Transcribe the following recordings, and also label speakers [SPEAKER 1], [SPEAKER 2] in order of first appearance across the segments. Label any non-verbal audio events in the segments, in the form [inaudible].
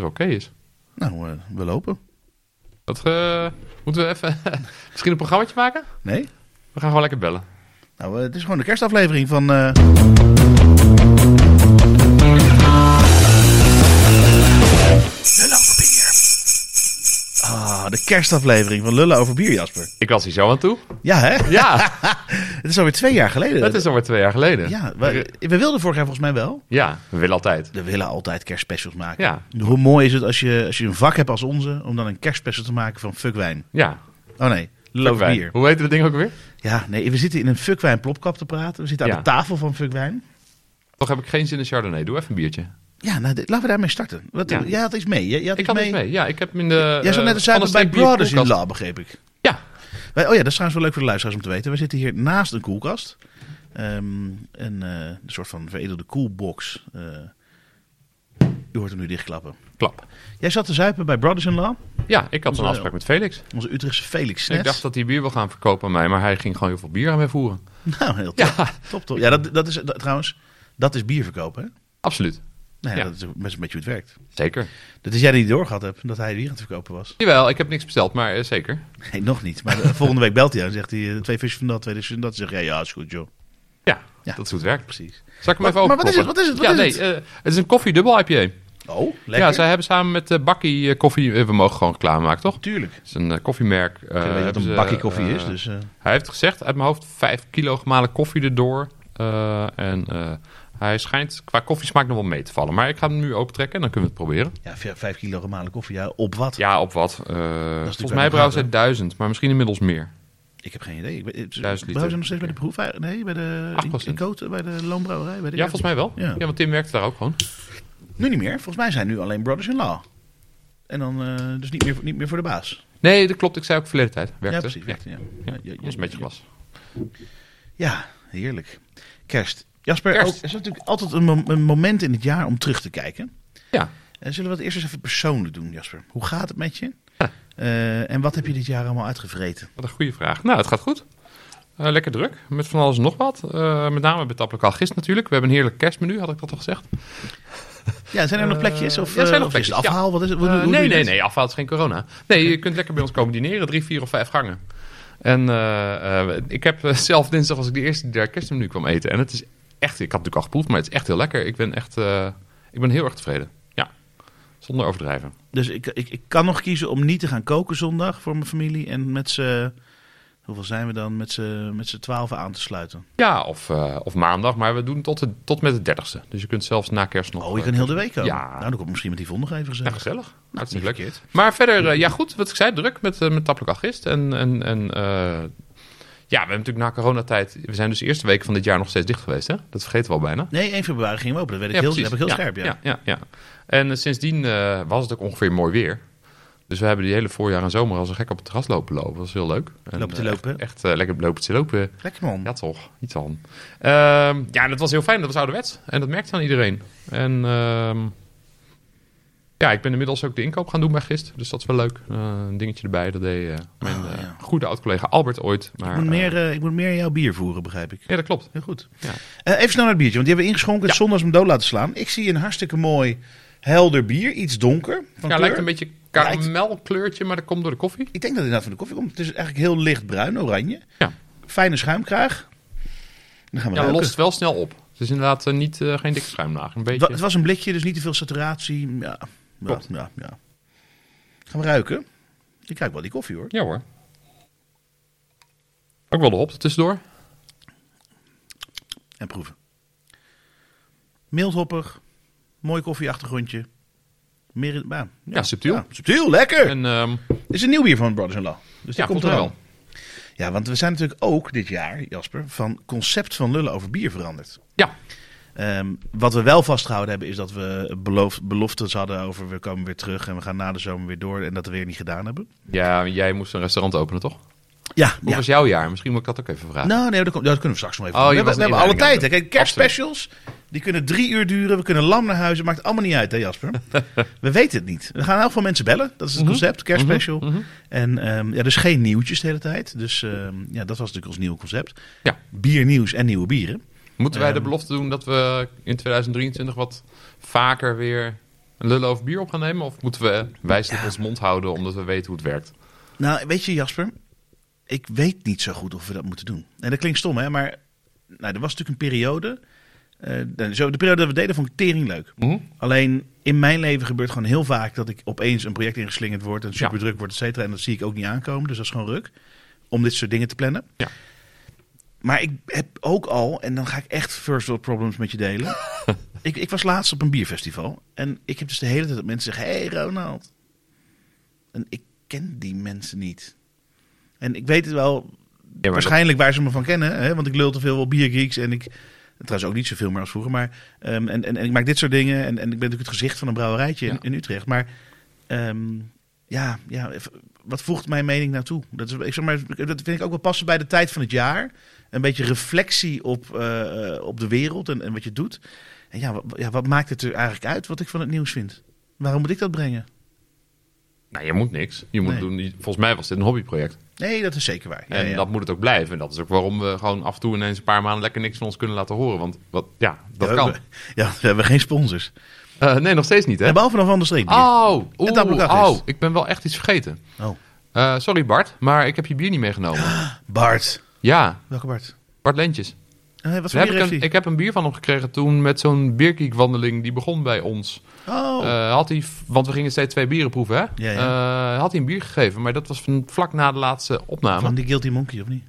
[SPEAKER 1] het wel oké is.
[SPEAKER 2] Nou, eh, we lopen.
[SPEAKER 1] Dat, eh, moeten we even [laughs] misschien een programmaatje maken?
[SPEAKER 2] Nee?
[SPEAKER 1] We gaan gewoon lekker bellen.
[SPEAKER 2] Nou, eh, het is gewoon de kerstaflevering van... eh, Lullen over bier. Ah, de kerstaflevering van Lullen over bier, Jasper.
[SPEAKER 1] Ik was hier zo aan toe.
[SPEAKER 2] Ja, hè?
[SPEAKER 1] Ja,
[SPEAKER 2] [laughs] Het is alweer twee jaar geleden.
[SPEAKER 1] dat is alweer twee jaar geleden.
[SPEAKER 2] Ja, we, we wilden vorig jaar volgens mij wel.
[SPEAKER 1] Ja, we willen altijd.
[SPEAKER 2] We willen altijd kerstspecials maken.
[SPEAKER 1] Ja,
[SPEAKER 2] Hoe mooi is het als je, als je een vak hebt als onze, om dan een kerstspecial te maken van fuck wijn.
[SPEAKER 1] ja.
[SPEAKER 2] Oh nee, lullen over
[SPEAKER 1] Fuckwijn.
[SPEAKER 2] bier.
[SPEAKER 1] Hoe heet dat ding ook weer?
[SPEAKER 2] Ja, nee, we zitten in een fuckwijn plopkap te praten. We zitten aan
[SPEAKER 1] Ja.
[SPEAKER 2] de tafel van fuckwijn.
[SPEAKER 1] Toch heb ik geen zin in Chardonnay. Doe even een biertje.
[SPEAKER 2] Ja, nou, dit- laten we daarmee starten. Wat,
[SPEAKER 1] Ja.
[SPEAKER 2] Jij had iets mee. Jij, jij
[SPEAKER 1] Ik
[SPEAKER 2] had iets
[SPEAKER 1] had
[SPEAKER 2] mee.
[SPEAKER 1] iets mee. Ja, ik heb hem in de...
[SPEAKER 2] Jij zou
[SPEAKER 1] eh,
[SPEAKER 2] net als zei
[SPEAKER 1] Van
[SPEAKER 2] bij
[SPEAKER 1] de Steek
[SPEAKER 2] Brothers in
[SPEAKER 1] bierkoelkast.
[SPEAKER 2] La, begreep ik.
[SPEAKER 1] Ja.
[SPEAKER 2] Wij- oh ja, dat is trouwens wel leuk voor de luisteraars om te weten. We zitten hier naast een koelkast. Ehm, een, eh, een soort van veredelde koelbox. Eh, u hoort hem nu dichtklappen.
[SPEAKER 1] Klap.
[SPEAKER 2] Jij zat te zuipen bij Brothers in Law.
[SPEAKER 1] Ja, ik had
[SPEAKER 2] Onze-
[SPEAKER 1] een afspraak met Felix.
[SPEAKER 2] Onze Utrechtse Felix
[SPEAKER 1] Ik
[SPEAKER 2] Snets.
[SPEAKER 1] dacht dat hij bier wil gaan verkopen aan mij, maar hij ging gewoon heel veel bier aan mij voeren.
[SPEAKER 2] [laughs] Nou, heel top.
[SPEAKER 1] Ja,
[SPEAKER 2] top, top. Ja, dat, dat is dat- trouwens, dat is bierverkopen. Hè?
[SPEAKER 1] absoluut.
[SPEAKER 2] Nou ja,
[SPEAKER 1] Ja.
[SPEAKER 2] dat is best een beetje hoe het werkt.
[SPEAKER 1] Zeker.
[SPEAKER 2] Dat is jij die doorgehad hebt dat hij bier aan het verkopen was.
[SPEAKER 1] Jawel, ik heb niks besteld, maar eh, zeker.
[SPEAKER 2] Nee, nog niet. Maar eh, volgende week belt hij en zegt hij eh, twee visjes van dat, twee visjes van dat. Dan zeg jij, ja, is goed joh.
[SPEAKER 1] Ja,
[SPEAKER 2] Ja.
[SPEAKER 1] dat is hoe het werkt.
[SPEAKER 2] Precies.
[SPEAKER 1] Zal ik hem
[SPEAKER 2] Maar-
[SPEAKER 1] even
[SPEAKER 2] maar wat is het? Wat is het? Wat
[SPEAKER 1] ja,
[SPEAKER 2] is
[SPEAKER 1] nee,
[SPEAKER 2] het?
[SPEAKER 1] eh, het is een koffiedubbel IPA.
[SPEAKER 2] Oh, lekker.
[SPEAKER 1] Ja, zij hebben samen met eh, Bakkie eh, koffie... eh, we mogen gewoon reclame maken, toch?
[SPEAKER 2] Tuurlijk.
[SPEAKER 1] Het is een eh, koffiemerk. eh,
[SPEAKER 2] ik weet
[SPEAKER 1] hebben
[SPEAKER 2] dat een
[SPEAKER 1] ze,
[SPEAKER 2] bakje koffie
[SPEAKER 1] eh,
[SPEAKER 2] is, dus... eh,
[SPEAKER 1] Hij heeft gezegd, uit mijn hoofd, 5 kilo gemalen koffie erdoor. Eh, en eh, hij schijnt qua koffiesmaak nog wel mee te vallen. Maar ik ga hem nu opentrekken en dan kunnen we het proberen.
[SPEAKER 2] ja, v- vijf kilo gemalen koffie, ja, op wat?
[SPEAKER 1] Ja, op wat? Eh, volgens
[SPEAKER 2] bij
[SPEAKER 1] mij
[SPEAKER 2] de
[SPEAKER 1] brouwen ze
[SPEAKER 2] gaten.
[SPEAKER 1] 1000, maar misschien inmiddels meer.
[SPEAKER 2] Ik heb geen idee. Ik weet, het-
[SPEAKER 1] Duizend liter.
[SPEAKER 2] Brouwen ze nog steeds bij de proef? eh, Nee, bij de... In,
[SPEAKER 1] 8%.
[SPEAKER 2] in Koten, bij de loonbrouwerij? Bij de
[SPEAKER 1] Ja, volgens mij wel.
[SPEAKER 2] Ja.
[SPEAKER 1] Ja, want Tim werkte daar ook gewoon.
[SPEAKER 2] Nu niet meer. Volgens mij zijn nu alleen Brothers in Law. En dan eh, dus niet meer, niet meer voor de baas.
[SPEAKER 1] Nee, dat klopt. Ik zei ook verleden tijd. Werkte.
[SPEAKER 2] ja, precies.
[SPEAKER 1] Ja,
[SPEAKER 2] Werkte, ja.
[SPEAKER 1] ja.
[SPEAKER 2] Ja, ja,
[SPEAKER 1] Dat is een beetje
[SPEAKER 2] ja.
[SPEAKER 1] glas.
[SPEAKER 2] Ja, heerlijk. Kerst. Jasper,
[SPEAKER 1] Kerst.
[SPEAKER 2] ook- er is natuurlijk altijd een, mom- een moment in het jaar om terug te kijken.
[SPEAKER 1] Ja.
[SPEAKER 2] Eh, zullen we het eerst eens even persoonlijk doen, Jasper? Hoe gaat het met je? Eh, en wat heb je dit jaar allemaal uitgevreten?
[SPEAKER 1] Wat een goede vraag. Nou, het gaat goed. Eh, lekker druk, met van alles en nog wat. Eh, met name bij Taplokaal Gist natuurlijk. We hebben een heerlijk kerstmenu, had ik dat al gezegd.
[SPEAKER 2] Ja, zijn er nog
[SPEAKER 1] Eh,
[SPEAKER 2] plekjes? Of,
[SPEAKER 1] ja, zijn er
[SPEAKER 2] eh,
[SPEAKER 1] nog
[SPEAKER 2] of is het
[SPEAKER 1] plekjes, ja.
[SPEAKER 2] afhaal? Wat is het? Hoe-
[SPEAKER 1] Eh,
[SPEAKER 2] hoe doe
[SPEAKER 1] nee,
[SPEAKER 2] je
[SPEAKER 1] nee,
[SPEAKER 2] dit?
[SPEAKER 1] nee, afhaal is geen corona. Nee, je kunt lekker bij ons komen dineren. Drie, vier of vijf gangen. En eh, eh, ik heb eh, zelf dinsdag als ik de eerste die daar kerstmenu kwam eten. En het is echt, ik had het natuurlijk al geproefd, maar het is echt heel lekker. Ik ben echt, eh, ik ben heel erg tevreden. Ja, zonder overdrijven.
[SPEAKER 2] Dus ik, ik, ik kan nog kiezen om niet te gaan koken zondag voor mijn familie. En met z'n... Hoeveel zijn we dan? Met z'n met z'n twaalf aan te sluiten.
[SPEAKER 1] Ja, of, eh, of maandag, maar we doen tot, de, tot met de dertigste. Dus je kunt zelfs na kerst nog...
[SPEAKER 2] Oh, je
[SPEAKER 1] eh,
[SPEAKER 2] kan heel de week komen.
[SPEAKER 1] Ja.
[SPEAKER 2] Nou, dan kom ik misschien met die nog even
[SPEAKER 1] Ja,
[SPEAKER 2] gezellig.
[SPEAKER 1] gezellig. Hartstikke
[SPEAKER 2] niet
[SPEAKER 1] leuk. Maar verder, eh, ja goed, wat ik zei, druk met, eh, met Tappelijk Agist. En, en, en eh, ja, we hebben natuurlijk na coronatijd... We zijn dus de eerste week van dit jaar nog steeds dicht geweest, hè? Dat vergeten we al bijna.
[SPEAKER 2] Nee, 1 februari gingen we open. Dat weet ik
[SPEAKER 1] Ja,
[SPEAKER 2] heel,
[SPEAKER 1] precies.
[SPEAKER 2] heb ik heel
[SPEAKER 1] Ja,
[SPEAKER 2] scherp, ja.
[SPEAKER 1] Ja, ja, ja. En eh, sindsdien eh, was het ook ongeveer mooi weer. Dus we hebben die hele voorjaar en zomer als een gek op het terras lopen lopen. Dat was heel leuk. En,
[SPEAKER 2] Lopen te
[SPEAKER 1] eh,
[SPEAKER 2] lopen.
[SPEAKER 1] Echt, echt, eh, lekker lopen te lopen.
[SPEAKER 2] Lekker man.
[SPEAKER 1] Ja, toch. Iets aan. Ehm, ja, en dat was heel fijn. Dat was ouderwets. En dat merkte aan iedereen. En ehm, ja, ik ben inmiddels ook de inkoop gaan doen bij Gist. Dus dat is wel leuk. Eh, een dingetje erbij. Dat deed eh, mijn
[SPEAKER 2] Ah,
[SPEAKER 1] eh,
[SPEAKER 2] ja.
[SPEAKER 1] goede oud-collega Albert ooit. Maar,
[SPEAKER 2] Ik moet,
[SPEAKER 1] eh,
[SPEAKER 2] meer, eh, ik moet meer jouw bier voeren, begrijp ik.
[SPEAKER 1] ja, dat klopt.
[SPEAKER 2] Heel goed.
[SPEAKER 1] Ja.
[SPEAKER 2] Eh, even snel naar het biertje, want die hebben we ingeschonken.
[SPEAKER 1] Ja.
[SPEAKER 2] Zondags hem dood laten slaan. Ik zie een hartstikke mooi helder bier. Iets donker. Van
[SPEAKER 1] Ja,
[SPEAKER 2] kleur.
[SPEAKER 1] lijkt een beetje karamelkleurtje, maar dat komt door de koffie.
[SPEAKER 2] Ik denk dat het inderdaad van de koffie komt. Het is eigenlijk heel licht bruin, oranje.
[SPEAKER 1] Ja.
[SPEAKER 2] Fijne schuimkraag. Dan gaan we
[SPEAKER 1] Ja,
[SPEAKER 2] ruiken.
[SPEAKER 1] lost wel snel op. Het is inderdaad eh, niet, eh, geen dikke schuimlaag. Een
[SPEAKER 2] Wa- Het
[SPEAKER 1] beetje...
[SPEAKER 2] was een blikje, dus niet te veel saturatie. Ja, ja,
[SPEAKER 1] Klopt.
[SPEAKER 2] ja, ja. Gaan we ruiken? Ik ruik wel die koffie hoor.
[SPEAKER 1] Ja hoor. Ook wel de hop er tussendoor.
[SPEAKER 2] En proeven. Mildhoppig. Mooi koffieachtergrondje. Meer, ja,
[SPEAKER 1] Ja, subtiel.
[SPEAKER 2] subtiel, lekker.
[SPEAKER 1] En ehm,
[SPEAKER 2] Dit is een nieuw bier van Brothers in Law. Dus die
[SPEAKER 1] ja,
[SPEAKER 2] komt
[SPEAKER 1] komt er
[SPEAKER 2] eraan.
[SPEAKER 1] wel.
[SPEAKER 2] Ja, want we zijn natuurlijk ook dit jaar, Jasper, van concept van lullen over bier veranderd.
[SPEAKER 1] Ja,
[SPEAKER 2] Ehm, wat we wel vastgehouden hebben is dat we beloof, beloftes hadden over we komen weer terug en we gaan na de zomer weer door en dat we weer niet gedaan hebben.
[SPEAKER 1] Ja, jij moest een restaurant openen, toch? Hoe
[SPEAKER 2] Ja, ja.
[SPEAKER 1] was jouw jaar? Misschien moet ik dat ook even vragen.
[SPEAKER 2] Nou, nee, dat, komt- dat kunnen we straks nog even
[SPEAKER 1] Oh,
[SPEAKER 2] doen.
[SPEAKER 1] je
[SPEAKER 2] We,
[SPEAKER 1] was
[SPEAKER 2] hebben- we hebben
[SPEAKER 1] een
[SPEAKER 2] alle tijd.
[SPEAKER 1] inleiding
[SPEAKER 2] hè.
[SPEAKER 1] aan
[SPEAKER 2] Kijk,
[SPEAKER 1] het doen.
[SPEAKER 2] kerstspecials, die kunnen drie uur duren. We kunnen lam naar huis. Het maakt allemaal niet uit, hè Jasper? we weten het niet. We gaan heel veel mensen bellen. Dat
[SPEAKER 1] Mhm.
[SPEAKER 2] is het concept, kerstspecial. En ehm, ja, dus geen nieuwtjes de hele tijd. Dus ehm, ja, dat was natuurlijk ons nieuwe concept.
[SPEAKER 1] Ja.
[SPEAKER 2] Biernieuws en nieuwe bieren.
[SPEAKER 1] Moeten wij de belofte doen dat we in 2023 wat vaker weer eh, een lullen over bier op gaan nemen? Of moeten we wijselijk ons mond houden omdat we weten hoe het werkt?
[SPEAKER 2] Nou, weet je Jasper, ik weet niet zo goed of we dat moeten doen. En dat klinkt stom, hè, maar nou, er was natuurlijk een periode. eh, nou, zo, de periode dat we deden vond ik tering leuk.
[SPEAKER 1] Mhm.
[SPEAKER 2] Alleen in mijn leven gebeurt gewoon heel vaak dat ik opeens een project ingeslingerd word en super druk word, et cetera. En dat zie ik ook niet aankomen. Dus dat is gewoon ruk om dit soort dingen te plannen.
[SPEAKER 1] Ja.
[SPEAKER 2] Maar ik heb ook al, en dan ga ik echt first world problems met je
[SPEAKER 1] [laughs]
[SPEAKER 2] delen. ik, ik was laatst op een bierfestival en ik heb dus de hele tijd dat mensen zeggen: Hey Ronald. En ik ken die mensen niet. En ik weet het wel,
[SPEAKER 1] dat-
[SPEAKER 2] waarschijnlijk waar ze me van kennen, hè, want ik lul te veel op biergeeks en ik. Trouwens ook niet zoveel meer als vroeger, maar ehm, en, en, en ik maak dit soort dingen en, en ik ben natuurlijk het gezicht van een brouwerijtje in,
[SPEAKER 1] Ja.
[SPEAKER 2] in Utrecht. Maar ehm, ja, ja, v- wat voegt mijn mening naartoe? Dat, is, ik zeg maar, dat vind ik ook wel passen bij de tijd van het jaar. Een beetje reflectie op, eh, op de wereld en, en wat je doet. En ja wat, ja, wat maakt het er eigenlijk uit wat ik van het nieuws vind? Waarom moet ik dat brengen?
[SPEAKER 1] Nou, je moet niks. Je moet
[SPEAKER 2] Nee.
[SPEAKER 1] doen, volgens mij was dit een hobbyproject.
[SPEAKER 2] Nee, dat is zeker waar. Ja,
[SPEAKER 1] en
[SPEAKER 2] ja.
[SPEAKER 1] dat moet het ook blijven. En dat is ook waarom we gewoon af en toe ineens een paar maanden lekker niks van ons kunnen laten horen. Want wat, ja, dat
[SPEAKER 2] Ja, we-
[SPEAKER 1] kan.
[SPEAKER 2] [laughs] Ja, we hebben geen sponsors.
[SPEAKER 1] Eh, nee, nog steeds niet, hè?
[SPEAKER 2] En behalve nog van de streep.
[SPEAKER 1] Oh,
[SPEAKER 2] Het apparaat
[SPEAKER 1] oeh,
[SPEAKER 2] is.
[SPEAKER 1] oh, ik ben wel echt iets vergeten.
[SPEAKER 2] Oh.
[SPEAKER 1] Eh, sorry Bart, maar ik heb je bier niet meegenomen.
[SPEAKER 2] Bart.
[SPEAKER 1] Ja,
[SPEAKER 2] Welke Bart?
[SPEAKER 1] Bart Lentjes.
[SPEAKER 2] Eh, wat voor
[SPEAKER 1] Daar Heb
[SPEAKER 2] bier
[SPEAKER 1] ik,
[SPEAKER 2] heeft
[SPEAKER 1] een,
[SPEAKER 2] hij?
[SPEAKER 1] ik heb een bier van hem gekregen toen met zo'n bierkiekwandeling die begon bij ons.
[SPEAKER 2] Oh,
[SPEAKER 1] Eh, had hij, want we gingen steeds twee bieren proeven, hè?
[SPEAKER 2] Ja,
[SPEAKER 1] Eh, had hij een bier gegeven, maar dat was van vlak na de laatste opname.
[SPEAKER 2] van die Guilty Monkey, of niet?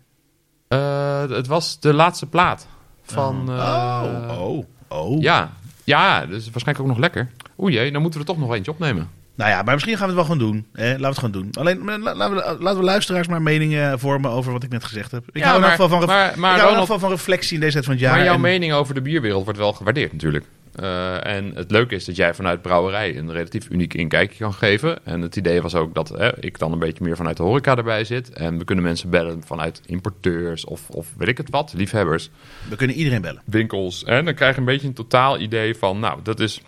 [SPEAKER 1] Eh, het was de laatste plaat van. eh,
[SPEAKER 2] oh, oh.
[SPEAKER 1] Ja. ja, dus waarschijnlijk ook nog lekker. Oei, jee, dan moeten we er toch nog eentje opnemen.
[SPEAKER 2] Nou ja, maar misschien gaan we het wel gewoon doen. Hè? Laten we het gewoon doen. Alleen maar la- laten we, laten we luisteraars maar meningen vormen over wat ik net gezegd heb. Ik
[SPEAKER 1] Ja,
[SPEAKER 2] hou in
[SPEAKER 1] maar-
[SPEAKER 2] ieder geval van, ref-
[SPEAKER 1] maar- maar
[SPEAKER 2] ik hou in
[SPEAKER 1] Ronald-
[SPEAKER 2] ieder geval van reflectie in deze tijd van het jaar.
[SPEAKER 1] maar jouw
[SPEAKER 2] en-
[SPEAKER 1] mening over de bierwereld wordt wel gewaardeerd natuurlijk. Eh, en het leuke is dat jij vanuit brouwerij een relatief uniek inkijkje kan geven. En het idee was ook dat hè, ik dan een beetje meer vanuit de horeca erbij zit. En we kunnen mensen bellen vanuit importeurs of, of weet ik het wat, liefhebbers,
[SPEAKER 2] We kunnen iedereen bellen.
[SPEAKER 1] winkels. En dan krijg je een beetje een totaal idee van, nou, dat is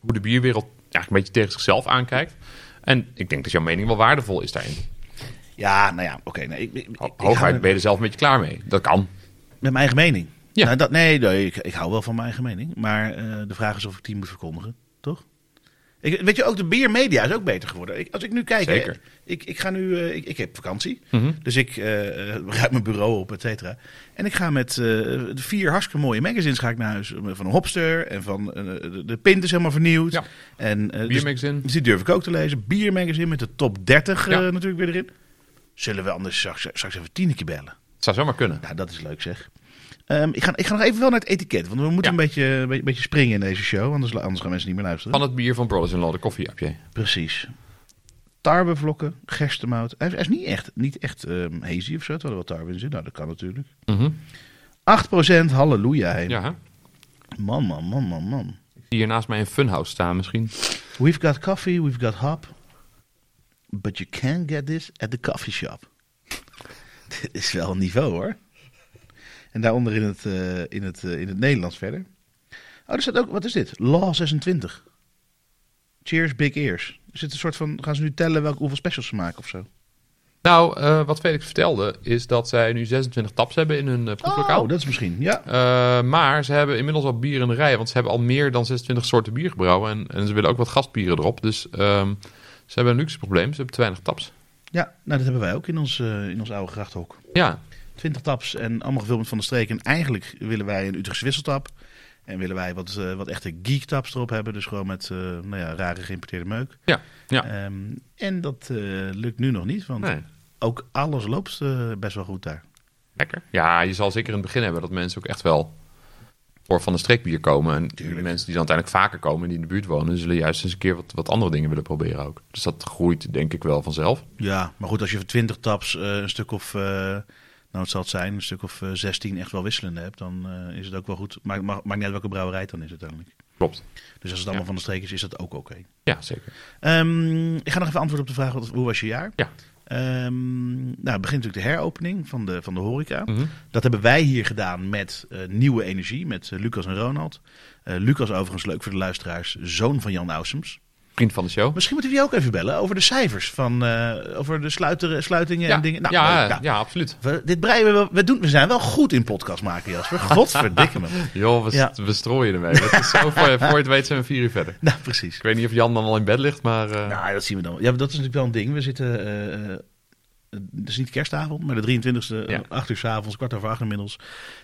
[SPEAKER 1] hoe de bierwereld eigenlijk een beetje tegen zichzelf aankijkt. En ik denk dat jouw mening wel waardevol is daarin.
[SPEAKER 2] Ja, nou ja, oké. nee, ik, ik, ik- ik hou
[SPEAKER 1] Hooguit
[SPEAKER 2] met,
[SPEAKER 1] ben je er zelf een beetje klaar mee. Dat kan.
[SPEAKER 2] met mijn eigen mening.
[SPEAKER 1] Ja.
[SPEAKER 2] Nou, dat, nee, nee ik, ik hou wel van mijn eigen mening. Maar eh, de vraag is of ik die moet verkondigen, toch? Ik, weet je, ook de biermedia is ook beter geworden. Ik, als ik nu kijk, hè,
[SPEAKER 1] Zeker. Mhm.
[SPEAKER 2] ik, ik ga nu, eh, ik, ik heb vakantie. Dus ik eh, eh, ruim mijn bureau op, et cetera. En ik ga met eh, de vier hartstikke mooie magazines ga ik naar huis. Van Hopster en van eh, de, de Pint is helemaal vernieuwd.
[SPEAKER 1] Ja.
[SPEAKER 2] En, eh, dus,
[SPEAKER 1] Biermagazine.
[SPEAKER 2] dus die durf ik ook te lezen. Biermagazine met de top 30 eh,
[SPEAKER 1] Ja.
[SPEAKER 2] natuurlijk weer erin. Zullen we anders straks, straks even Tieneke bellen?
[SPEAKER 1] Zou zomaar kunnen.
[SPEAKER 2] Nou, dat is leuk zeg. Ehm, ik, ga, ik ga nog even wel naar het etiket. Want we moeten
[SPEAKER 1] Ja.
[SPEAKER 2] een, beetje, een beetje- een beetje springen in deze show. Anders, anders gaan mensen niet meer luisteren.
[SPEAKER 1] Van het bier van Brothers in Law, de koffie heb je.
[SPEAKER 2] Precies. Tarwevlokken, gerstemout. Hij is, hij is niet echt, niet echt ehm, hazy of zo. Terwijl er wel tarwe in zit. Nou, dat kan natuurlijk. 8% halleluja. hè.
[SPEAKER 1] Ja.
[SPEAKER 2] Man, man, man, man, man.
[SPEAKER 1] Die hier naast mij een funhouse staan misschien.
[SPEAKER 2] We've got coffee, we've got hop. But you can get this at the coffee shop. [laughs] Dit is wel een niveau hoor. En daaronder in het, eh, in het, eh, in het Nederlands verder. Oh, er staat ook, wat is dit? Law 26. Cheers, big ears. Er zit een soort van, gaan ze nu tellen welke, hoeveel specials ze maken of zo?
[SPEAKER 1] Nou, eh, wat Felix vertelde is dat zij nu 26 taps hebben in hun eh, proeflokaal.
[SPEAKER 2] Oh, dat is misschien, ja.
[SPEAKER 1] Eh, maar ze hebben inmiddels al bier in de rij, want ze hebben al meer dan 26 soorten bier gebrouwen. En, en ze willen ook wat gastbieren erop. Dus ehm, ze hebben een luxe probleem, ze hebben te weinig taps.
[SPEAKER 2] Ja, nou dat hebben wij ook in ons, eh, in ons oude grachthok.
[SPEAKER 1] Ja,
[SPEAKER 2] 20 taps en allemaal gevuld met Van de Streek. En eigenlijk willen wij een Utrechtse wisseltap. En willen wij wat, eh, wat echte geek taps erop hebben. Dus gewoon met eh, nou ja, rare geïmporteerde meuk.
[SPEAKER 1] ja, ja.
[SPEAKER 2] Ehm, en dat eh, lukt nu nog niet, want
[SPEAKER 1] Nee,
[SPEAKER 2] ook alles loopt eh, best wel goed daar.
[SPEAKER 1] lekker. Ja, je zal zeker in het begin hebben dat mensen ook echt wel voor van de streekbier komen. En de mensen die dan uiteindelijk vaker komen en die in de buurt wonen, zullen juist eens een keer wat, wat andere dingen willen proberen ook. Dus dat groeit denk ik wel vanzelf.
[SPEAKER 2] Ja, maar goed, als je voor 20 taps eh, een stuk of, eh, nou het zal het zijn, een stuk of eh, 16 echt wel wisselende hebt, dan eh, is het ook wel goed. Maakt maakt- maakt niet uit welke brouwerij het dan is uiteindelijk.
[SPEAKER 1] Klopt.
[SPEAKER 2] Dus als het allemaal Van de Streek is, is dat ook oké.
[SPEAKER 1] Ja, zeker.
[SPEAKER 2] Ehm, ik ga nog even antwoorden op de vraag, wat, hoe was je jaar?
[SPEAKER 1] Ja.
[SPEAKER 2] Ehm, nou, het begint natuurlijk de heropening van de, van de horeca.
[SPEAKER 1] Mhm.
[SPEAKER 2] Dat hebben wij hier gedaan met eh, nieuwe energie, met eh, Lucas en Ronald. Eh, Lucas overigens, leuk voor de luisteraars, zoon van Jan Ausums.
[SPEAKER 1] vriend van de show.
[SPEAKER 2] Misschien moeten we je ook even bellen over de cijfers. Van, eh, over de sluiter, sluitingen en dingen. Nou,
[SPEAKER 1] ja,
[SPEAKER 2] leuk, nou,
[SPEAKER 1] ja, absoluut.
[SPEAKER 2] We, dit breien we, wel- we, doen, we zijn wel goed in podcast
[SPEAKER 1] [laughs]
[SPEAKER 2] maken, Jasper. Godverdikke me.
[SPEAKER 1] Joh, we,
[SPEAKER 2] Ja.
[SPEAKER 1] we strooien ermee. Dat is
[SPEAKER 2] [laughs]
[SPEAKER 1] zo voor, voor je het weet zijn we vier uur verder.
[SPEAKER 2] nou, precies.
[SPEAKER 1] Ik weet niet of Jan dan al in bed ligt, maar... eh,
[SPEAKER 2] Nou, dat zien we dan. wel. Ja, maar dat is natuurlijk wel een ding. We zitten. eh, eh, het is niet kerstavond, maar de 23e,
[SPEAKER 1] Ja.
[SPEAKER 2] 8 uur s'avonds, kwart over acht inmiddels.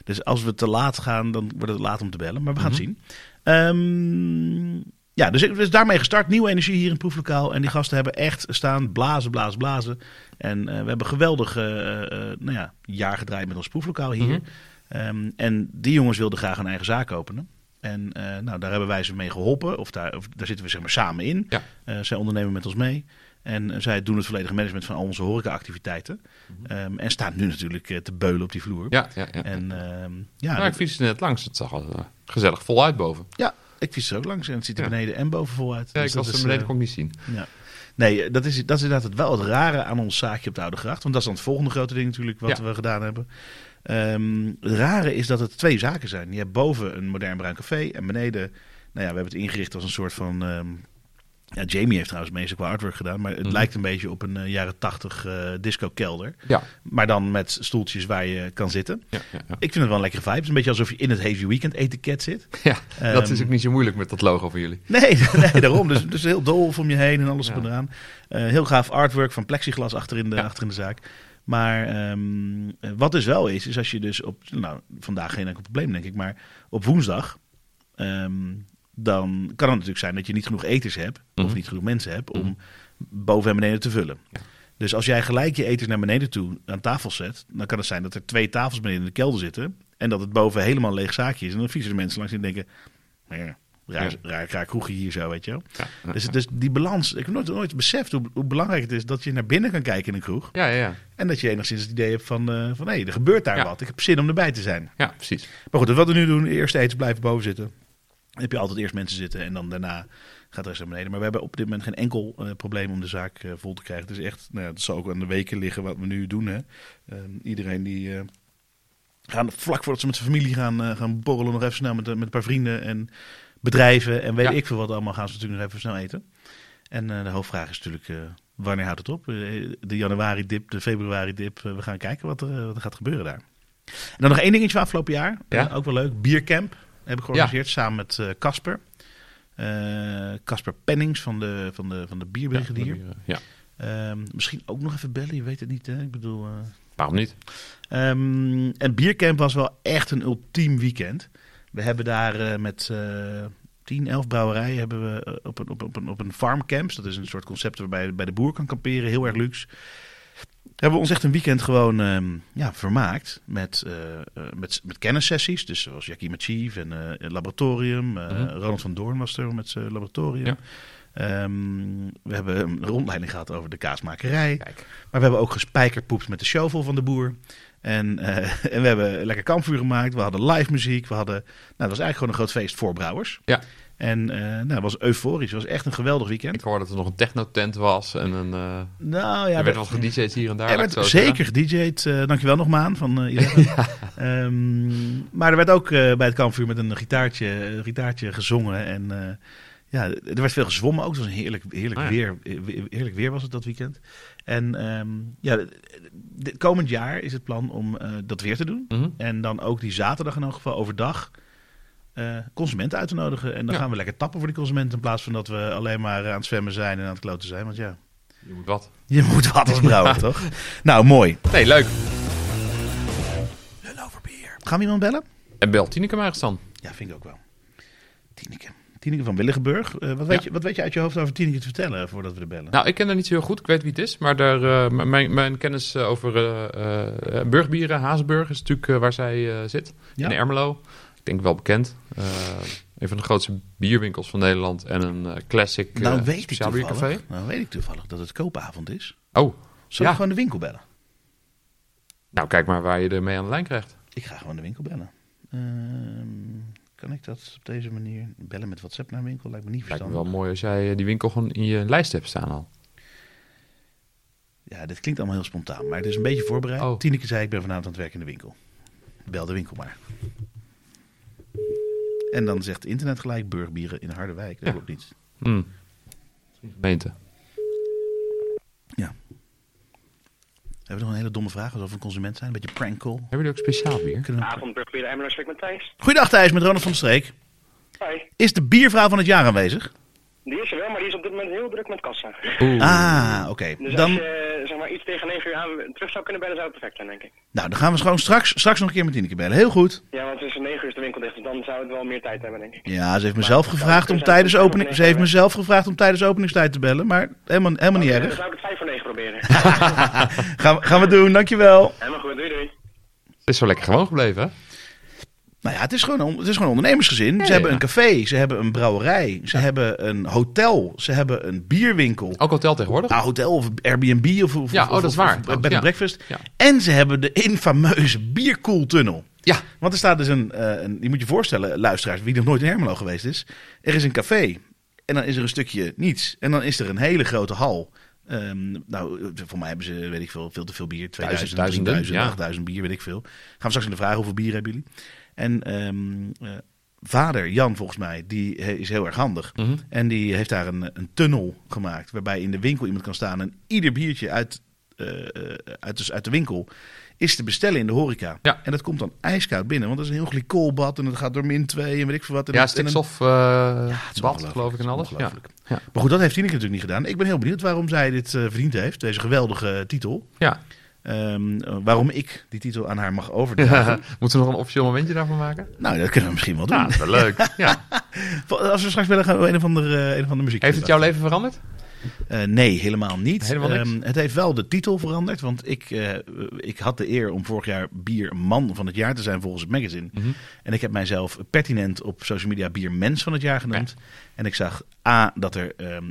[SPEAKER 2] Dus als we te laat gaan, dan wordt het laat om te bellen. Maar we gaan
[SPEAKER 1] Mhm.
[SPEAKER 2] het zien. Ehm, ja, dus, dus daarmee gestart. Nieuwe energie hier in het Proeflokaal. En die gasten hebben echt staan blazen, blazen, blazen. En eh, we hebben een geweldig eh, eh, nou ja, jaar gedraaid met ons Proeflokaal hier.
[SPEAKER 1] Mhm.
[SPEAKER 2] Ehm, en die jongens wilden graag een eigen zaak openen. En eh, nou, daar hebben wij ze mee geholpen. Of daar, of daar zitten we zeg maar samen in.
[SPEAKER 1] Ja.
[SPEAKER 2] Eh, zij ondernemen met ons mee. En eh, zij doen het volledige management van al onze horecaactiviteiten. Ehm, en staan nu natuurlijk eh, te beulen op die vloer.
[SPEAKER 1] ja, ja, ja.
[SPEAKER 2] En ehm, ja,
[SPEAKER 1] nou, ik
[SPEAKER 2] dat-
[SPEAKER 1] fietste net langs. Het zag al eh, gezellig voluit boven.
[SPEAKER 2] ja, ik fiets er ook langs. En het ziet er
[SPEAKER 1] Ja.
[SPEAKER 2] beneden en boven vol uit.
[SPEAKER 1] Ja,
[SPEAKER 2] Dus
[SPEAKER 1] ik
[SPEAKER 2] dat
[SPEAKER 1] was er
[SPEAKER 2] is,
[SPEAKER 1] beneden,
[SPEAKER 2] eh,
[SPEAKER 1] kon ik niet zien.
[SPEAKER 2] ja. Nee, eh, dat is, dat is inderdaad het- wel het rare aan ons zaakje op de Oude Gracht. Want dat is dan het volgende grote ding natuurlijk wat
[SPEAKER 1] Ja.
[SPEAKER 2] we gedaan hebben. Ehm, het rare is dat het twee zaken zijn. Je hebt boven een modern bruin café en beneden... Nou ja, we hebben het ingericht als een soort van... ehm, ja, Jamie heeft trouwens meestal qua artwork gedaan. Maar het
[SPEAKER 1] Mhm.
[SPEAKER 2] lijkt een beetje op een eh, jaren tachtig disco kelder.
[SPEAKER 1] Ja,
[SPEAKER 2] Maar dan met stoeltjes waar je kan zitten.
[SPEAKER 1] ja, ja, ja.
[SPEAKER 2] Ik vind het wel een lekkere vibe. Het is een beetje alsof je in het Heavy Weekend etiket zit.
[SPEAKER 1] Ja, dat is
[SPEAKER 2] Ehm,
[SPEAKER 1] ook niet zo moeilijk met dat logo van jullie. [laughs]
[SPEAKER 2] Nee, [laughs] nee daarom. Dus, dus heel doof om je heen en alles op en eraan. Eh, heel gaaf artwork van plexiglas achter in de,
[SPEAKER 1] Ja.
[SPEAKER 2] achter in de zaak. Maar ehm, eh, wat dus wel is, is als je dus op... Nou, vandaag geen enkel probleem denk ik, maar op woensdag... ehm, dan kan het natuurlijk zijn dat je niet genoeg eters hebt... of
[SPEAKER 1] Mhm.
[SPEAKER 2] niet genoeg mensen hebt om
[SPEAKER 1] Mhm.
[SPEAKER 2] boven en beneden te vullen. Dus als jij gelijk je eters naar beneden toe aan tafel zet... dan kan het zijn dat er twee tafels beneden in de kelder zitten... en dat het boven helemaal een leeg zaakje is. En dan fietsen de mensen langs en denken... "Nou "Ja, Raar,
[SPEAKER 1] Ja.
[SPEAKER 2] raar, raar kroegje hier zo, weet je wel.
[SPEAKER 1] Ja, ja,
[SPEAKER 2] Dus,
[SPEAKER 1] ja.
[SPEAKER 2] dus die balans, ik heb nooit, nooit beseft hoe, hoe belangrijk het is dat je naar binnen kan kijken in een kroeg.
[SPEAKER 1] ja, ja, ja.
[SPEAKER 2] En dat je enigszins het idee hebt van, eh, van hé, er gebeurt daar
[SPEAKER 1] Ja.
[SPEAKER 2] wat. Ik heb zin om erbij te zijn.
[SPEAKER 1] ja, precies.
[SPEAKER 2] Maar goed, wat we nu doen, eerst eten, blijven boven zitten. Dan heb je altijd eerst mensen zitten en dan daarna gaat de rest naar beneden. Maar we hebben op dit moment geen enkel eh, probleem om de zaak eh, vol te krijgen. Het is echt, nou, ja, dat zal ook aan de weken liggen wat we nu doen. Hè. Ehm, iedereen die eh, gaan vlak voordat ze met zijn familie gaan, eh, gaan borrelen, nog even snel met, eh, met een paar vrienden en bedrijven en weet
[SPEAKER 1] Ja.
[SPEAKER 2] ik veel wat allemaal, gaan ze natuurlijk nog even snel eten. En eh, de hoofdvraag is natuurlijk, eh, wanneer houdt het op? Eh, de januari-dip, de februari-dip. eh, we gaan kijken wat er, eh, wat er gaat gebeuren daar. En dan nog één dingetje van afgelopen jaar.
[SPEAKER 1] Ja.
[SPEAKER 2] Eh, ook wel leuk. Biercamp heb ik georganiseerd samen met eh, Casper. Eh, Casper Pennings van de, van de, van de bierbrigadier.
[SPEAKER 1] Ja, eh, ja.
[SPEAKER 2] Ehm, misschien ook nog even bellen, je weet het niet. Hè? Ik bedoel... eh,
[SPEAKER 1] Waarom niet?
[SPEAKER 2] Ehm, en Biercamp was wel echt een ultiem weekend. We hebben daar eh, met eh 10, 11 brouwerijen hebben we, eh, op, een, op, een- op, een, op een farmcamp. Dus Dat is een soort concept waarbij je bij de boer kan kamperen. Heel erg luxe. Hebben we ons echt een weekend gewoon ehm, ja, vermaakt met, eh, eh, met, met kennissessies. Dus zoals Jackie Machief en eh, het Laboratorium. Eh,
[SPEAKER 1] Mhm.
[SPEAKER 2] Ronald van Doorn was er met zijn Laboratorium.
[SPEAKER 1] Ja.
[SPEAKER 2] Ehm, we hebben een rondleiding gehad over de kaasmakerij.
[SPEAKER 1] Kijk.
[SPEAKER 2] Maar we hebben ook gespijkerpoept met de shovel van de boer. En, eh, [laughs] en we hebben lekker kampvuur gemaakt. We hadden live muziek. We hadden, nou, het was eigenlijk gewoon een groot feest voor brouwers.
[SPEAKER 1] Ja.
[SPEAKER 2] En eh nou, het was euforisch. Het was echt een geweldig weekend.
[SPEAKER 1] Ik hoorde dat er nog een technotent was en een, eh,
[SPEAKER 2] Nou ja,
[SPEAKER 1] er werd
[SPEAKER 2] dat-
[SPEAKER 1] wat gedj'd hier en daar.
[SPEAKER 2] er
[SPEAKER 1] laat ik het
[SPEAKER 2] werd
[SPEAKER 1] zo zeggen.
[SPEAKER 2] zeker DJ'd. eh dankjewel nog, Maan, van eh
[SPEAKER 1] [laughs]
[SPEAKER 2] Eleven. Ehm, maar er werd ook eh, bij het kampvuur met een gitaartje, een gitaartje gezongen. En eh, ja, er werd veel gezwommen ook. Het was een heerlijk, heerlijk,
[SPEAKER 1] Ah, ja.
[SPEAKER 2] weer, eh, heerlijk weer was het dat weekend. En ehm, ja, dit- komend jaar is het plan om eh, dat weer te doen.
[SPEAKER 1] Mhm.
[SPEAKER 2] En dan ook die zaterdag in elk geval overdag eh, consumenten uit te nodigen. En dan
[SPEAKER 1] Ja.
[SPEAKER 2] gaan we lekker tappen voor die consumenten. In plaats van dat we alleen maar eh, aan het zwemmen zijn en aan het kloten zijn. Want ja,
[SPEAKER 1] Je moet wat.
[SPEAKER 2] je moet wat
[SPEAKER 1] [laughs]
[SPEAKER 2] als brouwer, toch? Nou, mooi.
[SPEAKER 1] Nee, leuk.
[SPEAKER 2] Gaan we iemand bellen?
[SPEAKER 1] En bel Tineke maar eens dan.
[SPEAKER 2] Ja, vind ik ook wel. Tineke. Tineke van Willigenburg. Eh, wat, weet
[SPEAKER 1] Ja.
[SPEAKER 2] je, wat weet je uit je hoofd over Tineke te vertellen eh, voordat we er bellen?
[SPEAKER 1] Nou, ik ken haar niet zo heel goed. Ik weet wie het is. Maar daar, eh, m- mijn, mijn kennis eh, over eh, eh, burgbieren, Hazenburg, is natuurlijk eh, waar zij eh, zit.
[SPEAKER 2] Ja.
[SPEAKER 1] In Ermelo. Ik denk wel bekend. Eh, een van de grootste bierwinkels van Nederland. En een eh, classic
[SPEAKER 2] Nou,
[SPEAKER 1] eh,
[SPEAKER 2] weet ik
[SPEAKER 1] speciaal biercafé.
[SPEAKER 2] toevallig, nou weet ik toevallig dat het koopavond is.
[SPEAKER 1] Oh,
[SPEAKER 2] Zullen
[SPEAKER 1] Ja.
[SPEAKER 2] we gewoon de winkel bellen?
[SPEAKER 1] nou kijk maar waar je ermee aan de lijn krijgt.
[SPEAKER 2] Ik ga gewoon de winkel bellen. Ehm, kan ik dat op deze manier? Bellen met WhatsApp naar een winkel lijkt me niet
[SPEAKER 1] Lijkt me
[SPEAKER 2] verstandig.
[SPEAKER 1] wel mooi als jij eh, die winkel gewoon in je lijst hebt staan al.
[SPEAKER 2] Ja, dit klinkt allemaal heel spontaan, maar het is een beetje voorbereid.
[SPEAKER 1] Oh.
[SPEAKER 2] Tineke zei, ik ben vanavond aan het werk in de winkel. Bel de winkel maar. En dan zegt internet gelijk burgbieren in Harderwijk. Dat
[SPEAKER 1] Ja.
[SPEAKER 2] klopt niet.
[SPEAKER 1] Hm. in gemeente.
[SPEAKER 2] Hebben we nog een hele domme vraag alsof we een consument zijn? Een beetje prank call.
[SPEAKER 1] Hebben jullie ook speciaal bier?
[SPEAKER 2] Kunnen we-
[SPEAKER 3] Avond, Burgmeer Emmer, spreek met Thijs.
[SPEAKER 2] Goeiedag Thijs, met Ronald van der Streek.
[SPEAKER 3] Hoi.
[SPEAKER 2] Is de biervrouw van het jaar aanwezig?
[SPEAKER 3] Die is er wel, maar die is op dit moment heel druk met kassa.
[SPEAKER 1] Oeh.
[SPEAKER 2] Ah, oké.
[SPEAKER 3] Dus
[SPEAKER 2] Dan,
[SPEAKER 3] als je eh, zeg maar, iets tegen 9 uur aan terug zou kunnen bellen, zou het perfect zijn, denk ik.
[SPEAKER 2] nou, dan gaan we gewoon straks, straks nog een keer met Tineke bellen. Heel goed.
[SPEAKER 3] Ja, want tussen 9 uur is de winkel dicht, dus dan zou het wel meer tijd hebben, denk ik.
[SPEAKER 2] Ja, ze heeft mezelf
[SPEAKER 3] Maar-
[SPEAKER 2] gevraagd om
[SPEAKER 3] Ja,
[SPEAKER 2] tijdens
[SPEAKER 3] we zijn
[SPEAKER 2] opening,
[SPEAKER 3] nog
[SPEAKER 2] ze heeft
[SPEAKER 3] negen
[SPEAKER 2] mezelf gevraagd om tijdens openingstijd te bellen, maar helemaal, helemaal Oh, niet
[SPEAKER 3] Dan
[SPEAKER 2] erg. Ah,
[SPEAKER 3] zou ik het 5 voor 9
[SPEAKER 2] [laughs]
[SPEAKER 3] proberen.
[SPEAKER 2] Gaan, we- gaan we doen, dankjewel.
[SPEAKER 3] Helemaal goed, doei doei.
[SPEAKER 1] Het is zo lekker gewoon gebleven, hè?
[SPEAKER 2] Nou ja, het is gewoon, een on- het is gewoon een ondernemersgezin. ze
[SPEAKER 1] ja,
[SPEAKER 2] hebben
[SPEAKER 1] ja.
[SPEAKER 2] een café, ze hebben een brouwerij, ze hebben een hotel, ze hebben een bierwinkel.
[SPEAKER 1] Ook hotel tegenwoordig.
[SPEAKER 2] Nou, hotel of Airbnb of, of,
[SPEAKER 1] Ja,
[SPEAKER 2] of-
[SPEAKER 1] oh, dat is
[SPEAKER 2] of-
[SPEAKER 1] waar,
[SPEAKER 2] of bed and
[SPEAKER 1] ja.
[SPEAKER 2] breakfast.
[SPEAKER 1] Ja.
[SPEAKER 2] En ze hebben de infameuze bierkoeltunnel.
[SPEAKER 1] Ja.
[SPEAKER 2] Want er staat dus een, eh, een- je moet je voorstellen, luisteraars, wie nog nooit in Hermelo geweest is. Er is een café en dan is er een stukje niets. En dan is er een hele grote hal. Ehm, nou, voor mij hebben ze, weet ik veel, veel te veel bier. 2000,
[SPEAKER 1] duizenden,
[SPEAKER 2] 3000,
[SPEAKER 1] ja.
[SPEAKER 2] 8000 bier, weet ik veel. Gaan we straks in de vraag hoeveel bier hebben jullie. En ehm, eh, vader Jan, volgens mij, die he- is heel erg handig.
[SPEAKER 1] Mhm.
[SPEAKER 2] En die heeft daar een, een tunnel gemaakt. Waarbij in de winkel iemand kan staan. En ieder biertje uit, eh, eh, uit, de, uit de winkel is te bestellen in de horeca.
[SPEAKER 1] Ja.
[SPEAKER 2] En dat komt dan ijskoud binnen. Want dat is een heel glycolbad. En dat gaat door min 2 en weet ik veel wat. En
[SPEAKER 1] Ja,
[SPEAKER 2] dat- en een-
[SPEAKER 1] stikstof, eh
[SPEAKER 2] het is
[SPEAKER 1] bad,
[SPEAKER 2] ongelooflijk.
[SPEAKER 1] geloof ik, en
[SPEAKER 2] Het is
[SPEAKER 1] alles. Ja.
[SPEAKER 2] ongelooflijk.
[SPEAKER 1] Ja.
[SPEAKER 2] Maar goed, dat heeft Tineke natuurlijk niet gedaan. Ik ben heel benieuwd waarom zij dit eh, verdiend heeft. Deze geweldige titel.
[SPEAKER 1] ja.
[SPEAKER 2] Ehm, eh, waarom ik die titel aan haar mag overdragen.
[SPEAKER 1] [laughs] Moeten we nog een officieel momentje daarvan maken?
[SPEAKER 2] Nou, dat kunnen we misschien wel doen.
[SPEAKER 1] Ja, dat is wel leuk. Ja.
[SPEAKER 2] Als we straks willen gaan we een of andere, eh, een of andere muziek.
[SPEAKER 1] Heeft het jouw leven veranderd?
[SPEAKER 2] Eh, nee, helemaal niet.
[SPEAKER 1] Helemaal niks?
[SPEAKER 2] Ehm, het heeft wel de titel veranderd. Want ik, eh, ik had de eer om vorig jaar bierman van het jaar te zijn volgens het magazine.
[SPEAKER 1] Mhm.
[SPEAKER 2] En ik heb mijzelf pertinent op social media biermens van het jaar genoemd. En ik zag A, dat er... ehm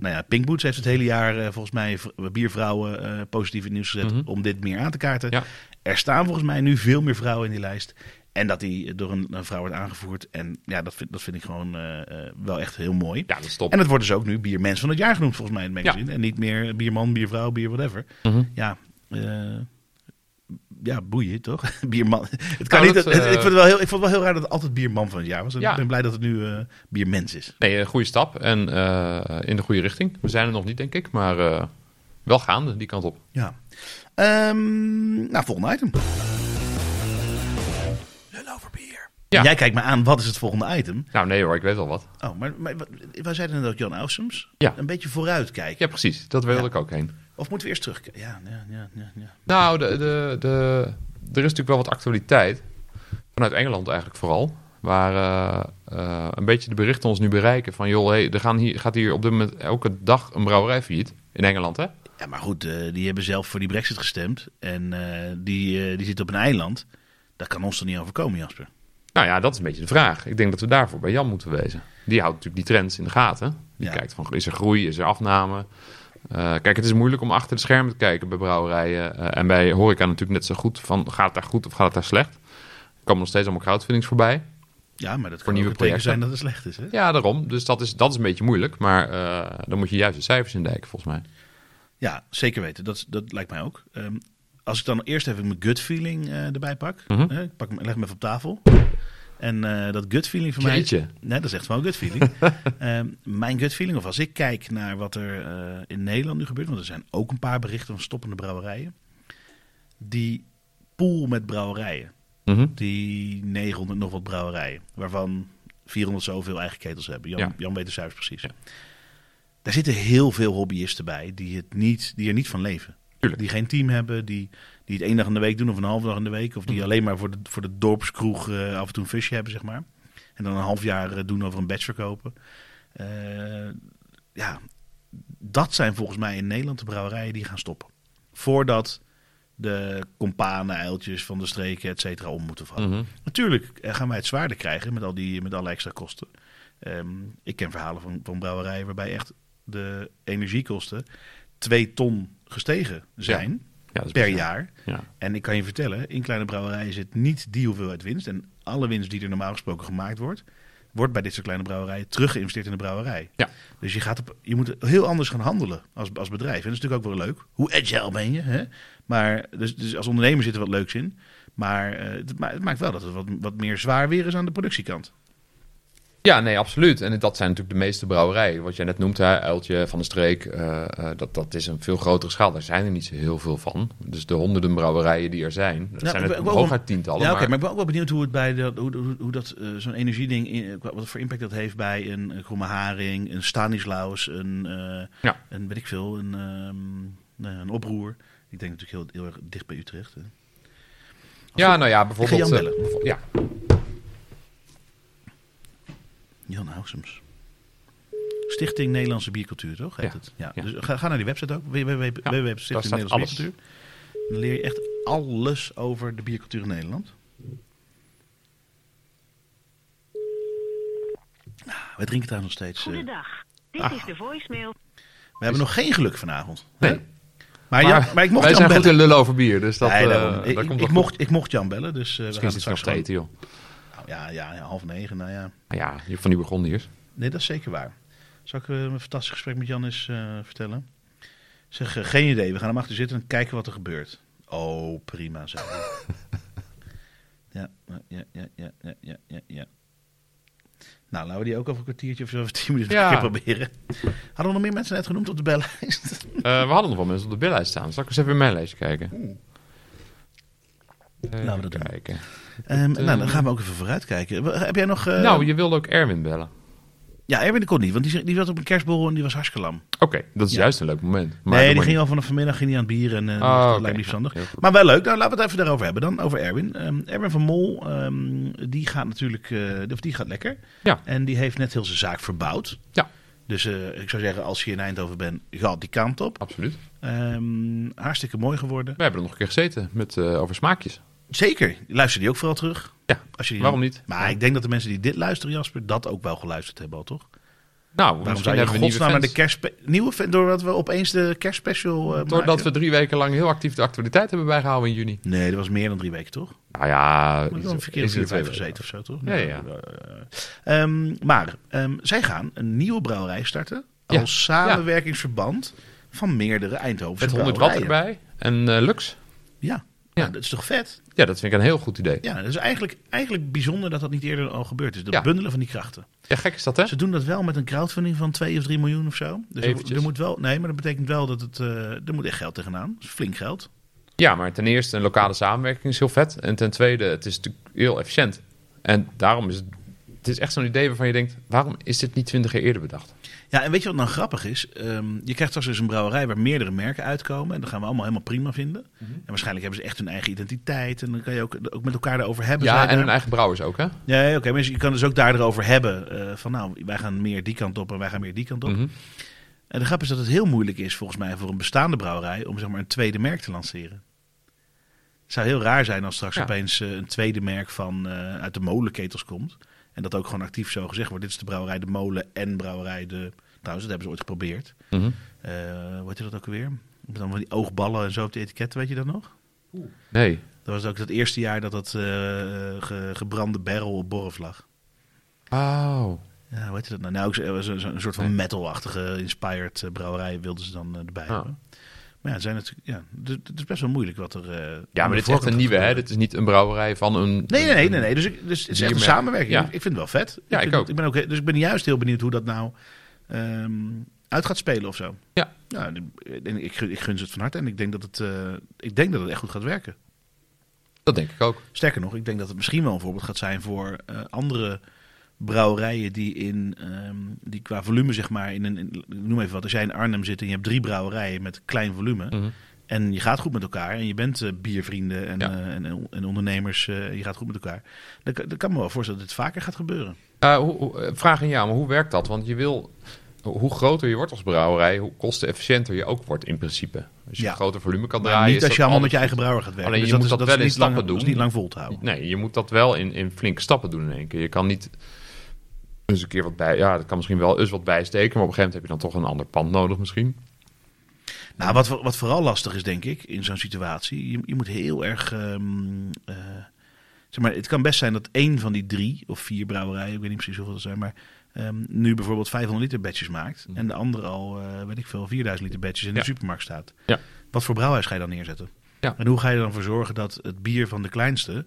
[SPEAKER 2] nou ja, Pink Boots heeft het hele jaar eh, volgens mij v- biervrouwen eh, positief in het nieuws gezet om dit meer aan te kaarten.
[SPEAKER 1] Mhm. Ja.
[SPEAKER 2] Er staan volgens mij nu veel meer vrouwen in die lijst. En dat die door een, een vrouw wordt aangevoerd. En ja, dat vind, dat vind ik gewoon eh, eh, wel echt heel mooi.
[SPEAKER 1] Ja, dat is top.
[SPEAKER 2] En het wordt dus ook nu biermens van het jaar genoemd, volgens mij, in het magazine. En niet meer bierman, biervrouw, bier whatever.
[SPEAKER 1] Mhm.
[SPEAKER 2] Ja, eh, ja, boeien toch? [laughs] bierman. Het kan
[SPEAKER 1] Nou,
[SPEAKER 2] niet,
[SPEAKER 1] dat,
[SPEAKER 2] het- het-
[SPEAKER 1] eh,
[SPEAKER 2] ik, vond het wel heel, ik vond het wel heel raar dat het altijd bierman van het jaar was. En
[SPEAKER 1] Ja.
[SPEAKER 2] Ik ben blij dat het nu eh biermens is.
[SPEAKER 1] Nee, een goede stap en eh, in de goede richting. We zijn er nog niet, denk ik, maar eh, wel gaande die kant op.
[SPEAKER 2] Ja. Ehm, nou, volgende item. Lul over bier.
[SPEAKER 1] Ja.
[SPEAKER 2] Jij kijkt me aan, wat is het volgende item?
[SPEAKER 1] Nou, nee hoor, ik weet al wat.
[SPEAKER 2] Oh, maar, maar wat- wij zeiden net ook Jan Ausums.
[SPEAKER 1] Ja.
[SPEAKER 2] Een beetje vooruitkijken.
[SPEAKER 1] Ja, precies. Dat wilde
[SPEAKER 2] Ja.
[SPEAKER 1] ik ook heen.
[SPEAKER 2] Of moeten we eerst terugkijken? Ja, ja, ja, ja, ja.
[SPEAKER 1] Nou, de, de, de, er is natuurlijk wel wat actualiteit. Vanuit Engeland eigenlijk vooral. Waar eh, eh, een beetje de berichten ons nu bereiken van... joh, hey, er gaan hier, gaat hier op dit moment elke dag een brouwerij failliet. In Engeland, hè?
[SPEAKER 2] Ja, maar goed, eh, die hebben zelf voor die brexit gestemd. En eh, die, eh, die zit op een eiland. Dat kan ons toch niet overkomen, Jasper?
[SPEAKER 1] Nou ja, dat is een beetje de vraag. Ik denk dat we daarvoor bij Jan moeten wezen. Die houdt natuurlijk die trends in de gaten. Die
[SPEAKER 2] Ja.
[SPEAKER 1] kijkt van, is er groei, is er afname? Eh, kijk, het is moeilijk om achter de schermen te kijken bij brouwerijen. eh, en bij horeca natuurlijk net zo goed van, gaat het daar goed of gaat het daar slecht? Er komen nog steeds allemaal crowdfundings voorbij.
[SPEAKER 2] Ja, maar
[SPEAKER 1] Voor
[SPEAKER 2] dat kan ook
[SPEAKER 1] nieuwe
[SPEAKER 2] een teken
[SPEAKER 1] projecten.
[SPEAKER 2] zijn dat het slecht is, hè?
[SPEAKER 1] Ja, daarom. Dus dat is, dat is een beetje moeilijk. Maar eh, dan moet je juist de cijfers indijken, volgens mij.
[SPEAKER 2] Ja, zeker weten. Dat, dat lijkt mij ook. Ehm, als ik dan eerst even mijn gut feeling eh, erbij pak.
[SPEAKER 1] Mhm.
[SPEAKER 2] hè, ik pak hem, leg hem even op tafel. En eh, dat gut feeling van
[SPEAKER 1] Jeetje.
[SPEAKER 2] mij... Nee, dat is echt wel een gut
[SPEAKER 1] [laughs]
[SPEAKER 2] feeling. Ehm, mijn gut feeling, of als ik kijk naar wat er eh, in Nederland nu gebeurt... want er zijn ook een paar berichten van stoppende brouwerijen. Die pool met brouwerijen.
[SPEAKER 1] Mhm.
[SPEAKER 2] die 900 nog wat brouwerijen. Waarvan 400 zoveel eigen ketels hebben. Jan,
[SPEAKER 1] Ja.
[SPEAKER 2] Jan weet de cijfers precies.
[SPEAKER 1] Ja.
[SPEAKER 2] Daar zitten heel veel hobbyisten bij die, het niet, die er niet van leven.
[SPEAKER 1] Tuurlijk.
[SPEAKER 2] Die geen team hebben, die, die het één dag in de week doen of een halve dag in de week. Of
[SPEAKER 1] Mhm.
[SPEAKER 2] die alleen maar voor de, voor de dorpskroeg eh, af en toe een visje hebben, zeg maar. En dan een half jaar eh, doen over een batch verkopen. Eh, ja, dat zijn volgens mij in Nederland de brouwerijen die gaan stoppen. Voordat de kompanen, uiltjes van de streken, et cetera, om moeten vallen.
[SPEAKER 1] Mhm.
[SPEAKER 2] Natuurlijk eh, gaan wij het zwaarder krijgen met al die met alle extra kosten. Ehm, ik ken verhalen van, van brouwerijen waarbij echt de energiekosten twee ton gestegen zijn
[SPEAKER 1] Ja, dat is
[SPEAKER 2] per
[SPEAKER 1] bizar.
[SPEAKER 2] jaar.
[SPEAKER 1] Ja.
[SPEAKER 2] En ik kan je vertellen, in kleine brouwerijen zit niet die hoeveelheid winst. En alle winst die er normaal gesproken gemaakt wordt, wordt bij dit soort kleine brouwerijen teruggeïnvesteerd in de brouwerij.
[SPEAKER 1] Ja.
[SPEAKER 2] Dus je, gaat op, je moet heel anders gaan handelen als, als bedrijf. En dat is natuurlijk ook wel leuk. Hoe agile ben je? Hè? Maar, dus, dus als ondernemer zit er wat leuks in. Maar eh, het, ma- het maakt wel dat het wat, wat meer zwaar weer is aan de productiekant.
[SPEAKER 1] Ja, nee, absoluut. En dat zijn natuurlijk de meeste brouwerijen. Wat jij net noemt, hè, Uiltje, Van de Streek. eh, eh, dat, dat is een veel grotere schaal. Daar zijn er niet zo heel veel van. Dus de honderden brouwerijen die er zijn. Dat
[SPEAKER 2] Ja,
[SPEAKER 1] zijn
[SPEAKER 2] ik
[SPEAKER 1] er
[SPEAKER 2] ben ook wel-
[SPEAKER 1] hooguit tientallen.
[SPEAKER 2] Ja, oké,
[SPEAKER 1] maar-
[SPEAKER 2] maar ik ben ook wel benieuwd hoe, het bij de, hoe, hoe, hoe dat eh, zo'n energieding, in, qua- wat voor impact dat heeft bij een, eh, kromme haring, een Stanislaus, een, eh,
[SPEAKER 1] Ja.
[SPEAKER 2] een weet ik veel, een, ehm, nou ja, een oproer. Ik denk natuurlijk heel, heel erg dicht bij Utrecht. Hè.
[SPEAKER 1] Ja, nou ja, bijvoorbeeld...
[SPEAKER 2] Jan
[SPEAKER 1] eh,
[SPEAKER 2] bellen.
[SPEAKER 1] bijvo- ja.
[SPEAKER 2] Jan Housums. Stichting Nederlandse Biercultuur, toch? Heet
[SPEAKER 1] Ja.
[SPEAKER 2] het? Ja.
[SPEAKER 1] Ja.
[SPEAKER 2] Dus ga, ga naar die website ook,
[SPEAKER 1] Ja, daar staat
[SPEAKER 2] www.stichtingnederlandse
[SPEAKER 1] alles.
[SPEAKER 2] Biercultuur. Dan leer je echt alles over de biercultuur in Nederland. Nou, Wij drinken daar nog steeds. eh,
[SPEAKER 4] Goedendag. Dit is de voicemail.
[SPEAKER 2] We hebben nog geen geluk vanavond.
[SPEAKER 1] Nee.
[SPEAKER 2] Hè? Maar, ja, maar ik mocht
[SPEAKER 1] wij
[SPEAKER 2] Jan
[SPEAKER 1] zijn goed
[SPEAKER 2] bellen.
[SPEAKER 1] in lullen over bier, dus dat,
[SPEAKER 2] Nee,
[SPEAKER 1] eh,
[SPEAKER 2] daarom.
[SPEAKER 1] dat
[SPEAKER 2] ik,
[SPEAKER 1] komt
[SPEAKER 2] ik,
[SPEAKER 1] wel goed.
[SPEAKER 2] mocht, ik mocht Jan bellen, dus eh, we gaan
[SPEAKER 1] Misschien
[SPEAKER 2] het
[SPEAKER 1] zit het nog
[SPEAKER 2] straks
[SPEAKER 1] te eten, joh.
[SPEAKER 2] gewoon- Nou, ja, ja, half negen, nou ja.
[SPEAKER 1] Nou Ja, je- van die Burgondiërs.
[SPEAKER 2] Nee, dat is zeker waar. Zal ik eh, een fantastisch gesprek met Jan eens eh, vertellen? Zeg, eh, geen idee. We gaan hem achter zitten en kijken wat er gebeurt. Oh, prima, zei hij.
[SPEAKER 1] [laughs]
[SPEAKER 2] ja, ja, ja, ja, ja, ja, ja, ja. Nou, laten we die ook over een kwartiertje of zo, [laughs] of tien minuten
[SPEAKER 1] Ja.
[SPEAKER 2] een keer proberen. Hadden we nog meer mensen net genoemd op de
[SPEAKER 1] [laughs]
[SPEAKER 2] bellijst?
[SPEAKER 1] Eh, we hadden nog wel mensen op de billijst staan. Zal ik eens even in mijn lijstje kijken? Even
[SPEAKER 2] Laten we dat doen.
[SPEAKER 1] kijken.
[SPEAKER 2] Ehm,
[SPEAKER 1] eh,
[SPEAKER 2] nou, dan gaan we ook even vooruitkijken. Wa- Heb jij nog... eh,
[SPEAKER 1] nou, je wilde ook Erwin bellen.
[SPEAKER 2] Ja, Erwin de kon niet, want die, die was op een kerstborrel en die was hartstikke lam.
[SPEAKER 1] Oké, dat is
[SPEAKER 2] Ja.
[SPEAKER 1] juist een leuk moment. Maar
[SPEAKER 2] nee,
[SPEAKER 1] doe
[SPEAKER 2] die
[SPEAKER 1] maar
[SPEAKER 2] ging
[SPEAKER 1] niet.
[SPEAKER 2] al vanaf vanmiddag ging die aan het bier en eh
[SPEAKER 1] Oh, oké.
[SPEAKER 2] dat lijkt me niet verstandig.
[SPEAKER 1] Heel goed.
[SPEAKER 2] Maar wel leuk, nou, laten we het even daarover hebben dan, over Erwin. Ehm, Erwin van Mol, ehm, die gaat natuurlijk, eh, of die gaat lekker.
[SPEAKER 1] Ja.
[SPEAKER 2] En die heeft net heel zijn zaak verbouwd.
[SPEAKER 1] Ja.
[SPEAKER 2] Dus eh, ik zou zeggen, als je in Eindhoven bent, ga die kant op.
[SPEAKER 1] Absoluut.
[SPEAKER 2] Ehm, hartstikke mooi geworden.
[SPEAKER 1] We hebben er nog een keer gezeten met, eh, over smaakjes. Nou,
[SPEAKER 2] Zeker, luister die ook vooral terug.
[SPEAKER 1] Ja,
[SPEAKER 2] Als je die
[SPEAKER 1] waarom niet?
[SPEAKER 2] Maar ik denk dat de mensen die dit luisteren, Jasper, dat ook wel geluisterd hebben al, toch?
[SPEAKER 1] Nou,
[SPEAKER 2] Waarom
[SPEAKER 1] misschien
[SPEAKER 2] zou je in
[SPEAKER 1] hebben we nieuwe
[SPEAKER 2] godsnaam naar de
[SPEAKER 1] fans.
[SPEAKER 2] kerst nieuwe fan, doordat we opeens de kerstspecial eh
[SPEAKER 1] Doordat we
[SPEAKER 2] maken?
[SPEAKER 1] drie weken lang heel actief de actualiteit hebben bijgehouden in juni.
[SPEAKER 2] Nee, dat was meer dan drie weken, toch?
[SPEAKER 1] Nou ja,
[SPEAKER 2] Moet
[SPEAKER 1] iets-
[SPEAKER 2] ik wel een verkeerde
[SPEAKER 1] iets in
[SPEAKER 2] vier
[SPEAKER 1] de
[SPEAKER 2] vijf
[SPEAKER 1] tweede-
[SPEAKER 2] gezeten of zo, toch?
[SPEAKER 1] Ja, ja.
[SPEAKER 2] Eh, ehm, maar ehm, zij gaan een nieuwe brouwerij starten als
[SPEAKER 1] Ja.
[SPEAKER 2] samenwerkingsverband van meerdere Eindhovense
[SPEAKER 1] Met 100 watt
[SPEAKER 2] brouwerijen.
[SPEAKER 1] erbij en eh, Lux.
[SPEAKER 2] Ja.
[SPEAKER 1] Ja.
[SPEAKER 2] Nou, dat is toch vet?
[SPEAKER 1] Ja, dat vind ik een heel goed idee.
[SPEAKER 2] Ja, dat is eigenlijk, eigenlijk bijzonder dat dat niet eerder al gebeurd is. Dat
[SPEAKER 1] Ja.
[SPEAKER 2] bundelen van die krachten.
[SPEAKER 1] Ja, gek is dat, hè?
[SPEAKER 2] Ze doen dat wel met een crowdfunding van 2 of 3 miljoen of zo. Dus er-
[SPEAKER 1] Eventjes.
[SPEAKER 2] er moet wel, nee, maar dat betekent wel dat het, eh, er moet echt geld tegenaan. Dat is flink geld.
[SPEAKER 1] Ja, maar ten eerste een lokale samenwerking is heel vet. En ten tweede, het is natuurlijk heel efficiënt. En daarom is het... Het is echt zo'n idee waarvan je denkt... waarom is dit niet twintig jaar eerder bedacht?
[SPEAKER 2] Ja, en weet je wat nou grappig is? Ehm, je krijgt straks dus een brouwerij waar meerdere merken uitkomen. En dat gaan we allemaal helemaal prima vinden.
[SPEAKER 1] Mhm.
[SPEAKER 2] En waarschijnlijk hebben ze echt hun eigen identiteit. En dan kan je ook, ook met elkaar daarover hebben.
[SPEAKER 1] Ja,
[SPEAKER 2] zei
[SPEAKER 1] en
[SPEAKER 2] daar.
[SPEAKER 1] hun eigen brouwers ook, hè?
[SPEAKER 2] Nee, oké. maar je kan dus ook daarover hebben. eh, van nou, wij gaan meer die kant op en wij gaan meer die kant op.
[SPEAKER 1] Mhm.
[SPEAKER 2] En de grap is dat het heel moeilijk is volgens mij voor een bestaande brouwerij... om zeg maar een tweede merk te lanceren. Het zou heel raar zijn als straks
[SPEAKER 1] Ja.
[SPEAKER 2] opeens eh, een tweede merk van, eh, uit de molenketels komt. En dat ook gewoon actief zo gezegd wordt. Dit is de brouwerij de molen en brouwerij de... Trouwens, dat hebben ze ooit geprobeerd.
[SPEAKER 1] Mhm.
[SPEAKER 2] Eh hoe heet dat ook alweer? Met dan van die oogballen en zo op de etiketten, weet je dat nog?
[SPEAKER 1] Nee.
[SPEAKER 2] Dat was ook het eerste jaar dat dat eh, ge- gebrande barrel op borf lag.
[SPEAKER 1] Oh.
[SPEAKER 2] Ja, hoe heet dat nou? Nou, ook zo- zo- zo- een soort van
[SPEAKER 1] Nee. Oh.
[SPEAKER 2] metal-achtige inspired eh, brouwerij wilden ze dan eh, erbij
[SPEAKER 1] Ja.
[SPEAKER 2] hebben. Maar ja, het, zijn natuurlijk, ja, het, het is best wel moeilijk wat er... eh,
[SPEAKER 1] Ja,
[SPEAKER 2] aan de
[SPEAKER 1] maar dit is echt
[SPEAKER 2] voorkant
[SPEAKER 1] een
[SPEAKER 2] gaat
[SPEAKER 1] nieuwe, hè?
[SPEAKER 2] gebeuren.
[SPEAKER 1] Dit is niet een brouwerij van een...
[SPEAKER 2] Nee, nee, nee, nee, nee. Dus, ik, dus het is echt een
[SPEAKER 1] Biermerk.
[SPEAKER 2] samenwerking.
[SPEAKER 1] Ja.
[SPEAKER 2] Ik vind het wel vet.
[SPEAKER 1] Ja, ik
[SPEAKER 2] vind-
[SPEAKER 1] ook.
[SPEAKER 2] Ik ben ook. he- Dus ik ben juist heel benieuwd hoe dat nou ehm, uit gaat spelen of zo.
[SPEAKER 1] Ja.
[SPEAKER 2] Nou, ik, denk- ik, gun- ik gun ze het van harte en ik denk, dat het, eh, ik denk dat het echt goed gaat werken.
[SPEAKER 1] Dat denk ik ook.
[SPEAKER 2] Sterker nog, ik denk dat het misschien wel een voorbeeld gaat zijn voor eh, andere brouwerijen die, in, ehm, die qua volume, zeg maar, in een, in- ik noem even wat, als jij in Arnhem zit en je hebt drie brouwerijen met klein volume
[SPEAKER 1] Mhm.
[SPEAKER 2] en je gaat goed met elkaar en je bent eh, biervrienden en,
[SPEAKER 1] Ja.
[SPEAKER 2] eh, en, en, en ondernemers, eh, je gaat goed met elkaar, dan, kan- dan kan me wel voorstellen dat dit vaker gaat gebeuren.
[SPEAKER 1] Eh, hoe- hoe- eh, vraag aan jou, maar hoe werkt dat? Want je wil, hoe groter je wordt als brouwerij, hoe kostenefficiënter je ook wordt in principe. Als je
[SPEAKER 2] Ja.
[SPEAKER 1] een groter volume kan
[SPEAKER 2] Maar
[SPEAKER 1] draaien.
[SPEAKER 2] niet
[SPEAKER 1] is
[SPEAKER 2] als je
[SPEAKER 1] dat
[SPEAKER 2] allemaal met je
[SPEAKER 1] altijd
[SPEAKER 2] eigen brouwer gaat werken. Dus
[SPEAKER 1] Alleen je moet
[SPEAKER 2] dat is-
[SPEAKER 1] dat
[SPEAKER 2] is
[SPEAKER 1] wel in
[SPEAKER 2] niet lang-
[SPEAKER 1] stappen
[SPEAKER 2] Dat is
[SPEAKER 1] doen.
[SPEAKER 2] niet lang vol te houden.
[SPEAKER 1] goed. Oh. Nee, je moet dat wel in, in flinke stappen doen in één keer. Je kan niet eens een keer wat bij. Ja, dat kan misschien wel eens wat bijsteken, maar op een gegeven moment heb je dan toch een ander pand nodig misschien.
[SPEAKER 2] Nou, wat, wat vooral lastig is, denk ik, in zo'n situatie. Je, je moet heel erg. ehm, eh, zeg maar, het kan best zijn dat één van die drie of vier brouwerijen, ik weet niet precies hoeveel dat zijn, maar. ehm, nu bijvoorbeeld 500 liter batches maakt. en de andere al, eh, weet ik veel, 4000 liter batches in de
[SPEAKER 1] Ja.
[SPEAKER 2] supermarkt staat.
[SPEAKER 1] Ja.
[SPEAKER 2] Wat voor brouwhuis ga je dan neerzetten?
[SPEAKER 1] Ja.
[SPEAKER 2] En hoe ga je er dan voor zorgen dat het bier van de kleinste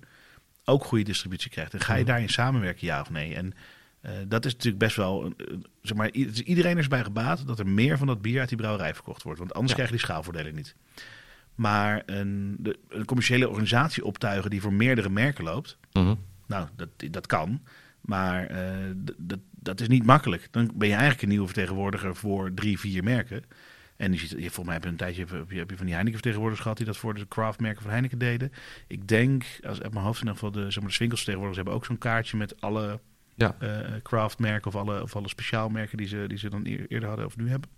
[SPEAKER 2] ook goede distributie krijgt? En ga je daarin samenwerken, ja of nee? En Eh, dat is natuurlijk best wel, een- eh, zeg maar, i- het is- iedereen is bij gebaat dat er meer van dat bier uit die brouwerij verkocht wordt. Want anders
[SPEAKER 1] Ja.
[SPEAKER 2] krijg je die schaalvoordelen niet. Maar een, de- een commerciële organisatie optuigen die voor meerdere merken loopt,
[SPEAKER 1] Mhm.
[SPEAKER 2] nou, dat, dat kan. Maar eh, d- dat, dat is niet makkelijk. Dan ben je eigenlijk een nieuwe vertegenwoordiger voor drie, vier merken. En je ziet, je, volgens mij heb je een tijdje heb je, heb je van die Heineken-vertegenwoordigers gehad die dat voor de craftmerken van Heineken deden. Ik denk, als uit mijn hoofd in ieder geval, de, zeg maar, de Swinkels-vertegenwoordigers hebben ook zo'n kaartje met alle
[SPEAKER 1] Ja.
[SPEAKER 2] eh, craftmerken of alle, of alle speciaalmerken die ze, die ze dan eer- eerder hadden of nu hebben.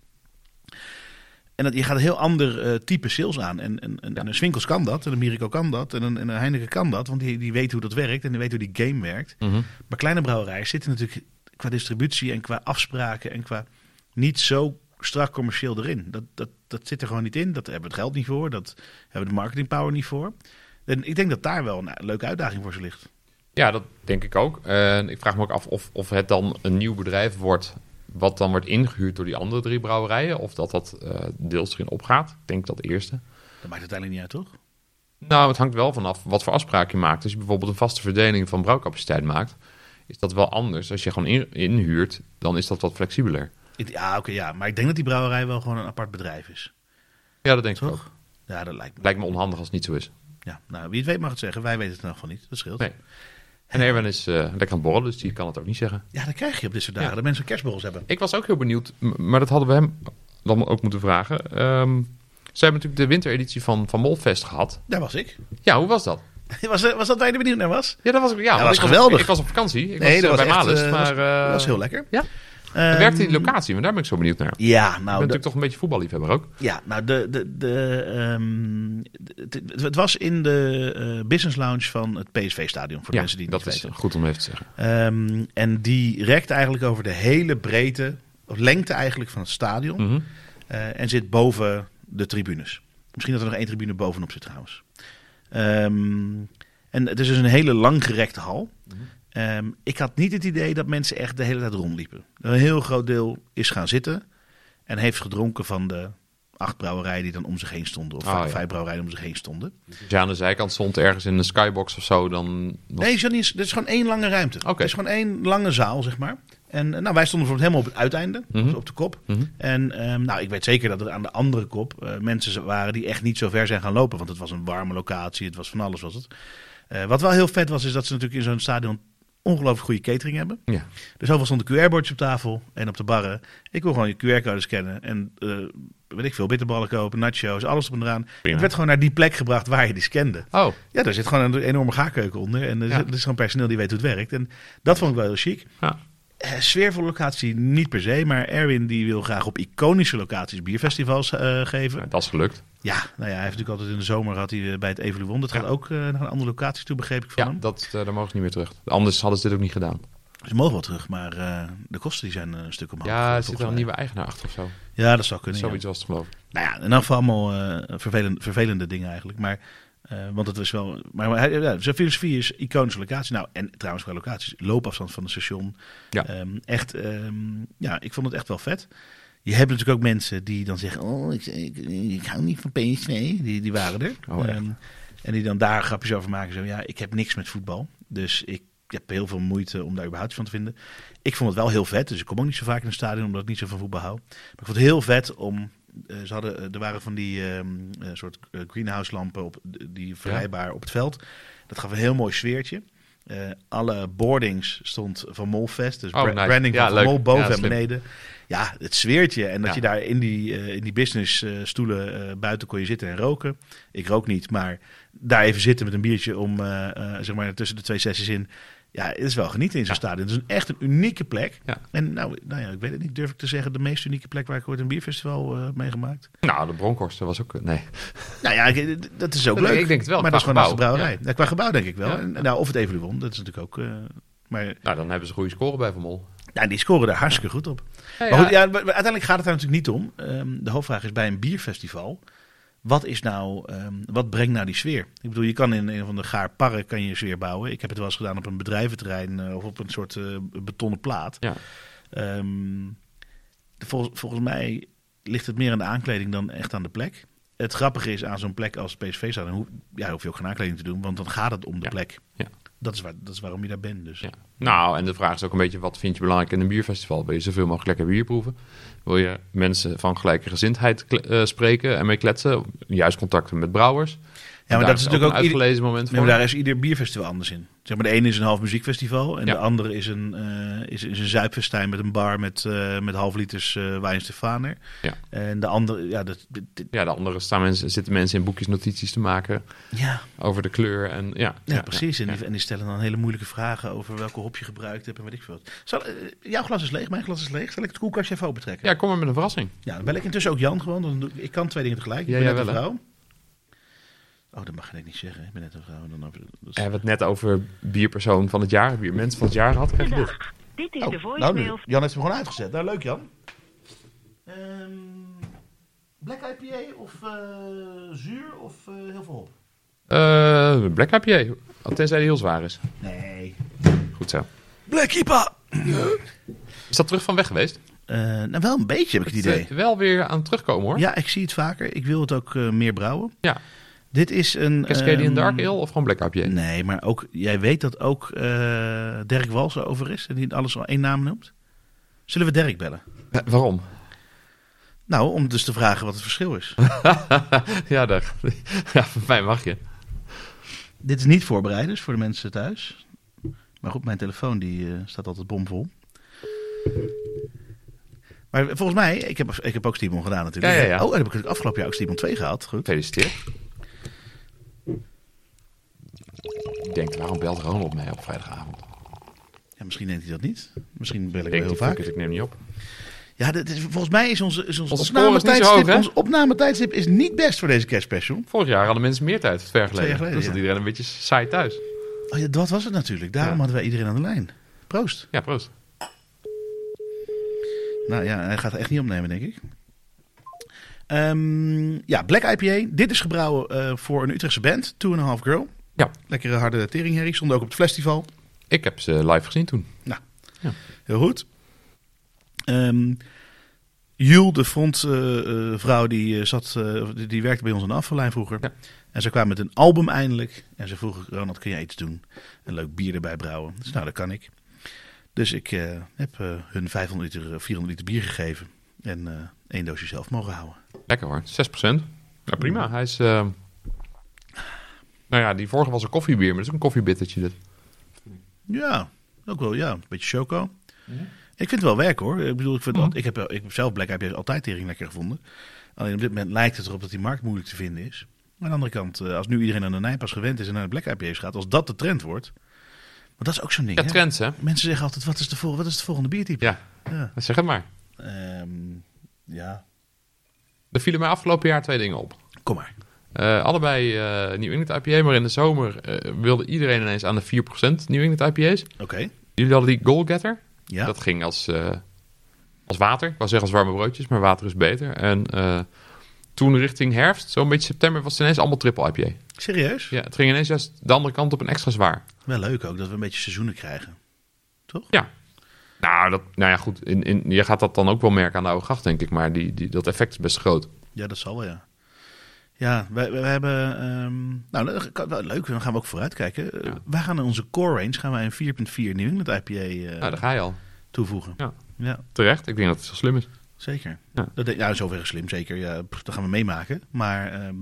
[SPEAKER 2] En dat, je gaat een heel ander eh, type sales aan. En, en, en, en een Swinkels kan dat, en een Mirico kan dat, en een, en een Heineken kan dat. Want die, die weet hoe dat werkt en die weet hoe die game werkt.
[SPEAKER 1] Mhm.
[SPEAKER 2] Maar kleine brouwerijen zitten natuurlijk qua distributie en qua afspraken en qua niet zo strak commercieel erin. Dat, dat, dat zit er gewoon niet in. Dat hebben we het geld niet voor. Dat hebben we de marketing power niet voor. En ik denk dat daar wel een eh, leuke uitdaging voor ze ligt.
[SPEAKER 1] Ja, dat denk ik ook. En ik vraag me ook af of, of het dan een nieuw bedrijf wordt. wat dan wordt ingehuurd door die andere drie brouwerijen. of dat dat eh, deels erin opgaat. Ik denk dat eerste.
[SPEAKER 2] Dat maakt uiteindelijk niet uit, toch?
[SPEAKER 1] Nou, het hangt wel vanaf wat voor afspraak je maakt. Als je bijvoorbeeld een vaste verdeling van brouwcapaciteit maakt. is dat wel anders. Als je gewoon in- inhuurt, dan is dat wat flexibeler.
[SPEAKER 2] Ik- Ja, oké, ja. Maar ik denk dat die brouwerij wel gewoon een apart bedrijf is.
[SPEAKER 1] Ja, dat denk ik ook.
[SPEAKER 2] Toch? Ja, dat lijkt me.
[SPEAKER 1] Lijkt me onhandig als het niet zo is.
[SPEAKER 2] Ja, nou, wie het weet mag het zeggen. Wij weten het in ieder geval niet. Dat scheelt.
[SPEAKER 1] Nee. En Erwin is eh, lekker aan het borrelen, dus die kan het ook niet zeggen.
[SPEAKER 2] Ja, dat krijg je op dit soort dagen.
[SPEAKER 1] Ja.
[SPEAKER 2] Dat mensen kerstborrels hebben.
[SPEAKER 1] Ik was ook heel benieuwd, m- maar dat hadden we hem dan ook moeten vragen. Ehm, ze hebben natuurlijk de wintereditie van, van Molfest gehad.
[SPEAKER 2] Daar was ik. [laughs]
[SPEAKER 1] Ja, hoe was dat?
[SPEAKER 2] Was, was dat waar je er benieuwd naar was?
[SPEAKER 1] Ja, dat was, ja, want
[SPEAKER 2] was
[SPEAKER 1] ik was-
[SPEAKER 2] geweldig.
[SPEAKER 1] ik was op vakantie. Ik
[SPEAKER 2] Nee,
[SPEAKER 1] was,
[SPEAKER 2] dat
[SPEAKER 1] eh,
[SPEAKER 2] was
[SPEAKER 1] bij
[SPEAKER 2] echt,
[SPEAKER 1] Malus.
[SPEAKER 2] eh,
[SPEAKER 1] maar eh,
[SPEAKER 2] dat was heel lekker.
[SPEAKER 1] Ja.
[SPEAKER 2] Ehm,
[SPEAKER 1] het werkte in die locatie, maar daar ben ik zo benieuwd naar.
[SPEAKER 2] Ja,
[SPEAKER 1] ik
[SPEAKER 2] nou,
[SPEAKER 1] ben
[SPEAKER 2] de-
[SPEAKER 1] natuurlijk toch een beetje voetballiefhebber ook.
[SPEAKER 2] ja, nou de, de, de, ehm, het- het, het was in de eh, business lounge van het PSV-stadion. Voor de
[SPEAKER 1] Ja,
[SPEAKER 2] mensen die het
[SPEAKER 1] dat
[SPEAKER 2] niet
[SPEAKER 1] is
[SPEAKER 2] weten.
[SPEAKER 1] goed om even te zeggen.
[SPEAKER 2] Ehm, en die rekt eigenlijk over de hele breedte, of lengte eigenlijk van het stadion.
[SPEAKER 1] Mhm.
[SPEAKER 2] Eh, en zit boven de tribunes. Misschien dat er nog één tribune bovenop zit trouwens. Ehm, en het is dus een hele langgerekte hal. Ehm, ik had niet het idee dat mensen echt de hele tijd rondliepen. Een heel groot deel is gaan zitten en heeft gedronken van de acht brouwerijen die dan om zich heen stonden. Of
[SPEAKER 1] Ah,
[SPEAKER 2] vijf,
[SPEAKER 1] ja.
[SPEAKER 2] vijf brouwerijen om zich heen stonden.
[SPEAKER 1] Als je aan de zijkant stond, ergens in een skybox of zo, dan... was-
[SPEAKER 2] Nee, Janine, dit is gewoon één lange ruimte.
[SPEAKER 1] Oké.
[SPEAKER 2] Het is gewoon één lange zaal, zeg maar. En eh, nou, wij stonden bijvoorbeeld helemaal op het uiteinde,
[SPEAKER 1] Mhm.
[SPEAKER 2] dus op de kop.
[SPEAKER 1] Mhm.
[SPEAKER 2] En ehm, nou, ik weet zeker dat er aan de andere kop eh, mensen waren die echt niet zo ver zijn gaan lopen. Want het was een warme locatie, het was van alles was het. Eh, wat wel heel vet was, is dat ze natuurlijk in zo'n stadion ongelooflijk goede catering hebben.
[SPEAKER 1] Ja.
[SPEAKER 2] Dus overal stonden QR-bordjes op tafel en op de barren. Ik wil gewoon je QR-code scannen en eh weet ik veel, bitterballen kopen, nachos, alles op en eraan.
[SPEAKER 1] Prima.
[SPEAKER 2] Het werd gewoon naar die plek gebracht waar je die scande.
[SPEAKER 1] Oh,
[SPEAKER 2] Ja, daar zit gewoon een enorme gaarkeuken onder. En er is-
[SPEAKER 1] Ja.
[SPEAKER 2] er is gewoon personeel die weet hoe het werkt. En dat vond ik wel heel chic.
[SPEAKER 1] ja.
[SPEAKER 2] Eh, sfeervolle locatie niet per se. Maar Erwin die wil graag op iconische locaties bierfestivals eh, geven.
[SPEAKER 1] dat is gelukt.
[SPEAKER 2] Ja, nou ja, hij heeft natuurlijk altijd in de zomer had hij eh, bij het Evoluon. Dat gaat
[SPEAKER 1] Ja.
[SPEAKER 2] ook eh, naar een andere locatie toe, begreep ik van
[SPEAKER 1] Ja,
[SPEAKER 2] hem. Dus
[SPEAKER 1] dat, eh, daar mogen ze niet meer terug. Anders hadden ze dit ook niet gedaan.
[SPEAKER 2] Ze mogen wel terug, maar eh, de kosten die zijn eh, een stuk omhoog.
[SPEAKER 1] ja, er
[SPEAKER 2] volgens
[SPEAKER 1] zit er een
[SPEAKER 2] mij.
[SPEAKER 1] nieuwe eigenaar achter of zo.
[SPEAKER 2] Ja, dat zou kunnen. ja.
[SPEAKER 1] Zoiets was het geloof ik.
[SPEAKER 2] Nou ja, in elk geval allemaal eh, vervelend, vervelende dingen eigenlijk. Maar, eh, want het was wel... Maar, maar hij- ja, zijn filosofie is iconische locatie. Nou, en trouwens qua locaties. Loopafstand van het station.
[SPEAKER 1] Ja.
[SPEAKER 2] Ehm, echt, ehm, ja, ik vond het echt wel vet. Je hebt natuurlijk ook mensen die dan zeggen... Oh, ik, ik, ik hou niet van PSV. Die, die waren er.
[SPEAKER 1] Oh, echt?
[SPEAKER 2] Ehm, en die dan daar grapjes over maken. Zo, ja, ik heb niks met voetbal. Dus ik heb heel veel moeite om daar überhaupt van te vinden. Ik vond het wel heel vet. Dus ik kom ook niet zo vaak in een stadion, omdat ik niet zo van voetbal hou. Maar ik vond het heel vet om... eh, ze hadden, eh, er waren van die ehm, eh, soort eh, greenhouse lampen op, die vrijbaar op het veld. Dat gaf een heel mooi sfeertje. Eh, alle boardings stond van Molfest. Dus
[SPEAKER 1] Oh,
[SPEAKER 2] bra-
[SPEAKER 1] nice.
[SPEAKER 2] branding van
[SPEAKER 1] Ja,
[SPEAKER 2] Van
[SPEAKER 1] leuk.
[SPEAKER 2] Mol boven
[SPEAKER 1] Ja,
[SPEAKER 2] en
[SPEAKER 1] slim.
[SPEAKER 2] beneden. Ja, het sfeertje. En dat
[SPEAKER 1] Ja.
[SPEAKER 2] je daar in die, eh, in die business eh, stoelen eh, buiten kon je zitten en roken. Ik rook niet, maar daar even zitten met een biertje om eh, eh, zeg maar tussen de twee sessies in. Ja, het is wel genieten in zo'n stadion. Het is een, echt een unieke plek.
[SPEAKER 1] Ja.
[SPEAKER 2] En nou, nou ja, ik weet het niet, durf ik te zeggen, de meest unieke plek waar ik ooit een bierfestival eh meegemaakt.
[SPEAKER 1] Nou, de Bronkhorst was ook... Nee.
[SPEAKER 2] Nou ja, ik- dat is ook
[SPEAKER 1] Nee,
[SPEAKER 2] leuk.
[SPEAKER 1] ik denk het wel,
[SPEAKER 2] Maar
[SPEAKER 1] qua
[SPEAKER 2] dat is gewoon naast de
[SPEAKER 1] gebouw,
[SPEAKER 2] brouwerij. Ja, qua gebouw denk ik wel.
[SPEAKER 1] Ja.
[SPEAKER 2] En, nou, of het Evoluon, dat is natuurlijk ook... eh, maar
[SPEAKER 1] Nou, dan hebben ze goede score bij Van Mol.
[SPEAKER 2] nou, die scoren daar hartstikke goed op. Maar goed, ja, maar- maar uiteindelijk gaat het daar natuurlijk niet om. Ehm, de hoofdvraag is bij een bierfestival. Wat, is nou, ehm, wat brengt nou die sfeer? Ik bedoel, je kan in een van de gaar parren kan je sfeer bouwen. Ik heb het wel eens gedaan op een bedrijventerrein eh, of op een soort eh, betonnen plaat.
[SPEAKER 1] Ja.
[SPEAKER 2] Ehm, de- vol- volgens mij ligt het meer aan de aankleding dan echt aan de plek. Het grappige is aan zo'n plek als PSV staan, hoe, ja, hoef je ook geen aankleding te doen, want dan gaat het om de
[SPEAKER 1] Ja.
[SPEAKER 2] plek.
[SPEAKER 1] Ja.
[SPEAKER 2] Dat is, waar, dat is waarom je daar bent dus.
[SPEAKER 1] Ja. Nou, en de vraag is ook een beetje, wat vind je belangrijk in een bierfestival? Wil je zoveel mogelijk lekker bier proeven? Wil je mensen van gelijke gezindheid kle- eh, spreken en mee kletsen? Juist contacten met brouwers.
[SPEAKER 2] Ja, maar
[SPEAKER 1] Daar
[SPEAKER 2] dat is
[SPEAKER 1] ook
[SPEAKER 2] natuurlijk ook
[SPEAKER 1] een
[SPEAKER 2] ieder-
[SPEAKER 1] uitgelezen moment
[SPEAKER 2] Nee,
[SPEAKER 1] voor.
[SPEAKER 2] maar daar is ieder bierfestival anders in. Zeg maar, de ene is een half muziekfestival en
[SPEAKER 1] Ja.
[SPEAKER 2] de andere is een, eh is, is een zuipfestijn met een bar met, eh, met half liters eh wijn Stefaner.
[SPEAKER 1] Ja.
[SPEAKER 2] En de andere, ja, dat, dit- dit-
[SPEAKER 1] Ja, de andere staan mensen, zitten mensen in boekjes notities te maken
[SPEAKER 2] ja,
[SPEAKER 1] over de kleur. En, ja,
[SPEAKER 2] ja, precies. En,
[SPEAKER 1] ja.
[SPEAKER 2] die, en die stellen dan hele moeilijke vragen over welke hop je gebruikt hebt en weet ik veel. wat. Zal, eh, jouw glas is leeg, mijn glas is leeg. Zal ik het koelkastje even open trekken?
[SPEAKER 1] Ja, kom maar met een verrassing.
[SPEAKER 2] Ja, dan bel ik intussen ook Jan gewoon. Dan doe ik, ik kan twee dingen tegelijk. Ik
[SPEAKER 1] Ja,
[SPEAKER 2] ben
[SPEAKER 1] jij
[SPEAKER 2] net een
[SPEAKER 1] wel, hè?
[SPEAKER 2] vrouw. Oh, dat mag ik niet zeggen. hè. Ik ben net een vrouw. Dan over, dat
[SPEAKER 1] We
[SPEAKER 2] is-
[SPEAKER 1] hebben het net over bierpersoon van het jaar, biermens van het jaar had. Krijg je dit.
[SPEAKER 4] Dag. Dit is
[SPEAKER 2] Oh,
[SPEAKER 4] de
[SPEAKER 2] nou nu.
[SPEAKER 4] voicemail.
[SPEAKER 2] Jan heeft hem gewoon uitgezet. Nou, leuk Jan. Ehm, black IPA of eh, zuur of eh, heel veel hop?
[SPEAKER 1] Eh, Black IPA, tenzij die heel zwaar is.
[SPEAKER 2] Nee.
[SPEAKER 1] Goed zo.
[SPEAKER 2] Black IPA!
[SPEAKER 1] Is dat terug van weg geweest?
[SPEAKER 2] nou, wel een beetje heb ik het idee.
[SPEAKER 1] Eh, Wel weer aan het terugkomen hoor.
[SPEAKER 2] Ja, ik zie het vaker. Ik wil het ook eh, meer brouwen.
[SPEAKER 1] Ja.
[SPEAKER 2] Dit is een...
[SPEAKER 1] Cascadian
[SPEAKER 2] ehm,
[SPEAKER 1] Dark Ale of gewoon Black IPA?
[SPEAKER 2] Nee, maar ook, jij weet dat ook eh, Dirk Wals over is. En die alles al één naam noemt. Zullen we Dirk bellen?
[SPEAKER 1] Eh, Waarom?
[SPEAKER 2] Nou, om dus te vragen wat het verschil
[SPEAKER 1] [laughs]
[SPEAKER 2] is.
[SPEAKER 1] ja, daar. [laughs] ja, van mij mag je.
[SPEAKER 2] Dit is niet voorbereid, dus voor de mensen thuis. Maar goed, mijn telefoon die, eh, staat altijd bomvol. Maar volgens mij, ik heb, ik heb ook Steamon gedaan natuurlijk.
[SPEAKER 1] Ja, ja, ja.
[SPEAKER 2] Oh, en heb ik natuurlijk afgelopen jaar ook Steamon 2 gehad. Goed.
[SPEAKER 1] Gefeliciteerd. Ik denk, waarom belt Ronald mij op vrijdagavond?
[SPEAKER 2] Ja, misschien denkt hij dat niet. Misschien bel ik
[SPEAKER 1] Ik
[SPEAKER 2] wel
[SPEAKER 1] denk,
[SPEAKER 2] heel
[SPEAKER 1] die
[SPEAKER 2] vaak.
[SPEAKER 1] fuck it, ik neem niet op.
[SPEAKER 2] Ja, dit is, volgens mij is onze, is ons
[SPEAKER 1] Onze score is niet zo
[SPEAKER 2] opnametijdstip,
[SPEAKER 1] hoog, hè?
[SPEAKER 2] ons opnametijdstip is niet best voor deze kerstspecial.
[SPEAKER 1] Vorig jaar hadden mensen meer tijd, twee jaar geleden.
[SPEAKER 2] jaar geleden,
[SPEAKER 1] Toen zat
[SPEAKER 2] ja.
[SPEAKER 1] iedereen een beetje saai thuis.
[SPEAKER 2] Oh, ja, dat was het natuurlijk. Daarom
[SPEAKER 1] Ja.
[SPEAKER 2] hadden wij iedereen aan de lijn. Proost.
[SPEAKER 1] Ja, proost.
[SPEAKER 2] Nou ja, hij gaat het echt niet opnemen, denk ik. Ehm, ja, Black IPA. Dit is gebrouwen eh, voor een Utrechtse band, Two and a Half Girl.
[SPEAKER 1] Ja.
[SPEAKER 2] Lekkere harde teringherrie, stond ook op het festival.
[SPEAKER 1] Ik heb ze live gezien toen.
[SPEAKER 2] Nou, Heel goed. Ehm Jul, de frontvrouw, vrouw die, eh, zat, eh, die, die werkte bij ons aan de afvallijn vroeger.
[SPEAKER 1] Ja.
[SPEAKER 2] En ze kwam met een album eindelijk. En ze vroeg, Ronald, kun jij iets doen? Een leuk bier erbij brouwen. Dus nou, dat kan ik. Dus ik eh, heb eh, hun 500 liter, eh, 400 liter bier gegeven. En eh één doosje zelf mogen houden.
[SPEAKER 1] Lekker hoor, 6%. Ja, prima. Hij is... eh, Nou ja, die vorige was een koffiebier, maar dat is ook een koffiebittertje dit.
[SPEAKER 2] Ja, ook wel, ja. Een beetje choco. Ik vind het wel werk hoor. Ik bedoel, ik, vind al- ik, heb, wel- ik heb zelf Black IPA's altijd tering lekker gevonden. Alleen op dit moment lijkt het erop dat die markt moeilijk te vinden is. Maar aan de andere kant, eh, als nu iedereen aan de Nijpas gewend is en naar de Black IPA's gaat, als dat de trend wordt. Want dat is ook zo'n ding.
[SPEAKER 1] Ja,
[SPEAKER 2] hè?
[SPEAKER 1] trends hè?
[SPEAKER 2] Mensen zeggen altijd: wat is de, vol- wat is de volgende biertype?
[SPEAKER 1] Ja,
[SPEAKER 2] Ja.
[SPEAKER 1] zeg het maar.
[SPEAKER 2] Ehm, ja.
[SPEAKER 1] Er vielen mij afgelopen jaar twee dingen op.
[SPEAKER 2] Kom maar.
[SPEAKER 1] Eh, allebei eh New England IPA, maar in de zomer eh, wilde iedereen ineens aan de 4% New England IPA's.
[SPEAKER 2] Oké.
[SPEAKER 1] Jullie hadden die Goalgetter.
[SPEAKER 2] Ja.
[SPEAKER 1] Dat ging als, eh, als water. Ik wou zeggen als warme broodjes, maar water is beter. En eh, toen richting herfst, zo'n beetje september, was het ineens allemaal triple IPA.
[SPEAKER 2] Serieus?
[SPEAKER 1] Ja, het ging ineens juist de andere kant op een extra zwaar.
[SPEAKER 2] Wel leuk ook dat we een beetje seizoenen krijgen. Toch?
[SPEAKER 1] Ja. Nou, dat, nou ja, goed. In, in, je gaat dat dan ook wel merken aan de oude gracht, denk ik. Maar die, die, dat effect is best groot.
[SPEAKER 2] Ja, dat zal wel, ja. Ja, wij, wij hebben... ehm, nou, dat kan wel leuk, dan gaan we ook vooruitkijken. kijken.
[SPEAKER 1] Ja.
[SPEAKER 2] Wij gaan in onze core range gaan wij een 4.4 New England IPA eh,
[SPEAKER 1] Nou, daar ga je al.
[SPEAKER 2] toevoegen.
[SPEAKER 1] Ja.
[SPEAKER 2] Ja,
[SPEAKER 1] Terecht. Ik denk dat het zo slim is.
[SPEAKER 2] zeker.
[SPEAKER 1] Ja.
[SPEAKER 2] Dat, denk- ja, zover is slim, zeker. Ja, pff, dat gaan we meemaken. Maar ehm,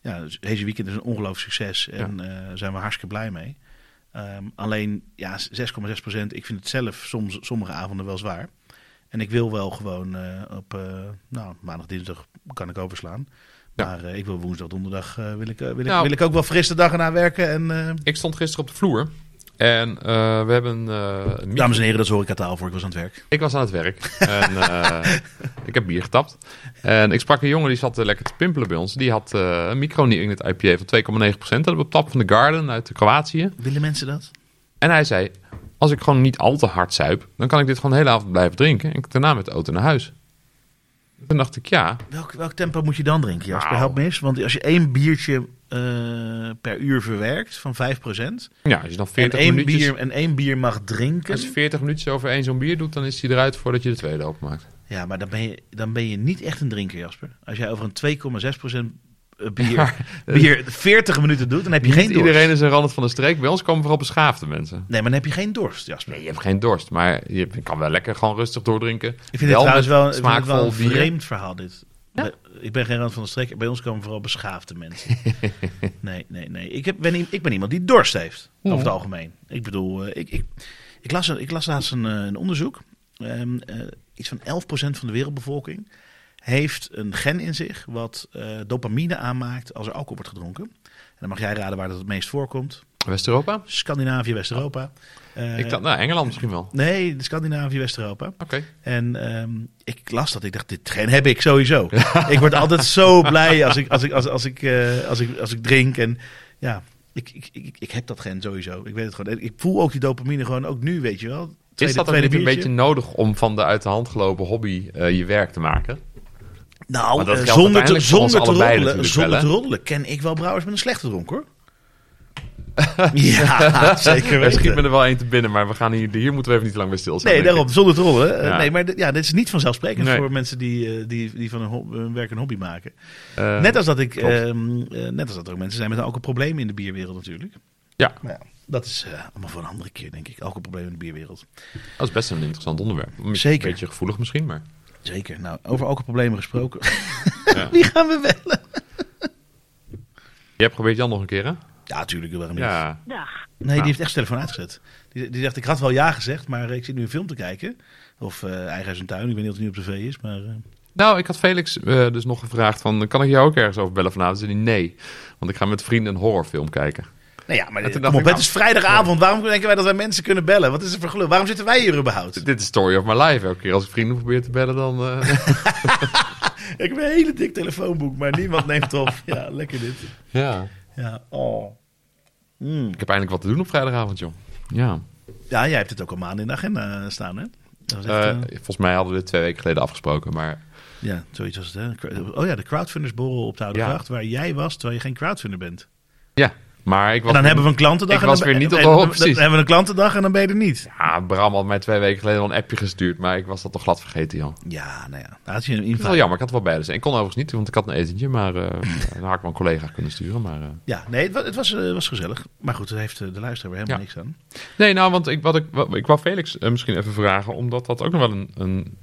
[SPEAKER 2] ja, dus deze weekend is een ongelooflijk succes en eh, zijn we hartstikke blij mee. Ehm, alleen, ja, 6,6 Ik vind het zelf soms, sommige avonden wel zwaar. En ik wil wel gewoon eh, op eh, nou, maandag, dinsdag kan ik overslaan.
[SPEAKER 1] Ja.
[SPEAKER 2] Maar eh, ik wil woensdag, donderdag eh, wil, ik, eh, wil, ik,
[SPEAKER 1] Nou.
[SPEAKER 2] wil ik ook wel frisse dagen na werken. En, eh,
[SPEAKER 1] Ik stond gisteren op de vloer. En eh, we hebben eh, een micro-
[SPEAKER 2] dames en heren, dat is horecataal voor. Ik was aan het werk.
[SPEAKER 1] Ik was aan het werk. En, eh, [laughs] ik heb bier getapt. En ik sprak een jongen die zat eh, lekker te pimpelen bij ons. Die had eh, een micro New England IPA van 2,9%. Dat hebben we op tap van de Garden uit Kroatië.
[SPEAKER 2] Willen mensen dat?
[SPEAKER 1] En hij zei, als ik gewoon niet al te hard zuip... dan kan ik dit gewoon de hele avond blijven drinken. En daarna met de auto naar huis. Toen dacht ik, ja,
[SPEAKER 2] Welk, welk tempo moet je dan drinken, Jasper?
[SPEAKER 1] Nou.
[SPEAKER 2] Help me eens. Want als je één biertje eh, per uur verwerkt van 5
[SPEAKER 1] ja als je dan
[SPEAKER 2] En
[SPEAKER 1] 40
[SPEAKER 2] één,
[SPEAKER 1] minuutjes...
[SPEAKER 2] bier, en één bier mag drinken.
[SPEAKER 1] Als je 40 minuutjes over één zo'n bier doet, dan is hij eruit voordat je de tweede openmaakt.
[SPEAKER 2] Ja, maar dan ben, je, dan ben je niet echt een drinker, Jasper. Als jij over een 2,6% eh,
[SPEAKER 1] [laughs]
[SPEAKER 2] bier, bier 40 minuten doet, dan heb je geen dorst.
[SPEAKER 1] Iedereen is een rand van de streek. Bij ons komen vooral beschaafde mensen.
[SPEAKER 2] Nee, maar dan heb je geen dorst, Jasper.
[SPEAKER 1] Nee, je hebt geen dorst, maar je kan wel lekker gewoon rustig doordrinken.
[SPEAKER 2] Ik vind het trouwens
[SPEAKER 1] met
[SPEAKER 2] wel, ik vind het wel
[SPEAKER 1] smaakvol
[SPEAKER 2] een
[SPEAKER 1] bier.
[SPEAKER 2] vreemd verhaal dit.
[SPEAKER 1] Ja?
[SPEAKER 2] Bij- Ik ben geen rand van de streek. Bij ons komen vooral beschaafde
[SPEAKER 1] [laughs]
[SPEAKER 2] mensen. nee, nee, nee. Ik, heb, ben, i- ik ben iemand die dorst heeft. Over het algemeen. Ik bedoel, eh, ik, ik, ik, las, een- ik las laatst een, eh, een onderzoek. Ehm, eh, iets van 11% van de wereldbevolking heeft een gen in zich wat eh, dopamine aanmaakt als er alcohol wordt gedronken. En dan mag jij raden waar dat het meest voorkomt.
[SPEAKER 1] West-Europa?
[SPEAKER 2] Scandinavië, West-Europa. Eh,
[SPEAKER 1] Ik dacht, nou, Engeland misschien wel. Oké.
[SPEAKER 2] Nee, Scandinavië, West-Europa. En ehm, ik las dat. Ik dacht, dit gen heb ik
[SPEAKER 1] [laughs]
[SPEAKER 2] sowieso. ik word altijd zo blij als ik, als ik, als, als ik, eh, als ik, als ik drink. En ja, ik, ik, ik, ik heb dat gen sowieso. Ik weet het gewoon. En Ik voel ook die dopamine gewoon, ook nu, weet je wel.
[SPEAKER 1] Is
[SPEAKER 2] Tweede-
[SPEAKER 1] dat ook
[SPEAKER 2] tweede
[SPEAKER 1] niet een beetje
[SPEAKER 2] biertje.
[SPEAKER 1] nodig om van de uit de hand gelopen hobby eh, je werk te maken?
[SPEAKER 2] Nou,
[SPEAKER 1] Want dat
[SPEAKER 2] eh,
[SPEAKER 1] geldt
[SPEAKER 2] zonder, te,
[SPEAKER 1] uiteindelijk voor ons
[SPEAKER 2] zonder, te
[SPEAKER 1] allebei
[SPEAKER 2] roddelen,
[SPEAKER 1] natuurlijk
[SPEAKER 2] zonder
[SPEAKER 1] wel,
[SPEAKER 2] te
[SPEAKER 1] hè?
[SPEAKER 2] roddelen ken ik wel brouwers met een slechte
[SPEAKER 1] [laughs]
[SPEAKER 2] dronk, hoor. ja, [laughs] zeker
[SPEAKER 1] Er schiet me
[SPEAKER 2] weten.
[SPEAKER 1] er wel één te binnen, maar we gaan hier, hier moeten we even niet lang bij stilstaan.
[SPEAKER 2] Nee,
[SPEAKER 1] denk
[SPEAKER 2] daarom,
[SPEAKER 1] ik.
[SPEAKER 2] zonder te roddelen. Eh,
[SPEAKER 1] Ja.
[SPEAKER 2] Nee, maar d- ja, dit is niet vanzelfsprekend
[SPEAKER 1] Nee.
[SPEAKER 2] voor mensen die, eh, die, die van hun, ho- hun werk een hobby maken.
[SPEAKER 1] Eh,
[SPEAKER 2] Net als dat ik,
[SPEAKER 1] klopt.
[SPEAKER 2] ehm, eh, net als dat er ook mensen zijn met een alcoholprobleem in de bierwereld natuurlijk.
[SPEAKER 1] Ja,
[SPEAKER 2] Maar ja, dat is eh, allemaal voor een andere keer, denk ik. Alcoholprobleem in de bierwereld.
[SPEAKER 1] dat is best een interessant onderwerp. Een
[SPEAKER 2] Zeker.
[SPEAKER 1] beetje gevoelig misschien, maar...
[SPEAKER 2] Zeker. Nou, over alcoholproblemen gesproken.
[SPEAKER 1] Ja.
[SPEAKER 2] [laughs] Wie gaan we bellen?
[SPEAKER 1] Je hebt geprobeerd Jan nog een keer, hè?
[SPEAKER 2] Ja, tuurlijk. Waarom niet?
[SPEAKER 1] Ja.
[SPEAKER 4] Dag.
[SPEAKER 2] Nee, die
[SPEAKER 1] Nou.
[SPEAKER 2] heeft echt zijn telefoon uitgezet. Die, die dacht, ik had wel ja gezegd, maar ik zit nu een film te kijken. Of eh, Eigen Huis en Tuin. Ik weet niet of het nu op tv is, maar... eh,
[SPEAKER 1] Nou, ik had Felix eh, dus nog gevraagd van... kan ik jou ook ergens over bellen vanavond? Zei hij nee, want ik ga met vrienden een horrorfilm kijken.
[SPEAKER 2] Nou ja,
[SPEAKER 1] En
[SPEAKER 2] maar
[SPEAKER 1] toen
[SPEAKER 2] dit-
[SPEAKER 1] dacht
[SPEAKER 2] kom op,
[SPEAKER 1] ik,
[SPEAKER 2] het is vrijdagavond. Waarom denken wij dat wij mensen kunnen bellen? Wat is er voor gelul? Waarom zitten wij hier
[SPEAKER 1] [laughs]
[SPEAKER 2] überhaupt?
[SPEAKER 1] Dit is story of my life. Elke keer als ik vrienden probeer te bellen, dan...
[SPEAKER 2] [laughs]
[SPEAKER 1] eh,
[SPEAKER 2] Ik heb een hele dik telefoonboek, maar niemand neemt
[SPEAKER 1] [laughs]
[SPEAKER 2] op. Ja, lekker dit.
[SPEAKER 1] ja.
[SPEAKER 2] Ja, oh. Mm.
[SPEAKER 1] Ik heb eindelijk wat te doen op vrijdagavond, joh. Ja.
[SPEAKER 2] Ja, jij hebt het ook al maanden in de agenda eh, staan, hè? Dat was echt,
[SPEAKER 1] Eh,
[SPEAKER 2] eh,
[SPEAKER 1] volgens mij hadden we dit twee weken geleden afgesproken, maar...
[SPEAKER 2] ja, zoiets was het, hè? Oh ja, de crowdfundersborrel op de Oude
[SPEAKER 1] Ja.
[SPEAKER 2] Gracht, waar jij was, terwijl je geen crowdfunder bent.
[SPEAKER 1] Ja, maar ik was...
[SPEAKER 2] En dan hebben we een klantendag.
[SPEAKER 1] ik
[SPEAKER 2] en dan
[SPEAKER 1] was
[SPEAKER 2] ben-
[SPEAKER 1] weer niet
[SPEAKER 2] en-
[SPEAKER 1] op de
[SPEAKER 2] en-
[SPEAKER 1] hoogte,
[SPEAKER 2] Dan,
[SPEAKER 1] precies.
[SPEAKER 2] hebben we een klantendag en dan ben je er niet.
[SPEAKER 1] Ja, Bram had mij twee weken geleden al een appje gestuurd, maar ik was dat toch glad vergeten, joh.
[SPEAKER 2] Ja, nou ja, daar had je een
[SPEAKER 1] Dat is wel
[SPEAKER 2] invloed.
[SPEAKER 1] jammer, ik had er wel bij zijn. Ik kon overigens niet, want ik had een etentje, maar eh,
[SPEAKER 2] [laughs]
[SPEAKER 1] dan had ik wel een collega kunnen sturen. Maar, eh.
[SPEAKER 2] Ja, nee, het was, het was, eh, was gezellig. Maar goed, daar heeft eh, de luisteraar weer helemaal
[SPEAKER 1] Ja.
[SPEAKER 2] niks aan.
[SPEAKER 1] Nee, nou, want ik, wat ik, wat, ik wou Felix eh, misschien even vragen, omdat dat ook nog wel een, een...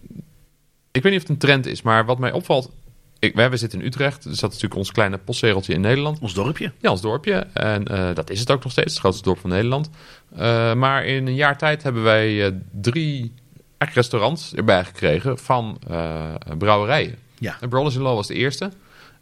[SPEAKER 1] Ik weet niet of het een trend is, maar wat mij opvalt... Ik, wij, wij zitten in Utrecht, dus dat is natuurlijk ons kleine postzegeltje in Nederland.
[SPEAKER 2] Ons dorpje.
[SPEAKER 1] Ja, ons dorpje. En eh, dat is het ook nog steeds, het grootste dorp van Nederland. Eh, maar in een jaar tijd hebben wij eh, drie eigenlijk restaurants erbij gekregen van eh, brouwerijen.
[SPEAKER 2] Ja.
[SPEAKER 1] En Brothers in Law was de eerste.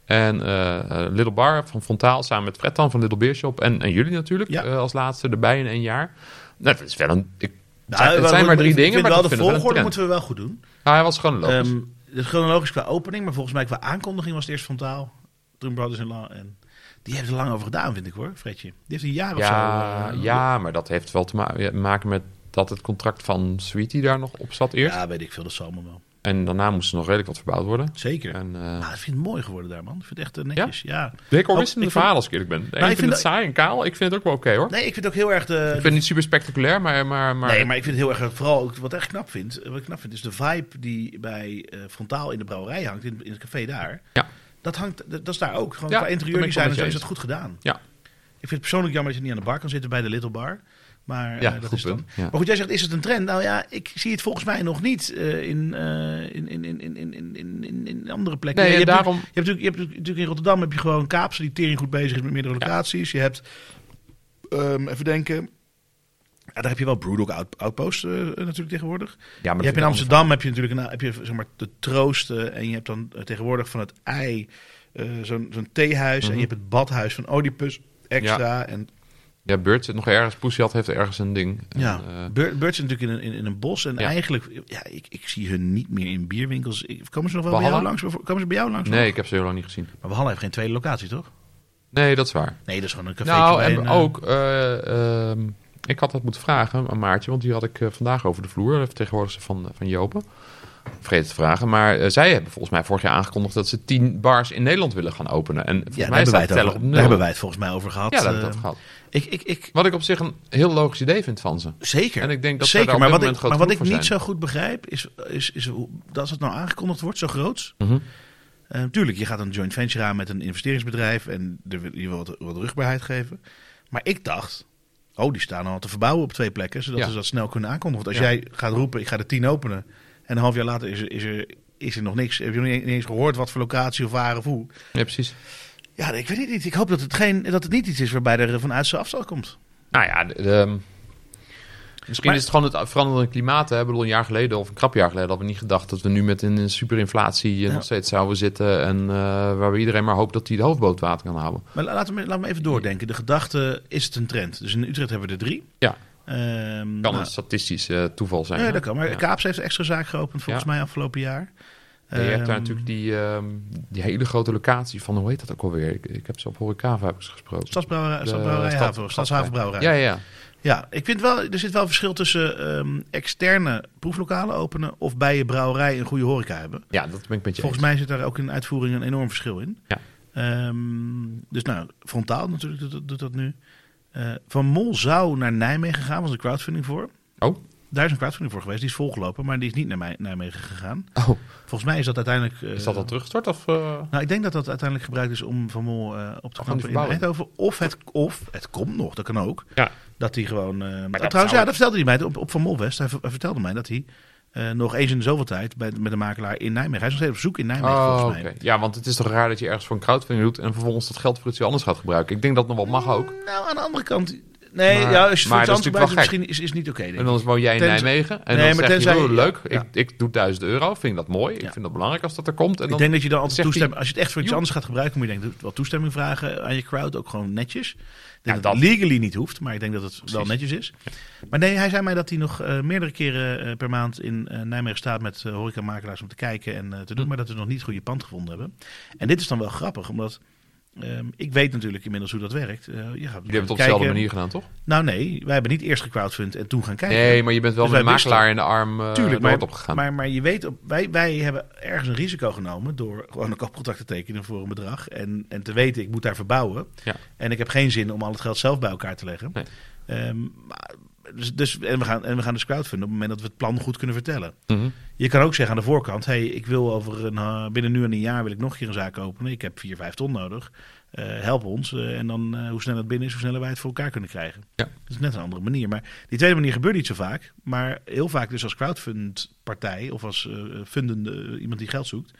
[SPEAKER 1] En eh, eh, Little Bar van Frontaal samen met Fred dan van Little Beer Shop. En, en jullie natuurlijk
[SPEAKER 2] Ja.
[SPEAKER 1] eh, als laatste erbij in één jaar. Nou, dat is wel een... Ik, het
[SPEAKER 2] Nou,
[SPEAKER 1] zijn, het
[SPEAKER 2] we-
[SPEAKER 1] zijn
[SPEAKER 2] we-
[SPEAKER 1] maar drie
[SPEAKER 2] ik vind
[SPEAKER 1] dingen, maar
[SPEAKER 2] wel
[SPEAKER 1] dat
[SPEAKER 2] de
[SPEAKER 1] vind ik wel een
[SPEAKER 2] volgorde
[SPEAKER 1] trend.
[SPEAKER 2] moeten we wel goed doen.
[SPEAKER 1] Ah, hij was gewoon logisch.
[SPEAKER 2] Ehm dus chronologisch qua opening, maar volgens mij qua aankondiging was het eerst Frontaal. Toen Brothers in Law. En die heeft er lang over gedaan, vind ik hoor, Fredje. Die heeft een jaar of
[SPEAKER 1] ja,
[SPEAKER 2] zo. eh,
[SPEAKER 1] ja, maar dat heeft wel te ma- ja, maken met dat het contract van Sweetie daar nog op zat eerst.
[SPEAKER 2] Ja, weet ik veel, dat zal allemaal wel.
[SPEAKER 1] En daarna moest er nog redelijk wat verbouwd worden.
[SPEAKER 2] Zeker.
[SPEAKER 1] En, eh
[SPEAKER 2] Ah, ik vind het mooi geworden daar, man. Ik vind het echt eh, netjes. Ja?
[SPEAKER 1] Oh, ik hoor wisselende
[SPEAKER 2] Ook- ik vind-
[SPEAKER 1] verhalen als ik eerlijk ben. De een
[SPEAKER 2] ik
[SPEAKER 1] vindt
[SPEAKER 2] vind
[SPEAKER 1] het
[SPEAKER 2] dat-
[SPEAKER 1] saai en kaal. Ik vind het ook wel oké hoor.
[SPEAKER 2] Nee, ik vind het ook heel erg de...
[SPEAKER 1] ik vind het niet super spectaculair, maar... maar, maar...
[SPEAKER 2] Nee, maar ik vind het heel erg, vooral ook wat ik echt knap vind, eh, wat ik knap vind, is de vibe die bij eh, Frontaal in de brouwerij hangt, in, in het café daar.
[SPEAKER 1] Ja.
[SPEAKER 2] Dat, hangt, dat, dat is daar ook. Gewoon
[SPEAKER 1] Ja, dat ben
[SPEAKER 2] qua
[SPEAKER 1] ik wel
[SPEAKER 2] interieurdesign en
[SPEAKER 1] met
[SPEAKER 2] zo
[SPEAKER 1] je
[SPEAKER 2] is dat
[SPEAKER 1] eens.
[SPEAKER 2] goed gedaan.
[SPEAKER 1] Ja.
[SPEAKER 2] Ik vind het persoonlijk jammer dat je niet aan de bar kan zitten bij de Little Bar. Maar, eh,
[SPEAKER 1] Ja,
[SPEAKER 2] dat
[SPEAKER 1] goed
[SPEAKER 2] is het dan.
[SPEAKER 1] punt, ja.
[SPEAKER 2] maar goed, jij zegt, is het een trend? Nou ja, ik zie het volgens mij nog niet eh, in, eh, in, in, in, in, in, in, in- in andere plekken.
[SPEAKER 1] Nee,
[SPEAKER 2] je
[SPEAKER 1] en
[SPEAKER 2] hebt
[SPEAKER 1] daarom-
[SPEAKER 2] natuurlijk- je, hebt natuurlijk, je hebt natuurlijk in Rotterdam heb je gewoon Kaapse die tering goed bezig is met meerdere locaties. Je hebt, ehm, even denken, ja, daar heb je wel Brewdog Out- Outpost eh, eh, natuurlijk tegenwoordig.
[SPEAKER 1] Ja, maar
[SPEAKER 2] je
[SPEAKER 1] dat
[SPEAKER 2] hebt in
[SPEAKER 1] vind ik
[SPEAKER 2] Amsterdam heb je natuurlijk een, heb je, zeg maar, de troosten en je hebt dan eh, tegenwoordig van het ei eh, zo'n zo'n theehuis en je hebt het badhuis van Oedipus extra. En
[SPEAKER 1] Mhm. Ja, Bert zit nog ergens. Poesje had heeft ergens een ding. En,
[SPEAKER 2] ja,
[SPEAKER 1] eh,
[SPEAKER 2] Beur- Beurt zit natuurlijk in een, in, in een bos. En
[SPEAKER 1] Ja.
[SPEAKER 2] eigenlijk, ja, ik, ik zie hun niet meer in bierwinkels. Ik- Komen ze nog wel bij
[SPEAKER 1] Walhalla?
[SPEAKER 2] jou langs? bijvoorbeeld? Komen ze bij jou langs?
[SPEAKER 1] nee, ik heb ze heel lang niet gezien.
[SPEAKER 2] Maar Walhalla heeft geen tweede locatie, toch?
[SPEAKER 1] Nee, dat is waar.
[SPEAKER 2] Nee, dat is gewoon een eh, café.
[SPEAKER 1] Nou, en ook... eh, ehm, ik had dat moeten vragen aan Maartje, want die had ik eh, vandaag over de vloer. De vertegenwoordigster van, eh, van Jopen. Vergeet het te vragen. Maar eh, zij hebben volgens mij vorig jaar aangekondigd dat ze tien bars in Nederland willen gaan openen. En volgens
[SPEAKER 2] Ja, daar
[SPEAKER 1] mij
[SPEAKER 2] hebben, wij
[SPEAKER 1] staat de
[SPEAKER 2] het
[SPEAKER 1] teller
[SPEAKER 2] over,
[SPEAKER 1] op
[SPEAKER 2] daar hebben
[SPEAKER 1] nul.
[SPEAKER 2] wij het volgens mij over gehad.
[SPEAKER 1] Ja, dat
[SPEAKER 2] Eh,
[SPEAKER 1] dat gehad.
[SPEAKER 2] ik, ik, ik,
[SPEAKER 1] Wat ik op zich een heel logisch idee vind van ze.
[SPEAKER 2] Zeker.
[SPEAKER 1] En ik denk dat ze
[SPEAKER 2] Zeker,
[SPEAKER 1] daar op dit
[SPEAKER 2] maar wat
[SPEAKER 1] moment
[SPEAKER 2] ik,
[SPEAKER 1] groot
[SPEAKER 2] Maar wat ik
[SPEAKER 1] genoeg
[SPEAKER 2] niet
[SPEAKER 1] voor
[SPEAKER 2] zo goed begrijp, is, is, is, hoe- dat als het nou aangekondigd wordt, zo groot,
[SPEAKER 1] Mhm.
[SPEAKER 2] Eh, tuurlijk, je gaat een joint venture aan met een investeringsbedrijf en er wil- je wil wat, wat rugbaarheid geven. Maar ik dacht, oh, die staan al te verbouwen op twee plekken, zodat
[SPEAKER 1] Ja.
[SPEAKER 2] ze dat snel kunnen aankondigen. Want als
[SPEAKER 1] Ja.
[SPEAKER 2] jij gaat roepen, ik ga de tien openen, en een half jaar later is er, is er, is er nog niks, heb je nog niet eens gehoord wat voor locatie of waar of hoe.
[SPEAKER 1] Ja, precies.
[SPEAKER 2] Ja, ik weet het niet. Ik hoop dat het, geen, dat het niet iets is waarbij er vanuit zijn afstand komt.
[SPEAKER 1] Nou ja, de- de- misschien
[SPEAKER 2] Maar-
[SPEAKER 1] is het gewoon het veranderende klimaat. Hè. Ik bedoel, een jaar geleden of een krap jaar geleden hadden we niet gedacht dat we nu met een superinflatie eh,
[SPEAKER 2] Ja.
[SPEAKER 1] nog steeds zouden zitten. En eh, waar we iedereen maar hoopt dat hij de hoofdboot water kan houden.
[SPEAKER 2] Maar la- laten we, laten we even doordenken. De gedachte, is het een trend? Dus in Utrecht hebben we er drie.
[SPEAKER 1] Ja.
[SPEAKER 2] Ehm,
[SPEAKER 1] Kan
[SPEAKER 2] nou,
[SPEAKER 1] een statistisch eh, toeval zijn.
[SPEAKER 2] ja,
[SPEAKER 1] hè?
[SPEAKER 2] dat kan. Maar
[SPEAKER 1] Ja.
[SPEAKER 2] Kaaps heeft een extra zaak geopend volgens
[SPEAKER 1] Ja.
[SPEAKER 2] mij afgelopen jaar.
[SPEAKER 1] Ja, je hebt daar
[SPEAKER 2] Ehm,
[SPEAKER 1] natuurlijk die, ehm, die hele grote locatie van, hoe heet dat ook alweer? Ik, ik heb ze op Horecava heb ik ze gesproken.
[SPEAKER 2] Stadsbrouwerij,
[SPEAKER 1] De
[SPEAKER 2] Stadsbrouwerij
[SPEAKER 1] stad-
[SPEAKER 2] Haven, Stadshavenbrouwerij.
[SPEAKER 1] Ja, ja, ja.
[SPEAKER 2] Ja, ik vind wel, er zit wel verschil tussen ehm, externe proeflokalen openen of bij je brouwerij een goede horeca hebben.
[SPEAKER 1] ja, dat ben ik met je
[SPEAKER 2] Volgens
[SPEAKER 1] eens.
[SPEAKER 2] mij zit daar ook in uitvoering een enorm verschil in.
[SPEAKER 1] Ja.
[SPEAKER 2] Ehm, dus nou, frontaal natuurlijk doet, dat- doet dat nu. Eh, van Mol zou naar Nijmegen gaan, was een crowdfunding voor.
[SPEAKER 1] Oh.
[SPEAKER 2] Daar is een crowdfunding voor geweest, die is volgelopen, maar die is niet naar Mij- Nijmegen gegaan.
[SPEAKER 1] Oh,
[SPEAKER 2] Volgens mij is dat uiteindelijk... eh,
[SPEAKER 1] is dat al teruggestort? Of, eh?
[SPEAKER 2] Nou, ik denk dat dat uiteindelijk gebruikt is om Van Mol eh, op te
[SPEAKER 1] Of aan die
[SPEAKER 2] knappen in Eindhoven. Of het, of het komt nog, dat kan ook.
[SPEAKER 1] Ja.
[SPEAKER 2] Dat hij gewoon... eh,
[SPEAKER 1] dat
[SPEAKER 2] nou, trouwens,
[SPEAKER 1] zou-
[SPEAKER 2] ja, dat vertelde hij mij op, op Van Mol West. Hij, ver- hij vertelde mij dat hij eh, nog eens in de zoveel tijd bij, met een makelaar in Nijmegen... Hij is nog steeds op zoek in Nijmegen,
[SPEAKER 1] Oh,
[SPEAKER 2] volgens mij.
[SPEAKER 1] oké. Ja, want het is toch raar dat je ergens voor een crowdfunding doet en vervolgens dat geld voor iets heel anders gaat gebruiken. Ik denk dat het nog wel mag ook.
[SPEAKER 2] Nou, aan de andere kant... Nee,
[SPEAKER 1] Maar-
[SPEAKER 2] ja, als je het
[SPEAKER 1] maar dat
[SPEAKER 2] voor iets
[SPEAKER 1] is
[SPEAKER 2] anders
[SPEAKER 1] natuurlijk
[SPEAKER 2] gebruikt,
[SPEAKER 1] wel gek.
[SPEAKER 2] misschien is, is niet oké. denk
[SPEAKER 1] En
[SPEAKER 2] ik.
[SPEAKER 1] dan woon jij in
[SPEAKER 2] Tenzij-
[SPEAKER 1] Nijmegen. En
[SPEAKER 2] Nee,
[SPEAKER 1] dan
[SPEAKER 2] maar
[SPEAKER 1] zeg je,
[SPEAKER 2] tenzij-
[SPEAKER 1] oh, leuk,
[SPEAKER 2] ja.
[SPEAKER 1] ik, ik doe 1000 euro. Vind ik dat mooi. Ik vind dat belangrijk als dat er komt. En
[SPEAKER 2] ik
[SPEAKER 1] dan,
[SPEAKER 2] denk dat je dan altijd
[SPEAKER 1] zegt hij-
[SPEAKER 2] toestemming... Als je het echt voor iets
[SPEAKER 1] Joep.
[SPEAKER 2] anders gaat gebruiken... moet je denk ik wel toestemming vragen aan je crowd. Ook gewoon netjes. Ik denk
[SPEAKER 1] Ja,
[SPEAKER 2] dat,
[SPEAKER 1] dat-
[SPEAKER 2] het legally niet hoeft. Maar ik denk dat het wel
[SPEAKER 1] Precies.
[SPEAKER 2] netjes is. Maar nee, hij zei mij dat hij nog eh, meerdere keren eh, per maand... in eh, Nijmegen staat met horeca horecamakelaars om te kijken en eh, te
[SPEAKER 1] Hm.
[SPEAKER 2] doen. Maar dat we nog niet het goede pand gevonden hebben. En dit is dan wel grappig, omdat... ehm, ik weet natuurlijk inmiddels hoe dat werkt. Eh, je gaat
[SPEAKER 1] Jullie hebben het op
[SPEAKER 2] kijken.
[SPEAKER 1] dezelfde manier gedaan, toch?
[SPEAKER 2] Nou nee, wij hebben niet eerst gecrowdfund en toen gaan kijken.
[SPEAKER 1] Nee, maar je bent wel
[SPEAKER 2] Dus
[SPEAKER 1] met een
[SPEAKER 2] wij wisten-
[SPEAKER 1] makelaar in de arm eh
[SPEAKER 2] Tuurlijk,
[SPEAKER 1] Tuurlijk,
[SPEAKER 2] maar,
[SPEAKER 1] opgegaan.
[SPEAKER 2] maar, maar je weet, op, wij, wij hebben ergens een risico genomen door gewoon een koopcontract te tekenen voor een bedrag. En, en te weten, ik moet daar verbouwen.
[SPEAKER 1] Ja.
[SPEAKER 2] En ik heb geen zin om al het geld zelf bij elkaar te leggen.
[SPEAKER 1] Nee.
[SPEAKER 2] Ehm, maar- dus, dus, en, we gaan, en we gaan dus crowdfunden op het moment dat we het plan goed kunnen vertellen.
[SPEAKER 1] Mhm.
[SPEAKER 2] Je kan ook zeggen aan de voorkant, hey, ik wil over een, eh, binnen nu en een jaar wil ik nog een keer een zaak openen. Ik heb vier, vijf ton nodig. Eh, help ons. Eh, en dan eh, hoe sneller het binnen is, hoe sneller wij het voor elkaar kunnen krijgen.
[SPEAKER 1] Ja.
[SPEAKER 2] Dat is net een andere manier. Maar die tweede manier gebeurt niet zo vaak. Maar heel vaak dus als crowdfundpartij of als eh, fundende eh, iemand die geld zoekt,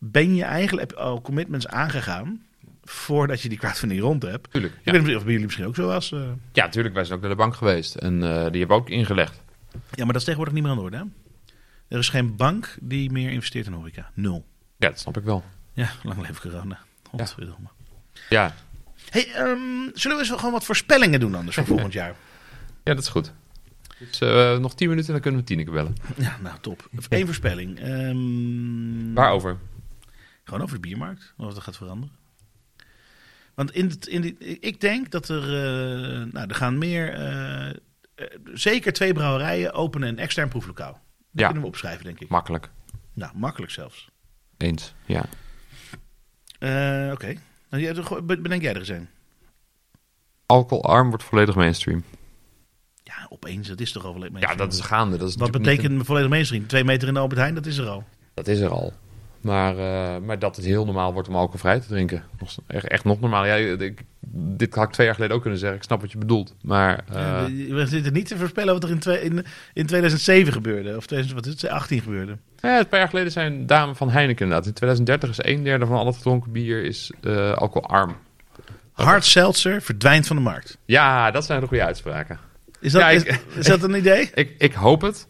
[SPEAKER 2] ben je eigenlijk heb je al commitments aangegaan voordat je die crowdfunding rond hebt.
[SPEAKER 1] Tuurlijk.
[SPEAKER 2] Ik
[SPEAKER 1] Ja.
[SPEAKER 2] weet niet of bij jullie misschien ook zo was. eh.
[SPEAKER 1] ja, tuurlijk. Wij zijn ook naar de bank geweest. En eh, die hebben ook ingelegd.
[SPEAKER 2] Ja, maar dat is tegenwoordig niet meer aan de orde. hè? Er is geen bank die meer investeert in horeca. Nul.
[SPEAKER 1] Ja, dat snap ik wel.
[SPEAKER 2] Ja, lang leven corona. Godverdomme.
[SPEAKER 1] Ja,
[SPEAKER 2] Hey, ehm, zullen we eens gewoon wat voorspellingen doen
[SPEAKER 1] [laughs]
[SPEAKER 2] anders voor volgend jaar?
[SPEAKER 1] ja dat is goed. Dus eh, nog 10 minuten en dan kunnen we Tineke bellen.
[SPEAKER 2] Ja, nou top. Eén voorspelling. Ehm,
[SPEAKER 1] Waarover?
[SPEAKER 2] Gewoon over de biermarkt, of dat gaat veranderen. Want in het, in die, ik denk dat er, eh, nou, er gaan meer, eh, eh, zeker twee brouwerijen openen een extern proeflokaal. Dat
[SPEAKER 1] Ja.
[SPEAKER 2] kunnen we opschrijven, denk ik.
[SPEAKER 1] Makkelijk.
[SPEAKER 2] nou, makkelijk zelfs.
[SPEAKER 1] Eens. Ja.
[SPEAKER 2] Eh, Oké. Nou, jij- go- be- bedenk jij er eens een?
[SPEAKER 1] Alcoholarm wordt volledig mainstream.
[SPEAKER 2] Ja, opeens, dat is toch al wel
[SPEAKER 1] Ja, dat is gaande. Dat is
[SPEAKER 2] Wat
[SPEAKER 1] natuurlijk niet
[SPEAKER 2] betekent volledig mainstream? Twee meter in de Albert Heijn, dat is er al.
[SPEAKER 1] een- Dat is er al. Maar, eh, maar dat het heel normaal wordt om alcoholvrij te drinken. Nog, echt, echt nog normaal. Ja, ik, dit had ik twee jaar geleden ook kunnen zeggen. Ik snap wat je bedoelt. Maar eh,
[SPEAKER 2] Ja, we- we zitten niet te voorspellen wat er in, twee- in, in 2007 gebeurde. Of 2000, wat is het, 2018 gebeurde.
[SPEAKER 1] ja, een paar jaar geleden zijn dame van Heineken inderdaad. In 2030 is een derde van al het gedronken bier is, eh, alcoholarm.
[SPEAKER 2] Hard seltzer verdwijnt van de markt.
[SPEAKER 1] Ja, dat zijn de goede uitspraken.
[SPEAKER 2] Is dat,
[SPEAKER 1] Ja, ik-
[SPEAKER 2] is, is dat een idee?
[SPEAKER 1] Ik, ik hoop het.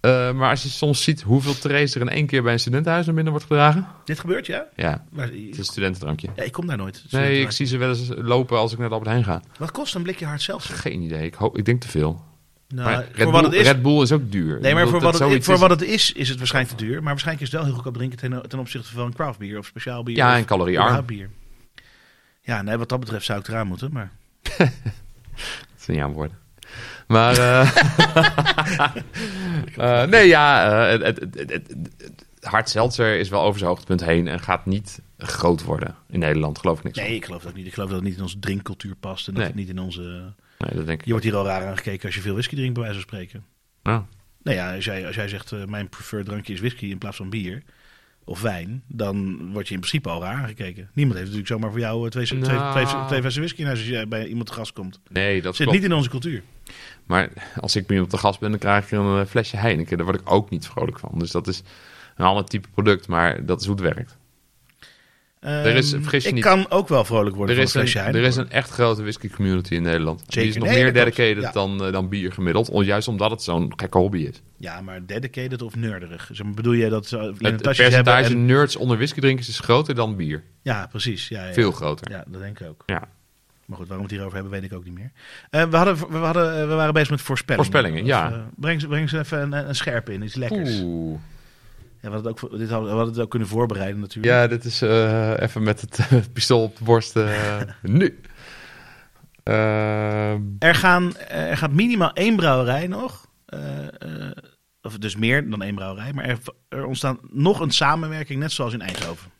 [SPEAKER 1] Eh, maar als je soms ziet hoeveel trays er in één keer bij een studentenhuis naar binnen wordt gedragen.
[SPEAKER 2] Dit gebeurt, ja?
[SPEAKER 1] Ja,
[SPEAKER 2] Maar,
[SPEAKER 1] het is een studentendrankje.
[SPEAKER 2] ja ik kom daar nooit.
[SPEAKER 1] Nee, ik zie ze wel eens lopen als ik naar de Albert Heijn ga.
[SPEAKER 2] Wat kost een blikje hard seltzer?
[SPEAKER 1] Geen idee. Ik, hoop, ik denk te veel.
[SPEAKER 2] Nou,
[SPEAKER 1] Maar
[SPEAKER 2] voor
[SPEAKER 1] Red,
[SPEAKER 2] wat
[SPEAKER 1] Bull,
[SPEAKER 2] het is...
[SPEAKER 1] Red Bull is ook duur.
[SPEAKER 2] Nee, maar
[SPEAKER 1] Ik bedoel,
[SPEAKER 2] voor,
[SPEAKER 1] dat
[SPEAKER 2] wat het,
[SPEAKER 1] zoiets
[SPEAKER 2] voor
[SPEAKER 1] is-
[SPEAKER 2] wat het is, is het waarschijnlijk te duur. Maar waarschijnlijk is het wel heel goedkoop drinken ten, ten opzichte van craft bier of speciaal bier.
[SPEAKER 1] Ja,
[SPEAKER 2] of
[SPEAKER 1] en caloriearm.
[SPEAKER 2] überhaupt bier. Ja, nee, wat dat betreft zou ik eraan moeten. Maar
[SPEAKER 1] Dat zijn jouw woorden. Maar eh, [laughs] eh, nee, ja, eh, het, het, het, het- het- hard seltzer is wel over zijn hoogtepunt heen en gaat niet groot worden in Nederland, geloof ik niks.
[SPEAKER 2] nee, ik geloof dat niet. Ik geloof dat het niet in onze drinkcultuur past. En dat
[SPEAKER 1] Nee.
[SPEAKER 2] het niet in onze...
[SPEAKER 1] van. Nee, dat denk ik.
[SPEAKER 2] Je wordt hier al raar aangekeken als je veel whisky drinkt, bij wijze van spreken.
[SPEAKER 1] Nou,
[SPEAKER 2] Nou ja, als jij, als jij zegt, eh, mijn preferred drankje is whisky in plaats van bier. of wijn, dan word je in principe al raar aangekeken. Niemand heeft natuurlijk zomaar voor jou eh, twee, twee,
[SPEAKER 1] Nou.
[SPEAKER 2] twee, twee, flessen whisky in huis als je bij iemand te gast komt.
[SPEAKER 1] Nee, dat
[SPEAKER 2] zit
[SPEAKER 1] klopt.
[SPEAKER 2] niet in onze cultuur.
[SPEAKER 1] Maar als ik meer op de gas ben, dan krijg je een eh, flesje Heineken. Daar word ik ook niet vrolijk van. Dus dat is een ander type product, maar dat is hoe het werkt.
[SPEAKER 2] Er
[SPEAKER 1] is- vergis je
[SPEAKER 2] Ehm, ik
[SPEAKER 1] niet.
[SPEAKER 2] kan ook wel vrolijk worden
[SPEAKER 1] Er
[SPEAKER 2] van
[SPEAKER 1] is,
[SPEAKER 2] een flesje
[SPEAKER 1] een, er
[SPEAKER 2] Heineken.
[SPEAKER 1] is een echt grote whisky community in Nederland. Die
[SPEAKER 2] Zeker.
[SPEAKER 1] is nog
[SPEAKER 2] Nee,
[SPEAKER 1] meer
[SPEAKER 2] dat klopt.
[SPEAKER 1] dedicated
[SPEAKER 2] Ja.
[SPEAKER 1] dan, eh, dan bier gemiddeld. Om- Juist omdat het zo'n gekke hobby is.
[SPEAKER 2] Ja, maar dedicated of nerderig. Zeg maar, bedoel je dat ze in een
[SPEAKER 1] Het, het
[SPEAKER 2] tasje hebben?
[SPEAKER 1] percentage
[SPEAKER 2] En,
[SPEAKER 1] nerds onder whiskydrinkers is groter dan bier.
[SPEAKER 2] ja, precies. Ja, ja.
[SPEAKER 1] Veel groter.
[SPEAKER 2] Ja, dat denk ik ook.
[SPEAKER 1] Ja.
[SPEAKER 2] Maar goed, waarom we het hierover hebben, weet ik ook niet meer. Eh, we, hadden, we, hadden, eh, we waren bezig met voorspellingen.
[SPEAKER 1] Voorspellingen,
[SPEAKER 2] Of,
[SPEAKER 1] ja.
[SPEAKER 2] eh, breng, ze- breng ze even een, een scherp in, iets lekkers.
[SPEAKER 1] Oeh.
[SPEAKER 2] Ja, we, hadden het ook, voor- dit hadden, we hadden het ook kunnen voorbereiden natuurlijk.
[SPEAKER 1] Ja, dit is eh, even met het eh, pistool op de borst.
[SPEAKER 2] [laughs]
[SPEAKER 1] eh, nu. Ehm,
[SPEAKER 2] Er, gaan, eh, er gaat minimaal één brouwerij nog. eh, eh, of dus meer dan één brouwerij. Maar er, er ontstaat nog een samenwerking, net zoals in Eindhoven.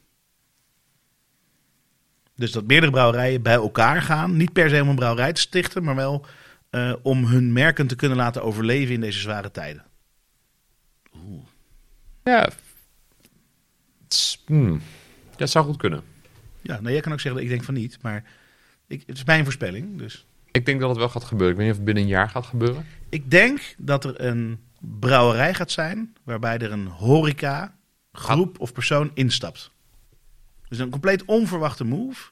[SPEAKER 2] Dus dat meerdere brouwerijen bij elkaar gaan. Niet per se om een brouwerij te stichten, maar wel eh, om hun merken te kunnen laten overleven in deze zware tijden.
[SPEAKER 1] ja. Het is- hmm. Ja, het zou goed kunnen.
[SPEAKER 2] Ja, nou jij kan ook zeggen dat ik denk van niet, maar ik, het is mijn voorspelling. Dus
[SPEAKER 1] Ik denk dat het wel gaat gebeuren. Ik weet niet of het binnen een jaar gaat gebeuren.
[SPEAKER 2] ik denk dat er een brouwerij gaat zijn waarbij er een horeca groep of persoon instapt. Dus een compleet onverwachte move.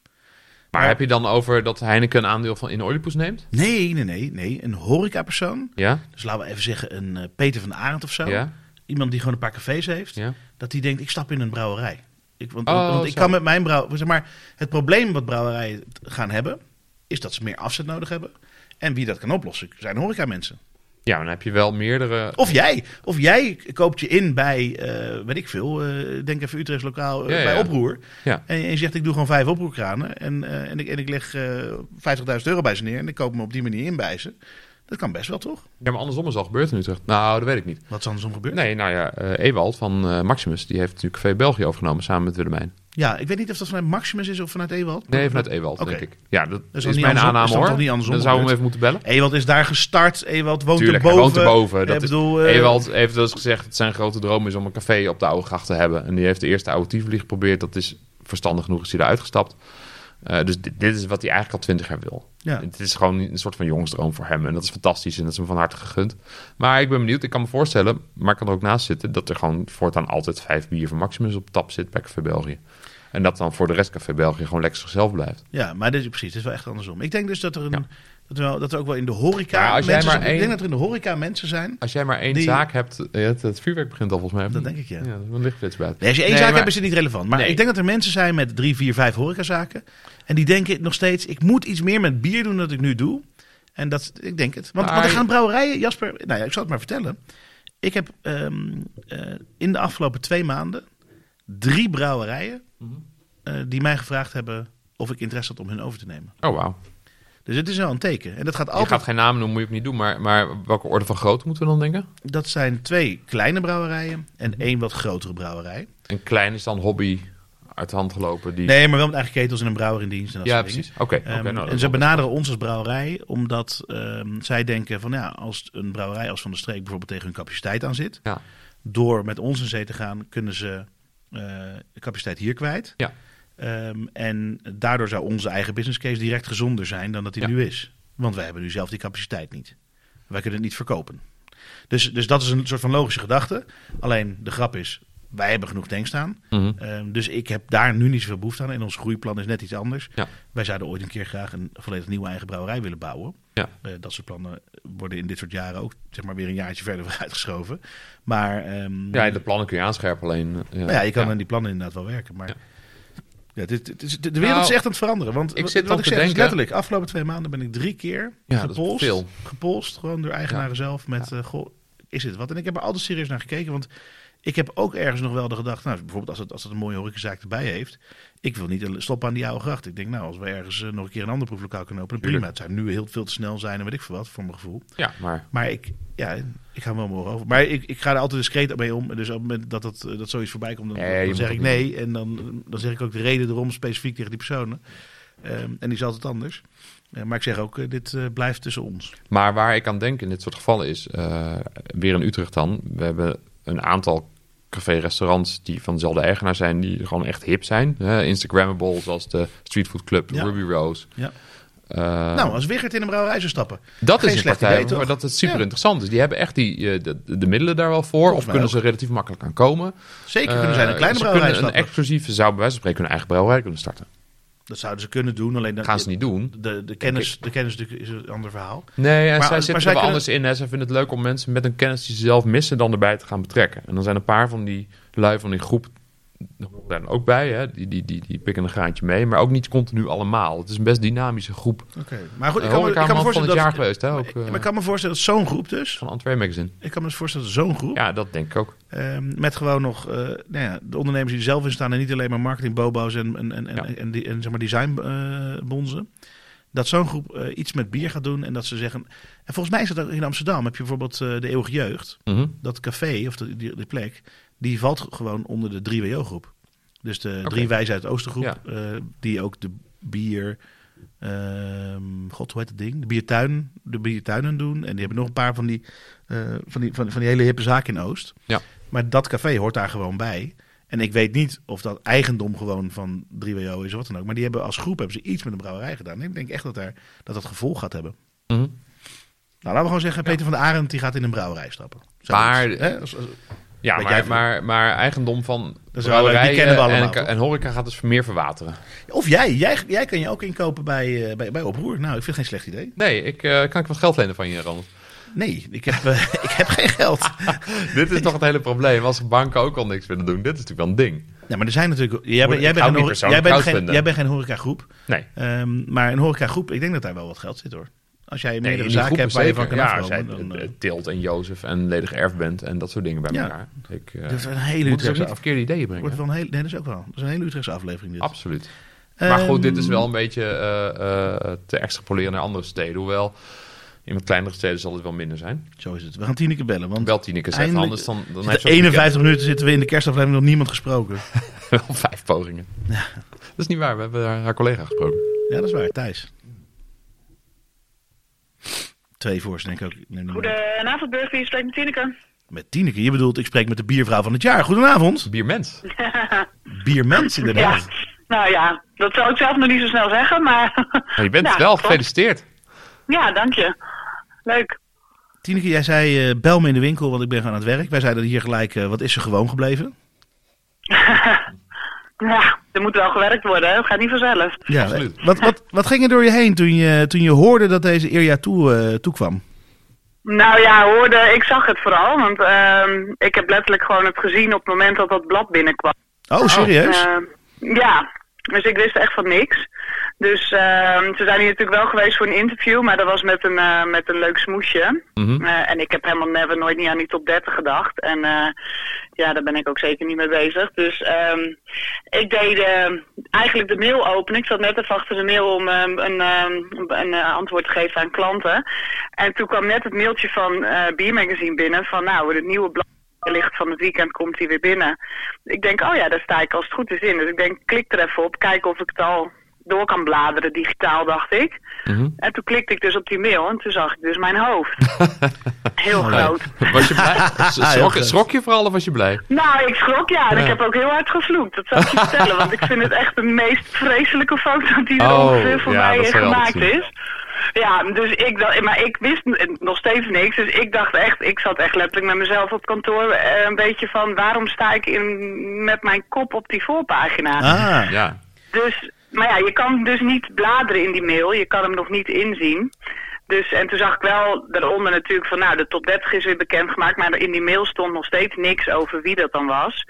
[SPEAKER 1] Maar
[SPEAKER 2] Ja.
[SPEAKER 1] heb je dan over dat Heineken een aandeel van in Oedipus neemt?
[SPEAKER 2] Nee, nee, nee, nee, een horeca persoon.
[SPEAKER 1] Ja?
[SPEAKER 2] Dus laten we even zeggen een eh, Peter van Arend of zo.
[SPEAKER 1] Ja?
[SPEAKER 2] Iemand die gewoon een paar cafés heeft.
[SPEAKER 1] Ja?
[SPEAKER 2] dat die denkt, ik stap in een brouwerij. Ik, want
[SPEAKER 1] Oh,
[SPEAKER 2] want ik
[SPEAKER 1] zo.
[SPEAKER 2] kan met mijn brouwerij... Zeg maar, het probleem wat brouwerijen t- gaan hebben... is dat ze meer afzet nodig hebben. En wie dat kan oplossen, zijn horecamensen.
[SPEAKER 1] Ja, maar dan heb je wel meerdere...
[SPEAKER 2] Of jij. Of jij koopt je in bij, eh, weet ik veel... eh, denk even Utrechts lokaal, eh,
[SPEAKER 1] Ja,
[SPEAKER 2] bij
[SPEAKER 1] ja.
[SPEAKER 2] Oproer.
[SPEAKER 1] Ja.
[SPEAKER 2] En, en je zegt, ik doe gewoon vijf oproerkranen... en, eh, en, ik, en ik leg eh 50.000 euro bij ze neer... en ik koop me op die manier in bij ze. Dat kan best wel, toch?
[SPEAKER 1] Ja, maar andersom is al gebeurd in Utrecht. Nou, dat weet ik niet.
[SPEAKER 2] Wat is andersom gebeurd?
[SPEAKER 1] Nee, nou ja, eh, Ewald van eh, Maximus, die heeft natuurlijk Café België overgenomen samen met Willemijn.
[SPEAKER 2] Ja, ik weet niet of dat vanuit Maximus is of vanuit Ewald.
[SPEAKER 1] Nee, vanuit Ewald,
[SPEAKER 2] Oké.
[SPEAKER 1] denk ik. Ja, dat
[SPEAKER 2] is
[SPEAKER 1] is,
[SPEAKER 2] dan niet
[SPEAKER 1] mijn
[SPEAKER 2] andersom- is
[SPEAKER 1] aanname
[SPEAKER 2] dan
[SPEAKER 1] hoor.
[SPEAKER 2] toch niet
[SPEAKER 1] Dan
[SPEAKER 2] andersom
[SPEAKER 1] zouden we hem
[SPEAKER 2] gebeurd?
[SPEAKER 1] even moeten bellen.
[SPEAKER 2] Ewald is daar gestart. Ewald woont
[SPEAKER 1] Tuurlijk, hij
[SPEAKER 2] erboven.
[SPEAKER 1] woont erboven.
[SPEAKER 2] Ik
[SPEAKER 1] Dat is,
[SPEAKER 2] bedoel, eh,
[SPEAKER 1] Ewald heeft wel eens gezegd dat zijn grote droom is om een café op de Oude Gracht te hebben. En die heeft de eerste Oude Tivoli geprobeerd. Dat is verstandig genoeg, is hij eruit gestapt. Eh, dus dit, dit is wat hij eigenlijk al twintig jaar wil.
[SPEAKER 2] Ja.
[SPEAKER 1] Het is gewoon een soort van jongensdroom voor hem. En dat is fantastisch en dat is hem van harte gegund. Maar ik ben benieuwd, ik kan me voorstellen, maar ik kan er ook naast zitten... dat er gewoon voortaan altijd vijf bier van Maximus op tap zit bij Café België. En dat dan voor de rest Café België gewoon lekker zichzelf blijft.
[SPEAKER 2] Ja, maar dit is precies. Het is wel echt andersom. Ik denk dus dat er een.
[SPEAKER 1] Ja.
[SPEAKER 2] Dat, er wel, dat er ook wel in de horeca.
[SPEAKER 1] Maar als jij
[SPEAKER 2] mensen,
[SPEAKER 1] maar
[SPEAKER 2] Ik
[SPEAKER 1] één-
[SPEAKER 2] denk dat er in de horeca mensen zijn.
[SPEAKER 1] Als jij maar één
[SPEAKER 2] Die-
[SPEAKER 1] zaak hebt, eh, het, het vuurwerk begint al volgens mij.
[SPEAKER 2] Dat denk ik, ja.
[SPEAKER 1] Ja, dat is een lichtflits buiten.
[SPEAKER 2] Nee, als je één
[SPEAKER 1] Nee,
[SPEAKER 2] zaak
[SPEAKER 1] maar-
[SPEAKER 2] hebt, is het niet relevant. Maar
[SPEAKER 1] Nee.
[SPEAKER 2] ik denk dat er mensen zijn met drie, vier, vijf horecazaken. En die denken nog steeds: ik moet iets meer met bier doen dan ik nu doe. En dat, ik denk het. Want,
[SPEAKER 1] Maar-
[SPEAKER 2] want er gaan brouwerijen, Jasper. Nou ja, ik zal het maar vertellen. Ik heb ehm, eh, in de afgelopen twee maanden drie brouwerijen
[SPEAKER 1] Mhm.
[SPEAKER 2] eh, die mij gevraagd hebben of ik interesse had om hun over te nemen.
[SPEAKER 1] Oh, wauw.
[SPEAKER 2] Dus het is wel een teken. En dat gaat
[SPEAKER 1] Je
[SPEAKER 2] altijd.
[SPEAKER 1] gaat geen namen noemen, moet je ook niet doen. Maar, maar welke orde van grootte moeten we dan denken?
[SPEAKER 2] Dat zijn twee kleine brouwerijen en één wat grotere brouwerij.
[SPEAKER 1] Een klein is dan hobby uit de hand gelopen. Die...
[SPEAKER 2] Nee, maar wel met eigen ketels en een brouwer in dienst. En dat
[SPEAKER 1] ja,
[SPEAKER 2] soort
[SPEAKER 1] precies.
[SPEAKER 2] dingen.
[SPEAKER 1] Oké, oké,
[SPEAKER 2] Ehm,
[SPEAKER 1] nou, dat
[SPEAKER 2] en
[SPEAKER 1] is
[SPEAKER 2] ze
[SPEAKER 1] wel-
[SPEAKER 2] benaderen ons als brouwerij omdat ehm, zij denken van ja, als een brouwerij als Van de Streek bijvoorbeeld tegen hun capaciteit aan zit.
[SPEAKER 1] Ja.
[SPEAKER 2] Door met ons in zee te gaan kunnen ze eh, de capaciteit hier kwijt.
[SPEAKER 1] Ja.
[SPEAKER 2] Ehm, en daardoor zou onze eigen business case direct gezonder zijn dan dat die
[SPEAKER 1] Ja.
[SPEAKER 2] nu is. Want wij hebben nu zelf die capaciteit niet. Wij kunnen het niet verkopen. Dus, dus dat is een soort van logische gedachte. Alleen de grap is, wij hebben genoeg tankstaan.
[SPEAKER 1] Mhm.
[SPEAKER 2] Ehm, dus ik heb daar nu niet zoveel behoefte aan. En ons groeiplan is net iets anders.
[SPEAKER 1] Ja.
[SPEAKER 2] Wij zouden ooit een keer graag een volledig nieuwe eigen brouwerij willen bouwen.
[SPEAKER 1] Ja.
[SPEAKER 2] Eh, dat soort plannen worden in dit soort jaren ook zeg maar, weer een jaartje verder [laughs] vooruitgeschoven. Maar ehm,
[SPEAKER 1] ja, de plannen kun je aanscherpen alleen. eh, Ja,
[SPEAKER 2] nou ja, je kan aan die plannen inderdaad wel werken. Maar
[SPEAKER 1] Ja. Nou,
[SPEAKER 2] ja. het is- het is- de wereld is echt aan het veranderen. Want
[SPEAKER 1] ik
[SPEAKER 2] wat-
[SPEAKER 1] zit
[SPEAKER 2] wat
[SPEAKER 1] nog
[SPEAKER 2] ik
[SPEAKER 1] te
[SPEAKER 2] zeg is
[SPEAKER 1] denken-
[SPEAKER 2] letterlijk, afgelopen twee maanden ben ik drie keer
[SPEAKER 1] Ja, dat is
[SPEAKER 2] gepolst.
[SPEAKER 1] veel.
[SPEAKER 2] Gepolst, gewoon door eigenaren zelf. Met, eh, goh, is dit wat? En ik heb er altijd serieus naar gekeken. Want ik heb ook ergens nog wel de gedachte, nou, bijvoorbeeld als het, als het een mooie horecazaak erbij heeft. Ik wil niet stoppen aan die oude gracht. Ik denk, nou, als we ergens eh, nog een keer een ander proeflokaal kunnen openen, prima.
[SPEAKER 1] Tuurlijk.
[SPEAKER 2] Het zou nu heel veel te snel zijn en weet ik veel wat, voor mijn gevoel.
[SPEAKER 1] ja, maar
[SPEAKER 2] Maar ik, ja, ik ga hem wel morgen over. Maar ik, ik ga er altijd discreet mee om. Dus op het moment dat, dat, dat zoiets voorbij komt, dan,
[SPEAKER 1] Nee, je
[SPEAKER 2] dan
[SPEAKER 1] moet
[SPEAKER 2] zeg
[SPEAKER 1] ook
[SPEAKER 2] ik
[SPEAKER 1] niet
[SPEAKER 2] nee. En dan, dan zeg ik ook de reden erom specifiek tegen die personen. Ehm, en die is altijd anders. Eh, maar ik zeg ook, eh, dit eh, blijft tussen ons.
[SPEAKER 1] Maar waar ik aan denk in dit soort gevallen is, eh, weer in Utrecht dan, we hebben een aantal café-restaurants die van dezelfde eigenaar zijn, die gewoon echt hip zijn. hè. Instagrammable, zoals de Street Food Club,
[SPEAKER 2] Ja.
[SPEAKER 1] Ruby Rose.
[SPEAKER 2] Ja.
[SPEAKER 1] Eh,
[SPEAKER 2] nou, als Wigert in een brouwerij zou stappen.
[SPEAKER 1] dat
[SPEAKER 2] geen
[SPEAKER 1] is een
[SPEAKER 2] slecht
[SPEAKER 1] partij
[SPEAKER 2] idee, toch?
[SPEAKER 1] waar dat het super
[SPEAKER 2] Ja.
[SPEAKER 1] interessant is. Die hebben echt die, eh, de, de middelen daar wel voor, of
[SPEAKER 2] mij
[SPEAKER 1] kunnen
[SPEAKER 2] ook.
[SPEAKER 1] ze relatief makkelijk aan komen.
[SPEAKER 2] Zeker kunnen zij een
[SPEAKER 1] Eh,
[SPEAKER 2] kleine
[SPEAKER 1] ze
[SPEAKER 2] brouwerij
[SPEAKER 1] kunnen
[SPEAKER 2] stappen.
[SPEAKER 1] Een exclusieve, zou bij wijze van spreken hun eigen brouwerij kunnen starten.
[SPEAKER 2] Dat zouden ze kunnen doen, alleen dan,
[SPEAKER 1] gaan ze niet doen.
[SPEAKER 2] De, de, kennis, de kennis natuurlijk is een ander verhaal.
[SPEAKER 1] Nee, en
[SPEAKER 2] Maar-
[SPEAKER 1] zij
[SPEAKER 2] maar
[SPEAKER 1] zitten
[SPEAKER 2] zij
[SPEAKER 1] er wel
[SPEAKER 2] kunnen-
[SPEAKER 1] anders in. Hè. Zij vinden het leuk om mensen met een kennis die ze zelf missen dan erbij te gaan betrekken. En dan zijn een paar van die lui van die groep daar horen dan ook bij. Hè. Die, die, die, die pikken een graantje mee, maar ook niet continu allemaal. Het is een best dynamische groep.
[SPEAKER 2] Maar goed,
[SPEAKER 1] Ik
[SPEAKER 2] ik kan, me- ik kan me
[SPEAKER 1] Eh, van het
[SPEAKER 2] voorstellen dat...
[SPEAKER 1] jaar geweest, hè, ook,
[SPEAKER 2] maar, maar
[SPEAKER 1] eh,
[SPEAKER 2] ik kan me voorstellen dat zo'n groep dus...
[SPEAKER 1] van Antwerp Magazine.
[SPEAKER 2] Ik kan me dus voorstellen dat zo'n groep...
[SPEAKER 1] Ja, dat denk ik ook.
[SPEAKER 2] ehm, met gewoon nog eh, nou ja, de ondernemers die er zelf in staan... en niet alleen maar marketingbobo's en, en, en, en,
[SPEAKER 1] Ja.
[SPEAKER 2] en, die- en, zeg maar designbonzen... dat zo'n groep eh, iets met bier gaat doen en dat ze zeggen... En volgens mij is dat ook in Amsterdam. Heb je bijvoorbeeld eh, de Eeuwige Jeugd.
[SPEAKER 1] Mhm.
[SPEAKER 2] Dat café of de, die, die plek, die valt gewoon onder de 3WO-groep. Dus de
[SPEAKER 1] Oké.
[SPEAKER 2] drie wijzen uit het Oostergroep,
[SPEAKER 1] Ja.
[SPEAKER 2] eh, die ook de bier... ehm, God, hoe heet het ding? De, biertuin, de biertuinen doen. En die hebben nog een paar van die, eh, van die, van, van die hele hippe zaken in Oost.
[SPEAKER 1] Ja.
[SPEAKER 2] Maar dat café hoort daar gewoon bij. En ik weet niet of dat eigendom gewoon van 3WO is of wat dan ook. Maar die hebben als groep hebben ze iets met een brouwerij gedaan. En ik denk echt dat daar, dat, dat gevolg gaat hebben.
[SPEAKER 1] Mhm.
[SPEAKER 2] Nou, laten we gewoon zeggen, Peter van der Arend die gaat in een brouwerij stappen.
[SPEAKER 1] Maar-
[SPEAKER 2] Zoiets, hè? Als- als-
[SPEAKER 1] Ja,
[SPEAKER 2] Weet jij
[SPEAKER 1] maar, maar,
[SPEAKER 2] veel?
[SPEAKER 1] maar eigendom van
[SPEAKER 2] wel
[SPEAKER 1] brouwerijen
[SPEAKER 2] leuk, die kennen we
[SPEAKER 1] en-
[SPEAKER 2] allemaal,
[SPEAKER 1] en,
[SPEAKER 2] toch?
[SPEAKER 1] horeca gaat dus meer verwateren.
[SPEAKER 2] Of jij, jij, jij kan je ook inkopen bij, eh bij, bij Oproer. Nou, ik vind het geen slecht idee.
[SPEAKER 1] Nee, ik, eh, kan ik wat geld lenen van je, [laughs] Ronald?
[SPEAKER 2] Nee, ik heb, eh, [laughs] ik heb geen geld.
[SPEAKER 1] Dit is toch het hele probleem. Als banken ook al niks willen doen, dit is natuurlijk wel een ding.
[SPEAKER 2] Ja, maar er zijn natuurlijk... Jij, bent-
[SPEAKER 1] Ik
[SPEAKER 2] jij,
[SPEAKER 1] hou
[SPEAKER 2] bent, geen,
[SPEAKER 1] niet
[SPEAKER 2] hore-
[SPEAKER 1] persoonlijk
[SPEAKER 2] jij, bent,
[SPEAKER 1] koud
[SPEAKER 2] geen,
[SPEAKER 1] vinden.
[SPEAKER 2] jij bent geen horecagroep.
[SPEAKER 1] Nee.
[SPEAKER 2] Ehm, maar een horecagroep, ik denk dat daar wel wat geld zit hoor. Als jij
[SPEAKER 1] Nee,
[SPEAKER 2] meerdere
[SPEAKER 1] in die
[SPEAKER 2] zaken
[SPEAKER 1] groepen
[SPEAKER 2] hebt waar je van
[SPEAKER 1] zeker.
[SPEAKER 2] kan
[SPEAKER 1] ja,
[SPEAKER 2] afkomen,
[SPEAKER 1] zij,
[SPEAKER 2] dan... eh,
[SPEAKER 1] eh, Tilt en Jozef en ledig erfbent en dat soort dingen bij
[SPEAKER 2] Ja.
[SPEAKER 1] elkaar. Ik, eh,
[SPEAKER 2] dat is een
[SPEAKER 1] moet
[SPEAKER 2] hele
[SPEAKER 1] dus ook niet
[SPEAKER 2] Utrechtse aflevering.
[SPEAKER 1] verkeerde ideeën brengen.
[SPEAKER 2] Wordt wel een hele, nee, dat is ook wel. Dat is een hele Utrechtse aflevering dit.
[SPEAKER 1] Absoluut. Maar
[SPEAKER 2] Ehm,
[SPEAKER 1] goed, dit is wel een beetje eh, eh, te extrapoleren naar andere steden. Hoewel, in wat kleinere steden zal het wel minder zijn.
[SPEAKER 2] Zo is het. We gaan Tineke bellen, want...
[SPEAKER 1] Wel Tineke zegt,
[SPEAKER 2] Eindelijk-
[SPEAKER 1] anders dan, dan
[SPEAKER 2] zitten
[SPEAKER 1] heeft ze ook niet-
[SPEAKER 2] 51 minuten zitten we in de kerstaflevering nog niemand
[SPEAKER 1] [laughs]
[SPEAKER 2] gesproken.
[SPEAKER 1] wel vijf pogingen. Dat is niet waar, we hebben haar, haar collega gesproken.
[SPEAKER 2] Ja, dat is waar. Thijs. Twee voor, denk ik ook. Neem die maar.
[SPEAKER 4] Goedenavond, Burger. Je spreekt met Tineke.
[SPEAKER 2] Met Tineke. Je bedoelt, ik spreek met de biervrouw van het jaar. Goedenavond.
[SPEAKER 1] Biermens.
[SPEAKER 2] Biermens
[SPEAKER 4] Ja.
[SPEAKER 2] inderdaad.
[SPEAKER 4] Nou ja, dat zou ik zelf nog niet zo snel zeggen, maar... [laughs]
[SPEAKER 1] Maar je bent
[SPEAKER 4] Nou,
[SPEAKER 1] wel
[SPEAKER 4] klopt.
[SPEAKER 1] gefeliciteerd.
[SPEAKER 4] Ja, dank je. Leuk.
[SPEAKER 2] Tineke, jij zei, eh, bel me in de winkel, want ik ben gewoon aan het werk. Wij zeiden hier gelijk, eh, wat is ze gewoon gebleven?
[SPEAKER 4] Ja, er moet wel gewerkt worden, hè. Het gaat niet vanzelf.
[SPEAKER 2] Ja,
[SPEAKER 1] Absoluut.
[SPEAKER 2] eh, Wat, wat, wat ging er door je heen toen je, toen je hoorde dat deze Irja toe, eh, toekwam?
[SPEAKER 4] Nou ja, hoorde, ik zag het vooral, want ehm, ik heb letterlijk gewoon het gezien op het moment dat dat blad binnenkwam.
[SPEAKER 2] Oh, serieus?
[SPEAKER 4] Eh, ja, dus ik wist echt van niks. Dus ehm, ze zijn hier natuurlijk wel geweest voor een interview, maar dat was met een, eh, met een leuk smoesje.
[SPEAKER 1] Mhm.
[SPEAKER 4] Eh, en ik heb helemaal never, nooit niet aan die top 30 gedacht. En eh, ja, daar ben ik ook zeker niet mee bezig. Dus ehm, ik deed eh, eigenlijk de mail open. Ik zat net even achter de mail om ehm, een, ehm, een eh, antwoord te geven aan klanten. En toen kwam net het mailtje van eh Beer Magazine binnen van nou, het nieuwe blad licht van het weekend komt hij weer binnen. Ik denk, oh ja, daar sta ik als het goed is in. Dus ik denk, klik er even op, kijk of ik het al door kan bladeren, digitaal dacht ik.
[SPEAKER 1] Mhm.
[SPEAKER 4] En toen klikte ik dus op die mail en toen zag ik dus mijn hoofd. Heel groot.
[SPEAKER 1] Was je
[SPEAKER 4] [laughs]
[SPEAKER 1] blij? Schrok,
[SPEAKER 2] goed.
[SPEAKER 1] schrok je vooral of was je blij?
[SPEAKER 4] Nou, ik schrok ja. En ik heb ook heel hard gevloekt. Dat zal ik
[SPEAKER 1] [laughs]
[SPEAKER 4] je vertellen. Want ik vind het echt de meest vreselijke foto die er
[SPEAKER 1] Oh,
[SPEAKER 4] ongeveer voor
[SPEAKER 1] ja,
[SPEAKER 4] mij
[SPEAKER 1] dat
[SPEAKER 4] eh,
[SPEAKER 1] zal je altijd
[SPEAKER 4] gemaakt is. Ja, dus ik dacht, maar ik wist n- nog steeds niks. Dus ik dacht echt, ik zat echt letterlijk met mezelf op kantoor eh, een beetje van waarom sta ik in, met mijn kop op die voorpagina?
[SPEAKER 2] Ah,
[SPEAKER 4] [laughs]
[SPEAKER 1] Ja.
[SPEAKER 4] Dus, maar ja, je kan dus niet bladeren in die mail. Je kan hem nog niet inzien. Dus, en toen zag ik wel daaronder natuurlijk van, nou, de top 30 is weer bekendgemaakt. Maar in die mail stond nog steeds niks over wie dat dan was.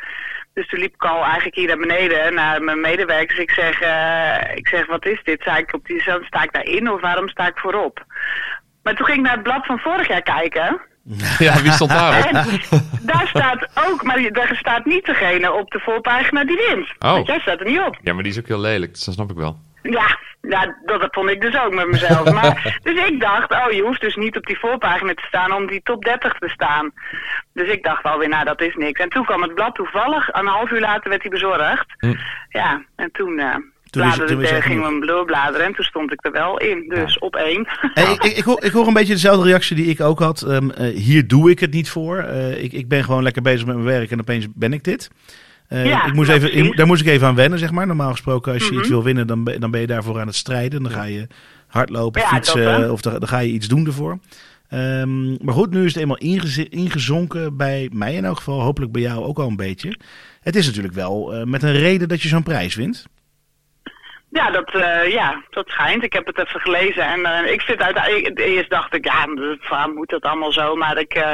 [SPEAKER 4] Dus toen liep ik al eigenlijk hier naar beneden naar mijn medewerkers. Ik zeg, eh, ik zeg wat is dit? Sta ik, op die, sta ik daarin of waarom sta ik voorop? Maar toen ging ik naar het blad van vorig jaar kijken.
[SPEAKER 1] ja, wie stond daarop?
[SPEAKER 4] En daar staat ook, maar daar staat niet degene op de voorpagina die wint.
[SPEAKER 1] Oh.
[SPEAKER 4] Want jij staat er niet op.
[SPEAKER 1] Ja, maar die is ook heel lelijk, dus dat snap ik wel.
[SPEAKER 4] Ja, ja dat, dat vond ik dus ook met mezelf. Maar, dus ik dacht, oh, je hoeft dus niet op die voorpagina te staan om die top 30 te staan. Dus ik dacht alweer, nou, dat is niks. En toen kwam het blad toevallig, een half uur later werd hij bezorgd.
[SPEAKER 1] Hm.
[SPEAKER 4] Ja, en toen, eh,
[SPEAKER 2] Toen is-
[SPEAKER 4] bladerde
[SPEAKER 2] toen is
[SPEAKER 4] ik,
[SPEAKER 2] hij
[SPEAKER 4] eh, ging
[SPEAKER 2] genoeg.
[SPEAKER 4] hem doorbladeren en toen stond ik er wel in. Dus op één. [laughs]
[SPEAKER 2] Hey, ik, ik, ik, hoor, ik hoor een beetje dezelfde reactie die ik ook had. Ehm, eh, hier doe ik het niet voor. Eh, ik, ik ben gewoon lekker bezig met mijn werk en opeens ben ik dit. Eh,
[SPEAKER 4] Ja,
[SPEAKER 2] ik moest
[SPEAKER 4] ja,
[SPEAKER 2] even, ik
[SPEAKER 4] precies.
[SPEAKER 2] mo- daar moest ik even aan wennen, zeg maar. Normaal gesproken, als je
[SPEAKER 4] Mhm.
[SPEAKER 2] iets wil winnen, dan ben, dan ben je daarvoor aan het strijden. Dan ga je hardlopen,
[SPEAKER 4] Ja, dat
[SPEAKER 2] fietsen
[SPEAKER 4] wel.
[SPEAKER 2] of dan, dan ga je iets doen ervoor. Ehm, maar goed, nu is het eenmaal ingezi- ingezonken bij mij in elk geval. Hopelijk bij jou ook al een beetje. Het is natuurlijk wel eh, met een reden dat je zo'n prijs wint.
[SPEAKER 4] Ja, dat, eh, ja, dat schijnt. Ik heb het even gelezen. En eh, ik zit uiteindelijk. Eerst dacht ik, ja, waar moet dat allemaal zo? Maar ik, eh,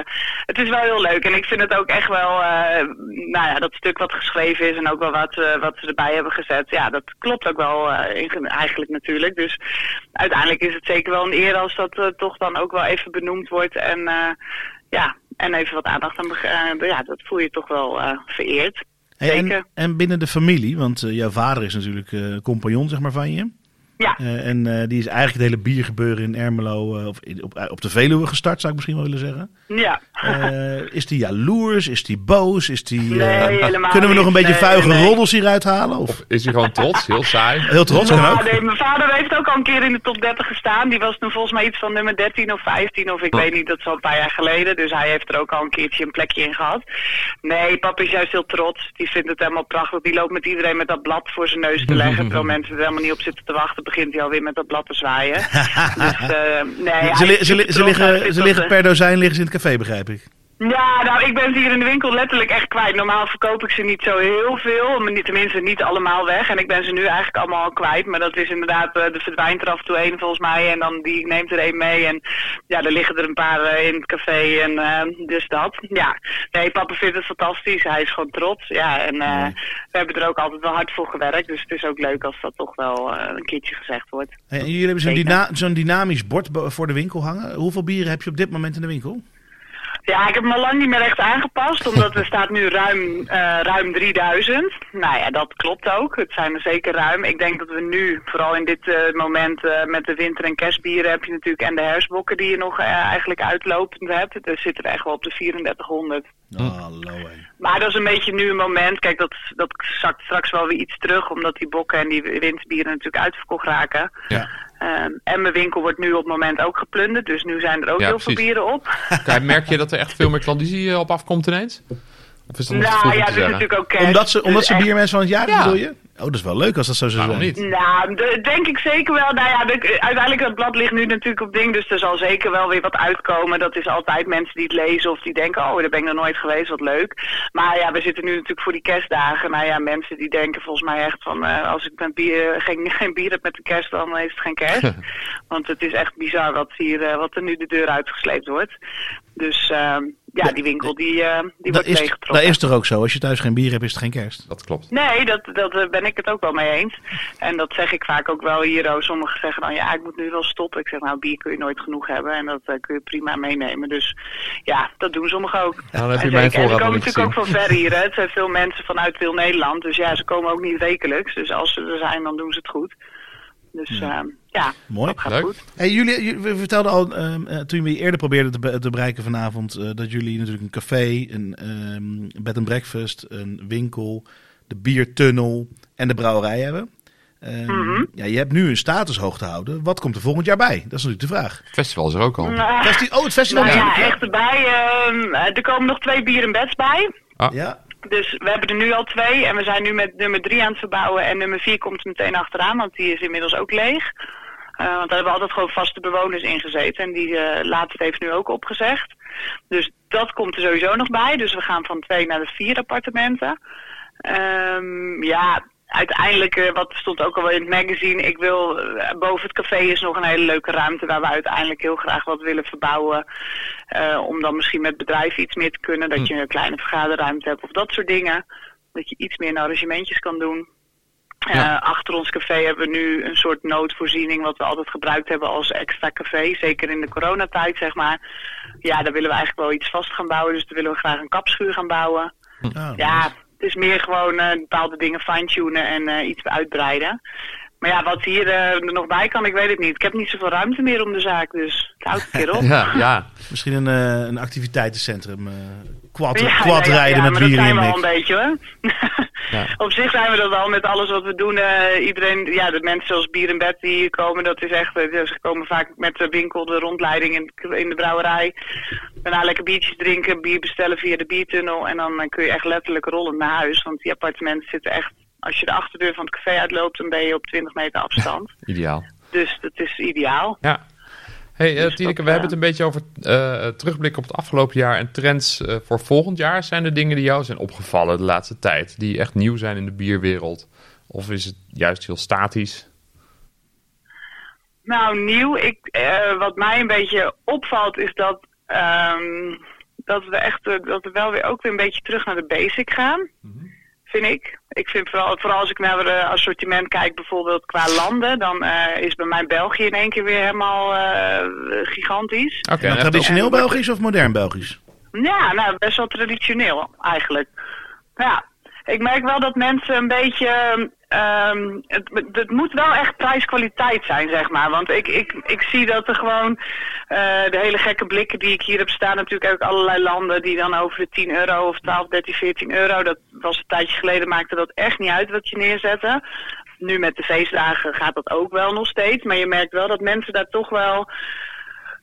[SPEAKER 4] het is wel heel leuk. En ik vind het ook echt wel. eh, nou ja, dat stuk wat geschreven is en ook wel wat, eh, wat ze erbij hebben gezet. Ja, dat klopt ook wel eh, in- eigenlijk natuurlijk. Dus uiteindelijk is het zeker wel een eer als dat eh, toch dan ook wel even benoemd wordt. En eh, ja, en even wat aandacht aan. bege- eh, ja, dat voel je toch wel eh, vereerd.
[SPEAKER 2] Hey, en,
[SPEAKER 4] Zeker.
[SPEAKER 2] en binnen de familie, want eh, jouw vader is natuurlijk eh, compagnon zeg maar, van je.
[SPEAKER 4] Ja.
[SPEAKER 2] Eh, en eh, die is eigenlijk het hele biergebeuren in Ermelo, eh, of in- op, op de Veluwe gestart, zou ik misschien wel willen zeggen.
[SPEAKER 4] Ja.
[SPEAKER 2] Eh, is die jaloers? Is die boos? Is die, eh,
[SPEAKER 4] Nee, helemaal
[SPEAKER 2] kunnen we nog een
[SPEAKER 4] niet.
[SPEAKER 2] beetje
[SPEAKER 4] Nee,
[SPEAKER 2] vuige
[SPEAKER 4] nee.
[SPEAKER 2] roddels hieruit halen? Of,
[SPEAKER 1] Is hij gewoon trots? Heel saai.
[SPEAKER 2] heel trots kan
[SPEAKER 4] Ja,
[SPEAKER 2] ook.
[SPEAKER 4] nee, mijn vader heeft ook al een keer in de top 30 gestaan. Die was toen volgens mij iets van nummer 13 of 15 of ik weet niet, dat is al een paar jaar geleden. Dus hij heeft er ook al een keertje een plekje in gehad. Nee, papa is juist heel trots. Die vindt het helemaal prachtig. Die loopt met iedereen met dat blad voor zijn neus te
[SPEAKER 2] [laughs]
[SPEAKER 4] leggen. Terwijl mensen er helemaal niet op zitten te wachten, begint hij alweer met dat blad te
[SPEAKER 2] [laughs]
[SPEAKER 4] zwaaien. dus, eh, nee, hij
[SPEAKER 2] Ze, li-
[SPEAKER 4] is
[SPEAKER 2] ze, li-
[SPEAKER 4] super
[SPEAKER 2] ze
[SPEAKER 4] trots. Hij
[SPEAKER 2] liggen,
[SPEAKER 4] vindt
[SPEAKER 2] ze
[SPEAKER 4] dat,
[SPEAKER 2] liggen
[SPEAKER 4] eh,
[SPEAKER 2] per dozijn liggen ze in het café, begrijp ik.
[SPEAKER 4] ja, nou, ik ben ze hier in de winkel letterlijk echt kwijt. Normaal verkoop ik ze niet zo heel veel, maar niet- tenminste niet allemaal weg. En ik ben ze nu eigenlijk allemaal al kwijt, maar dat is inderdaad, eh, er verdwijnt er af en toe één volgens mij. En dan die neemt er één mee en ja, er liggen er een paar eh, in het café en eh, dus dat. Ja, nee, papa vindt het fantastisch. Hij is gewoon trots, ja. En eh, we hebben er ook altijd wel hard voor gewerkt, dus het is ook leuk als dat toch wel eh, een keertje gezegd wordt.
[SPEAKER 2] Hey, en jullie hebben zo'n,
[SPEAKER 4] Zeker.
[SPEAKER 2] dyna- zo'n dynamisch bord bo- voor de winkel hangen. Hoeveel bieren heb je op dit moment in de winkel?
[SPEAKER 4] Ja, ik heb me al lang niet meer echt aangepast, omdat er staat nu ruim, eh, ruim 3000. Nou ja, dat klopt ook. Het zijn er zeker ruim. Ik denk dat we nu, vooral in dit eh, moment eh, met de winter- en kerstbieren, heb je natuurlijk en de hersbokken die je nog eh, eigenlijk uitlopend hebt. Dus zitten we echt wel op de 3400.
[SPEAKER 1] Hm.
[SPEAKER 2] Oh, Hallo, hé.
[SPEAKER 4] Maar dat is een beetje nu een moment. Kijk, dat, dat zakt straks wel weer iets terug, omdat die bokken en die winterbieren natuurlijk uitverkocht raken.
[SPEAKER 1] Ja.
[SPEAKER 4] Ehm, en mijn winkel wordt nu op het moment ook geplunderd, dus nu zijn er ook
[SPEAKER 1] Ja,
[SPEAKER 4] heel
[SPEAKER 1] precies.
[SPEAKER 4] veel bieren op.
[SPEAKER 1] [laughs] Kijk, merk je dat er echt veel meer klandizie eh, op afkomt ineens? Of is dat nog te vroeg
[SPEAKER 4] Nou
[SPEAKER 1] om te
[SPEAKER 4] ja, dat is
[SPEAKER 1] zeggen?
[SPEAKER 4] natuurlijk ook kerst.
[SPEAKER 2] Omdat ze, omdat
[SPEAKER 4] Dus
[SPEAKER 2] ze
[SPEAKER 4] echt-
[SPEAKER 2] biermens van het jaar
[SPEAKER 1] Ja.
[SPEAKER 2] bedoel je? Oh, dat is wel leuk als dat zo zou
[SPEAKER 1] Waarom
[SPEAKER 2] zijn.
[SPEAKER 1] niet?
[SPEAKER 4] Nou, de- denk ik zeker wel. Nou ja, de- uiteindelijk dat blad ligt nu natuurlijk op ding, dus er zal zeker wel weer wat uitkomen. Dat is altijd mensen die het lezen of die denken, oh, daar ben ik nog nooit geweest, wat leuk. Maar ja, we zitten nu natuurlijk voor die kerstdagen. Nou ja, mensen die denken volgens mij echt van, eh, als ik met bier, geen, [laughs] geen bier heb met de kerst, dan is het geen
[SPEAKER 2] [laughs]
[SPEAKER 4] kerst. Want het is echt bizar wat, hier, eh, wat er nu de deur uitgesleept wordt. Dus ehm, ja, die winkel die, eh, die
[SPEAKER 2] Dat
[SPEAKER 4] wordt
[SPEAKER 2] is,
[SPEAKER 4] leeggetrokken.
[SPEAKER 2] dat is toch ook zo? Als je thuis geen bier hebt, is het geen kerst.
[SPEAKER 1] Dat klopt.
[SPEAKER 4] Nee, dat, dat eh, ben ik het ook wel mee eens. En dat zeg ik vaak ook wel hier. oh, Sommigen zeggen dan, ja, ik moet nu wel stoppen. Ik zeg, nou, bier kun je nooit genoeg hebben. En dat eh, kun je prima meenemen. Dus ja, dat doen sommigen ook.
[SPEAKER 1] dan heb je
[SPEAKER 4] En
[SPEAKER 1] mijn
[SPEAKER 4] zeker- en ze
[SPEAKER 1] voorraad nog
[SPEAKER 4] komen
[SPEAKER 1] niet
[SPEAKER 4] natuurlijk ook
[SPEAKER 1] gezien.
[SPEAKER 4] van ver hier.
[SPEAKER 1] [laughs]
[SPEAKER 4] Hè. Het zijn veel mensen vanuit heel Nederland. Dus ja, ze komen ook niet wekelijks. Dus als ze er zijn, dan doen ze het goed. Dus ja, ja
[SPEAKER 2] Mooi.
[SPEAKER 4] dat gaat
[SPEAKER 1] Leuk.
[SPEAKER 4] goed.
[SPEAKER 2] Hey, jullie, jullie- we vertelden al, ehm, eh, toen we je eerder probeerden te, be- te bereiken vanavond, eh, dat jullie natuurlijk een café, een ehm, bed and breakfast, een winkel, de biertunnel en de brouwerij hebben. Ehm,
[SPEAKER 4] Mhm.
[SPEAKER 2] ja, je hebt nu een status hoog te houden. Wat komt er volgend jaar bij? Dat is natuurlijk de vraag.
[SPEAKER 1] Het festival is er ook al.
[SPEAKER 4] Nou,
[SPEAKER 2] Festi- oh, het festival.
[SPEAKER 4] nou ja,
[SPEAKER 2] natuurlijk, hè?
[SPEAKER 4] echt erbij. ehm, eh, er komen nog twee bier en beds bij.
[SPEAKER 2] ja.
[SPEAKER 4] Dus we hebben er nu al twee en we zijn nu met nummer drie aan het verbouwen. En nummer vier komt er meteen achteraan, want die is inmiddels ook leeg. Eh, want daar hebben altijd gewoon vaste bewoners in gezeten. En die eh, laatste heeft nu ook opgezegd. Dus dat komt er sowieso nog bij. Dus we gaan van twee naar de vier appartementen. Ehm, ja, uiteindelijk, eh, wat stond ook al wel in het magazine, ik wil, eh, boven het café is nog een hele leuke ruimte waar we uiteindelijk heel graag wat willen verbouwen. Eh, om dan misschien met bedrijven iets meer te kunnen, dat je een kleine vergaderruimte hebt of dat soort dingen. Dat je iets meer in arrangementjes kan doen. Eh,
[SPEAKER 1] Ja.
[SPEAKER 4] achter ons café hebben we nu een soort noodvoorziening, wat we altijd gebruikt hebben als extra café. Zeker in de coronatijd, zeg maar. Ja, daar willen we eigenlijk wel iets vast gaan bouwen. Dus daar willen we graag een kapschuur gaan bouwen.
[SPEAKER 2] Ah,
[SPEAKER 4] Ja, het is meer gewoon eh, bepaalde dingen fine-tunen en eh, iets uitbreiden. Maar ja, wat hier eh, er nog bij kan, ik weet het niet. Ik heb niet zoveel ruimte meer om de zaak, dus het houdt een keer
[SPEAKER 1] [laughs]
[SPEAKER 4] op.
[SPEAKER 1] Ja, ja.
[SPEAKER 2] Misschien een, eh, een activiteitencentrum. eh quad,
[SPEAKER 4] Ja,
[SPEAKER 2] quad
[SPEAKER 4] ja, ja,
[SPEAKER 2] rijden
[SPEAKER 4] ja,
[SPEAKER 2] met
[SPEAKER 4] maar dat
[SPEAKER 2] bier
[SPEAKER 4] zijn
[SPEAKER 2] in
[SPEAKER 4] we al een
[SPEAKER 2] mix.
[SPEAKER 4] beetje hoor.
[SPEAKER 1] Ja.
[SPEAKER 4] [laughs] Op zich zijn we dat al met alles wat we doen. eh, iedereen, ja, de mensen zoals Bier en Bed die hier komen, dat is echt, eh, ze komen vaak met de winkel, de rondleiding in, in de brouwerij. Daarna lekker biertjes drinken, bier bestellen via de biertunnel. En dan eh, kun je echt letterlijk rollend naar huis, want die appartementen zitten echt, als je de achterdeur van het café uitloopt, dan ben je op 20 meter
[SPEAKER 2] [laughs]
[SPEAKER 4] afstand.
[SPEAKER 1] Ideaal.
[SPEAKER 4] dus dat is ideaal.
[SPEAKER 1] Ja. Hey, eh,
[SPEAKER 4] Dus
[SPEAKER 1] Tineke,
[SPEAKER 4] dat,
[SPEAKER 1] we
[SPEAKER 4] eh,
[SPEAKER 1] hebben het een beetje over eh terugblik op het afgelopen jaar en trends eh, voor volgend jaar. Zijn er dingen die jou zijn opgevallen de laatste tijd, die echt nieuw zijn in de bierwereld? Of is het juist heel statisch?
[SPEAKER 4] Nou, nieuw. Ik, eh, wat mij een beetje opvalt is dat, ehm, dat we echt eh, dat we wel weer ook weer een beetje terug naar de basic gaan. Vind ik. Ik vind vooral, vooral als ik naar het assortiment kijk, bijvoorbeeld qua landen, dan eh, is bij mij België in één keer weer helemaal eh, gigantisch.
[SPEAKER 1] Oké,
[SPEAKER 2] En dan
[SPEAKER 1] echt op-
[SPEAKER 2] traditioneel Belgisch of modern Belgisch?
[SPEAKER 4] Ja, nou, best wel traditioneel eigenlijk. Ja, ik merk wel dat mensen een beetje... ehm, het, het moet wel echt prijs-kwaliteit zijn, zeg maar. Want ik, ik, ik zie dat er gewoon eh, de hele gekke blikken die ik hier heb staan... natuurlijk ook allerlei landen die dan over de 10 euro of 12, 13, 14 euro... dat was een tijdje geleden, maakte dat echt niet uit wat je neerzette. Nu met de feestdagen gaat dat ook wel nog steeds. Maar je merkt wel dat mensen daar toch wel...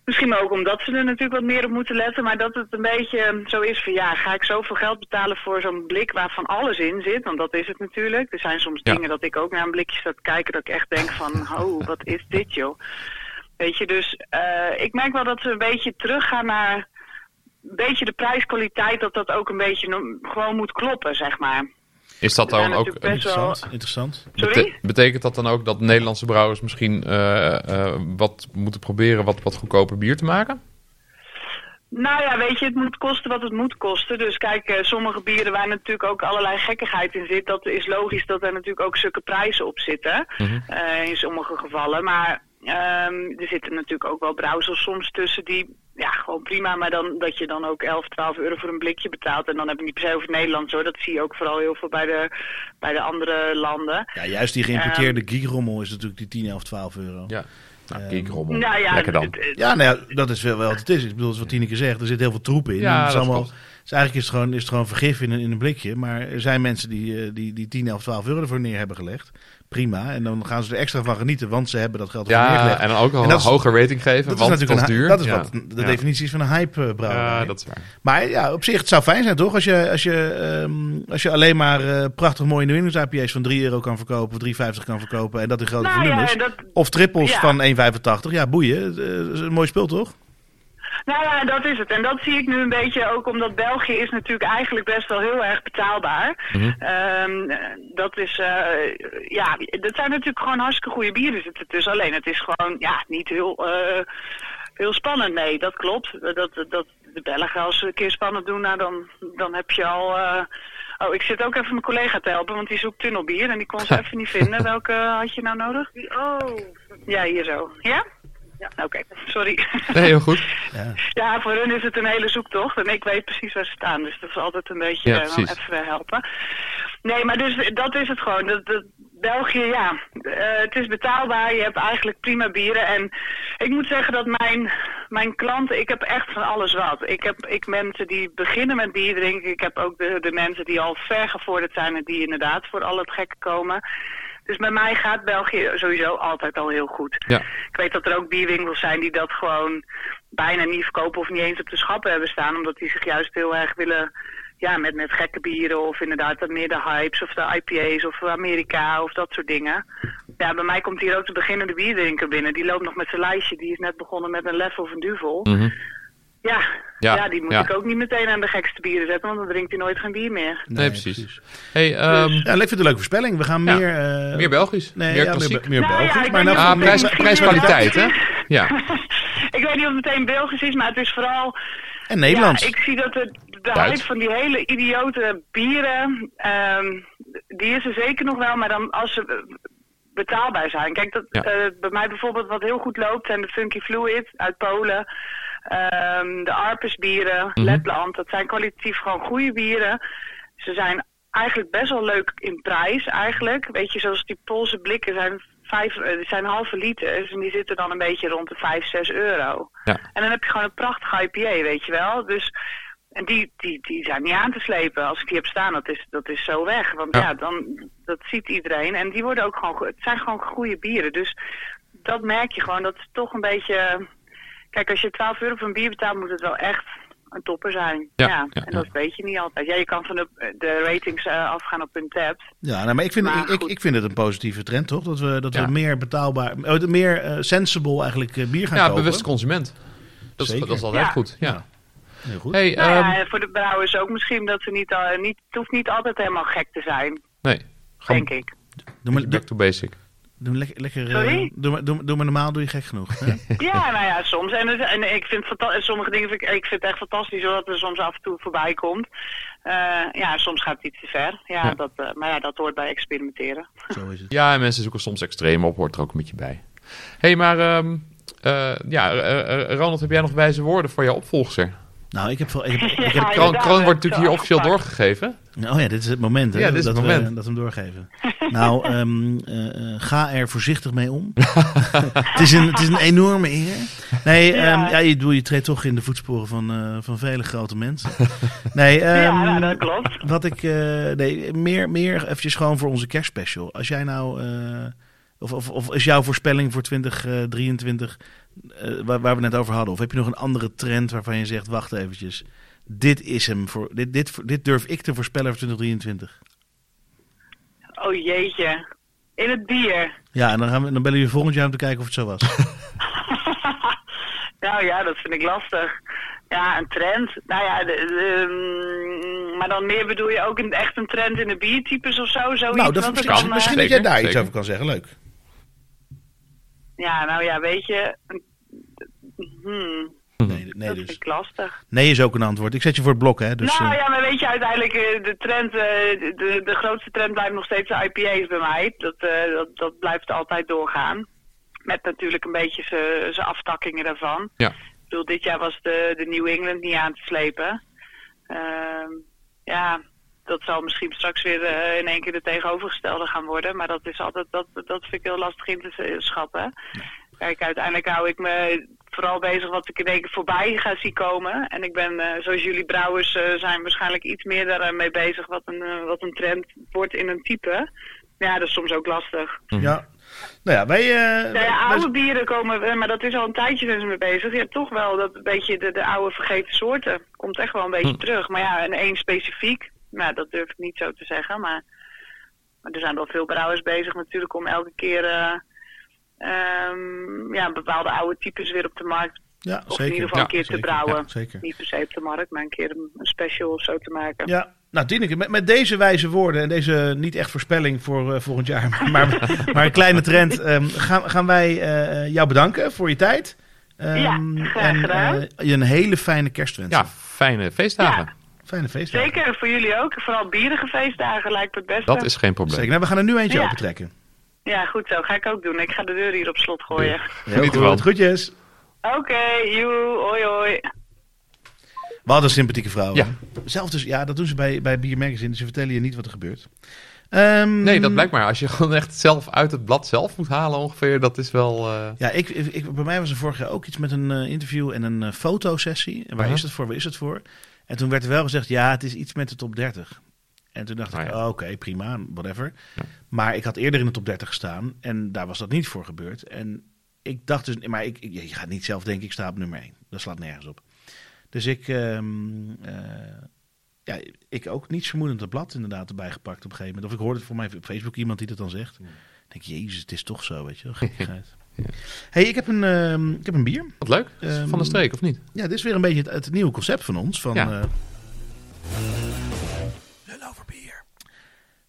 [SPEAKER 4] Misschien ook omdat ze er natuurlijk wat meer op moeten letten, maar dat het een beetje ehm, zo is van ja, ga ik zoveel geld betalen voor zo'n blik waarvan alles in zit, want dat is het natuurlijk. Er zijn soms
[SPEAKER 1] Ja.
[SPEAKER 4] dingen dat ik ook naar een blikje sta te kijken dat ik echt denk van, oh, wat is dit joh. Weet je, dus eh, ik merk wel dat ze een beetje teruggaan naar een beetje de prijskwaliteit, dat dat ook een beetje no- gewoon moet kloppen, zeg maar.
[SPEAKER 1] Is dat
[SPEAKER 4] We zijn
[SPEAKER 1] dan ook...
[SPEAKER 4] natuurlijk best wel...
[SPEAKER 2] Interessant. Interessant.
[SPEAKER 4] Sorry?
[SPEAKER 1] bete- betekent dat dan ook dat Nederlandse brouwers misschien eh, eh, wat moeten proberen wat, wat goedkoper bier te maken?
[SPEAKER 4] Nou ja, weet je, het moet kosten wat het moet kosten. Dus kijk, eh, sommige bieren waar natuurlijk ook allerlei gekkigheid in zit, dat is logisch dat er natuurlijk ook stukken prijzen op zitten.
[SPEAKER 1] Mhm.
[SPEAKER 4] eh, in sommige gevallen. Maar ehm, er zitten natuurlijk ook wel brouwsels soms tussen die, ja, gewoon prima. Maar dan dat je dan ook 11, 12 euro voor een blikje betaalt. En dan heb ik niet per se over het Nederlands hoor. Dat zie je ook vooral heel veel bij de, bij de andere landen.
[SPEAKER 2] Ja, juist die geïmporteerde giegrommel is natuurlijk die 10, 11, 12 euro.
[SPEAKER 1] Ja. Nou,
[SPEAKER 2] Ehm,
[SPEAKER 1] kiekrommel.
[SPEAKER 4] Nou ja,
[SPEAKER 1] Lekker dan.
[SPEAKER 4] het- het-
[SPEAKER 2] Ja, nou ja, dat is wel wel wat het is. Ik bedoel, dat is wat Tineke zegt, er zit heel veel troep in.
[SPEAKER 1] Ja,
[SPEAKER 2] En het is
[SPEAKER 1] dat
[SPEAKER 2] allemaal,
[SPEAKER 1] klopt.
[SPEAKER 2] dus eigenlijk is het gewoon, is het gewoon vergif in een, in een blikje. Maar er zijn mensen die, eh, die, die 10, 11, 12 euro ervoor neer hebben gelegd. Prima. En dan gaan ze er extra van genieten, want ze hebben dat geld ervoor
[SPEAKER 1] Ja,
[SPEAKER 2] neergelegd.
[SPEAKER 1] en dan ook
[SPEAKER 2] En
[SPEAKER 1] een
[SPEAKER 2] dat is-
[SPEAKER 1] hoger rating geven,
[SPEAKER 2] dat is
[SPEAKER 1] want
[SPEAKER 2] natuurlijk
[SPEAKER 1] dat
[SPEAKER 2] een,
[SPEAKER 1] is duur.
[SPEAKER 2] Dat is
[SPEAKER 1] Ja.
[SPEAKER 2] wat de
[SPEAKER 1] Ja.
[SPEAKER 2] definitie is van een hype eh, brouwerij.
[SPEAKER 1] Ja, dat is waar.
[SPEAKER 2] Maar ja, op zich, het zou fijn zijn toch? Als je, als je, ehm, als je alleen maar eh, prachtig mooie New England IPA's van 3 euro kan verkopen of 3,50 kan verkopen. En dat in grote
[SPEAKER 4] Nou ja,
[SPEAKER 2] volumes.
[SPEAKER 4] en dat-
[SPEAKER 2] Of trippels
[SPEAKER 4] Ja.
[SPEAKER 2] van 1,85. Ja, boeien. Eh, is een mooi spul toch?
[SPEAKER 4] Nou ja, dat is het. En dat zie ik nu een beetje ook omdat België is natuurlijk eigenlijk best wel heel erg betaalbaar. Ehm, dat is, eh, ja, dat zijn natuurlijk gewoon hartstikke goede bieren zitten tussen. Alleen het is gewoon, ja, niet heel, eh, heel spannend. Nee, dat klopt. Dat, dat de Belgen als ze een keer spannend doen, nou dan, dan heb je al... eh, Oh, ik zit ook even mijn collega te helpen, want die zoekt tunnelbier en die kon ze even niet vinden. Welke had je nou nodig? Oh. Ja, hier zo. Ja? Ja. Oké, sorry.
[SPEAKER 1] Nee, heel goed.
[SPEAKER 4] Ja, voor hun is het een hele zoektocht. En ik weet precies waar ze staan. Dus dat is altijd een beetje
[SPEAKER 1] Ja,
[SPEAKER 4] eh,
[SPEAKER 1] precies.
[SPEAKER 4] even eh, helpen. Nee, maar dus dat is het gewoon. Dat, dat- België, ja, eh, het is betaalbaar. Je hebt eigenlijk prima bieren. En ik moet zeggen dat mijn, mijn klanten, ik heb echt van alles wat. Ik heb ik mensen die beginnen met bier drinken. Ik heb ook de, de mensen die al vergevorderd zijn en die inderdaad voor al het gekke komen. Dus bij mij gaat België sowieso altijd al heel goed.
[SPEAKER 1] Ja.
[SPEAKER 4] Ik weet dat er ook bierwinkels zijn die dat gewoon bijna niet verkopen of niet eens op de schappen hebben staan. Omdat die zich juist heel erg willen ja, met, met gekke bieren of inderdaad wat meer de hypes of de IPA's of Amerika of dat soort dingen. Ja, bij mij komt hier ook de beginnende bierdrinker binnen. Die loopt nog met zijn lijstje. Die is net begonnen met een lef of een duvel.
[SPEAKER 1] Mhm.
[SPEAKER 4] Ja.
[SPEAKER 1] Ja,
[SPEAKER 4] Ja, die moet
[SPEAKER 1] ja.
[SPEAKER 4] ik ook niet meteen aan de gekste bieren zetten, want dan drinkt hij nooit geen bier meer.
[SPEAKER 1] Nee, precies. Hey, ehm,
[SPEAKER 2] Ja, ik vind het een leuke voorspelling. We gaan
[SPEAKER 1] Ja.
[SPEAKER 2] meer... Dus, eh,
[SPEAKER 1] meer Belgisch.
[SPEAKER 2] Nee,
[SPEAKER 1] meer
[SPEAKER 2] ja,
[SPEAKER 1] klassiek.
[SPEAKER 2] meer, Be- meer
[SPEAKER 4] Nou ja,
[SPEAKER 2] Belgisch.
[SPEAKER 4] ik
[SPEAKER 2] maar
[SPEAKER 4] weet
[SPEAKER 2] nou,
[SPEAKER 4] niet
[SPEAKER 1] Ah,
[SPEAKER 4] of
[SPEAKER 1] prijs,
[SPEAKER 4] het misschien
[SPEAKER 1] prijskwaliteit, hè?
[SPEAKER 4] inderdaad
[SPEAKER 1] Ja.
[SPEAKER 4] [laughs] ik weet niet of het meteen Belgisch is, maar het is vooral
[SPEAKER 2] en Nederlands.
[SPEAKER 4] Ja, ik zie dat de, de
[SPEAKER 1] Duits.
[SPEAKER 4] hype van die hele idiote bieren, ehm, die is er zeker nog wel, maar dan als ze eh, betaalbaar zijn. Kijk, dat,
[SPEAKER 1] Ja.
[SPEAKER 4] eh, bij mij bijvoorbeeld wat heel goed loopt zijn de Funky Fluid uit Polen, ehm, de Arpes bieren,
[SPEAKER 1] Mhm.
[SPEAKER 4] Letland. Dat zijn kwalitatief gewoon goede bieren. Ze zijn eigenlijk best wel leuk in prijs eigenlijk. Weet je, zoals die Poolse blikken zijn vijf, eh, die zijn halve liters en die zitten dan een beetje rond de 5, 6 euro.
[SPEAKER 1] Ja.
[SPEAKER 4] En dan heb je gewoon een prachtig IPA, weet je wel. Dus en die, die, die zijn niet aan te slepen. Als ik die heb staan, dat is, dat is zo weg. Want
[SPEAKER 1] Ja.
[SPEAKER 4] ja, dan, dat ziet iedereen. En die worden ook gewoon, go- het zijn gewoon goede bieren. Dus dat merk je gewoon. Dat is toch een beetje... Kijk, als je 12 euro voor een bier betaalt, moet het wel echt een topper zijn.
[SPEAKER 1] Ja,
[SPEAKER 4] Ja,
[SPEAKER 1] ja,
[SPEAKER 4] en dat
[SPEAKER 1] ja.
[SPEAKER 4] weet je niet altijd. Ja, je kan van de, de ratings eh, afgaan op hun tab.
[SPEAKER 2] Ja, nou, maar ik vind,
[SPEAKER 4] Maar
[SPEAKER 2] ik, ik,
[SPEAKER 4] goed.
[SPEAKER 2] ik vind het een positieve trend, toch? Dat we, dat
[SPEAKER 1] Ja.
[SPEAKER 2] we meer betaalbaar, eh, meer eh, sensible eigenlijk eh, bier gaan
[SPEAKER 1] Ja,
[SPEAKER 2] kopen.
[SPEAKER 1] bewust consument. Dat is,
[SPEAKER 2] Zeker.
[SPEAKER 1] dat is altijd
[SPEAKER 4] Ja.
[SPEAKER 1] goed. Ja.
[SPEAKER 2] Heel goed.
[SPEAKER 1] Hey,
[SPEAKER 4] Nou
[SPEAKER 1] ehm,
[SPEAKER 4] ja, en voor de brouwers ook misschien dat ze niet, al, niet... Het hoeft niet altijd helemaal gek te zijn,
[SPEAKER 1] nee. Ga
[SPEAKER 4] denk ik.
[SPEAKER 2] Doe maar, doe,
[SPEAKER 1] back to basic.
[SPEAKER 2] doe maar lekker, lekker, eh,
[SPEAKER 4] Sorry?
[SPEAKER 2] doe, maar, doe, maar- doe maar normaal, doe je gek
[SPEAKER 1] [laughs]
[SPEAKER 2] genoeg. hè?
[SPEAKER 4] Ja, nou ja, soms. En, het- en ik vind fanta- en sommige dingen vind ik, ik vind het echt fantastisch hoor, dat er soms af en toe voorbij komt. Eh, ja, soms gaat het iets te ver. Ja,
[SPEAKER 1] Ja.
[SPEAKER 4] Dat, eh, maar ja, dat hoort bij experimenteren.
[SPEAKER 2] Zo is het.
[SPEAKER 1] Ja, en mensen zoeken soms extreem op, hoort er ook een beetje bij. hey, maar ehm, eh, ja, eh, eh, Ronald, heb jij nog wijze woorden voor jouw opvolger?
[SPEAKER 2] Nou, ik heb wel... Ik heb, ik
[SPEAKER 4] [laughs] Ja,
[SPEAKER 2] heb-
[SPEAKER 1] Kroon,
[SPEAKER 4] inderdaad,
[SPEAKER 1] kroon
[SPEAKER 4] dat
[SPEAKER 1] wordt
[SPEAKER 4] is
[SPEAKER 1] natuurlijk hier
[SPEAKER 4] wel eh,
[SPEAKER 1] officieel
[SPEAKER 4] afgepakt.
[SPEAKER 1] doorgegeven.
[SPEAKER 2] Oh ja, dit is het moment hè,
[SPEAKER 1] Ja, dit is
[SPEAKER 2] dat,
[SPEAKER 1] het
[SPEAKER 2] We,
[SPEAKER 1] moment.
[SPEAKER 2] dat we hem doorgeven. [laughs] Nou, ehm, eh, eh, ga er voorzichtig
[SPEAKER 1] [laughs]
[SPEAKER 2] mee om. het, is een, het is een enorme eer. Nee,
[SPEAKER 4] Ja.
[SPEAKER 2] ehm, ja, je, doe- je treedt toch in de voetsporen van, eh, van vele grote
[SPEAKER 4] [laughs]
[SPEAKER 2] mensen. Nee, ehm,
[SPEAKER 4] ja, nou, dat klopt.
[SPEAKER 2] Wat ik. eh, nee, meer, meer eventjes gewoon voor onze kerstspecial. Als jij nou. eh, of, of, of is jouw voorspelling voor 2023. eh, waar, waar we net over hadden. Of heb je nog een andere trend waarvan je zegt: wacht eventjes. Dit is hem voor. Dit, dit, dit durf ik te voorspellen voor 2023.
[SPEAKER 4] Oh jeetje. In het bier. [laughs]
[SPEAKER 2] Ja, en dan, gaan we, dan bellen we je volgend jaar om te kijken of het zo was.
[SPEAKER 4] nou ja, dat vind ik lastig. Ja, een trend. Nou ja, de, de, mm, maar dan meer bedoel je ook een, echt een trend in de biertypes of zo? Zoiets,
[SPEAKER 2] nou, dat,
[SPEAKER 4] Want er
[SPEAKER 2] misschien,
[SPEAKER 4] kan, eh,
[SPEAKER 2] misschien dat jij
[SPEAKER 1] Zeker,
[SPEAKER 2] daar iets
[SPEAKER 1] zeker.
[SPEAKER 2] over kan zeggen. Leuk.
[SPEAKER 4] Ja, nou ja, weet je. een- hmm,
[SPEAKER 2] Nee, nee,
[SPEAKER 4] dat vind
[SPEAKER 2] dus.
[SPEAKER 4] ik lastig.
[SPEAKER 2] nee is ook een antwoord. Ik zet je voor het blok, hè? Dus,
[SPEAKER 4] nou
[SPEAKER 2] eh,
[SPEAKER 4] ja, maar weet je, uiteindelijk eh, de trend, eh, de, de grootste trend blijft nog steeds de IPA's bij mij. Dat, eh, dat, dat blijft altijd doorgaan. Met natuurlijk een beetje z'n- zijn aftakkingen daarvan.
[SPEAKER 1] Ja.
[SPEAKER 4] Ik bedoel, dit jaar was de, de New England niet aan te slepen. Ehm, ja, dat zal misschien straks weer eh, in één keer de tegenovergestelde gaan worden. Maar dat is altijd, dat, dat vind ik heel lastig in te z- schatten. Kijk, uiteindelijk hou ik me vooral bezig wat ik in één keer voorbij ga zien komen. En ik ben, eh, zoals jullie brouwers, eh, zijn waarschijnlijk iets meer daarmee bezig wat een, eh, wat een trend wordt in een type. Ja, dat is soms ook lastig.
[SPEAKER 2] ja. Nou ja, wij. eh,
[SPEAKER 4] Nou ja,
[SPEAKER 2] wij-
[SPEAKER 4] oude bieren komen, eh, maar dat is al een tijdje zijn ze mee bezig. Ja, toch wel dat een beetje de, de oude vergeten soorten. Komt echt wel een
[SPEAKER 2] Hm.
[SPEAKER 4] beetje terug. Maar ja, en één specifiek, nou, dat durf ik niet zo te zeggen. Maar, maar er zijn wel veel brouwers bezig natuurlijk om elke keer eh, ehm, ja, bepaalde oude types weer op de markt.
[SPEAKER 2] ja,
[SPEAKER 4] Of
[SPEAKER 2] zeker.
[SPEAKER 4] in ieder geval
[SPEAKER 1] Ja,
[SPEAKER 4] een keer
[SPEAKER 2] zeker.
[SPEAKER 4] te brouwen.
[SPEAKER 2] Ja, zeker.
[SPEAKER 4] Niet per se op de markt, maar een keer een, een special of zo te maken.
[SPEAKER 2] Ja, nou Tineke, met, met deze wijze woorden en deze niet echt voorspelling voor eh, volgend jaar, [laughs] maar, maar, maar een kleine trend, ehm, gaan, gaan wij eh, jou bedanken voor je tijd. Ehm,
[SPEAKER 4] Ja, graag
[SPEAKER 2] en,
[SPEAKER 4] gedaan.
[SPEAKER 2] eh, je een hele fijne kerstwens.
[SPEAKER 1] Ja, fijne feestdagen.
[SPEAKER 4] Ja,
[SPEAKER 2] Fijne feestdagen.
[SPEAKER 4] Zeker, en voor jullie ook. Vooral bierige feestdagen lijkt me het beste.
[SPEAKER 1] Dat is geen probleem.
[SPEAKER 2] Zeker. Nou, we gaan er nu eentje
[SPEAKER 4] Ja.
[SPEAKER 2] open trekken.
[SPEAKER 4] Ja, goed zo. Ga ik ook doen. Ik ga de deur hier op slot gooien.
[SPEAKER 1] Geniet
[SPEAKER 2] goed,
[SPEAKER 1] ervan.
[SPEAKER 2] Groetjes.
[SPEAKER 4] Oké, joe, hoi hoi.
[SPEAKER 2] Wat een sympathieke vrouw.
[SPEAKER 1] Ja.
[SPEAKER 2] hè? Zelf dus, ja, dat doen ze bij, bij Bier Magazine. dus Ze vertellen je niet wat er gebeurt. Ehm,
[SPEAKER 1] Nee, dat blijkt maar. Als je gewoon echt zelf uit het blad zelf moet halen ongeveer, dat is wel... eh,
[SPEAKER 2] Ja, ik, ik, ik- bij mij was er vorig jaar ook iets met een eh, interview en een eh, fotosessie. En waar
[SPEAKER 1] Aha.
[SPEAKER 2] is het voor? Waar is het voor? En toen werd er wel gezegd, ja, het is iets met de top 30. En toen dacht
[SPEAKER 1] Ah,
[SPEAKER 2] ik,
[SPEAKER 1] ja.
[SPEAKER 2] oh, oké, prima, whatever. Maar ik had eerder in de top 30 gestaan en daar was dat niet voor gebeurd. En ik dacht dus, maar ik, ik- je gaat niet zelf denken, ik sta op nummer 1. Dat slaat nergens op. Dus ik, ehm, eh, ja, ik ook niet vermoedend het blad inderdaad erbij gepakt op een gegeven moment. Of ik hoorde het voor mij op Facebook iemand die dat dan zegt. Ik denk, jezus, het is toch zo, weet je wel. Gekkigheid. hey, ik, heb een, ehm, ik heb een bier.
[SPEAKER 1] Wat leuk. Is
[SPEAKER 2] Ehm,
[SPEAKER 1] van de streek, of niet?
[SPEAKER 2] Ja, dit is weer een beetje het, het nieuwe concept van ons. Van,
[SPEAKER 1] Ja.
[SPEAKER 2] eh, Lul over bier.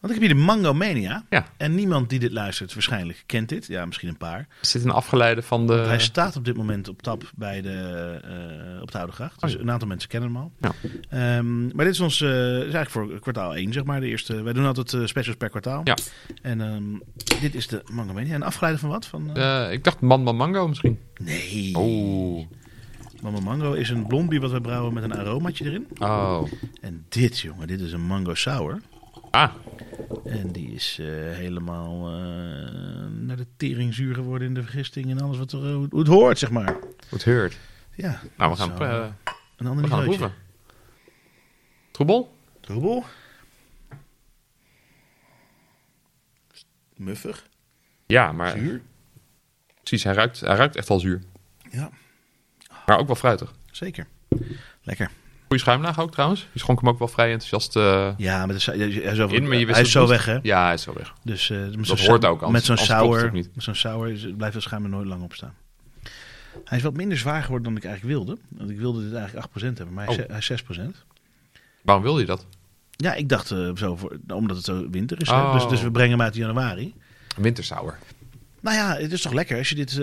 [SPEAKER 2] Want ik heb hier de Mango Mania.
[SPEAKER 1] Ja.
[SPEAKER 2] En niemand die dit luistert waarschijnlijk kent dit. Ja, misschien een paar.
[SPEAKER 1] Er zit een afgeleide van de...
[SPEAKER 2] Hij staat op dit moment op tap bij de, eh, op de Oude Gracht. Dus
[SPEAKER 1] Oh ja.
[SPEAKER 2] een aantal mensen kennen hem al.
[SPEAKER 1] Ja.
[SPEAKER 2] Ehm, maar dit is ons eh, is eigenlijk voor kwartaal 1, zeg maar. De eerste, wij doen altijd eh, specials per kwartaal.
[SPEAKER 1] Ja.
[SPEAKER 2] En ehm, dit is de Mango Mania. En afgeleide van wat? Van, eh,
[SPEAKER 1] Eh, ik dacht Man Man Mango misschien.
[SPEAKER 2] Nee.
[SPEAKER 1] Oeh.
[SPEAKER 2] Mama Mango is een blond bier wat we brouwen met een aromaatje erin.
[SPEAKER 1] Oh.
[SPEAKER 2] En dit, jongen, dit is een mango sour.
[SPEAKER 1] Ah.
[SPEAKER 2] En die is eh, helemaal eh, naar de tering zuur geworden in de vergisting en alles wat er, eh, hoe het hoort, zeg maar.
[SPEAKER 1] Wordt heard.
[SPEAKER 2] Ja,
[SPEAKER 1] Nou, we
[SPEAKER 2] dat
[SPEAKER 1] gaan,
[SPEAKER 2] zou
[SPEAKER 1] eh,
[SPEAKER 2] een ander
[SPEAKER 1] we gaan
[SPEAKER 2] niveautje.
[SPEAKER 1] proeven. Troebel?
[SPEAKER 2] Troebel. Muffig.
[SPEAKER 1] Ja, maar
[SPEAKER 2] Zuur.
[SPEAKER 1] precies. Hij ruikt, hij ruikt echt al zuur.
[SPEAKER 2] Ja,
[SPEAKER 1] Maar ook wel fruitig.
[SPEAKER 2] zeker. Lekker.
[SPEAKER 1] Goeie schuimlaag ook trouwens. Je schonk hem ook wel vrij enthousiast eh,
[SPEAKER 2] Ja, maar hij is, hij is, over,
[SPEAKER 1] in. Maar je wist het
[SPEAKER 2] hij is zo
[SPEAKER 1] moest.
[SPEAKER 2] weg, hè?
[SPEAKER 1] Ja, hij is zo weg.
[SPEAKER 2] Dus, eh, met
[SPEAKER 1] Dat
[SPEAKER 2] zo'n
[SPEAKER 1] hoort
[SPEAKER 2] sa-
[SPEAKER 1] ook, anders-
[SPEAKER 2] Met zo'n
[SPEAKER 1] anders klopt het
[SPEAKER 2] sour,
[SPEAKER 1] ook niet.
[SPEAKER 2] met zo'n sour is, blijft het schuim er nooit lang op staan. Hij is wat minder zwaar geworden dan ik eigenlijk wilde. Want ik wilde dit eigenlijk 8% hebben, maar hij is-
[SPEAKER 1] Oh.
[SPEAKER 2] hij is 6%.
[SPEAKER 1] Waarom wilde je dat?
[SPEAKER 2] Ja, ik dacht eh, zo voor, omdat het zo winter is. hè.
[SPEAKER 1] Oh.
[SPEAKER 2] Dus, dus we brengen hem uit in januari.
[SPEAKER 1] Wintersauer.
[SPEAKER 2] Nou ja, het is toch lekker als je dit, eh,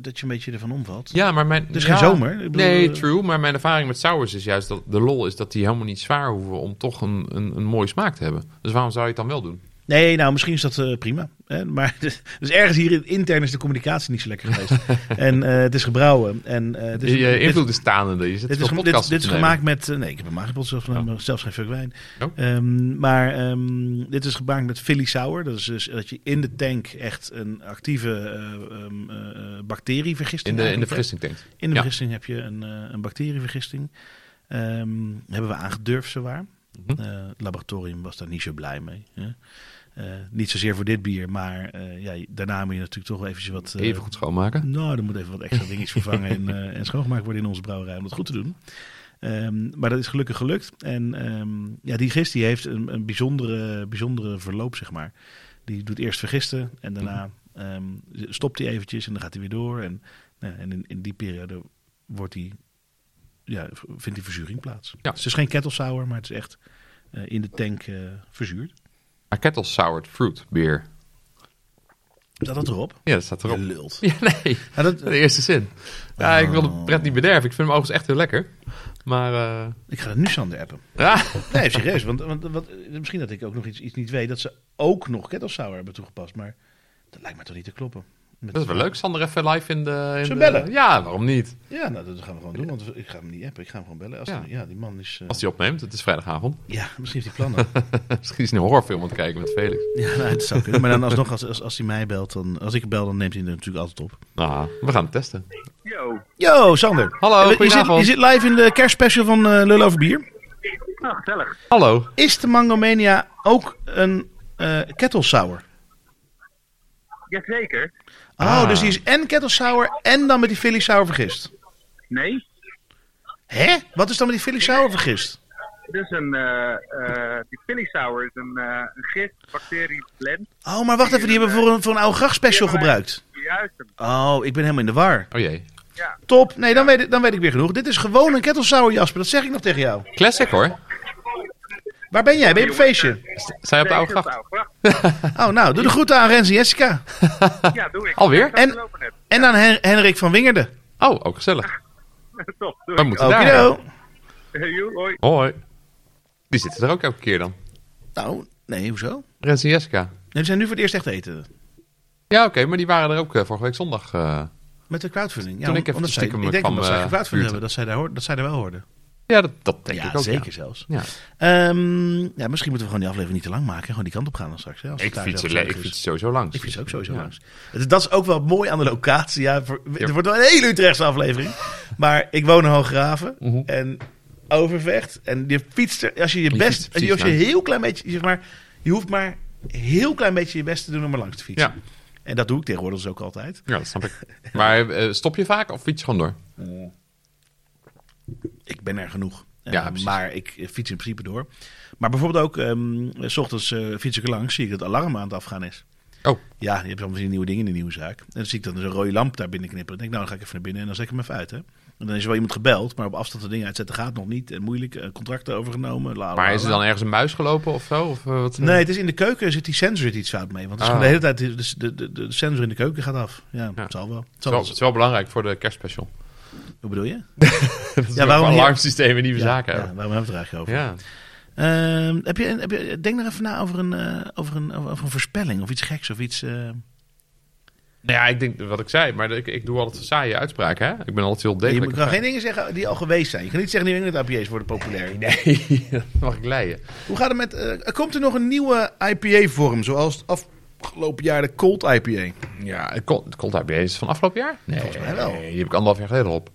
[SPEAKER 2] dat je een beetje ervan omvalt.
[SPEAKER 1] Ja, maar mijn...
[SPEAKER 2] Het is
[SPEAKER 1] ja.
[SPEAKER 2] geen zomer. Ik bedoel,
[SPEAKER 1] Nee,
[SPEAKER 2] eh,
[SPEAKER 1] true. Maar mijn ervaring met sours is juist dat de lol is dat die helemaal niet zwaar hoeven om toch een, een, een mooie smaak te hebben. Dus waarom zou je het dan wel doen?
[SPEAKER 2] Nee, nou misschien is dat eh, prima. Hè? Maar [laughs] dus ergens hier in- intern is de communicatie niet zo
[SPEAKER 1] [laughs]
[SPEAKER 2] lekker geweest. en eh, het is gebrouwen. En, eh, het is,
[SPEAKER 1] je je
[SPEAKER 2] dit-
[SPEAKER 1] invloed is tanende. Je zit
[SPEAKER 2] Dit is,
[SPEAKER 1] veel
[SPEAKER 2] gem- dit,
[SPEAKER 1] podcasts
[SPEAKER 2] dit is
[SPEAKER 1] op te nemen.
[SPEAKER 2] gemaakt met. eh, Nee, ik heb hem aangepot zelf, zelfs geen fuck wijn.
[SPEAKER 1] Oh.
[SPEAKER 2] Ehm, maar ehm, dit is gemaakt met Philly Sour. Dat is dus dat je in de tank echt een actieve eh, ehm, eh,
[SPEAKER 1] In
[SPEAKER 2] bacterievergisting
[SPEAKER 1] de, in de
[SPEAKER 2] eigenlijk hebt.
[SPEAKER 1] vergisting tank.
[SPEAKER 2] In de
[SPEAKER 1] Ja.
[SPEAKER 2] vergisting heb je een, eh, een bacterievergisting. Ehm, hebben we aangedurfd, zowaar.
[SPEAKER 1] Mhm.
[SPEAKER 2] Eh, het laboratorium was daar niet zo blij mee. Hè? Eh, niet zozeer voor dit bier, maar eh, ja, daarna moet je natuurlijk toch wel eventjes wat... eh,
[SPEAKER 1] Even goed schoonmaken.
[SPEAKER 2] nou, er moet even wat extra dingetjes
[SPEAKER 1] [laughs]
[SPEAKER 2] vervangen en, eh, en schoongemaakt worden in onze brouwerij om dat goed te doen. Ehm, maar dat is gelukkig gelukt. En ehm, ja, die gist die heeft een, een bijzondere, bijzondere verloop, zeg maar. Die doet eerst vergisten en daarna
[SPEAKER 1] Mhm.
[SPEAKER 2] ehm, stopt hij eventjes en dan gaat hij weer door. En, nou, en in, in die periode wordt die, ja, v- vindt die verzuring plaats.
[SPEAKER 1] Ja.
[SPEAKER 2] Dus het is geen kettle sour, maar het is echt eh, in de tank eh, verzuurd.
[SPEAKER 1] Maar kettle soured fruit beer.
[SPEAKER 2] Staat dat erop?
[SPEAKER 1] Ja, dat staat erop.
[SPEAKER 2] Je lult.
[SPEAKER 1] [laughs] Ja, nee.
[SPEAKER 2] Ja, dat,
[SPEAKER 1] De eerste zin. Ja, ik wil de pret niet bederven. Ik vind hem overigens echt heel lekker. Maar, eh,
[SPEAKER 2] ik ga het nu Sander appen.
[SPEAKER 1] ja. [laughs]
[SPEAKER 2] Nee, serieus. Want, want, want, eh, misschien dat ik ook nog iets, iets niet weet. Dat ze ook nog kettle sour hebben toegepast. Maar dat lijkt me toch niet te kloppen. Met-
[SPEAKER 1] Dat is wel leuk, Sander, even live in de... In
[SPEAKER 2] Zullen we
[SPEAKER 1] de-
[SPEAKER 2] bellen?
[SPEAKER 1] Ja, waarom niet?
[SPEAKER 2] Ja, nou, dat gaan we gewoon doen. Want ik ga hem niet appen. Ik ga hem gewoon bellen. Als
[SPEAKER 1] Ja.
[SPEAKER 2] die- ja, die man is... eh,
[SPEAKER 1] Als hij opneemt, het is vrijdagavond. [laughs]
[SPEAKER 2] ja, misschien heeft hij plannen.
[SPEAKER 1] Misschien is hij een horrorfilm aan het kijken met Felix.
[SPEAKER 2] ja, nou, dat zou kunnen. Maar dan alsnog, als, als, als hij mij belt, dan... Als ik bel, dan neemt hij het natuurlijk altijd op.
[SPEAKER 1] Nou, we gaan het testen.
[SPEAKER 3] Yo.
[SPEAKER 2] Yo, Sander. Eh,
[SPEAKER 1] Hallo,
[SPEAKER 2] Je- je, zit,
[SPEAKER 1] goedenavond.
[SPEAKER 2] je zit live in de kerstspecial van eh Lul Over Bier.
[SPEAKER 3] Nou, gezellig.
[SPEAKER 1] Hallo.
[SPEAKER 2] Is de Mangomania ook een eh kettle sour?
[SPEAKER 3] Jazeker.
[SPEAKER 2] Oh,
[SPEAKER 1] Ah.
[SPEAKER 2] dus die is en kettle sour en dan met die Philly sour vergist.
[SPEAKER 3] Nee,
[SPEAKER 2] Hè? Wat is dan met die Philly sour vergist?
[SPEAKER 3] dus een, eh, eh, die Philly Sour is een, eh een gist, bacterie, blend.
[SPEAKER 2] Oh, maar wacht even, die hebben we voor een, voor een oude grachtspecial
[SPEAKER 3] Die hebben wij-
[SPEAKER 2] gebruikt.
[SPEAKER 3] Juist hem.
[SPEAKER 2] Oh, ik ben helemaal in de war.
[SPEAKER 1] Oh jee.
[SPEAKER 2] Top. Nee, dan weet, ik- dan weet ik weer genoeg. Dit is gewoon een kettle sour, Jasper. Dat zeg ik nog tegen jou.
[SPEAKER 1] Classic hoor.
[SPEAKER 2] Waar ben jij? Ben je op een feestje?
[SPEAKER 1] S- Zijn op de oude gracht?
[SPEAKER 2] [laughs] Oh, nou, doe de groeten aan Rens en Jessica.
[SPEAKER 3] Ja, doe ik.
[SPEAKER 1] Alweer?
[SPEAKER 3] Ik zat te
[SPEAKER 2] En-
[SPEAKER 3] lopen net. [laughs]
[SPEAKER 2] En aan Hen- Henrik van Wingerden.
[SPEAKER 1] Oh, ook gezellig.
[SPEAKER 3] Top, doe
[SPEAKER 1] We
[SPEAKER 3] ik.
[SPEAKER 1] moeten daar.
[SPEAKER 2] Okido.
[SPEAKER 3] Hey, [laughs] joe, hoi.
[SPEAKER 1] Hoi. Die zitten er ook elke keer dan.
[SPEAKER 2] Nou, nee, hoezo? Nee,
[SPEAKER 1] Rens en Jessica.
[SPEAKER 2] we zijn nu voor het eerst echt eten.
[SPEAKER 1] Ja, oké, maar die waren er ook eh, vorige week zondag. eh.
[SPEAKER 2] Met de crowdfunding. Ja,
[SPEAKER 1] Toen
[SPEAKER 2] om-
[SPEAKER 1] ik even
[SPEAKER 2] omdat zij, ik
[SPEAKER 1] stiekem
[SPEAKER 2] denk
[SPEAKER 1] kwam,
[SPEAKER 2] omdat zij
[SPEAKER 1] eh,
[SPEAKER 2] crowdfunding
[SPEAKER 1] buurten.
[SPEAKER 2] hebben, dat zij, daar hoor, dat zij daar wel hoorden.
[SPEAKER 1] Ja, dat, dat denk
[SPEAKER 2] ja,
[SPEAKER 1] ik ook.
[SPEAKER 2] zeker
[SPEAKER 1] Ja.
[SPEAKER 2] zelfs.
[SPEAKER 1] Ja.
[SPEAKER 2] Ehm, ja, misschien moeten we gewoon die aflevering niet te lang maken. en Gewoon die kant op gaan dan straks. Hè, als het
[SPEAKER 1] Ik,
[SPEAKER 2] daar
[SPEAKER 1] fiets,
[SPEAKER 2] zelf
[SPEAKER 1] er-
[SPEAKER 2] gezellig
[SPEAKER 1] ik
[SPEAKER 2] is.
[SPEAKER 1] fiets sowieso langs.
[SPEAKER 2] Ik vind het ook sowieso
[SPEAKER 1] Ja.
[SPEAKER 2] langs. Het- Dat is ook wel mooi aan de locatie. Ja, voor-
[SPEAKER 1] Ja.
[SPEAKER 2] Er wordt wel een hele Utrechtse
[SPEAKER 1] [laughs]
[SPEAKER 2] aflevering. Maar ik woon in Hooggraven
[SPEAKER 1] Mhm.
[SPEAKER 2] en Overvecht. En je fietst er, als je je
[SPEAKER 1] Je
[SPEAKER 2] best,
[SPEAKER 1] fietst
[SPEAKER 2] als je, als je
[SPEAKER 1] precies
[SPEAKER 2] heel klein beetje, zeg maar, je hoeft maar heel klein beetje je best te doen om er langs te fietsen.
[SPEAKER 1] Ja.
[SPEAKER 2] En dat doe ik tegenwoordig dus ook altijd.
[SPEAKER 1] Ja, dat snap ik. [laughs] Maar eh, stop je vaak of fiets je gewoon door?
[SPEAKER 2] Ik ben er genoeg.
[SPEAKER 1] Ja,
[SPEAKER 2] Eh,
[SPEAKER 1] precies.
[SPEAKER 2] maar ik eh, fiets in principe door. Maar bijvoorbeeld ook, ehm, s ochtends eh, fiets ik er langs, zie ik dat het alarm aan het afgaan is.
[SPEAKER 1] Oh,
[SPEAKER 2] Ja, je hebt allemaal weer nieuwe dingen in de nieuwe zaak. En dan zie ik dan zo'n rode lamp daar binnen knipperen. Dan denk ik, nou, dan ga ik even naar binnen en dan zet ik hem even uit. Hè? En dan is er wel iemand gebeld, maar op afstand de dingen uitzetten gaat nog niet. En moeilijk, eh, contracten overgenomen. la, la,
[SPEAKER 1] maar is er
[SPEAKER 2] la.
[SPEAKER 1] dan ergens een muis gelopen of zo? Of, eh, wat, eh?
[SPEAKER 2] Nee, het is in de keuken zit die sensor zit iets fout mee. Want het is
[SPEAKER 1] Ah.
[SPEAKER 2] gewoon de hele tijd, de, de, de, de sensor in de keuken gaat af. Ja,
[SPEAKER 1] Ja.
[SPEAKER 2] het zal wel. Het
[SPEAKER 1] Het is
[SPEAKER 2] zal
[SPEAKER 1] wel-
[SPEAKER 2] wel.
[SPEAKER 1] het is wel belangrijk voor de kerstspecial.
[SPEAKER 2] Hoe bedoel je?
[SPEAKER 1] [laughs] Dat
[SPEAKER 2] Ja,
[SPEAKER 1] ja,
[SPEAKER 2] waarom
[SPEAKER 1] waarom
[SPEAKER 2] niet?
[SPEAKER 1] alarmsystemen nieuwe
[SPEAKER 2] Ja,
[SPEAKER 1] zaken
[SPEAKER 2] ja,
[SPEAKER 1] hebben.
[SPEAKER 2] waarom hebben we het er eigenlijk
[SPEAKER 1] Ja.
[SPEAKER 2] over? Ehm, heb je, een- heb je, denk nog even na over een, eh, over, een, over een voorspelling of iets geks of iets... eh,
[SPEAKER 1] Nou ja, ik denk wat ik zei, maar ik, ik doe altijd saaie uitspraken. Hè? Ik ben altijd heel
[SPEAKER 2] Je
[SPEAKER 1] degelijk.
[SPEAKER 2] moet- kan geen dingen zeggen die al geweest zijn. Je kan niet zeggen New England IPA's worden populair.
[SPEAKER 1] Nee, dat [laughs] mag ik leien.
[SPEAKER 2] Hoe gaat het met... eh, komt er nog een nieuwe IPA-vorm, zoals het afgelopen jaar de Cold IPA?
[SPEAKER 1] Ja, het Cold Cold IPA is van afgelopen jaar? Nee,
[SPEAKER 2] Volgens mij wel.
[SPEAKER 1] Die heb ik anderhalf jaar geleden op.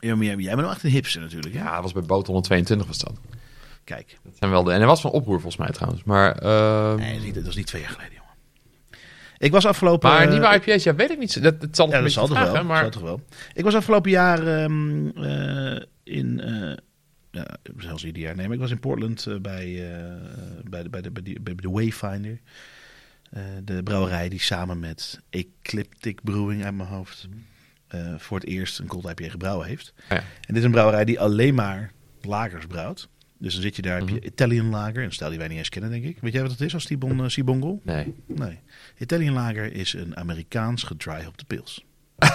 [SPEAKER 2] Ja, maar jij, jij bent wel echt een hipster natuurlijk. Ja.
[SPEAKER 1] Ja, dat was bij Boot 122 was dat.
[SPEAKER 2] Kijk,
[SPEAKER 1] Dat zijn wel de... En hij was van oproer volgens mij trouwens. Maar, eh,
[SPEAKER 2] nee, dat, is niet- dat was niet twee jaar geleden, jongen. Ik was afgelopen...
[SPEAKER 1] maar
[SPEAKER 2] eh,
[SPEAKER 1] nieuwe IPA's, ja, weet ik niet. Dat, dat zal nog
[SPEAKER 2] Ja,
[SPEAKER 1] een
[SPEAKER 2] dat
[SPEAKER 1] beetje
[SPEAKER 2] zal toch,
[SPEAKER 1] vragen,
[SPEAKER 2] wel,
[SPEAKER 1] maar...
[SPEAKER 2] zal toch wel. Ik was afgelopen jaar ehm, eh, in... eh, ja, zelfs ieder jaar. Nee, maar ik was in Portland eh, bij, eh, bij, de, bij, de, bij, die- bij de Wayfinder. Eh, de brouwerij die samen met Ecliptic Brewing uit mijn hoofd... eh, voor het eerst een cold IPA gebrouwen heeft.
[SPEAKER 1] Ah, Ja.
[SPEAKER 2] En dit is een brouwerij die alleen maar lagers brouwt. Dus dan zit je daar,
[SPEAKER 1] Mhm.
[SPEAKER 2] heb je Italian lager. Een stijl die wij niet eens kennen, denk ik. Weet jij wat dat is als Tibon eh, Sibongol? [laughs]
[SPEAKER 1] Nee,
[SPEAKER 2] Nee. Italian Lager is een Amerikaans gedry op de pils.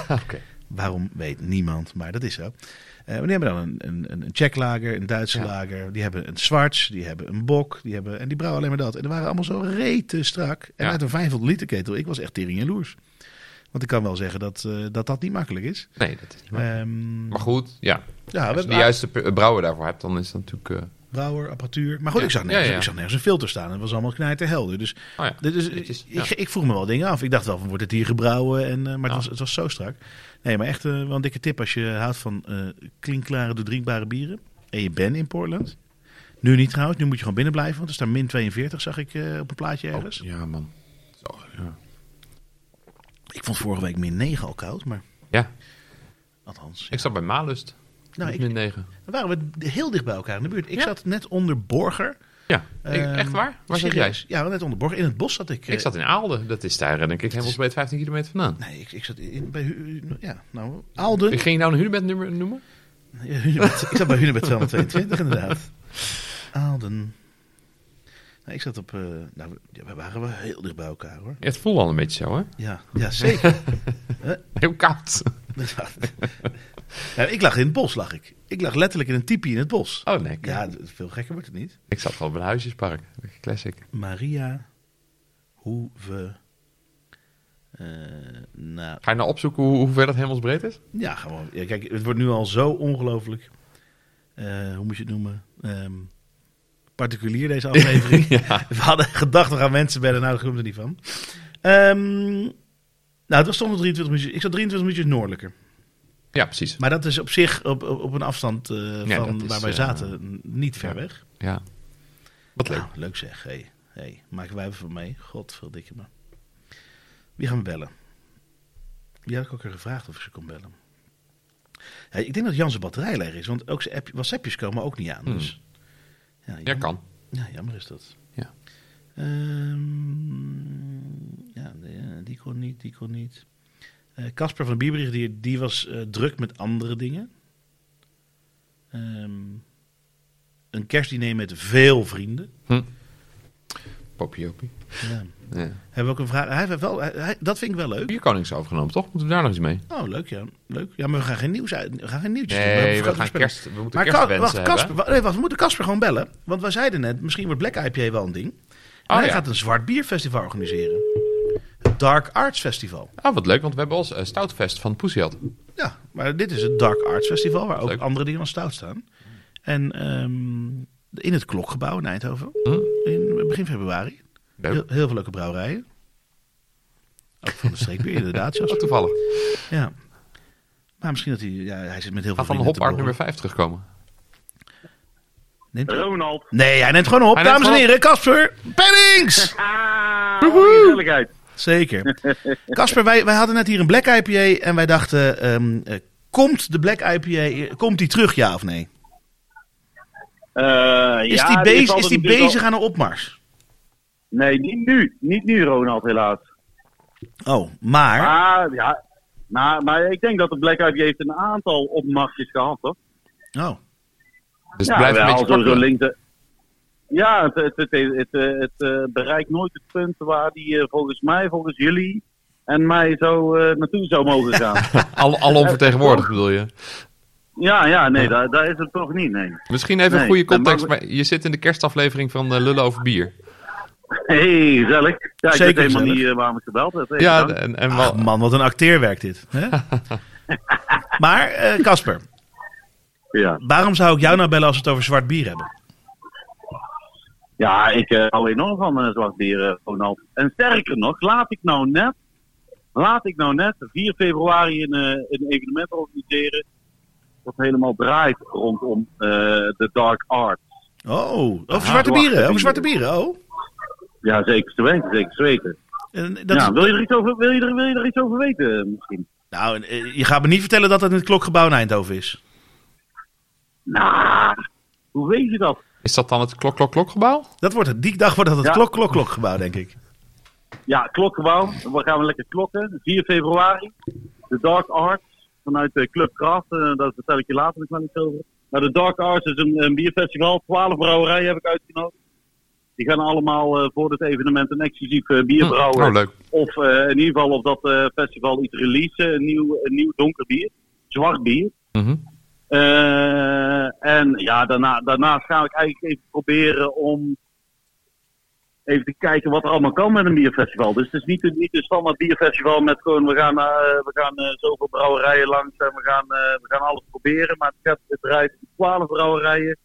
[SPEAKER 1] oké.
[SPEAKER 2] Waarom weet niemand, maar dat is zo. Eh, maar die hebben dan een, een, een- een Tsjech lager, een Duitse lager. Die hebben een Zwarts, die hebben een Bok. Die hebben, en die brouwen alleen maar dat. En die waren allemaal zo rete strak. En
[SPEAKER 1] Ja.
[SPEAKER 2] uit een 500 liter ketel, ik was echt tering jaloers. Want ik kan wel zeggen dat eh, dat, dat niet makkelijk is.
[SPEAKER 1] Nee, Dus dat is niet waar.
[SPEAKER 2] Ehm,
[SPEAKER 1] Maar goed, ja.
[SPEAKER 2] ja, we
[SPEAKER 1] Als je de
[SPEAKER 2] hebben nou-
[SPEAKER 1] juiste p- brouwer daarvoor hebt, dan is dat natuurlijk... eh,
[SPEAKER 2] brouwer, apparatuur. Maar goed,
[SPEAKER 1] Ja.
[SPEAKER 2] ik, zag nergens,
[SPEAKER 1] Ja, ja.
[SPEAKER 2] ik zag nergens een filter staan. Het was allemaal knijterhelder. Dus
[SPEAKER 1] Oh ja.
[SPEAKER 2] Dus, dus
[SPEAKER 1] Netjes,
[SPEAKER 2] ik,
[SPEAKER 1] ja.
[SPEAKER 2] ik, vroeg me wel dingen af. Ik dacht wel, van, wordt het hier gebrouwen? En, eh, maar het, was, het was zo strak. Nee, maar echt eh, wel een dikke tip als je houdt van eh klinkklare, doordrinkbare bieren. En je bent in Portland. Nu niet trouwens, nu moet je gewoon binnen blijven. Want er staan min 42, zag ik eh, op een plaatje
[SPEAKER 1] Oh.
[SPEAKER 2] ergens.
[SPEAKER 1] Ja, man. Zo, ja.
[SPEAKER 2] Ik vond vorige week min 9 al koud, maar
[SPEAKER 1] ja,
[SPEAKER 2] althans.
[SPEAKER 1] ik zat bij Malust.
[SPEAKER 2] Nou,
[SPEAKER 1] Nou,
[SPEAKER 2] ik-
[SPEAKER 1] Min 9.
[SPEAKER 2] Dan waren we heel dicht bij elkaar in de buurt. Ik
[SPEAKER 1] Ja.
[SPEAKER 2] zat net onder Borger.
[SPEAKER 1] Ja, ik-
[SPEAKER 2] Ehm,
[SPEAKER 1] echt waar? Waar zat jij?
[SPEAKER 2] serieus. Ja, net onder Borger. In het bos zat ik. eh,
[SPEAKER 1] Ik zat in Aalden. Dat is daar, eh, denk ik, helemaal bij 15 kilometer vandaan.
[SPEAKER 2] Nee, ik, ik zat in, bij... Hu- Ja, nou, Alden.
[SPEAKER 1] Ging je nou een hunebed nummer noemen?
[SPEAKER 2] Ja, Hunebed. ik zat bij Hunebed 222 inderdaad. Aalden. Nou, ik zat op... eh, nou, ja, we waren wel heel dicht bij elkaar hoor.
[SPEAKER 1] Ja, het voelde al een beetje zo, hè?
[SPEAKER 2] Ja, ja zeker.
[SPEAKER 1] Heel koud.
[SPEAKER 2] Inderdaad. nou, ik lag in het bos, lag ik. Ik lag letterlijk in een tipi in het bos.
[SPEAKER 1] Oh, nee. kijk.
[SPEAKER 2] Ja, d- veel gekker wordt het niet.
[SPEAKER 1] Ik zat wel bij een huisjespark. Classic.
[SPEAKER 2] Maria Hoeve... eh nou,
[SPEAKER 1] Ga je nou opzoeken hoe, hoe ver dat hemelsbreed
[SPEAKER 2] [laughs]
[SPEAKER 1] is?
[SPEAKER 2] ja, gewoon. Ja, kijk, het wordt nu al zo ongelooflijk... eh, hoe moet je het noemen? Ehm,
[SPEAKER 1] [laughs]
[SPEAKER 2] particulier deze aflevering.
[SPEAKER 1] ja.
[SPEAKER 2] We hadden gedacht, we gaan mensen bellen. Nou, dat komt er niet van. Ehm, nou, het was toch nog 23 minuutjes. Ik zat 23 minuutjes noordelijker.
[SPEAKER 1] ja, precies.
[SPEAKER 2] Maar dat is op zich, op, op, op een afstand eh,
[SPEAKER 1] Ja,
[SPEAKER 2] van
[SPEAKER 1] dat is,
[SPEAKER 2] waar wij
[SPEAKER 1] eh,
[SPEAKER 2] zaten, n- niet ver
[SPEAKER 1] ja.
[SPEAKER 2] weg.
[SPEAKER 1] Ja. Wat leuk.
[SPEAKER 2] Nou, leuk zeg. Hey, hey, maken wij even van mee. Godverdikke me. Wie gaan we bellen? Die had ik ook al gevraagd of ik ze kon bellen. Ja, ik denk dat Jan zijn batterij leeg is, want ook zijn app, WhatsAppjes komen ook niet aan.
[SPEAKER 1] Hmm.
[SPEAKER 2] Dus, ja,
[SPEAKER 1] Ja,
[SPEAKER 2] Jan-
[SPEAKER 1] kan.
[SPEAKER 2] ja, jammer is dat.
[SPEAKER 1] Ja.
[SPEAKER 2] Ehm, ja, nee, eh, die kon niet, die kon niet. Eh, Casper van de Biebrich, die, die was eh, druk met andere dingen. Ehm, een kerstdiner met veel vrienden.
[SPEAKER 1] Popiopie.
[SPEAKER 2] Ja.
[SPEAKER 1] Ja.
[SPEAKER 2] Hebben we ook een vraag? Hij heeft wel, hij- hij- dat vind ik wel leuk.
[SPEAKER 1] Vier konings overgenomen, toch? Moeten we daar nog iets mee?
[SPEAKER 2] Oh, leuk ja. Leuk. Ja, maar we gaan geen nieuws uit. We gaan geen nieuwtjes doen.
[SPEAKER 1] Nee,
[SPEAKER 2] hebben
[SPEAKER 1] we,
[SPEAKER 2] grote
[SPEAKER 1] gaan
[SPEAKER 2] voorspellingen.
[SPEAKER 1] kerst, we moeten
[SPEAKER 2] Maar Ka-
[SPEAKER 1] kerstwensen
[SPEAKER 2] wacht,
[SPEAKER 1] hebben.
[SPEAKER 2] Casper, wa- nee, wacht, we moeten Casper gewoon bellen. Want wij zeiden net, misschien wordt Black IPA wel een ding. En
[SPEAKER 1] Oh,
[SPEAKER 2] hij
[SPEAKER 1] ja.
[SPEAKER 2] gaat een zwart bierfestival organiseren. Het Dark Arts Festival.
[SPEAKER 1] Ah, wat leuk, want we hebben ons eh, Stoutfest van Poesiat.
[SPEAKER 2] Ja, maar dit is het Dark Arts Festival, waar ook
[SPEAKER 1] Leuk.
[SPEAKER 2] andere dingen dan stout staan. En ehm, in het Klokgebouw in Eindhoven,
[SPEAKER 1] Hm?
[SPEAKER 2] in begin februari.
[SPEAKER 1] Leuk.
[SPEAKER 2] Heel, heel veel leuke brouwerijen. Ook van de streekbier, inderdaad.
[SPEAKER 1] Oh,
[SPEAKER 2] Jasper.
[SPEAKER 1] toevallig.
[SPEAKER 2] Ja. Maar misschien dat hij... Ja, hij zit met heel
[SPEAKER 1] Ga
[SPEAKER 2] veel
[SPEAKER 1] van
[SPEAKER 2] vrienden te
[SPEAKER 1] Hopart nummer
[SPEAKER 2] borrelen.
[SPEAKER 1] 5 terugkomen.
[SPEAKER 2] Neemt hij-
[SPEAKER 3] Ronald.
[SPEAKER 2] Nee, hij neemt gewoon op.
[SPEAKER 1] Hij neemt
[SPEAKER 2] Dames en
[SPEAKER 1] gewoon
[SPEAKER 2] heren, Casper Pennings!
[SPEAKER 3] [laughs] Ah, wat een gezelligheid.
[SPEAKER 2] Zeker. Casper, wij, wij hadden net hier een Black IPA en wij dachten, ehm, eh, komt de Black IPA, komt die terug ja of nee?
[SPEAKER 3] Eh,
[SPEAKER 2] Is
[SPEAKER 3] ja,
[SPEAKER 2] die, bezig,
[SPEAKER 3] valt
[SPEAKER 2] is
[SPEAKER 3] er
[SPEAKER 2] die
[SPEAKER 3] natuurlijk al-
[SPEAKER 2] bezig aan een opmars?
[SPEAKER 3] Nee, niet nu. Niet nu, Ronald, helaas.
[SPEAKER 2] Oh, maar...
[SPEAKER 3] Maar, ja, maar, maar ik denk dat de Black IPA heeft een aantal opmachtjes gehad, toch?
[SPEAKER 2] Oh,
[SPEAKER 1] Dus het blijft
[SPEAKER 3] wel,
[SPEAKER 1] een beetje
[SPEAKER 3] sowieso
[SPEAKER 1] kwakkelen.
[SPEAKER 3] links, eh, Ja, het, het, het, het, eh, het, eh, bereikt nooit het punt waar die eh, volgens mij, volgens jullie en mij zo eh, naartoe zou mogen
[SPEAKER 1] [laughs]
[SPEAKER 3] gaan.
[SPEAKER 1] Al, al onvertegenwoordigd bedoel je?
[SPEAKER 3] ja, ja, nee, daar, daar is het toch niet, nee.
[SPEAKER 1] Misschien even een
[SPEAKER 3] Nee,
[SPEAKER 1] goede
[SPEAKER 3] dat
[SPEAKER 1] context.
[SPEAKER 3] mag-
[SPEAKER 1] Maar je zit in de kerstaflevering van eh, Lullen over Bier.
[SPEAKER 3] hey, gezellig. Ja, ik
[SPEAKER 2] Zeker
[SPEAKER 3] weet helemaal
[SPEAKER 2] gezellig.
[SPEAKER 3] niet eh, waarom ik gebeld heb. Hey,
[SPEAKER 1] Ja,
[SPEAKER 3] bedankt.
[SPEAKER 1] en, en
[SPEAKER 2] Ah,
[SPEAKER 1] wel-
[SPEAKER 2] man, wat een acteerwerk dit.
[SPEAKER 3] [laughs]
[SPEAKER 2] Hè? maar eh, Casper,
[SPEAKER 3] ja.
[SPEAKER 2] waarom zou ik jou nou bellen als we het over zwart bier hebben?
[SPEAKER 3] Ja, ik eh, hou enorm van eh, zwart bier, eh, Ronald. En sterker nog, laat ik nou net, laat ik nou net 4 februari een, eh, een evenement organiseren. Dat helemaal draait rondom eh, de dark art.
[SPEAKER 2] Oh, over
[SPEAKER 3] Ah,
[SPEAKER 2] zwarte
[SPEAKER 3] wacht,
[SPEAKER 2] bieren. Over
[SPEAKER 3] bier.
[SPEAKER 2] zwarte bieren, oh.
[SPEAKER 3] Ja, zeker te weten, zeker te weten.
[SPEAKER 2] En dat
[SPEAKER 3] ja,
[SPEAKER 2] is-
[SPEAKER 3] wil, je er iets over, wil, je er, wil je er iets over weten eh, misschien?
[SPEAKER 2] nou, eh, je gaat me niet vertellen dat dat in het klokgebouw in Eindhoven is.
[SPEAKER 3] Nou, hoe weet je dat?
[SPEAKER 1] is dat dan het klok-klok-klokgebouw?
[SPEAKER 2] Dat wordt het, die dag wordt dat het
[SPEAKER 3] Ja.
[SPEAKER 2] klok, klok, klokgebouw, denk ik.
[SPEAKER 3] Ja, klokkenbouw. We gaan we lekker klokken. 4 februari. De Dark Arts vanuit de Club Kraft. Eh, daar vertel ik je later nog wel iets over. Maar de Dark Arts is een, een bierfestival. 12 brouwerijen heb ik uitgenodigd. Die gaan allemaal eh, voor dit evenement een exclusief eh, bier
[SPEAKER 1] Hm,
[SPEAKER 3] brouwen.
[SPEAKER 1] Oh, leuk.
[SPEAKER 3] Of eh, in ieder geval op dat eh, festival iets releasen. Een nieuw, een nieuw donker bier. Zwart bier.
[SPEAKER 1] Mhm.
[SPEAKER 3] Eh, en ja, daarna, daarnaast ga ik eigenlijk even proberen om even te kijken wat er allemaal kan met een bierfestival. Dus het is niet, een- niet een standaard bierfestival met gewoon we gaan, eh, we gaan eh, zoveel brouwerijen langs en we gaan, eh, we gaan alles proberen. Maar het, gaat, het draait om 12 brouwerijen,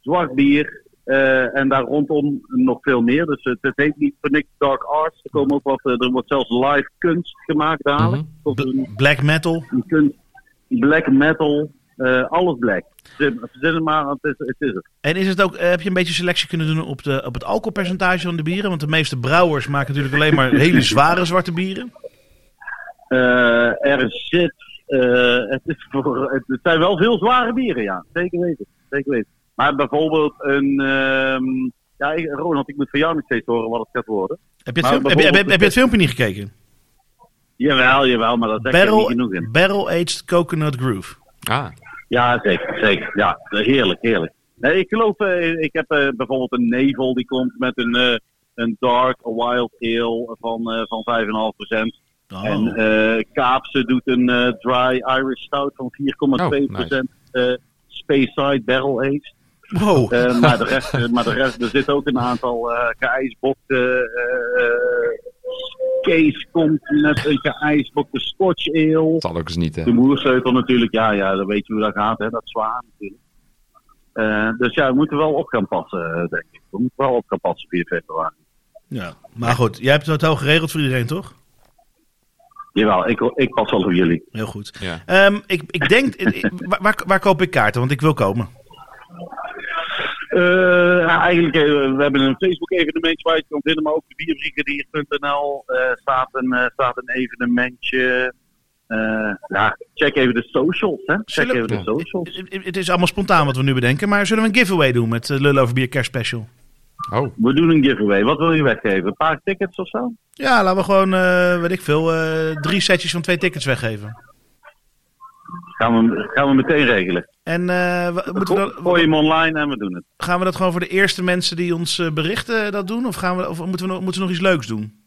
[SPEAKER 3] zwart bier eh, en daar rondom nog veel meer. Dus het, het heet niet voor niks Dark Arts. Er, komen ook wat, eh, er wordt zelfs live kunst gemaakt dadelijk.
[SPEAKER 2] Mhm.
[SPEAKER 3] Tot een-
[SPEAKER 2] Black metal.
[SPEAKER 3] je kunt black metal, eh, alles black. Verzin verzin het maar, het is het. Is het.
[SPEAKER 2] En is het ook, eh, heb je een beetje selectie kunnen doen op, de, op het alcoholpercentage van de bieren? Want de meeste brouwers maken natuurlijk alleen maar
[SPEAKER 3] [laughs]
[SPEAKER 2] hele zware zwarte bieren.
[SPEAKER 3] Eh, er zit, eh, het, is voor, het, het zijn wel veel zware bieren, ja. Zeker weten, zeker weten. Maar bijvoorbeeld een, ehm, ja, ik- Ronald, ik moet van jou nog steeds horen wat het gaat worden.
[SPEAKER 2] Heb je het,
[SPEAKER 3] Maar
[SPEAKER 2] film- heb je, heb, je- heb je het
[SPEAKER 3] bijvoorbeeld-
[SPEAKER 2] filmpje niet gekeken?
[SPEAKER 3] Jawel, jawel, maar dat zeg ik niet
[SPEAKER 2] Barrel,
[SPEAKER 3] genoeg in.
[SPEAKER 2] barrel Aged Coconut Groove.
[SPEAKER 1] Ah,
[SPEAKER 3] Ja, zeker, zeker. Ja, heerlijk, heerlijk. Nee, ik geloof, eh, ik heb eh, bijvoorbeeld een nevel die komt met een, eh, een dark wild ale van, eh van 5,5%.
[SPEAKER 2] Oh.
[SPEAKER 3] En eh, Kaapse doet een eh, dry Irish stout van 4,2%.
[SPEAKER 1] Oh, nice.
[SPEAKER 3] eh, Speyside Barrel Aged.
[SPEAKER 2] wow.
[SPEAKER 1] [laughs]
[SPEAKER 3] Eh, maar, de rest, eh, maar de rest, er zitten ook een aantal eh geijsbokte... eh, eh, Kees komt met een geijsbokte Scotch Ale.
[SPEAKER 1] dat zal ook eens niet, hè?
[SPEAKER 3] De moersleutel natuurlijk, ja, ja, dan weet je hoe dat gaat, hè. dat is zwaar natuurlijk. Eh, dus ja, we moeten wel op gaan passen, eh, denk ik. We moeten wel op gaan passen 4 februari.
[SPEAKER 2] Ja. Maar goed, jij hebt het hotel geregeld voor iedereen, toch?
[SPEAKER 3] Jawel, ik, ik pas wel op jullie.
[SPEAKER 2] Heel goed.
[SPEAKER 1] Ja.
[SPEAKER 2] Ehm, ik, ik denk, [laughs] ik- ik- waar, waar, waar koop ik kaarten? Want ik wil komen.
[SPEAKER 3] Eh, ja, eigenlijk, eh, we hebben een Facebook-evenement waar je het kan vinden, maar ook op bierbrigadier.nl eh, staat, een, eh, staat een evenementje. Eh, ja, check even de socials, hè. Check
[SPEAKER 2] Zullen-
[SPEAKER 3] even de
[SPEAKER 1] Ja.
[SPEAKER 3] socials.
[SPEAKER 2] Het- Het is allemaal spontaan wat we nu bedenken. Maar zullen we een giveaway doen met eh, Lullen over Bier Kerstspecial?
[SPEAKER 1] Oh,
[SPEAKER 3] We doen een giveaway. Wat wil je weggeven? Een paar tickets of zo?
[SPEAKER 2] Ja, laten we gewoon, eh, weet ik veel, eh, drie setjes van twee tickets weggeven.
[SPEAKER 3] Gaan we, gaan we meteen regelen.
[SPEAKER 2] En eh, wa- moeten we dan-
[SPEAKER 3] Gooi hem online en we doen het.
[SPEAKER 2] gaan we dat gewoon voor de eerste mensen die ons eh, berichten dat doen? Of, gaan we, of moeten, we, nog- moeten we nog iets leuks doen?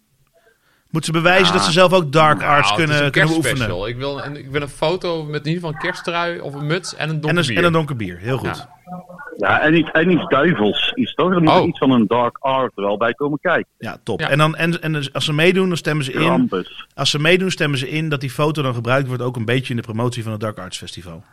[SPEAKER 2] Moeten ze bewijzen dat ze zelf ook dark arts
[SPEAKER 1] Nou, het is
[SPEAKER 2] kunnen,
[SPEAKER 1] een
[SPEAKER 2] kunnen
[SPEAKER 1] kerstspecial.
[SPEAKER 2] beoefenen?
[SPEAKER 1] Ik wil, een, ik wil een foto met in ieder geval een kersttrui of een muts en een
[SPEAKER 2] En
[SPEAKER 1] donker
[SPEAKER 2] een,
[SPEAKER 1] bier.
[SPEAKER 2] en een donker bier, heel goed.
[SPEAKER 1] Ja.
[SPEAKER 3] Ja, en iets, en iets duivels. Iets, toch? Er moet
[SPEAKER 1] Oh.
[SPEAKER 3] iets van een dark art er wel bij komen kijken.
[SPEAKER 2] Ja, top.
[SPEAKER 1] Ja.
[SPEAKER 2] En, dan, en, en als ze meedoen, dan stemmen ze in.
[SPEAKER 3] Krampus.
[SPEAKER 2] Als ze meedoen, stemmen ze in dat die foto dan gebruikt wordt ook een beetje in de promotie van het Dark Arts Festival.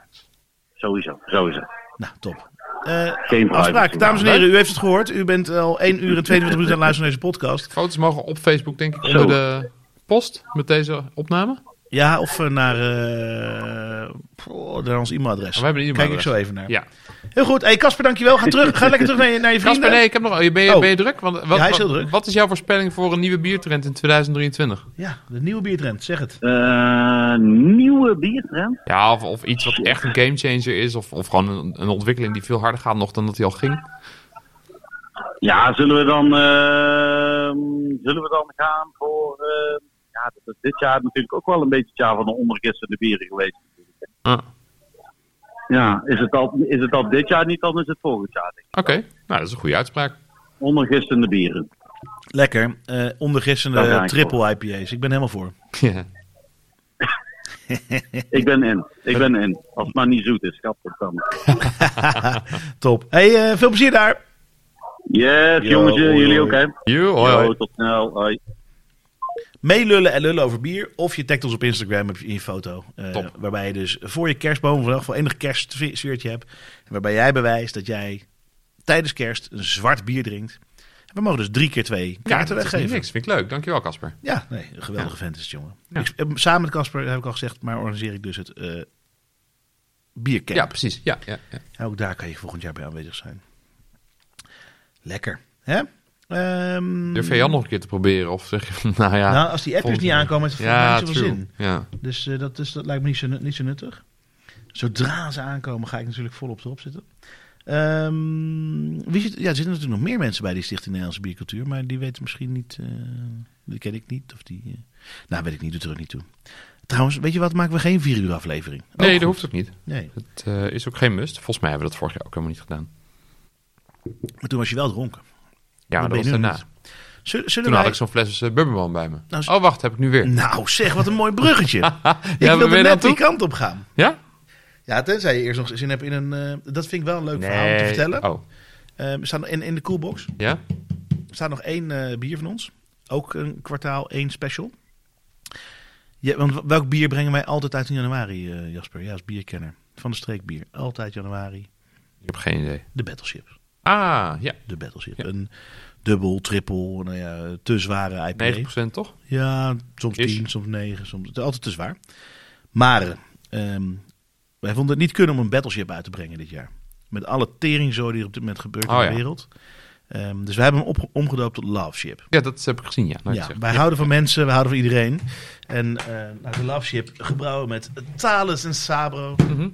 [SPEAKER 3] Sowieso, sowieso.
[SPEAKER 2] Nou, top. Eh,
[SPEAKER 3] Geen privacy.
[SPEAKER 2] afspraak. Dames en heren, u heeft het gehoord. U bent al 1 uur en 22 minuten aan het luisteren naar deze podcast.
[SPEAKER 1] Foto's mogen op Facebook, denk ik,
[SPEAKER 3] Zo.
[SPEAKER 1] onder de post met deze opname.
[SPEAKER 2] Ja, of eh, naar, eh, poh, naar ons e-mailadres.
[SPEAKER 1] Oh, We hebben een
[SPEAKER 2] Kijk ik
[SPEAKER 1] e-mailadres.
[SPEAKER 2] zo even naar.
[SPEAKER 1] Ja.
[SPEAKER 2] Heel goed. hey, Casper, dankjewel. Ga, terug, ga lekker terug naar je, naar je vrienden.
[SPEAKER 1] Kasper, nee, ik heb nog... Ben je, ben je,
[SPEAKER 2] Oh.
[SPEAKER 1] druk? Want, wat,
[SPEAKER 2] Ja, hij is heel
[SPEAKER 1] wat-
[SPEAKER 2] druk.
[SPEAKER 1] Wat is jouw voorspelling voor een nieuwe biertrend in 2023?
[SPEAKER 2] Ja, de nieuwe biertrend. Zeg het.
[SPEAKER 3] Eh, nieuwe biertrend?
[SPEAKER 1] Ja, of, of iets wat echt een gamechanger is. Of, of gewoon een, een ontwikkeling die veel harder gaat nog dan dat hij al ging.
[SPEAKER 3] Ja, zullen we dan, ehm, zullen we dan gaan voor... ehm, ja, dat is dit jaar natuurlijk ook wel een beetje het jaar van de ondergisterde bieren geweest.
[SPEAKER 1] Ah, Oké,
[SPEAKER 3] Ja, is het, al, is het al dit jaar niet, dan is het volgend jaar. Denk ik.
[SPEAKER 1] nou dat is een goede uitspraak.
[SPEAKER 3] Ondergisterde bieren.
[SPEAKER 2] Lekker. Eh ondergissende
[SPEAKER 3] Daar ga ik
[SPEAKER 2] triple IPA's. Ik ben helemaal voor. [laughs]
[SPEAKER 1] Ja.
[SPEAKER 3] Ik ben in. Ik ben in. Als het maar niet zoet is, schat het dan.
[SPEAKER 2] Top. hey, eh, veel plezier daar.
[SPEAKER 3] Yes,
[SPEAKER 2] Yo,
[SPEAKER 3] jongens,
[SPEAKER 2] hoi, hoi.
[SPEAKER 3] jullie ook, hè?
[SPEAKER 1] You,
[SPEAKER 3] Yo, tot snel. Hoi.
[SPEAKER 2] Meelullen en lullen over bier. Of je tagt ons op Instagram heb je in je foto. Eh,
[SPEAKER 1] Top.
[SPEAKER 2] Waarbij je dus voor je kerstboom vandaag wel enig kerstsfeertje hebt. En Waarbij jij bewijst dat jij tijdens kerst een zwart bier drinkt. En we mogen dus drie keer twee kaarten weggeven.
[SPEAKER 1] Niks, vind ik leuk. Dankjewel, Casper.
[SPEAKER 2] Ja, nee, een geweldige vent is het, jongen.
[SPEAKER 1] Ja.
[SPEAKER 2] Ik- eh, samen met Casper, heb ik al gezegd, maar organiseer ik dus het eh biercamp.
[SPEAKER 1] Ja, precies. Ja, ja, ja.
[SPEAKER 2] En ook daar kan je volgend jaar bij aanwezig zijn. Lekker, hè? Ehm,
[SPEAKER 1] Durf jij Jan nog een keer te proberen? Of zeg je, [laughs] nou ja.
[SPEAKER 2] nou, als die appjes
[SPEAKER 1] volgend
[SPEAKER 2] niet
[SPEAKER 1] jaar.
[SPEAKER 2] aankomen, heeft het
[SPEAKER 1] ja,
[SPEAKER 2] volgens mij niet zoveel
[SPEAKER 1] true.
[SPEAKER 2] zin.
[SPEAKER 1] Ja.
[SPEAKER 2] Dus eh, dat, is, dat lijkt me niet zo, nu- niet zo nuttig. Zodra ze aankomen, ga ik natuurlijk volop erop zitten. Ehm, wie zit, ja, er zitten natuurlijk nog meer mensen bij die Stichting Nederlandse Biercultuur, maar die weten misschien niet. eh, die ken ik niet. Of die, eh, nou, weet ik niet, doet er ook niet toe. Trouwens, weet je wat? Maken we geen vier uur aflevering? Ook
[SPEAKER 1] Nee,
[SPEAKER 2] goed.
[SPEAKER 1] dat hoeft ook niet.
[SPEAKER 2] Nee,
[SPEAKER 1] Het eh, is ook geen must. Volgens mij hebben we dat vorig jaar ook helemaal niet gedaan.
[SPEAKER 2] maar toen was je wel dronken.
[SPEAKER 1] Ja, dat
[SPEAKER 2] ben
[SPEAKER 1] was
[SPEAKER 2] je nu
[SPEAKER 1] daarna.
[SPEAKER 2] niet. Zullen, zullen
[SPEAKER 1] Toen
[SPEAKER 2] wij...
[SPEAKER 1] had ik zo'n fles eh, bourbon bij me.
[SPEAKER 2] Nou, z-
[SPEAKER 1] Oh, wacht, heb ik nu [laughs] weer.
[SPEAKER 2] Nou, zeg, wat een mooi
[SPEAKER 1] [laughs]
[SPEAKER 2] bruggetje. ik
[SPEAKER 1] we
[SPEAKER 2] wilde
[SPEAKER 1] weer aan
[SPEAKER 2] net die
[SPEAKER 1] toe?
[SPEAKER 2] kant op gaan.
[SPEAKER 1] Ja?
[SPEAKER 2] Ja, tenzij je eerst nog zin hebt in een... eh, dat vind ik wel een leuk verhaal om te vertellen.
[SPEAKER 1] Oh,
[SPEAKER 2] Eh, we staan in, in de coolbox.
[SPEAKER 1] ja?
[SPEAKER 2] Er staat nog één eh, bier van ons. Ook een kwartaal, één special. Ja, want welk bier brengen wij altijd uit in januari, eh, Jasper? Ja, als bierkenner. Van de streekbier. Altijd januari.
[SPEAKER 1] Ik heb geen idee.
[SPEAKER 2] De Battleship.
[SPEAKER 1] Ah, ja.
[SPEAKER 2] De Battleship.
[SPEAKER 1] Ja.
[SPEAKER 2] Een dubbel, triple, nou ja, te zware IPA.
[SPEAKER 1] 90% toch?
[SPEAKER 2] Ja, soms
[SPEAKER 1] Is.
[SPEAKER 2] tien, soms negen, soms... Het is altijd te zwaar. Maar ehm, wij vonden het niet kunnen om een Battleship uit te brengen dit jaar. Met alle teringzooi die er op dit moment gebeurt
[SPEAKER 1] Oh
[SPEAKER 2] in de
[SPEAKER 1] ja.
[SPEAKER 2] wereld. Ehm, dus we hebben hem op, omgedoopt tot Love Ship.
[SPEAKER 1] Ja, dat heb ik gezien, ja. Nou,
[SPEAKER 2] Ja,
[SPEAKER 1] ik zeg-
[SPEAKER 2] wij houden van mensen, wij houden van iedereen. En eh nou, de Love Ship gebrouwen met Thales en Sabro.
[SPEAKER 1] Dat
[SPEAKER 2] ehm,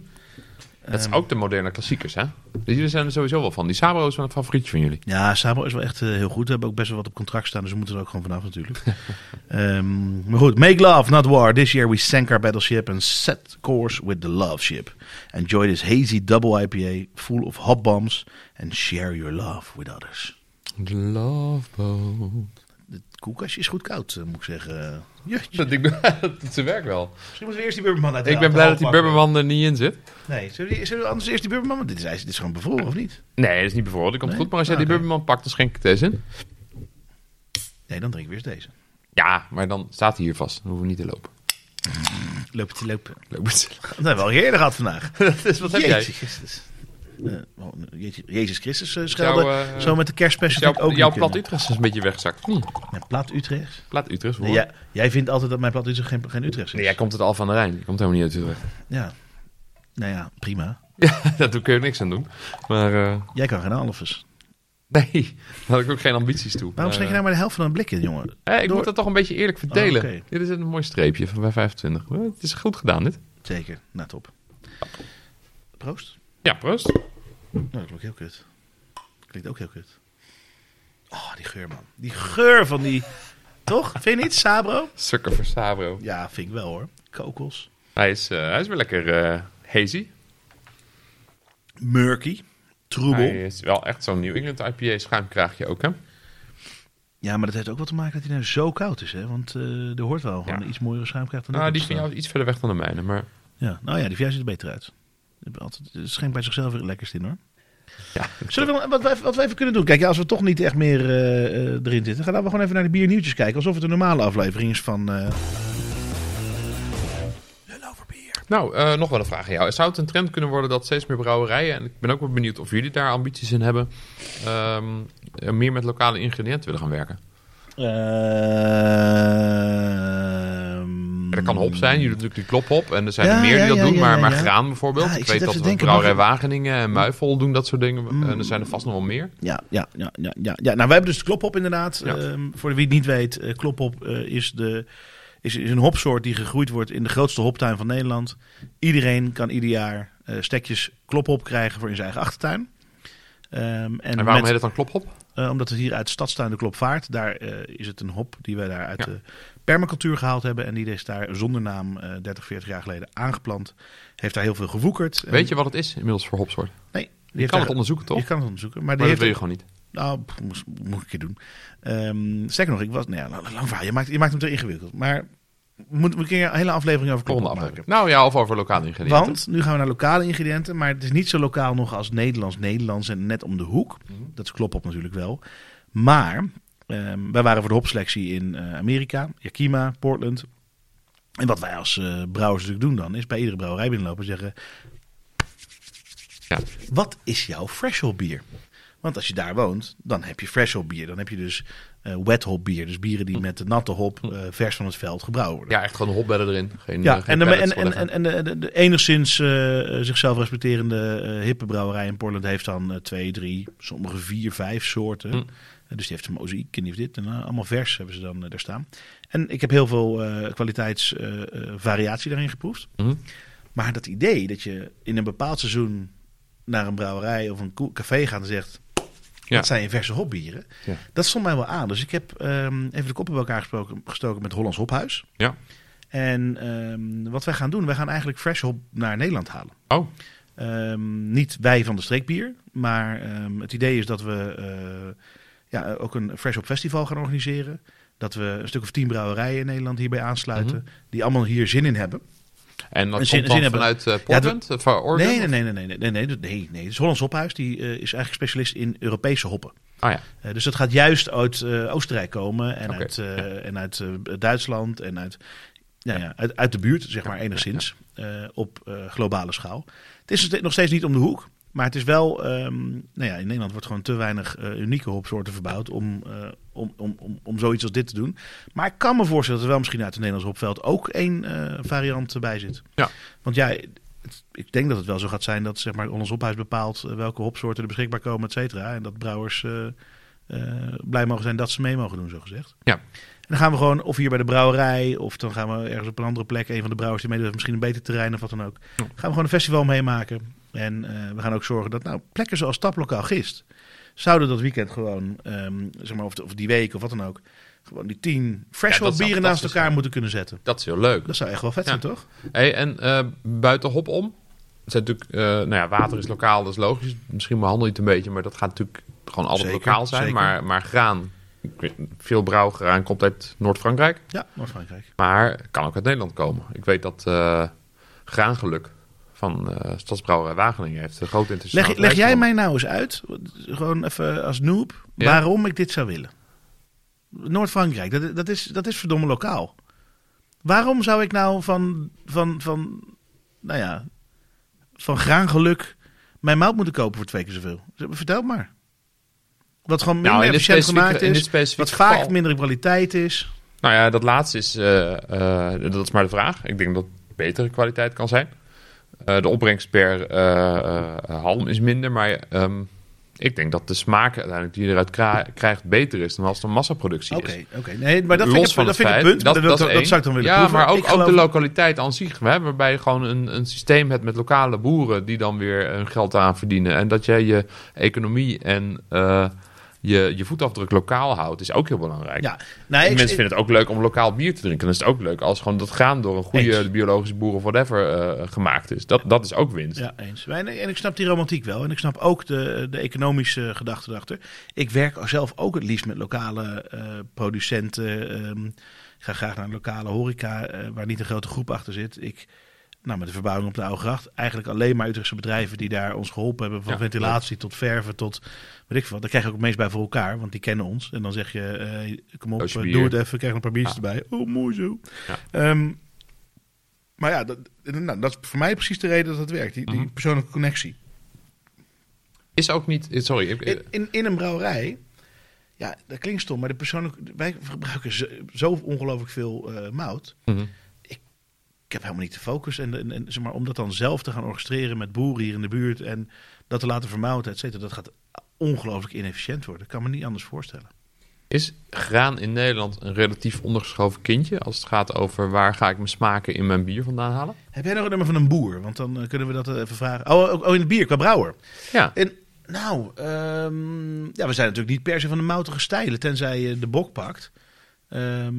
[SPEAKER 1] is ook de moderne klassiekers, hè? Dus Jullie zijn er sowieso wel van. Die Sabro is wel een favorietje van jullie.
[SPEAKER 2] Ja, Sabro is wel echt eh, heel goed. We hebben ook best wel wat op contract staan, dus we moeten er ook gewoon vanaf
[SPEAKER 1] [laughs]
[SPEAKER 2] natuurlijk. Ehm, maar goed, make love, not war. This year we sank our battleship and set course with the Love Ship. Enjoy this hazy double IPA full of hop bombs and share your love with others.
[SPEAKER 1] The Love Boat.
[SPEAKER 2] Het koelkastje is goed koud, eh, moet ik
[SPEAKER 1] [laughs]
[SPEAKER 2] zeggen. Jeetje.
[SPEAKER 1] Dat, ding- dat [laughs] ze werkt wel.
[SPEAKER 2] Misschien moeten we eerst die bubberman uit de
[SPEAKER 1] Ik ben blij
[SPEAKER 2] alcohol
[SPEAKER 1] dat die
[SPEAKER 2] pakken.
[SPEAKER 1] Bubberman er niet in zit.
[SPEAKER 2] Nee, zullen we, die- zullen we anders eerst die bubberman? Want dit is, ijs- dit is gewoon bevroren, of niet?
[SPEAKER 1] Nee, dat is niet bijvoorbeeld. Dat komt
[SPEAKER 2] Nee?
[SPEAKER 1] goed. Maar als jij
[SPEAKER 2] Ah,
[SPEAKER 1] die
[SPEAKER 2] oké.
[SPEAKER 1] Bubberman pakt, dan schenk ik deze in.
[SPEAKER 2] Nee, dan drink ik weer eens deze.
[SPEAKER 1] Ja, maar dan staat hij hier vast. Dan hoeven we niet te lopen.
[SPEAKER 2] Loop te lopen.
[SPEAKER 1] Lopen.
[SPEAKER 2] Dat hebben we al eerder gehad
[SPEAKER 1] [laughs]
[SPEAKER 2] vandaag.
[SPEAKER 1] Dat is wat heb jij.
[SPEAKER 2] Jezus Christus. Eh, wel, Jeetje, Jezus Christus eh,
[SPEAKER 1] Jouw,
[SPEAKER 2] schelden.
[SPEAKER 1] eh,
[SPEAKER 2] Zo met de kerstspecial vind ik
[SPEAKER 1] jouw,
[SPEAKER 2] ook
[SPEAKER 1] jouw
[SPEAKER 2] niet
[SPEAKER 1] plat
[SPEAKER 2] kunnen.
[SPEAKER 1] Utrecht is een beetje weggezakt. of niet?
[SPEAKER 2] Mijn plat Utrecht?
[SPEAKER 1] Plat Utrecht, hoor.
[SPEAKER 2] Nee, jij, jij vindt altijd dat mijn plat Utrecht geen, geen Utrecht is.
[SPEAKER 1] Nee, jij komt het al van de Rijn. Je komt helemaal niet uit [laughs] Utrecht.
[SPEAKER 2] Ja. Nou ja, prima.
[SPEAKER 1] Daar kun je niks aan doen. Maar eh,
[SPEAKER 2] Jij kan geen halves.
[SPEAKER 1] nee, daar had ik ook geen ambities toe.
[SPEAKER 2] Waarom
[SPEAKER 1] Maar,
[SPEAKER 2] schenk je nou maar de helft van een blik in, jongen?
[SPEAKER 1] eh, ik
[SPEAKER 2] door-
[SPEAKER 1] moet dat toch een beetje eerlijk verdelen.
[SPEAKER 2] Oh, oké.
[SPEAKER 1] Dit is een mooi streepje van bij 25. Eh, Het is goed gedaan, dit.
[SPEAKER 2] Zeker. Nou, top. Proost.
[SPEAKER 1] Ja, proost.
[SPEAKER 2] Nou, dat klonk heel kut. Klinkt ook heel kut. Oh, die geur, man. Die geur van die... Toch? Vind je niet, Sabro?
[SPEAKER 1] Sukker voor Sabro.
[SPEAKER 2] Ja, vind ik wel, hoor. Kokos.
[SPEAKER 1] Hij is, eh, hij is weer lekker eh, hazy.
[SPEAKER 2] Murky. Troebel.
[SPEAKER 1] Hij is wel echt zo'n New England IPA schuimkraagje ook, hè?
[SPEAKER 2] Ja, maar dat heeft ook wel te maken dat hij nou zo koud is, hè? Want eh, er hoort wel gewoon
[SPEAKER 1] Ja.
[SPEAKER 2] een iets mooiere schuimkracht dan ik
[SPEAKER 1] Nou,
[SPEAKER 2] heb
[SPEAKER 1] die van jou
[SPEAKER 2] staan.
[SPEAKER 1] is iets verder weg dan de mijne, maar
[SPEAKER 2] Ja, nou ja, die van jou ziet er beter uit. Ik heb Altijd, het schenkt bij zichzelf weer het lekkerst in, hoor. [laughs]
[SPEAKER 1] ja.
[SPEAKER 2] Zullen we, wel- wat, we, even- wat we even kunnen doen? Kijk, ja, als we toch niet echt meer eh, eh, erin zitten, gaan we gewoon even naar de biernieuwtjes kijken. Alsof het een normale aflevering is van... eh, Lul over bier.
[SPEAKER 1] Nou, eh, nog wel een vraag aan jou. Zou het een trend kunnen worden dat steeds meer brouwerijen... en ik ben ook wel benieuwd of jullie daar ambities in hebben... ehm, eh, meer met lokale ingrediënten willen gaan werken?
[SPEAKER 2] Ehm,
[SPEAKER 1] Er kan hop zijn, jullie doen natuurlijk die klophop... en er zijn
[SPEAKER 2] Ja,
[SPEAKER 1] er meer die
[SPEAKER 2] ja,
[SPEAKER 1] dat
[SPEAKER 2] ja,
[SPEAKER 1] doen,
[SPEAKER 2] ja,
[SPEAKER 1] maar,
[SPEAKER 2] ja,
[SPEAKER 1] maar
[SPEAKER 2] ja.
[SPEAKER 1] graan bijvoorbeeld.
[SPEAKER 2] Ja, ik
[SPEAKER 1] ik
[SPEAKER 2] zit
[SPEAKER 1] weet
[SPEAKER 2] even
[SPEAKER 1] dat
[SPEAKER 2] te
[SPEAKER 1] de
[SPEAKER 2] denken,
[SPEAKER 1] brouwerij
[SPEAKER 2] mag Mm.
[SPEAKER 1] Wageningen en Muifel doen dat soort dingen... en er zijn er vast nog wel meer.
[SPEAKER 2] Ja, ja, ja, ja, ja, ja. Nou, wij hebben dus de klophop inderdaad.
[SPEAKER 1] Ja.
[SPEAKER 2] Ehm, voor wie het niet weet, eh, klophop eh, is, de, is, is een hopsoort die gegroeid wordt in de grootste hoptuin van Nederland. Iedereen kan ieder jaar eh, stekjes klophop krijgen voor in zijn eigen achtertuin. Ehm, en
[SPEAKER 1] En waarom
[SPEAKER 2] met-
[SPEAKER 1] heet het dan klophop?
[SPEAKER 2] eh, omdat het hier uit Stadstuin de Klop vaart. Daar eh, is het een hop die wij daar uit
[SPEAKER 1] Ja.
[SPEAKER 2] de permacultuur gehaald hebben. En die is daar zonder naam eh 30, 40 jaar geleden aangeplant. Heeft daar heel veel gewoekerd. En-
[SPEAKER 1] Weet je wat het is inmiddels voor hopsoort?
[SPEAKER 2] Nee, die
[SPEAKER 1] Je
[SPEAKER 2] heeft
[SPEAKER 1] kan
[SPEAKER 2] daar-
[SPEAKER 1] het onderzoeken, toch?
[SPEAKER 2] Je kan het onderzoeken. Maar, die
[SPEAKER 1] Maar dat
[SPEAKER 2] heeft
[SPEAKER 1] wil je gewoon niet.
[SPEAKER 2] nou, pff, moest, moet ik een keer doen. Ehm sterker nog, ik was... Nou ja, lang- lang verhaal. Je maakt, je maakt hem te ingewikkeld. Maar Moet, moet ik een hele aflevering
[SPEAKER 1] Volgende
[SPEAKER 2] over kippenbol maken.
[SPEAKER 1] aflevering. Nou ja, of over lokale ingrediënten.
[SPEAKER 2] Want nu gaan we naar lokale ingrediënten, maar het is niet zo lokaal nog als Nederlands. Nederlands en net om de hoek.
[SPEAKER 1] Mhm.
[SPEAKER 2] Dat klopt op natuurlijk wel. Maar ehm, wij waren voor de hopselectie in eh, Amerika, Yakima, Portland. En wat wij als eh, brouwers natuurlijk doen dan, is bij iedere brouwerij binnenlopen en zeggen:
[SPEAKER 1] Ja.
[SPEAKER 2] wat is jouw fresh hop bier? Want als je daar woont, dan heb je fresh hop bier. Dan heb je dus eh, wet hop bier. Dus bieren
[SPEAKER 1] Mhm.
[SPEAKER 2] die met de natte hop eh, vers van het veld gebrouwen worden.
[SPEAKER 1] ja, echt gewoon hopbedden erin. Geen, eh,
[SPEAKER 2] Ja,
[SPEAKER 1] geen
[SPEAKER 2] en, de,
[SPEAKER 1] pallets,
[SPEAKER 2] en, en,
[SPEAKER 1] whatever.
[SPEAKER 2] en, en de, de, de enigszins eh, eh, zichzelf respecterende eh, hippe brouwerij in Portland heeft dan eh, twee, drie, sommige vier, vijf soorten.
[SPEAKER 1] Hm.
[SPEAKER 2] Eh, dus die heeft een mozaïek en die heeft dit. En eh, allemaal vers hebben ze dan eh, daar staan. En ik heb heel veel eh, kwaliteitsvariatie daarin geproefd.
[SPEAKER 1] Mhm.
[SPEAKER 2] Maar dat idee dat je in een bepaald seizoen naar een brouwerij of een ko- café gaat en zegt...
[SPEAKER 1] Ja.
[SPEAKER 2] Dat zijn je verse hopbieren.
[SPEAKER 1] Ja.
[SPEAKER 2] Dat stond mij wel aan. Dus ik heb ehm, even de koppen bij elkaar gesproken, gestoken met Hollands Hophuis.
[SPEAKER 1] Ja.
[SPEAKER 2] En ehm, wat wij gaan doen, wij gaan eigenlijk fresh hop naar Nederland halen.
[SPEAKER 1] Oh,
[SPEAKER 2] Ehm, niet wij van de streekbier, maar ehm, het idee is dat we eh, ja, ook een fresh hop festival gaan organiseren. Dat we een stuk of tien brouwerijen in Nederland hierbij aansluiten, die allemaal hier zin in hebben.
[SPEAKER 1] en dat
[SPEAKER 2] Een zin-
[SPEAKER 1] komt dan
[SPEAKER 2] zin hebben.
[SPEAKER 1] vanuit eh, Portland? eh, van Oregon?
[SPEAKER 2] Nee, nee, nee, nee, nee, nee, nee, nee, nee, nee, nee. Het is Hollands Hophuis, die eh, is eigenlijk specialist in Europese hoppen.
[SPEAKER 1] Ah ja,
[SPEAKER 2] Eh, dus dat gaat juist uit eh, Oostenrijk komen en
[SPEAKER 1] Oké,
[SPEAKER 2] uit, eh, en uit eh, Duitsland en uit, nou ja, uit, uit de buurt, zeg maar enigszins, eh, op eh, globale schaal. Het is nog steeds niet om de hoek, maar het is wel, ehm, nou ja, in Nederland wordt gewoon te weinig eh, unieke hopsoorten verbouwd om, eh, om, om, om, om zoiets als dit te doen. Maar ik kan me voorstellen dat er wel misschien uit het Nederlands hopveld ook één eh, variant bij zit.
[SPEAKER 1] Ja.
[SPEAKER 2] Want ja... het- Ik denk dat het wel zo gaat zijn dat zeg maar, ons ophuis bepaalt eh, welke hopsoorten er beschikbaar komen, et cetera. En dat brouwers eh, eh, blij mogen zijn dat ze mee mogen doen, zo gezegd.
[SPEAKER 1] ja.
[SPEAKER 2] En dan gaan we gewoon of hier bij de brouwerij, of dan gaan we ergens op een andere plek, een van de brouwers die meedoet, heeft misschien een beter terrein of wat dan ook. Gaan we gewoon een festival meemaken. En eh, we gaan ook zorgen dat nou, plekken zoals Taplokaal Gist zouden dat weekend gewoon, ehm, zeg maar, of, de- of die week of wat dan ook, gewoon die tien fresh
[SPEAKER 1] Ja, dat
[SPEAKER 2] hop
[SPEAKER 1] zou
[SPEAKER 2] bieren naast
[SPEAKER 1] fantastisch
[SPEAKER 2] elkaar
[SPEAKER 1] zijn.
[SPEAKER 2] moeten kunnen zetten.
[SPEAKER 1] dat is heel leuk.
[SPEAKER 2] Dat zou echt wel vet
[SPEAKER 1] Ja.
[SPEAKER 2] zijn, toch?
[SPEAKER 1] Hey, en eh, buiten hop om? Het zijn natuurlijk, eh, nou ja, water is lokaal, dat is logisch. Misschien behandel je het een beetje, maar dat gaat natuurlijk gewoon altijd
[SPEAKER 2] Zeker,
[SPEAKER 1] lokaal zijn.
[SPEAKER 2] zeker.
[SPEAKER 1] Maar, maar graan, ik weet- veel brouwgraan komt uit Noord-Frankrijk,
[SPEAKER 2] Ja, Noord-Frankrijk.
[SPEAKER 1] maar kan ook uit Nederland komen. Ik weet dat eh, graangeluk van eh Stadsbrouwerij Wageningen heeft een groot internationaal
[SPEAKER 2] Leg, leg
[SPEAKER 1] bedrijf van-
[SPEAKER 2] jij mij nou eens uit, gewoon even als noob,
[SPEAKER 1] Ja.
[SPEAKER 2] waarom ik dit zou willen. Noord-Frankrijk, dat, dat, is, dat is verdomme lokaal. Waarom zou ik nou van, van, van, nou ja, van graangeluk mijn mout moeten kopen voor twee keer zoveel? Vertel het maar. Wat gewoon minder
[SPEAKER 1] Nou, in dit
[SPEAKER 2] efficiënt
[SPEAKER 1] specifieke-
[SPEAKER 2] gemaakt
[SPEAKER 1] in dit
[SPEAKER 2] is, wat
[SPEAKER 1] specifieke
[SPEAKER 2] vaak
[SPEAKER 1] geval-
[SPEAKER 2] minder kwaliteit is.
[SPEAKER 1] Nou ja, dat laatste is, eh, eh, dat is maar de vraag. Ik denk dat het betere kwaliteit kan zijn. Eh, de opbrengst per eh, eh, halm is minder, maar ehm, ik denk dat de smaak uiteindelijk die je eruit kra- krijgt beter is dan als het een massaproductie
[SPEAKER 2] Oké,
[SPEAKER 1] is.
[SPEAKER 2] oké. Nee, maar dat vind ik, dat vind ik het punt. Dat, dat,
[SPEAKER 1] is
[SPEAKER 2] dat,
[SPEAKER 1] één.
[SPEAKER 2] zou ik dan willen
[SPEAKER 1] Ja,
[SPEAKER 2] proeven.
[SPEAKER 1] maar ook,
[SPEAKER 2] Ik
[SPEAKER 1] ook de
[SPEAKER 2] geloof-
[SPEAKER 1] lokaliteit aan zich. Hè, waarbij je gewoon een, een systeem hebt met lokale boeren die dan weer hun geld aan verdienen. En dat jij je economie en eh, je, je voetafdruk lokaal houdt, is ook heel belangrijk.
[SPEAKER 2] Ja, nee, ik,
[SPEAKER 1] Mensen vinden het ook leuk om lokaal bier te drinken. Dan is het ook leuk als gewoon dat graan door een goede
[SPEAKER 2] Eens.
[SPEAKER 1] biologische boer of whatever eh, gemaakt is. Dat, dat is ook winst.
[SPEAKER 2] Ja, eens. Maar En, en ik snap die romantiek wel. En ik snap ook de, de economische gedachte erachter. Ik werk zelf ook het liefst met lokale eh, producenten. ehm, ik ga graag naar een lokale horeca eh, waar niet een grote groep achter zit. Ik, nou, met de verbouwing op de Oude Gracht. Eigenlijk alleen maar Utrechtse bedrijven die daar ons geholpen hebben. Van
[SPEAKER 1] Ja,
[SPEAKER 2] ventilatie tot verven tot weet ik veel wat. Daar krijg je ook het meest bij voor elkaar. Want die kennen ons. En dan zeg je, eh, kom op,
[SPEAKER 1] Doosje
[SPEAKER 2] eh,
[SPEAKER 1] bier. Ah.
[SPEAKER 2] doe het even. Krijg nog een paar biertjes erbij. Oh, mooi zo.
[SPEAKER 1] Ja.
[SPEAKER 2] Ehm, maar ja, dat, nou, dat is voor mij precies de reden dat het werkt. Die, die
[SPEAKER 1] Mhm.
[SPEAKER 2] persoonlijke connectie.
[SPEAKER 1] Is ook niet... eh, Sorry. ik- eh,
[SPEAKER 2] In, in, in een brouwerij, ja, dat klinkt stom, maar de persoonlijke, wij gebruiken zo, zo ongelooflijk veel eh, mout.
[SPEAKER 1] mhm.
[SPEAKER 2] Ik heb helemaal niet de focus. En, en, en zeg maar, om dat dan zelf te gaan orchestreren met boeren hier in de buurt en dat te laten vermouten, et cetera, dat gaat ongelooflijk inefficiënt worden. Ik kan me niet anders voorstellen.
[SPEAKER 1] Is graan in Nederland een relatief ondergeschoven kindje? Als het gaat over waar ga ik mijn smaken in mijn bier vandaan halen?
[SPEAKER 2] Heb jij nog een nummer van een boer? Want dan eh, kunnen we dat even vragen. Oh, ook- oh, in het bier, qua brouwer.
[SPEAKER 1] Ja.
[SPEAKER 2] En, nou, ehm, ja, we zijn natuurlijk niet per se van de moutige stijlen, tenzij je de bok pakt. Ehm,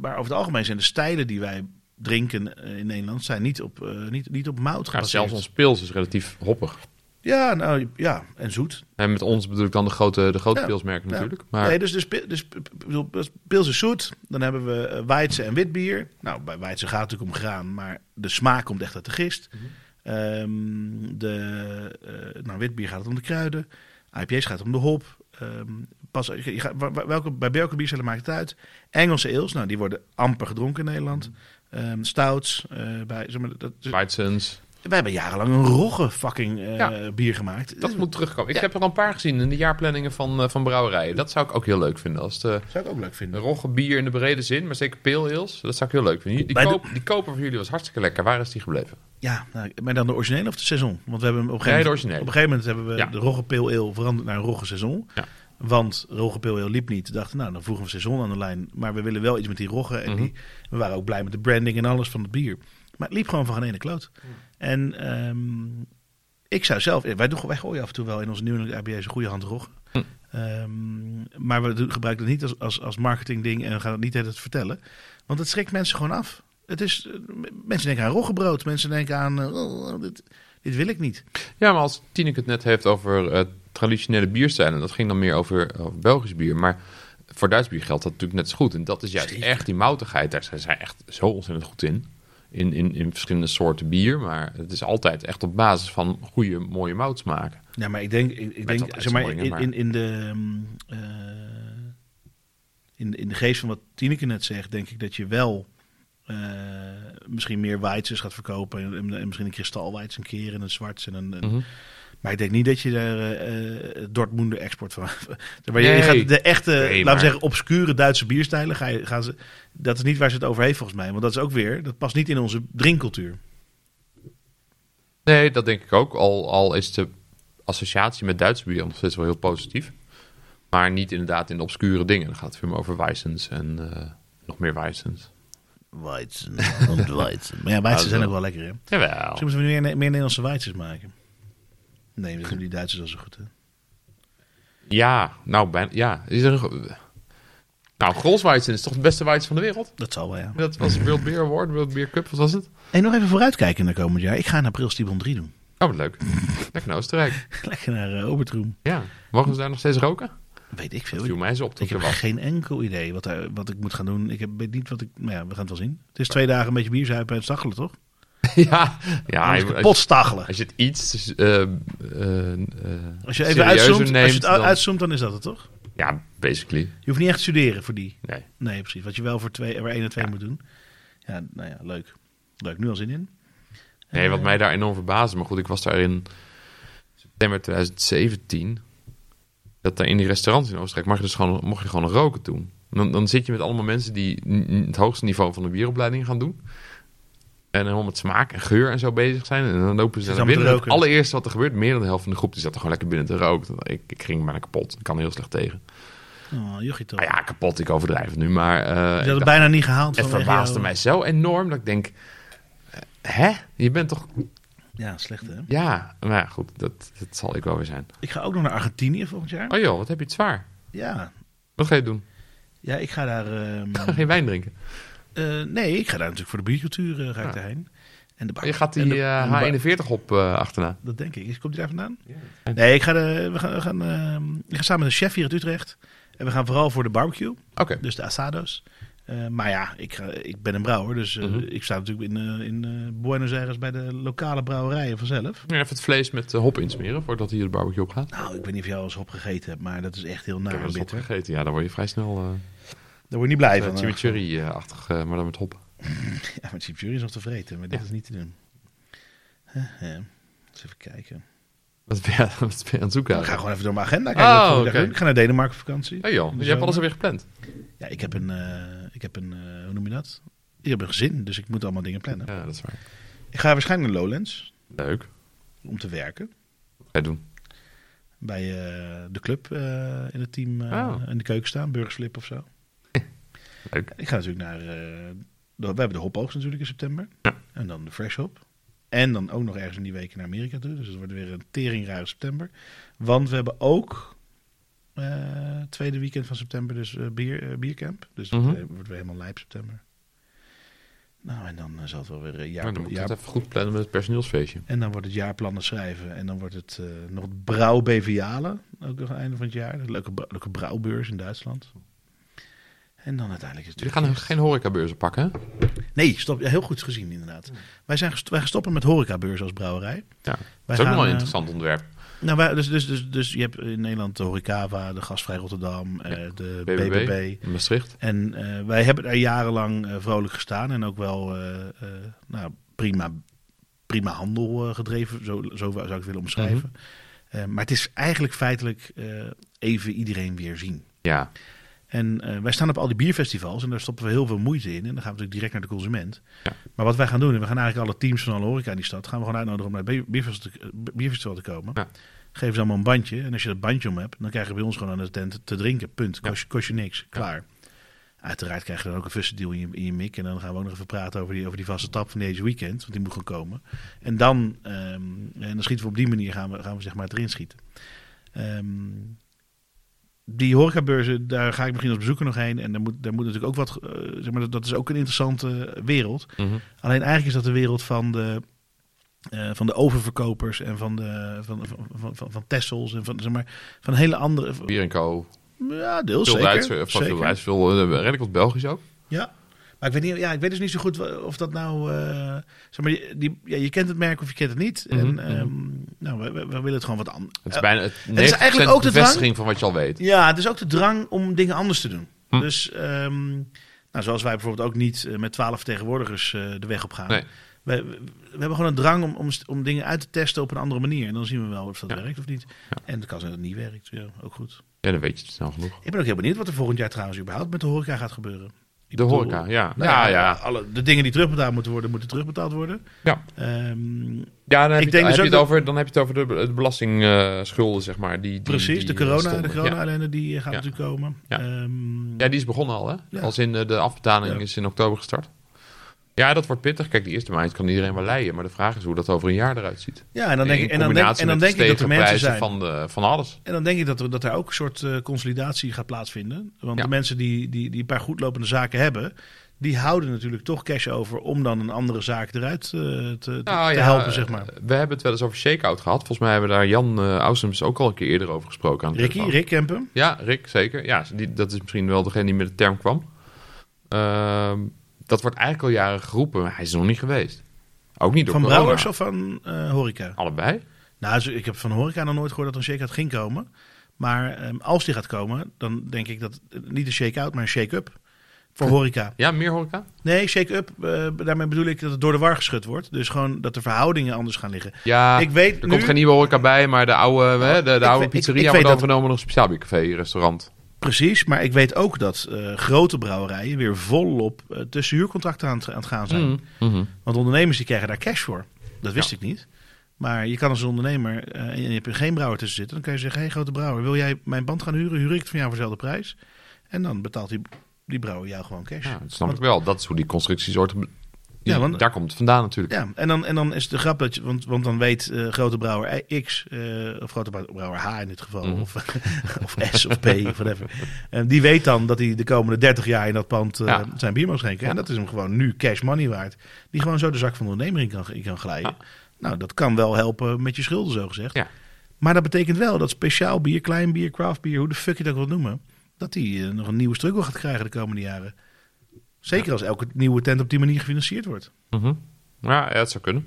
[SPEAKER 2] maar over het algemeen zijn de stijlen die wij drinken eh, in Nederland zijn niet op, eh, niet, niet op mout
[SPEAKER 1] Ja,
[SPEAKER 2] gebaseerd.
[SPEAKER 1] zelfs ons pils is relatief hoppig.
[SPEAKER 2] Ja, nou ja, en zoet.
[SPEAKER 1] En met ons bedoel ik dan de grote, de grote
[SPEAKER 2] Ja,
[SPEAKER 1] pilsmerken
[SPEAKER 2] ja.
[SPEAKER 1] natuurlijk. Maar
[SPEAKER 2] Nee, dus, dus, pi- dus p- p- bedoel, pils- pils is zoet. Dan hebben we eh, Weidse en witbier. Nou, bij Weidse gaat het natuurlijk om graan, maar de smaak komt echt uit de gist.
[SPEAKER 1] Mhm.
[SPEAKER 2] Ehm, de, eh, nou, witbier gaat het om de kruiden. IPA's gaat het om de hop. Ehm, pas, je, je gaat, wa- wa- welke, bij welke biercellen maakt het uit? Engelse eels, nou, die worden amper gedronken in Nederland.
[SPEAKER 1] Mhm.
[SPEAKER 2] Ehm, stouts. eh, bij, zeg maar, dat, dus-
[SPEAKER 1] Weizens,
[SPEAKER 2] wij hebben jarenlang een rogge fucking eh,
[SPEAKER 1] Ja.
[SPEAKER 2] bier gemaakt.
[SPEAKER 1] dat moet terugkomen. Ik heb er al een paar gezien in de jaarplanningen van, eh, van brouwerijen. Dat zou ik ook heel leuk vinden. Als de,
[SPEAKER 2] zou ik ook leuk
[SPEAKER 1] de
[SPEAKER 2] vinden.
[SPEAKER 1] rogge bier in de brede zin, maar zeker pale ales, dat zou ik heel leuk vinden. Die, die,
[SPEAKER 2] Bij de-
[SPEAKER 1] koop- die koper van jullie was hartstikke lekker. Waar is die gebleven?
[SPEAKER 2] Ja, nou, maar dan de originele of de seizoen? Want we hebben hem op een
[SPEAKER 1] Nee,
[SPEAKER 2] gegeven,
[SPEAKER 1] de originele.
[SPEAKER 2] moment- Op een gegeven moment hebben we
[SPEAKER 1] Ja.
[SPEAKER 2] de Rogge Pale Ale veranderd naar een Rogge seizoen.
[SPEAKER 1] Ja.
[SPEAKER 2] Want Rogge Pale Ale liep niet. We dachten, nou, dan voegen we seizoen aan de lijn. Maar we willen wel iets met die Rogge.
[SPEAKER 1] Mhm.
[SPEAKER 2] En die, we waren ook blij met de branding en alles van het bier. Maar het liep gewoon van geen ene kloot. En ehm, ik zou zelf... eh, Wij, doen, wij gooien af en toe wel in onze nieuwe IBA's een goede hand Rogge.
[SPEAKER 1] Hm.
[SPEAKER 2] Ehm, maar we doen- gebruiken het niet als, als, als marketingding en we gaan het niet het vertellen. Want het schrikt mensen gewoon af. Het is, eh, m- mensen denken aan roggebrood. Mensen denken aan, eh, oh, dit, dit wil ik niet.
[SPEAKER 1] Ja, maar als Tineke het net heeft over eh, traditionele bierstijlen, dat ging dan meer over, over Belgisch bier. Maar voor Duits bier geldt dat natuurlijk net zo goed. En dat is juist echt die moutigheid. Daar zijn zij echt zo ontzettend goed in. In, in. in verschillende soorten bier. Maar het is altijd echt op basis van goede, mooie moutsmaken.
[SPEAKER 2] Ja, maar ik denk, ik, ik denk
[SPEAKER 1] wat
[SPEAKER 2] zeg maar,
[SPEAKER 1] uitzonderingen,
[SPEAKER 2] in,
[SPEAKER 1] maar-
[SPEAKER 2] in, in de... ehm, eh, in, in de geest van wat Tineke net zegt, denk ik dat je wel eh, misschien meer Weizes gaat verkopen. En, en- en misschien een kristalweiz een keer en een zwarts. En een, een-
[SPEAKER 1] Mhm.
[SPEAKER 2] Maar ik denk niet dat je daar eh, eh Dortmunder export van... [laughs] maar je, je
[SPEAKER 1] Nee.
[SPEAKER 2] gaat de echte,
[SPEAKER 1] Nee,
[SPEAKER 2] laten
[SPEAKER 1] maar-
[SPEAKER 2] we zeggen, obscure Duitse bierstijlen... Ga je, gaan ze, dat is niet waar ze het over heeft volgens mij. Want dat is ook weer, dat past niet in onze drinkcultuur.
[SPEAKER 1] Nee, dat denk ik ook. Al, al is de associatie met Duits bier nog steeds wel heel positief. Maar niet inderdaad in de obscure dingen. Dan gaat het veel meer over Weissens en eh, nog meer Weissens.
[SPEAKER 2] Weizen, want Weizen. Ah, Maar [laughs] ja, Weizen zijn ook wel lekker, hè?
[SPEAKER 1] Jawel.
[SPEAKER 2] Misschien moeten we meer, meer Nederlandse Weizers maken. Oh. Nee, dat doen die Duitsers al zo goed, hè?
[SPEAKER 1] Ja, nou, bijna, ja. Is er een... ge- Nou, Grolsweizen is toch de beste Weizen van de wereld?
[SPEAKER 2] Dat zal wel, ja.
[SPEAKER 1] Dat was de World Beer Award, World Beer Cup, wat was het?
[SPEAKER 2] En nog even vooruitkijken naar komend jaar. Ik ga in april Stibon 3 doen.
[SPEAKER 1] Oh, wat leuk. Lekker naar Oostenrijk.
[SPEAKER 2] [laughs] Lekker naar eh, Obertroem.
[SPEAKER 1] Ja. Mogen ze daar nog steeds roken?
[SPEAKER 2] Weet ik
[SPEAKER 1] Dat
[SPEAKER 2] veel.
[SPEAKER 1] viel mij zo op
[SPEAKER 2] Ik
[SPEAKER 1] dat
[SPEAKER 2] heb
[SPEAKER 1] er was.
[SPEAKER 2] geen enkel idee wat, daar- wat ik moet gaan doen. Ik heb, weet niet wat ik... Nou ja, we gaan het wel zien. Het is twee dagen een beetje bierzuipen en stachelen, toch?
[SPEAKER 1] [laughs] Ja, ja
[SPEAKER 2] Ja,
[SPEAKER 1] Ah, je- als,
[SPEAKER 2] kapot
[SPEAKER 1] je,
[SPEAKER 2] stachelen.
[SPEAKER 1] als je het iets eh eh, eh,
[SPEAKER 2] Als je even
[SPEAKER 1] serieuzer
[SPEAKER 2] uitzoomt, als je het
[SPEAKER 1] dan-
[SPEAKER 2] uitzoomt, dan is dat het, toch?
[SPEAKER 1] Ja, basically.
[SPEAKER 2] Je hoeft niet echt te studeren voor die.
[SPEAKER 1] Nee.
[SPEAKER 2] Nee, precies. Wat je wel voor, twee, voor één en twee moet doen. Ja, nou ja, leuk. Leuk. Nu al zin in.
[SPEAKER 1] Nee, wat mij daar enorm verbaasde. Maar goed, ik was daar in september 2017. Dat daar in die restaurants in Oostenrijk mag je dus gewoon, mocht je gewoon roken doen. Dan, dan zit je met allemaal mensen die n- n- het hoogste niveau van de bieropleiding gaan doen. En helemaal met smaak en geur en zo bezig zijn. En dan lopen ze
[SPEAKER 2] Zit
[SPEAKER 1] naar
[SPEAKER 2] allemaal te
[SPEAKER 1] binnen. Het
[SPEAKER 2] roken.
[SPEAKER 1] allereerste wat er gebeurt, meer dan de helft van de groep, die zat er gewoon lekker binnen te roken. Ik, ik ging bijna kapot. Ik kan er heel slecht tegen.
[SPEAKER 2] Oh, jochie toch.
[SPEAKER 1] Nou ja, kapot, ik overdrijf het nu. Maar eh, ik
[SPEAKER 2] Je had
[SPEAKER 1] dacht-
[SPEAKER 2] het bijna niet gehaald.
[SPEAKER 1] het
[SPEAKER 2] vanwege
[SPEAKER 1] verbaasde
[SPEAKER 2] jou.
[SPEAKER 1] mij zo enorm dat ik denk... eh, Hè? Je bent toch
[SPEAKER 2] Ja, slecht hè.
[SPEAKER 1] ja, maar ja, goed, dat, dat zal ik wel weer zijn.
[SPEAKER 2] Ik ga ook nog naar Argentinië volgend jaar.
[SPEAKER 1] Oh joh, wat heb je het zwaar.
[SPEAKER 2] Ja.
[SPEAKER 1] Wat ga je doen?
[SPEAKER 2] Ja, ik ga daar... ehm,
[SPEAKER 1] [laughs] Geen wijn drinken.
[SPEAKER 2] eh, nee, ik ga daar natuurlijk voor de biercultuur eh, ga
[SPEAKER 1] Ja.
[SPEAKER 2] ik daarheen. En de bar-
[SPEAKER 1] Je gaat
[SPEAKER 2] en
[SPEAKER 1] die
[SPEAKER 2] de- en de
[SPEAKER 1] eh
[SPEAKER 2] bar-
[SPEAKER 1] H41 op eh, achterna.
[SPEAKER 2] Dat denk ik. Is- Komt hij daar vandaan? Nee, ik ga, de, we gaan, we gaan, ehm, ik ga samen met een chef hier uit Utrecht. En we gaan vooral voor de barbecue.
[SPEAKER 1] Oké,
[SPEAKER 2] Dus de asados. Eh, maar ja, ik, ga- ik ben een brouwer. Dus eh,
[SPEAKER 1] Mhm.
[SPEAKER 2] ik sta natuurlijk in, eh, in eh, Buenos Aires bij de lokale brouwerijen vanzelf.
[SPEAKER 1] Nu even het vlees met eh, hop insmeren voordat hij de barbecue op gaat.
[SPEAKER 2] Nou, ik weet niet of jij al eens hop gegeten hebt, maar dat is echt heel
[SPEAKER 1] Ik heb
[SPEAKER 2] naar
[SPEAKER 1] wel eens
[SPEAKER 2] en
[SPEAKER 1] hop
[SPEAKER 2] bitter.
[SPEAKER 1] gegeten. Ja, dan word je vrij snel eh,
[SPEAKER 2] Daar word je niet blij
[SPEAKER 1] eh,
[SPEAKER 2] van. eh.
[SPEAKER 1] chimichurri-achtig, eh, maar dan met hop.
[SPEAKER 2] Ja, maar chimichurri is nog te vreten, maar dit
[SPEAKER 1] Ja.
[SPEAKER 2] is niet te doen. Hè, hè. Eens even kijken.
[SPEAKER 1] Wat ben je, [laughs] wat ben je aan het zoeken?
[SPEAKER 2] Ik ga
[SPEAKER 1] eigenlijk?
[SPEAKER 2] gewoon even door mijn agenda kijken. wat
[SPEAKER 1] Oh,
[SPEAKER 2] moet ik daar
[SPEAKER 1] oké.
[SPEAKER 2] doen. Ik ga naar Denemarken op vakantie.
[SPEAKER 1] Hey joh, je hebt alles alweer gepland.
[SPEAKER 2] Ja, ik heb een, eh, ik heb een eh, hoe noem je dat? Ik heb een gezin, dus ik moet allemaal dingen plannen.
[SPEAKER 1] Ja, dat is waar.
[SPEAKER 2] Ik ga waarschijnlijk naar Lowlands
[SPEAKER 1] Leuk.
[SPEAKER 2] om te werken.
[SPEAKER 1] Wat ga je doen?
[SPEAKER 2] Bij eh, de club eh, in het team eh,
[SPEAKER 1] Oh.
[SPEAKER 2] in de keuken staan, Burgersflip of zo.
[SPEAKER 1] [laughs] Leuk.
[SPEAKER 2] Ik ga natuurlijk naar, eh, de- we hebben de hopoogst natuurlijk in september.
[SPEAKER 1] Ja.
[SPEAKER 2] En dan de fresh hop. En dan ook nog ergens in die weken naar Amerika toe. Dus het wordt weer een teringruige september. Want we hebben ook eh tweede weekend van september dus eh, bier, eh, biercamp. Dus dat
[SPEAKER 1] Mhm.
[SPEAKER 2] eh, wordt weer helemaal lijp september. Nou, en dan eh, zal het wel weer eh,
[SPEAKER 1] Nou,
[SPEAKER 2] jaar,
[SPEAKER 1] dan moet ik
[SPEAKER 2] jaar-
[SPEAKER 1] het even goed plannen met het personeelsfeestje.
[SPEAKER 2] En dan wordt het jaarplannen schrijven. En dan wordt het eh, nog het brouw bevialen. Ook nog aan het einde van het jaar. Een leuke, br- leuke brouwbeurs in Duitsland. En dan uiteindelijk is het
[SPEAKER 1] Jullie gaan
[SPEAKER 2] natuurlijk-
[SPEAKER 1] geen horecabeurzen pakken, hè?
[SPEAKER 2] Nee, stop, ja, heel goed gezien inderdaad. Wij, zijn gesto- wij gaan stoppen met horecabeurs als brouwerij.
[SPEAKER 1] Ja,
[SPEAKER 2] Wij
[SPEAKER 1] dat is ook nog
[SPEAKER 2] gaan,
[SPEAKER 1] wel een
[SPEAKER 2] eh,
[SPEAKER 1] interessant onderwerp.
[SPEAKER 2] Nou, wij- dus, dus, dus, dus je hebt in Nederland de Horecava, de Gastvrij Rotterdam, eh, de BBB.
[SPEAKER 1] BBB, in Maastricht.
[SPEAKER 2] En eh, wij hebben daar jarenlang eh, vrolijk gestaan en ook wel eh, eh, nou, prima, prima handel eh, gedreven, zo, zo zou ik het willen omschrijven. Eh, maar het is eigenlijk feitelijk eh, even iedereen weer zien.
[SPEAKER 1] Ja,
[SPEAKER 2] En eh, wij staan op al die bierfestivals en daar stoppen we heel veel moeite in. En dan gaan we natuurlijk direct naar de consument.
[SPEAKER 1] Ja.
[SPEAKER 2] Maar wat wij gaan doen, en we gaan eigenlijk alle teams van alle horeca in die stad... gaan we gewoon uitnodigen om naar het bier- bierfestival te, eh, bierfestival te komen.
[SPEAKER 1] Ja.
[SPEAKER 2] Geef ze allemaal een bandje. En als je dat bandje om hebt, dan krijgen we bij ons gewoon aan de tent te drinken. Punt. Kost, je- kost je niks. Klaar. Uiteraard krijg je dan ook een tussendeal in je, in je mik. En dan gaan we ook nog even praten over die, over die vaste tap van deze weekend. Want die moet gewoon komen. En dan, ehm, en dan schieten we op die manier, gaan we, gaan we zeg maar het erin schieten. Ehm die horecabeurzen, daar ga ik misschien als bezoeker nog heen. En daar moet, daar moet natuurlijk ook wat... eh, zeg maar, dat, dat is ook een interessante wereld.
[SPEAKER 1] Mhm.
[SPEAKER 2] Alleen eigenlijk is dat de wereld van de, eh, van de oververkopers... en van, de, van, van, van, van, van Tessels en van, zeg maar, van hele andere...
[SPEAKER 1] Bier en Co.
[SPEAKER 2] Ja, deels
[SPEAKER 1] Veel
[SPEAKER 2] zeker.
[SPEAKER 1] Duits, eh, van
[SPEAKER 2] zeker.
[SPEAKER 1] veel Duits, veel eh, redelijk wat Belgisch ook.
[SPEAKER 2] Ja. Maar ik weet, niet, ja, ik weet dus niet zo goed wa- of dat nou. eh, zeg maar, die, die- ja, je kent het merk of je kent het niet.
[SPEAKER 1] Mhm,
[SPEAKER 2] En ehm, nou, we, we- we willen het gewoon wat anders.
[SPEAKER 1] Het is bijna het
[SPEAKER 2] is eigenlijk ook de
[SPEAKER 1] bevestiging van wat je al weet.
[SPEAKER 2] Ja, het is ook de drang om dingen anders te doen.
[SPEAKER 1] Hm.
[SPEAKER 2] Dus ehm, nou, zoals wij bijvoorbeeld ook niet eh, met twaalf vertegenwoordigers eh, de weg op gaan.
[SPEAKER 1] Nee.
[SPEAKER 2] We, we- we hebben gewoon een drang om, om, st- om dingen uit te testen op een andere manier. En dan zien we wel of dat
[SPEAKER 1] Ja.
[SPEAKER 2] werkt of niet. En dat kan zijn dat het niet werkt. Ja, ook goed.
[SPEAKER 1] Ja, dan weet je het snel genoeg.
[SPEAKER 2] Ik ben ook heel benieuwd wat er volgend jaar trouwens überhaupt met de horeca gaat gebeuren. Ik
[SPEAKER 1] De
[SPEAKER 2] bedoel,
[SPEAKER 1] horeca, ja.
[SPEAKER 2] nou
[SPEAKER 1] ja, ja.
[SPEAKER 2] Alle, de dingen die terugbetaald moeten worden, moeten terugbetaald worden.
[SPEAKER 1] Ja.
[SPEAKER 2] Ehm,
[SPEAKER 1] Ja, dan heb,
[SPEAKER 2] Ik
[SPEAKER 1] je, heb
[SPEAKER 2] denk dus
[SPEAKER 1] je
[SPEAKER 2] ook
[SPEAKER 1] het over, dan heb je het over de, de belastingschulden, zeg maar. Die, die,
[SPEAKER 2] precies,
[SPEAKER 1] die,
[SPEAKER 2] de
[SPEAKER 1] eh,
[SPEAKER 2] corona, de
[SPEAKER 1] stonden. Ja.
[SPEAKER 2] corona-ellende die eh, gaat
[SPEAKER 1] Ja.
[SPEAKER 2] natuurlijk komen.
[SPEAKER 1] Ja.
[SPEAKER 2] Ehm,
[SPEAKER 1] Ja, die is begonnen al, hè?
[SPEAKER 2] Ja.
[SPEAKER 1] Als in eh, de afbetaling
[SPEAKER 2] Ja.
[SPEAKER 1] is in oktober gestart. Ja, dat wordt pittig. Kijk, die eerste maand kan iedereen wel leien. Maar de vraag is hoe dat over een jaar eruit ziet.
[SPEAKER 2] ja, en dan
[SPEAKER 1] In
[SPEAKER 2] denk, ik- en dan denk,
[SPEAKER 1] combinatie
[SPEAKER 2] en dan
[SPEAKER 1] met
[SPEAKER 2] denk ik dat
[SPEAKER 1] gestegen
[SPEAKER 2] er mensen
[SPEAKER 1] prijzen
[SPEAKER 2] zijn.
[SPEAKER 1] Van, de, van alles.
[SPEAKER 2] En dan denk ik dat, er- dat er ook een soort eh, consolidatie gaat plaatsvinden. Want
[SPEAKER 1] Ja.
[SPEAKER 2] de mensen die, die, die een paar goedlopende zaken hebben, die houden natuurlijk toch cash over om dan een andere zaak eruit eh, te, te,
[SPEAKER 1] Nou,
[SPEAKER 2] te
[SPEAKER 1] ja,
[SPEAKER 2] helpen, zeg maar.
[SPEAKER 1] We hebben het wel eens over shake-out gehad. Volgens mij hebben we daar Jan eh Ausums ook al een keer eerder over gesproken. Aan de
[SPEAKER 2] Ricky,
[SPEAKER 1] telefoon.
[SPEAKER 2] Rick Kempen.
[SPEAKER 1] Ja, Rick, zeker. Ja, die, dat is misschien wel degene die met de term kwam. Ehm, dat wordt eigenlijk al jaren geroepen, maar hij is er nog niet geweest. Ook niet door
[SPEAKER 2] Van
[SPEAKER 1] corona.
[SPEAKER 2] Brouwers of van eh, Horeca?
[SPEAKER 1] Allebei.
[SPEAKER 2] Nou, zo- ik heb van Horeca nog nooit gehoord dat er een shake-out ging komen. Maar ehm, als die gaat komen, dan denk ik dat eh, niet een shake-out, maar een shake-up voor Horeca.
[SPEAKER 1] Ja, meer horeca?
[SPEAKER 2] Nee, shake-up, eh, daarmee bedoel ik dat het door de war geschud wordt. Dus gewoon dat de verhoudingen anders gaan liggen.
[SPEAKER 1] Ja,
[SPEAKER 2] ik weet
[SPEAKER 1] er
[SPEAKER 2] nu,
[SPEAKER 1] komt geen nieuwe horeca bij, maar de oude, hè, de, de
[SPEAKER 2] ik
[SPEAKER 1] oude
[SPEAKER 2] weet- ik-
[SPEAKER 1] pizzeria
[SPEAKER 2] ik weet
[SPEAKER 1] wordt
[SPEAKER 2] dat-
[SPEAKER 1] overgenomen door een speciaal biercafé, restaurant.
[SPEAKER 2] precies, maar ik weet ook dat eh, grote brouwerijen weer volop eh, tussenhuurcontracten aan, het- aan het gaan zijn.
[SPEAKER 1] Mhm. Mhm.
[SPEAKER 2] Want ondernemers die krijgen daar cash voor. Dat wist ik niet. Maar je kan als ondernemer eh, en je hebt er geen brouwer tussen zitten, dan kan je zeggen: hey, grote brouwer, wil jij mijn band gaan huren? Huur ik het van jou voor dezelfde prijs? En dan betaalt die, die brouwer jou gewoon cash.
[SPEAKER 1] Ja, dat snap
[SPEAKER 2] Want-
[SPEAKER 1] ik wel. Dat is hoe die constructies wordt.
[SPEAKER 2] Ja, want-
[SPEAKER 1] Daar komt het vandaan natuurlijk.
[SPEAKER 2] ja, en dan, en dan is de grap dat je, want, want dan weet eh, grote brouwer I- X, eh, of grote brouwer H in dit geval,
[SPEAKER 1] Mhm.
[SPEAKER 2] of, [laughs] of S of P of whatever. En die weet dan dat hij de komende 30 jaar in dat pand eh,
[SPEAKER 1] Ja.
[SPEAKER 2] zijn bier mag schenken. En
[SPEAKER 1] Ja.
[SPEAKER 2] dat is hem gewoon nu cash money waard. Die gewoon zo de zak van de ondernemer in kan, in kan glijden. Nou, dat kan wel helpen met je schulden, zo gezegd.
[SPEAKER 1] Ja.
[SPEAKER 2] Maar dat betekent wel dat speciaal bier, klein bier, craft bier, hoe de fuck je dat ook wilt noemen, dat die eh, nog een nieuwe struggle gaat krijgen de komende jaren. Zeker als elke nieuwe tent op die manier gefinancierd wordt.
[SPEAKER 1] Mhm. Ja, ja, dat zou kunnen.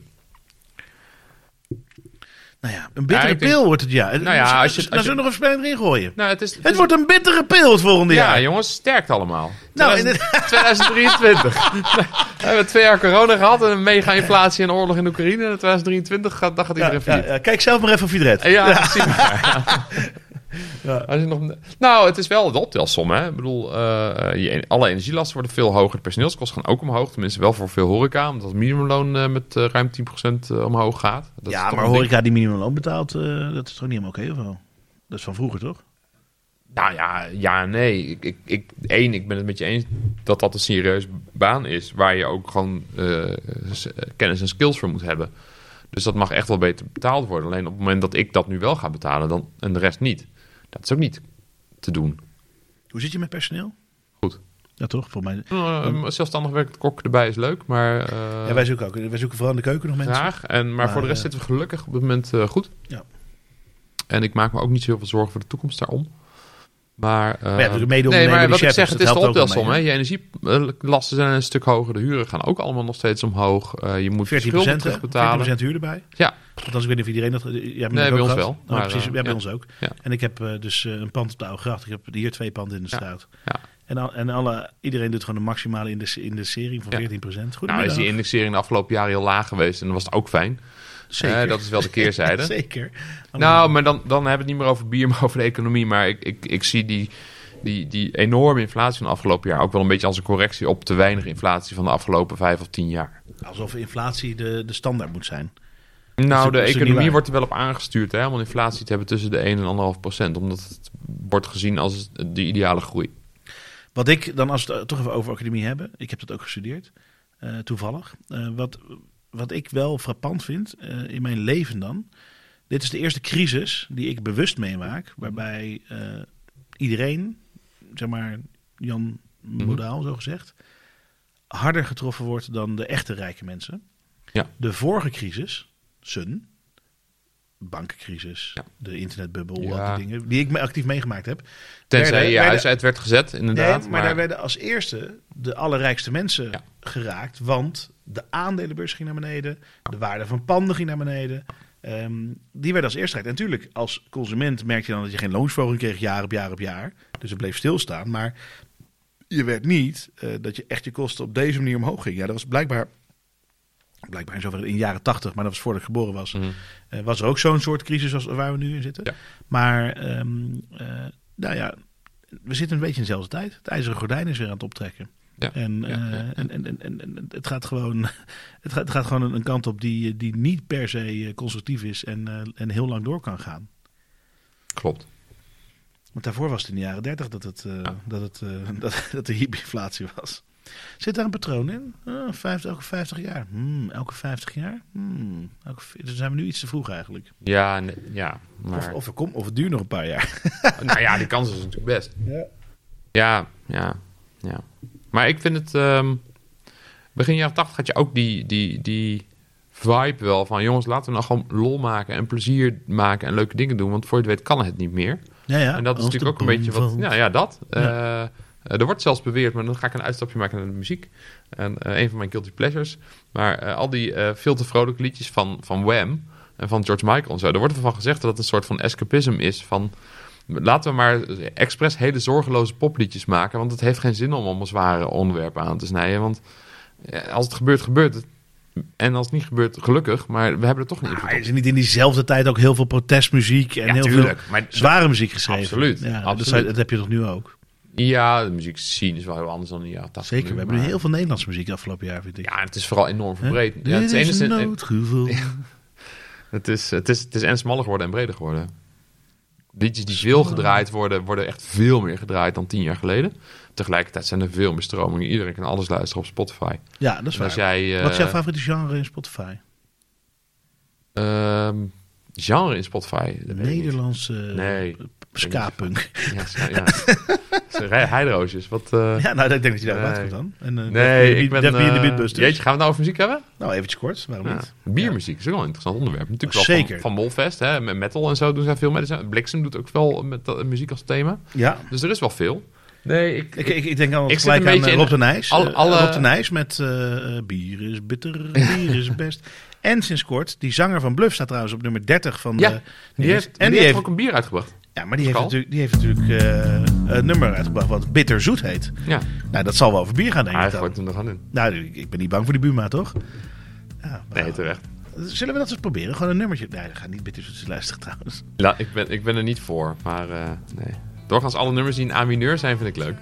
[SPEAKER 2] Nou ja, een bittere
[SPEAKER 1] Ja, ik denk-
[SPEAKER 2] pil wordt het ja. Nou
[SPEAKER 1] ja, als je- als je-
[SPEAKER 2] Dan zullen we nog een spelling erin gooien.
[SPEAKER 1] Nou, het is,
[SPEAKER 2] Het wordt een bittere pil het volgende
[SPEAKER 1] Ja,
[SPEAKER 2] jaar.
[SPEAKER 1] jongens, sterkte allemaal. [laughs]
[SPEAKER 2] Nou,
[SPEAKER 1] 2000- 2023. [laughs] We hebben twee jaar corona gehad en een mega inflatie en oorlog in Oekraïne. En in 2023 gaat, dan gaat
[SPEAKER 2] [laughs] Ja,
[SPEAKER 1] iedereen
[SPEAKER 2] ja,
[SPEAKER 1] verliezen.
[SPEAKER 2] ja, kijk zelf maar even of je het redt.
[SPEAKER 1] Ja, precies. [laughs]
[SPEAKER 2] Ja.
[SPEAKER 1] Als je nog... Nou, het is wel de optelsom. Hè? Ik bedoel, eh, je- alle energielasten worden veel hoger. De personeelskosten gaan ook omhoog. Tenminste, wel voor veel horeca. Omdat het minimumloon eh, met eh, ruim 10% omhoog gaat. Dat is
[SPEAKER 2] ja,
[SPEAKER 1] toch
[SPEAKER 2] maar
[SPEAKER 1] een ding.
[SPEAKER 2] horeca die minimumloon betaalt, eh, dat is toch niet helemaal oké of wel? Dat is van vroeger toch?
[SPEAKER 1] Nou ja, ja, nee. Ik, ik, ik, één, ik ben het met je eens dat dat een serieus baan is. Waar je ook gewoon eh, s- eh, kennis en skills voor moet hebben. Dus dat mag echt wel beter betaald worden. Alleen op het moment dat ik dat nu wel ga betalen dan, en de rest niet. Dat is ook niet te doen.
[SPEAKER 2] Hoe zit je met personeel?
[SPEAKER 1] Goed.
[SPEAKER 2] Ja, toch? Voor mij.
[SPEAKER 1] Eh, een zelfstandig werkend kok erbij is leuk, maar... eh,
[SPEAKER 2] Ja, wij zoeken ook. Wij zoeken vooral in de keuken nog mensen.
[SPEAKER 1] Graag. En, maar, voor de rest
[SPEAKER 2] eh,
[SPEAKER 1] zitten we gelukkig op dit moment eh, goed.
[SPEAKER 2] Ja.
[SPEAKER 1] En ik maak me ook niet zo heel veel zorgen voor de toekomst daarom. Maar, eh,
[SPEAKER 2] ja, natuurlijk mede
[SPEAKER 1] nee,
[SPEAKER 2] ondernemen
[SPEAKER 1] maar
[SPEAKER 2] die
[SPEAKER 1] wat ik
[SPEAKER 2] chef,
[SPEAKER 1] zeg,
[SPEAKER 2] dus
[SPEAKER 1] het
[SPEAKER 2] dat
[SPEAKER 1] is de
[SPEAKER 2] helpt ook
[SPEAKER 1] optelsom.
[SPEAKER 2] wel
[SPEAKER 1] Hè?
[SPEAKER 2] mee,
[SPEAKER 1] Je energielasten zijn een stuk hoger. De huren gaan ook allemaal nog steeds omhoog. Eh, je moet
[SPEAKER 2] 14%,
[SPEAKER 1] schulden
[SPEAKER 2] hè? 14%
[SPEAKER 1] terugbetalen.
[SPEAKER 2] huur erbij.
[SPEAKER 1] Ja.
[SPEAKER 2] Althans, ik weet niet of iedereen dat... eh, Ja, nee,
[SPEAKER 1] bij ons wel,
[SPEAKER 2] Maar,
[SPEAKER 1] maar,
[SPEAKER 2] Oh, precies,
[SPEAKER 1] eh,
[SPEAKER 2] ja, bij
[SPEAKER 1] ja.
[SPEAKER 2] ons ook.
[SPEAKER 1] Ja.
[SPEAKER 2] En ik heb eh, dus eh, een pand op de Oude Gracht. Ik heb hier twee panden in de
[SPEAKER 1] Ja.
[SPEAKER 2] straat.
[SPEAKER 1] Ja.
[SPEAKER 2] En, al, en alle, iedereen doet gewoon de maximale in de, in de serie van
[SPEAKER 1] Ja.
[SPEAKER 2] 14%. Goedemiddag.
[SPEAKER 1] Nou is die indexering de afgelopen jaren heel laag geweest. En dat was het ook fijn.
[SPEAKER 2] Zeker.
[SPEAKER 1] Eh, dat is wel de keerzijde.
[SPEAKER 2] [laughs] Zeker.
[SPEAKER 1] Nou, maar dan, dan hebben we het niet meer over bier, [laughs] maar over de economie. Maar ik, ik, ik zie die, die, die enorme inflatie van de afgelopen jaar ook wel een beetje als een correctie op te weinig inflatie van de afgelopen vijf of tien jaar.
[SPEAKER 2] Alsof inflatie de, de standaard moet zijn.
[SPEAKER 1] Nou,
[SPEAKER 2] ook-
[SPEAKER 1] de
[SPEAKER 2] is ook niet
[SPEAKER 1] economie
[SPEAKER 2] waar.
[SPEAKER 1] wordt er wel op aangestuurd hè, om een inflatie te hebben tussen de 1 en 1,5 procent. Omdat het wordt gezien als de ideale groei.
[SPEAKER 2] Wat ik dan, als we het toch even over academie hebben. Ik heb dat ook gestudeerd, eh, toevallig. Eh, wat, wat ik wel frappant vind eh, in mijn leven dan. Dit is de eerste crisis die ik bewust meemaak. Waarbij eh, iedereen, zeg maar Jan
[SPEAKER 1] Mhm.
[SPEAKER 2] Modaal zo gezegd. harder getroffen wordt dan de echte rijke mensen.
[SPEAKER 1] Ja.
[SPEAKER 2] De vorige crisis, Sun. Bankencrisis,
[SPEAKER 1] Ja.
[SPEAKER 2] de internetbubbel,
[SPEAKER 1] Ja.
[SPEAKER 2] al die dingen die ik me- actief meegemaakt heb.
[SPEAKER 1] Tenzij
[SPEAKER 2] Werden-
[SPEAKER 1] je
[SPEAKER 2] werden-
[SPEAKER 1] huis uit werd gezet, inderdaad.
[SPEAKER 2] Nee, maar,
[SPEAKER 1] maar
[SPEAKER 2] daar werden als eerste de allerrijkste mensen
[SPEAKER 1] Ja.
[SPEAKER 2] geraakt. Want de aandelenbeurs ging naar beneden. De waarde van panden ging naar beneden. Ehm, die werden als eerste geraakt. En natuurlijk, als consument merkte je dan dat je geen loonsverhoging kreeg jaar op jaar op jaar. Dus het bleef stilstaan. Maar je werd niet eh, dat je echt je kosten op deze manier omhoog ging. Ja, dat was blijkbaar... Blijkbaar in zover in de jaren tachtig, maar dat was voordat ik geboren was. eh, was er ook zo'n soort crisis als waar we nu in zitten.
[SPEAKER 1] Mhm. Ja.
[SPEAKER 2] Maar ehm, eh, nou ja, we zitten een beetje in dezelfde tijd. Het ijzeren gordijn is weer aan het optrekken.
[SPEAKER 1] Ja,
[SPEAKER 2] En,
[SPEAKER 1] ja,
[SPEAKER 2] eh,
[SPEAKER 1] ja, ja.
[SPEAKER 2] en, en, en, en- en het gaat gewoon, het gaat, het gaat gewoon een kant op die, die niet per se eh, constructief is en, eh, en heel lang door kan gaan.
[SPEAKER 1] klopt.
[SPEAKER 2] Want daarvoor was het in de jaren dertig dat, het, eh,
[SPEAKER 1] Ja.
[SPEAKER 2] dat, het, eh, [laughs] dat, dat er hyperinflatie was. Zit daar een patroon in? Ah, 50, elke 50 jaar. Hmm, elke 50 jaar? Hmm, elke, dan zijn we nu iets te vroeg eigenlijk.
[SPEAKER 1] Ja, nee, ja maar...
[SPEAKER 2] Of, of, er komt, of het duurt nog een paar jaar.
[SPEAKER 1] nou ja, die kans is natuurlijk best.
[SPEAKER 2] Ja.
[SPEAKER 1] Ja, ja, ja. Maar ik vind het... ehm, begin jaren tachtig had je ook die, die, die vibe wel van... jongens, laten we nou gewoon lol maken en plezier maken en leuke dingen doen. Want voor je het weet kan het niet meer.
[SPEAKER 2] Ja, ja.
[SPEAKER 1] en dat is
[SPEAKER 2] Als de
[SPEAKER 1] natuurlijk ook een beetje
[SPEAKER 2] bom
[SPEAKER 1] wat...
[SPEAKER 2] valt.
[SPEAKER 1] Ja, ja, dat. Eh, eh, er wordt zelfs beweerd, maar dan ga ik een uitstapje maken naar de muziek. En eh, een van mijn guilty pleasures. Maar eh, al die eh, veel te vrolijke liedjes van, van Wham en van George Michael en zo. Er wordt ervan gezegd dat het een soort van escapisme is van... Laten we maar expres hele zorgeloze popliedjes maken. Want het heeft geen zin om allemaal zware onderwerpen aan te snijden. Want eh, als het gebeurt, gebeurt het. En als het niet gebeurt, gelukkig. [laughs] Maar we hebben er toch niet
[SPEAKER 2] Ah, is er niet in diezelfde tijd ook heel veel protestmuziek en
[SPEAKER 1] Ja,
[SPEAKER 2] heel
[SPEAKER 1] tuurlijk,
[SPEAKER 2] veel
[SPEAKER 1] maar-
[SPEAKER 2] zware muziek geschreven?
[SPEAKER 1] Absoluut,
[SPEAKER 2] Ja, dat
[SPEAKER 1] absoluut.
[SPEAKER 2] zou- Dat, heb je toch nu ook?
[SPEAKER 1] Ja, de muziek zien is wel heel anders dan in de jaren 80
[SPEAKER 2] Zeker.
[SPEAKER 1] nu,
[SPEAKER 2] We hebben nu
[SPEAKER 1] maar-
[SPEAKER 2] heel veel Nederlandse muziek afgelopen jaar, vind ik.
[SPEAKER 1] Ja, het is vooral enorm
[SPEAKER 2] Hè?
[SPEAKER 1] verbreed. Ja, het,
[SPEAKER 2] Dit
[SPEAKER 1] is
[SPEAKER 2] is een
[SPEAKER 1] enigszins- [laughs]
[SPEAKER 2] noodgevoel.
[SPEAKER 1] het, is, het, is, het is en smaller geworden en breder geworden. Liedjes die veel gedraaid worden, worden echt veel meer gedraaid dan tien jaar geleden. Tegelijkertijd zijn er veel meer stromingen. Iedereen kan alles luisteren op Spotify.
[SPEAKER 2] Ja, dat is
[SPEAKER 1] Als
[SPEAKER 2] waar.
[SPEAKER 1] jij, eh,
[SPEAKER 2] Wat is jouw favoriete genre in Spotify?
[SPEAKER 1] ehm, genre in Spotify? dat weet ik niet.
[SPEAKER 2] Nederlandse
[SPEAKER 1] Nee.
[SPEAKER 2] eh, ska-punk.
[SPEAKER 1] Ja, zo-
[SPEAKER 2] [laughs]
[SPEAKER 1] ja. Zo, he- Heideroosjes, wat... eh,
[SPEAKER 2] Ja, nou, ik denk dat je daar
[SPEAKER 1] Nee.
[SPEAKER 2] wat komt dan. En, eh, Death
[SPEAKER 1] Nee,
[SPEAKER 2] Be-
[SPEAKER 1] ik ben...
[SPEAKER 2] Death Be in de
[SPEAKER 1] eh,
[SPEAKER 2] Bitbusters.
[SPEAKER 1] Jeetje, gaan we het nou over muziek hebben?
[SPEAKER 2] Nou, eventjes kort, waarom
[SPEAKER 1] Ja.
[SPEAKER 2] niet?
[SPEAKER 1] Biermuziek is ook wel een interessant onderwerp. Natuurlijk wel Van,
[SPEAKER 2] Zeker.
[SPEAKER 1] van Molfest, hè, met metal en zo doen zij veel mee. Bliksem doet ook wel met dat- muziek als thema.
[SPEAKER 2] Ja.
[SPEAKER 1] Dus er is wel veel. Nee, ik,
[SPEAKER 2] Ik, ik, ik denk al
[SPEAKER 1] Ik zit
[SPEAKER 2] gelijk
[SPEAKER 1] een
[SPEAKER 2] aan
[SPEAKER 1] beetje
[SPEAKER 2] eh,
[SPEAKER 1] in-
[SPEAKER 2] Rob de Nijs.
[SPEAKER 1] al-
[SPEAKER 2] Eh,
[SPEAKER 1] alle-
[SPEAKER 2] Rob de Nijs met eh, eh, bier is bitter, bier is best. [laughs] En sinds kort, die zanger van Bluff staat trouwens op nummer 30 van
[SPEAKER 1] Ja,
[SPEAKER 2] de...
[SPEAKER 1] die heeft, en die, heeft, ook een bier uitgebracht.
[SPEAKER 2] ja, maar die heeft
[SPEAKER 1] Pascal.
[SPEAKER 2] natuurlijk, die heeft natuurlijk eh, een nummer uitgebracht wat bitterzoet heet.
[SPEAKER 1] Ja,
[SPEAKER 2] Nou, dat zal wel over bier gaan, denk
[SPEAKER 1] hij
[SPEAKER 2] ik dan.
[SPEAKER 1] gooit hem er gewoon in.
[SPEAKER 2] Nou, ik- ik ben niet bang voor die Buma, toch? Ja, maar-
[SPEAKER 1] Nee, terecht.
[SPEAKER 2] Zullen we dat eens proberen? Gewoon een nummertje. Nee, dat gaat niet bitterzoet luisteren trouwens.
[SPEAKER 1] La, ik, ben, ik ben er niet voor, maar eh, nee. Doorgaans alle nummers die in A-mineur zijn, vind ik leuk.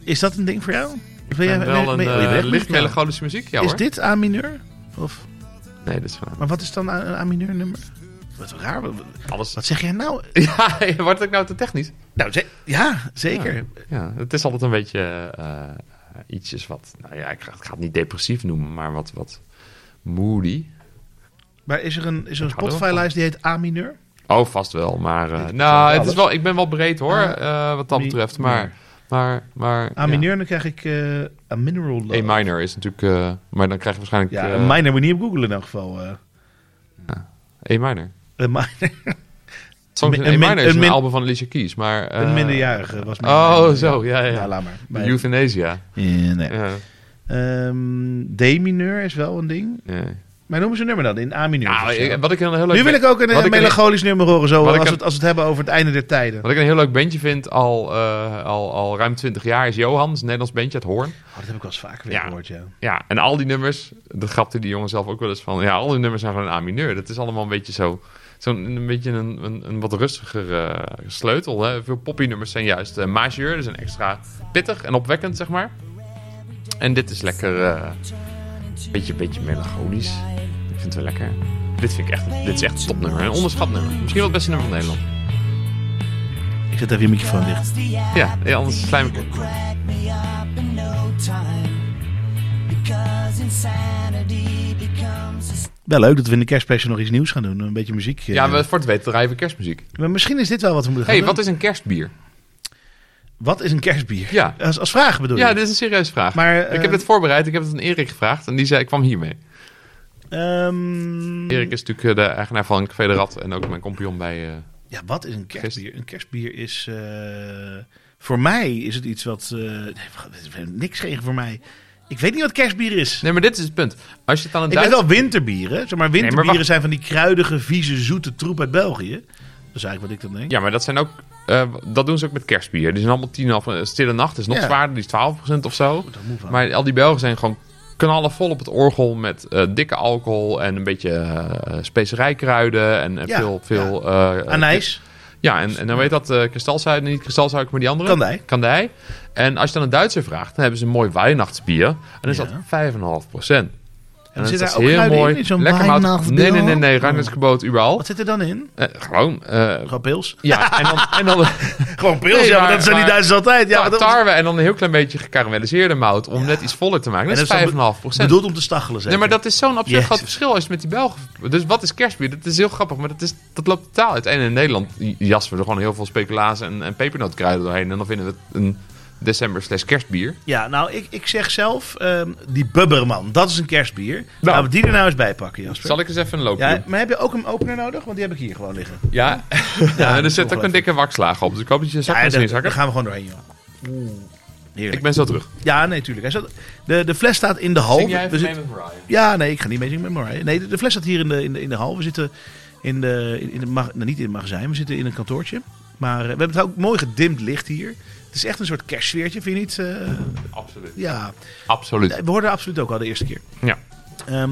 [SPEAKER 2] Is dat een ding voor jou? Wil
[SPEAKER 1] En
[SPEAKER 2] jij-
[SPEAKER 1] wel
[SPEAKER 2] ben-
[SPEAKER 1] een
[SPEAKER 2] ben- wil je
[SPEAKER 1] eh,
[SPEAKER 2] weg met
[SPEAKER 1] licht
[SPEAKER 2] jou?
[SPEAKER 1] melancholische muziek, ja
[SPEAKER 2] Is
[SPEAKER 1] hoor.
[SPEAKER 2] dit A mineur? Of...
[SPEAKER 1] Nee, dat is van...
[SPEAKER 2] Maar wat is dan een A-mineur nummer? Wat raar. Wat,
[SPEAKER 1] Alles...
[SPEAKER 2] wat zeg jij nou?
[SPEAKER 1] [laughs] Ja, wordt ik nou te technisch?
[SPEAKER 2] Nou, ze- ja, zeker.
[SPEAKER 1] Ja, ja, het is altijd een beetje eh, eh, ietsjes wat... Nou ja, ik ga, ik ga het niet depressief noemen, maar wat, wat moody.
[SPEAKER 2] Maar is er een, is er een
[SPEAKER 1] Ik hou er wel
[SPEAKER 2] Spotify-lijst die heet A-mineur?
[SPEAKER 1] Oh, vast wel, maar... eh,
[SPEAKER 2] Ik-
[SPEAKER 1] nou, het
[SPEAKER 2] alles.
[SPEAKER 1] is wel, ik ben wel breed hoor,
[SPEAKER 2] Ja.
[SPEAKER 1] eh, wat dat
[SPEAKER 2] Mi-
[SPEAKER 1] betreft. Maar Maar, maar
[SPEAKER 2] A
[SPEAKER 1] ja.
[SPEAKER 2] mineur, dan krijg ik eh A Mineral Love.
[SPEAKER 1] A minor is natuurlijk... eh, maar dan krijg je waarschijnlijk...
[SPEAKER 2] Ja,
[SPEAKER 1] eh,
[SPEAKER 2] een minor moet je niet op googlen in elk geval. eh.
[SPEAKER 1] A minor.
[SPEAKER 2] een minor, [laughs]
[SPEAKER 1] Songs
[SPEAKER 2] Een
[SPEAKER 1] in A
[SPEAKER 2] min-
[SPEAKER 1] minor is
[SPEAKER 2] een
[SPEAKER 1] een,
[SPEAKER 2] min-
[SPEAKER 1] album van Alicia Keys, maar... eh,
[SPEAKER 2] een minderjarige was mijn
[SPEAKER 1] Oh,
[SPEAKER 2] minor,
[SPEAKER 1] zo, ja, ja.
[SPEAKER 2] Nou, laat maar. Maar-
[SPEAKER 1] Euthanasia.
[SPEAKER 2] Ja, nee.
[SPEAKER 1] Ja,
[SPEAKER 2] Ehm, D mineur is wel een ding.
[SPEAKER 1] ja.
[SPEAKER 2] Maar noemen ze nummer dan in Dus, eh, A mineur.
[SPEAKER 1] Nou,
[SPEAKER 2] of zo.
[SPEAKER 1] ik- wat ik een heel leuk...
[SPEAKER 2] nu wil ik ook een,
[SPEAKER 1] wat ik
[SPEAKER 2] een
[SPEAKER 1] een-
[SPEAKER 2] melancholisch nummer horen, zo,
[SPEAKER 1] wat
[SPEAKER 2] als,
[SPEAKER 1] ik
[SPEAKER 2] we
[SPEAKER 1] een-
[SPEAKER 2] het, als we het hebben over het einde der tijden.
[SPEAKER 1] Wat ik een heel leuk bandje vind, al, eh, al, al ruim 20 jaar, is Johans, een Nederlands bandje uit Hoorn.
[SPEAKER 2] Oh, dat heb ik wel eens vaker weer
[SPEAKER 1] Ja.
[SPEAKER 2] gehoord, ja.
[SPEAKER 1] Ja, en al die nummers, dat grapte die jongen zelf ook wel eens van. Ja, al die nummers zijn gewoon een A-mineur. Dat is allemaal een beetje zo. Zo'n een beetje een, een, een wat rustiger eh, sleutel. Hè? Veel poppy-nummers zijn juist eh, majeur, dus een extra pittig en opwekkend, zeg maar. En dit is lekker. eh beetje, beetje melancholisch. Ik vind het wel lekker. Dit vind ik echt, dit is echt een topnummer. Een onderschat nummer. Misschien wel het beste nummer van Nederland.
[SPEAKER 2] Ik zet even je microfoon dicht.
[SPEAKER 1] Ja, ja, anders slijm ik op.
[SPEAKER 5] crack me up in no time. Because insanity becomes a
[SPEAKER 2] Wel leuk dat we in de kerstspecial nog iets nieuws gaan doen. Een beetje muziek. eh.
[SPEAKER 1] Ja, we, voor het weten draaien we kerstmuziek.
[SPEAKER 2] Maar misschien is dit wel wat we moeten
[SPEAKER 1] Hé,
[SPEAKER 2] gaan
[SPEAKER 1] hey, wat
[SPEAKER 2] doen.
[SPEAKER 1] is een kerstbier?
[SPEAKER 2] Wat is een kerstbier?
[SPEAKER 1] Ja.
[SPEAKER 2] Als, als vraag bedoel
[SPEAKER 1] Ja,
[SPEAKER 2] je?
[SPEAKER 1] dit is een serieuze vraag.
[SPEAKER 2] Maar, eh,
[SPEAKER 1] ik heb dit voorbereid. Ik heb het aan Erik gevraagd. En die zei, ik kwam hiermee.
[SPEAKER 2] Ehm,
[SPEAKER 1] Erik is natuurlijk eh, de eigenaar van Café de Rat. En ook mijn compagnon bij... eh,
[SPEAKER 2] Ja, wat is een kerstbier? Een kerstbier is... eh, voor mij is het iets wat... eh, nee, wacht, niks tegen voor mij. Ik weet niet wat kerstbier is.
[SPEAKER 1] Nee, maar dit is het punt. Als je het aan een
[SPEAKER 2] ik weet
[SPEAKER 1] Duits...
[SPEAKER 2] wel winterbieren. Zeg maar, winterbieren
[SPEAKER 1] wacht.
[SPEAKER 2] zijn van die kruidige, vieze, zoete troep uit België. Dat is eigenlijk wat ik dan denk.
[SPEAKER 1] Ja, maar dat zijn ook... eh, dat doen ze ook met kerstbier. Die zijn allemaal 10 af. eh, Stille Nacht is nog
[SPEAKER 2] Ja. Oh,
[SPEAKER 1] zwaarder. Die is 12% of zo.
[SPEAKER 2] Dat moet wel.
[SPEAKER 1] Maar al die Belgen zijn gewoon knallen vol op het orgel met eh, dikke alcohol en een beetje eh, specerijkruiden en, en
[SPEAKER 2] Ja,
[SPEAKER 1] veel... veel eh,
[SPEAKER 2] Anijs.
[SPEAKER 1] Ja, en, en dan weet dat eh kristalsuiker, niet kristalsuiker, maar die andere.
[SPEAKER 2] Kandij.
[SPEAKER 1] Kandij. En als je dan een Duitser vraagt, dan hebben ze een mooi Weihnachtsbier. En dan is
[SPEAKER 2] Ja.
[SPEAKER 1] dat 5,5 procent. En
[SPEAKER 2] zit
[SPEAKER 1] dat
[SPEAKER 2] daar
[SPEAKER 1] is
[SPEAKER 2] ook
[SPEAKER 1] heel
[SPEAKER 2] kruiden
[SPEAKER 1] mooi.
[SPEAKER 2] in, in zo'n
[SPEAKER 1] Lekker mout.
[SPEAKER 2] Weihnachtsbier?
[SPEAKER 1] Nee, nee, nee, nee. Reinheidsgebot, überal.
[SPEAKER 2] Wat zit er dan in?
[SPEAKER 1] Eh, gewoon. eh,
[SPEAKER 2] Gewoon
[SPEAKER 1] [laughs]
[SPEAKER 2] pils.
[SPEAKER 1] ja, en dan, en dan
[SPEAKER 2] Gewoon pils,
[SPEAKER 1] Nee,
[SPEAKER 2] ja, maar
[SPEAKER 1] maar-
[SPEAKER 2] dat zijn die
[SPEAKER 1] maar-
[SPEAKER 2] Duitsers altijd. [laughs] Ja, maar dat-
[SPEAKER 1] tarwe en dan een heel klein beetje gekarameliseerde mout om net iets voller te maken.
[SPEAKER 2] En
[SPEAKER 1] Dat
[SPEAKER 2] dat is
[SPEAKER 1] is
[SPEAKER 2] dan
[SPEAKER 1] 5,5 procent.
[SPEAKER 2] Bedoeld om te stachelen, zeker?
[SPEAKER 1] Nee, maar dat is zo'n absurd
[SPEAKER 2] Jezus.
[SPEAKER 1] groot verschil als je het met die Belgen... Dus wat is kerstbier? Dat is heel grappig, maar dat, is, dat loopt totaal uit. En in Nederland jassen we er gewoon heel veel speculaas en, en pepernootkruiden doorheen. En dan vinden we het een december slash kerstbier.
[SPEAKER 2] Ja, nou, ik, ik zeg zelf, ehm, die Bubberman, dat is een kerstbier. Laten we die er nou eens bij pakken, Jasper.
[SPEAKER 1] Zal ik eens even een loopje
[SPEAKER 2] Ja,
[SPEAKER 1] doen?
[SPEAKER 2] maar heb je ook een opener nodig? Want die heb ik hier gewoon liggen.
[SPEAKER 1] [laughs] Ja. ja, en er zit ook een dikke wakslaag op. Dus ik hoop dat je zak
[SPEAKER 2] Ja,
[SPEAKER 1] ja,
[SPEAKER 2] daar,
[SPEAKER 1] niet
[SPEAKER 2] daar
[SPEAKER 1] zakken.
[SPEAKER 2] gaan we gewoon doorheen, joh. Heerlijk.
[SPEAKER 1] Ik ben zo terug.
[SPEAKER 2] Ja, nee, tuurlijk. Hij staat- De, de fles staat in de hal. We zitten-
[SPEAKER 1] met Ryan?
[SPEAKER 2] Ja, nee, ik ga niet mee zingen met Mariah. Nee, de, de fles staat hier in de, in de, in de hal. We zitten in de, in, in de mag, nou, niet in het magazijn, we zitten in een kantoortje. Maar eh, we hebben het ook mooi gedimd licht hier. Het is echt een soort kerstsfeertje, vind je niet? Eh,
[SPEAKER 1] Absoluut.
[SPEAKER 2] ja,
[SPEAKER 1] Absoluut.
[SPEAKER 2] we hoorden absoluut ook al de eerste keer.
[SPEAKER 1] Ja.
[SPEAKER 2] Ehm,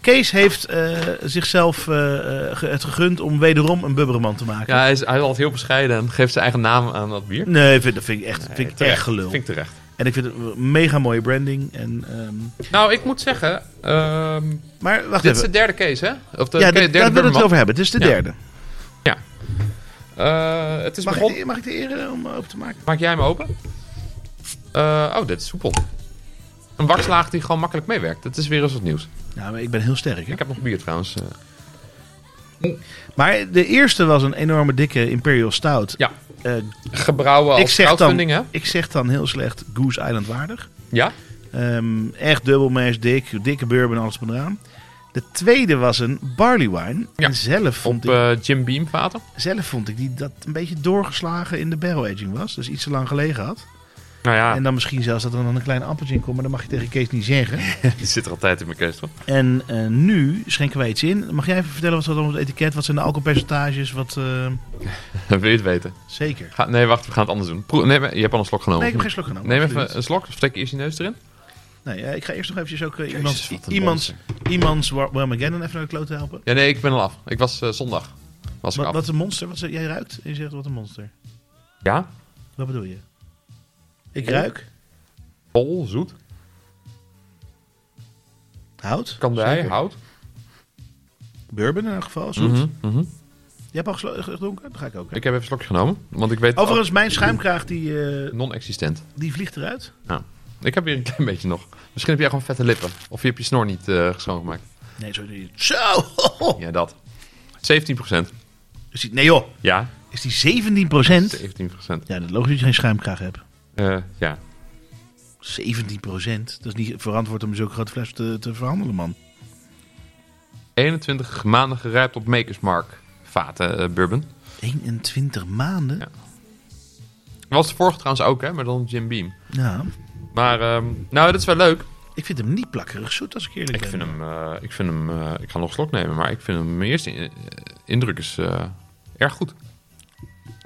[SPEAKER 2] Kees heeft eh, zichzelf eh, eh, ge- het gegund om wederom een bubberman te maken.
[SPEAKER 1] Ja, hij is, hij is altijd heel bescheiden en geeft zijn eigen naam aan dat bier.
[SPEAKER 2] Nee, vind, dat vind ik echt, vind ik
[SPEAKER 1] Terecht.
[SPEAKER 2] echt gelul.
[SPEAKER 1] Vind ik terecht.
[SPEAKER 2] En ik vind het een mega mooie branding. En, ehm,
[SPEAKER 1] Nou, ik moet zeggen... ehm,
[SPEAKER 2] maar wacht
[SPEAKER 1] dit is
[SPEAKER 2] even.
[SPEAKER 1] de derde case, hè? Of de
[SPEAKER 2] ja,
[SPEAKER 1] de derde
[SPEAKER 2] dit- daar willen we het
[SPEAKER 1] Burgerman.
[SPEAKER 2] over hebben. Het is de
[SPEAKER 1] Ja.
[SPEAKER 2] derde.
[SPEAKER 1] Eh, het is
[SPEAKER 2] Mag
[SPEAKER 1] begonnen...
[SPEAKER 2] ik, de- mag ik de eer eh, om open te maken?
[SPEAKER 1] Maak jij hem open? Eh, oh, dit is soepel. Een wakslaag die gewoon makkelijk meewerkt. Dat is weer eens wat nieuws.
[SPEAKER 2] Nou, maar ik ben heel sterk. Hè?
[SPEAKER 1] Ik heb nog bier trouwens. eh.
[SPEAKER 2] Maar de eerste was een enorme dikke Imperial Stout.
[SPEAKER 1] ja,
[SPEAKER 2] Eh,
[SPEAKER 1] gebrouwen
[SPEAKER 2] ik,
[SPEAKER 1] als
[SPEAKER 2] zeg
[SPEAKER 1] crowdfunding,
[SPEAKER 2] dan,
[SPEAKER 1] hè?
[SPEAKER 2] ik zeg dan heel slecht Goose Island waardig.
[SPEAKER 1] Ja,
[SPEAKER 2] Ehm, echt dubbel mash, dik, dikke bourbon, alles maar eraan. De tweede was een barley wine.
[SPEAKER 1] Ja,
[SPEAKER 2] En zelf vond,
[SPEAKER 1] op
[SPEAKER 2] ik,
[SPEAKER 1] eh, Jim Beam vaten.
[SPEAKER 2] zelf vond ik die dat een beetje doorgeslagen in de barrel aging was. Dus iets te lang gelegen had.
[SPEAKER 1] Nou ja,
[SPEAKER 2] En dan misschien zelfs dat er dan een klein appeltje in komt. Maar dat mag je tegen Kees niet zeggen.
[SPEAKER 1] die zit er altijd in mijn kerst, hoor. [laughs]
[SPEAKER 2] en eh, nu schenken wij iets in. Mag jij even vertellen wat staat dan op het etiket? Wat zijn de alcoholpercentages? Wat, eh,
[SPEAKER 1] Wil je het weten?
[SPEAKER 2] zeker.
[SPEAKER 1] Ga, nee, wacht, we gaan het anders doen. Proe- nee, maar je hebt al een slok genomen.
[SPEAKER 2] Nee, ik heb geen slok genomen.
[SPEAKER 1] Neem
[SPEAKER 2] absoluut.
[SPEAKER 1] even een slok, steek eerst je neus erin.
[SPEAKER 2] Nee, eh, ik ga eerst nog eventjes ook eh,
[SPEAKER 1] Jezus,
[SPEAKER 2] iemands,
[SPEAKER 1] wat een
[SPEAKER 2] iemands, iemands War- Warmageddon even naar de kloot te helpen.
[SPEAKER 1] Ja, nee, ik ben al af. Ik was eh, zondag. Was ik
[SPEAKER 2] Wat,
[SPEAKER 1] af.
[SPEAKER 2] wat een monster. Wat, ze- jij ruikt en je zegt wat een monster.
[SPEAKER 1] Ja,
[SPEAKER 2] Wat bedoel je? Ik ruik
[SPEAKER 1] vol, zoet,
[SPEAKER 2] hout,
[SPEAKER 1] kandij,
[SPEAKER 2] Zeker.
[SPEAKER 1] hout.
[SPEAKER 2] bourbon in elk geval, zoet.
[SPEAKER 1] Mhm, mhm.
[SPEAKER 2] Je hebt al geslo- gedronken? Dat ga ik ook. hè?
[SPEAKER 1] Ik heb even een slokje genomen, want ik weet...
[SPEAKER 2] Overigens, mijn schuimkraag die, eh,
[SPEAKER 1] Non-existent.
[SPEAKER 2] die vliegt eruit.
[SPEAKER 1] Ik heb weer een klein beetje nog. Misschien heb jij gewoon vette lippen. Of je hebt je snor niet eh schoongemaakt.
[SPEAKER 2] Nee, zo. die- Zo! [laughs]
[SPEAKER 1] Ja, dat. 17%.
[SPEAKER 2] Is die, nee joh,
[SPEAKER 1] Ja,
[SPEAKER 2] is die 17%?
[SPEAKER 1] 17%.
[SPEAKER 2] Ja, dat is logisch dat je geen schuimkraag hebt.
[SPEAKER 1] Ja, Eh, ja.
[SPEAKER 2] 17 procent. Dat is niet verantwoord om zo'n grote fles te, te verhandelen, man.
[SPEAKER 1] 21 maanden gerijpt op Makers Mark vaten eh, bourbon.
[SPEAKER 2] 21 maanden?
[SPEAKER 1] Ja. Was de vorige trouwens ook, hè, maar dan Jim Beam.
[SPEAKER 2] Nou,
[SPEAKER 1] Maar, ehm, nou, dat is wel leuk.
[SPEAKER 2] ik vind hem niet plakkerig zoet, als ik eerlijk
[SPEAKER 1] Ik
[SPEAKER 2] ben.
[SPEAKER 1] vind hem, eh, ik vind hem, eh, ik ga nog een slok nemen, maar ik vind hem, mijn eerste in- indruk is eh, erg goed.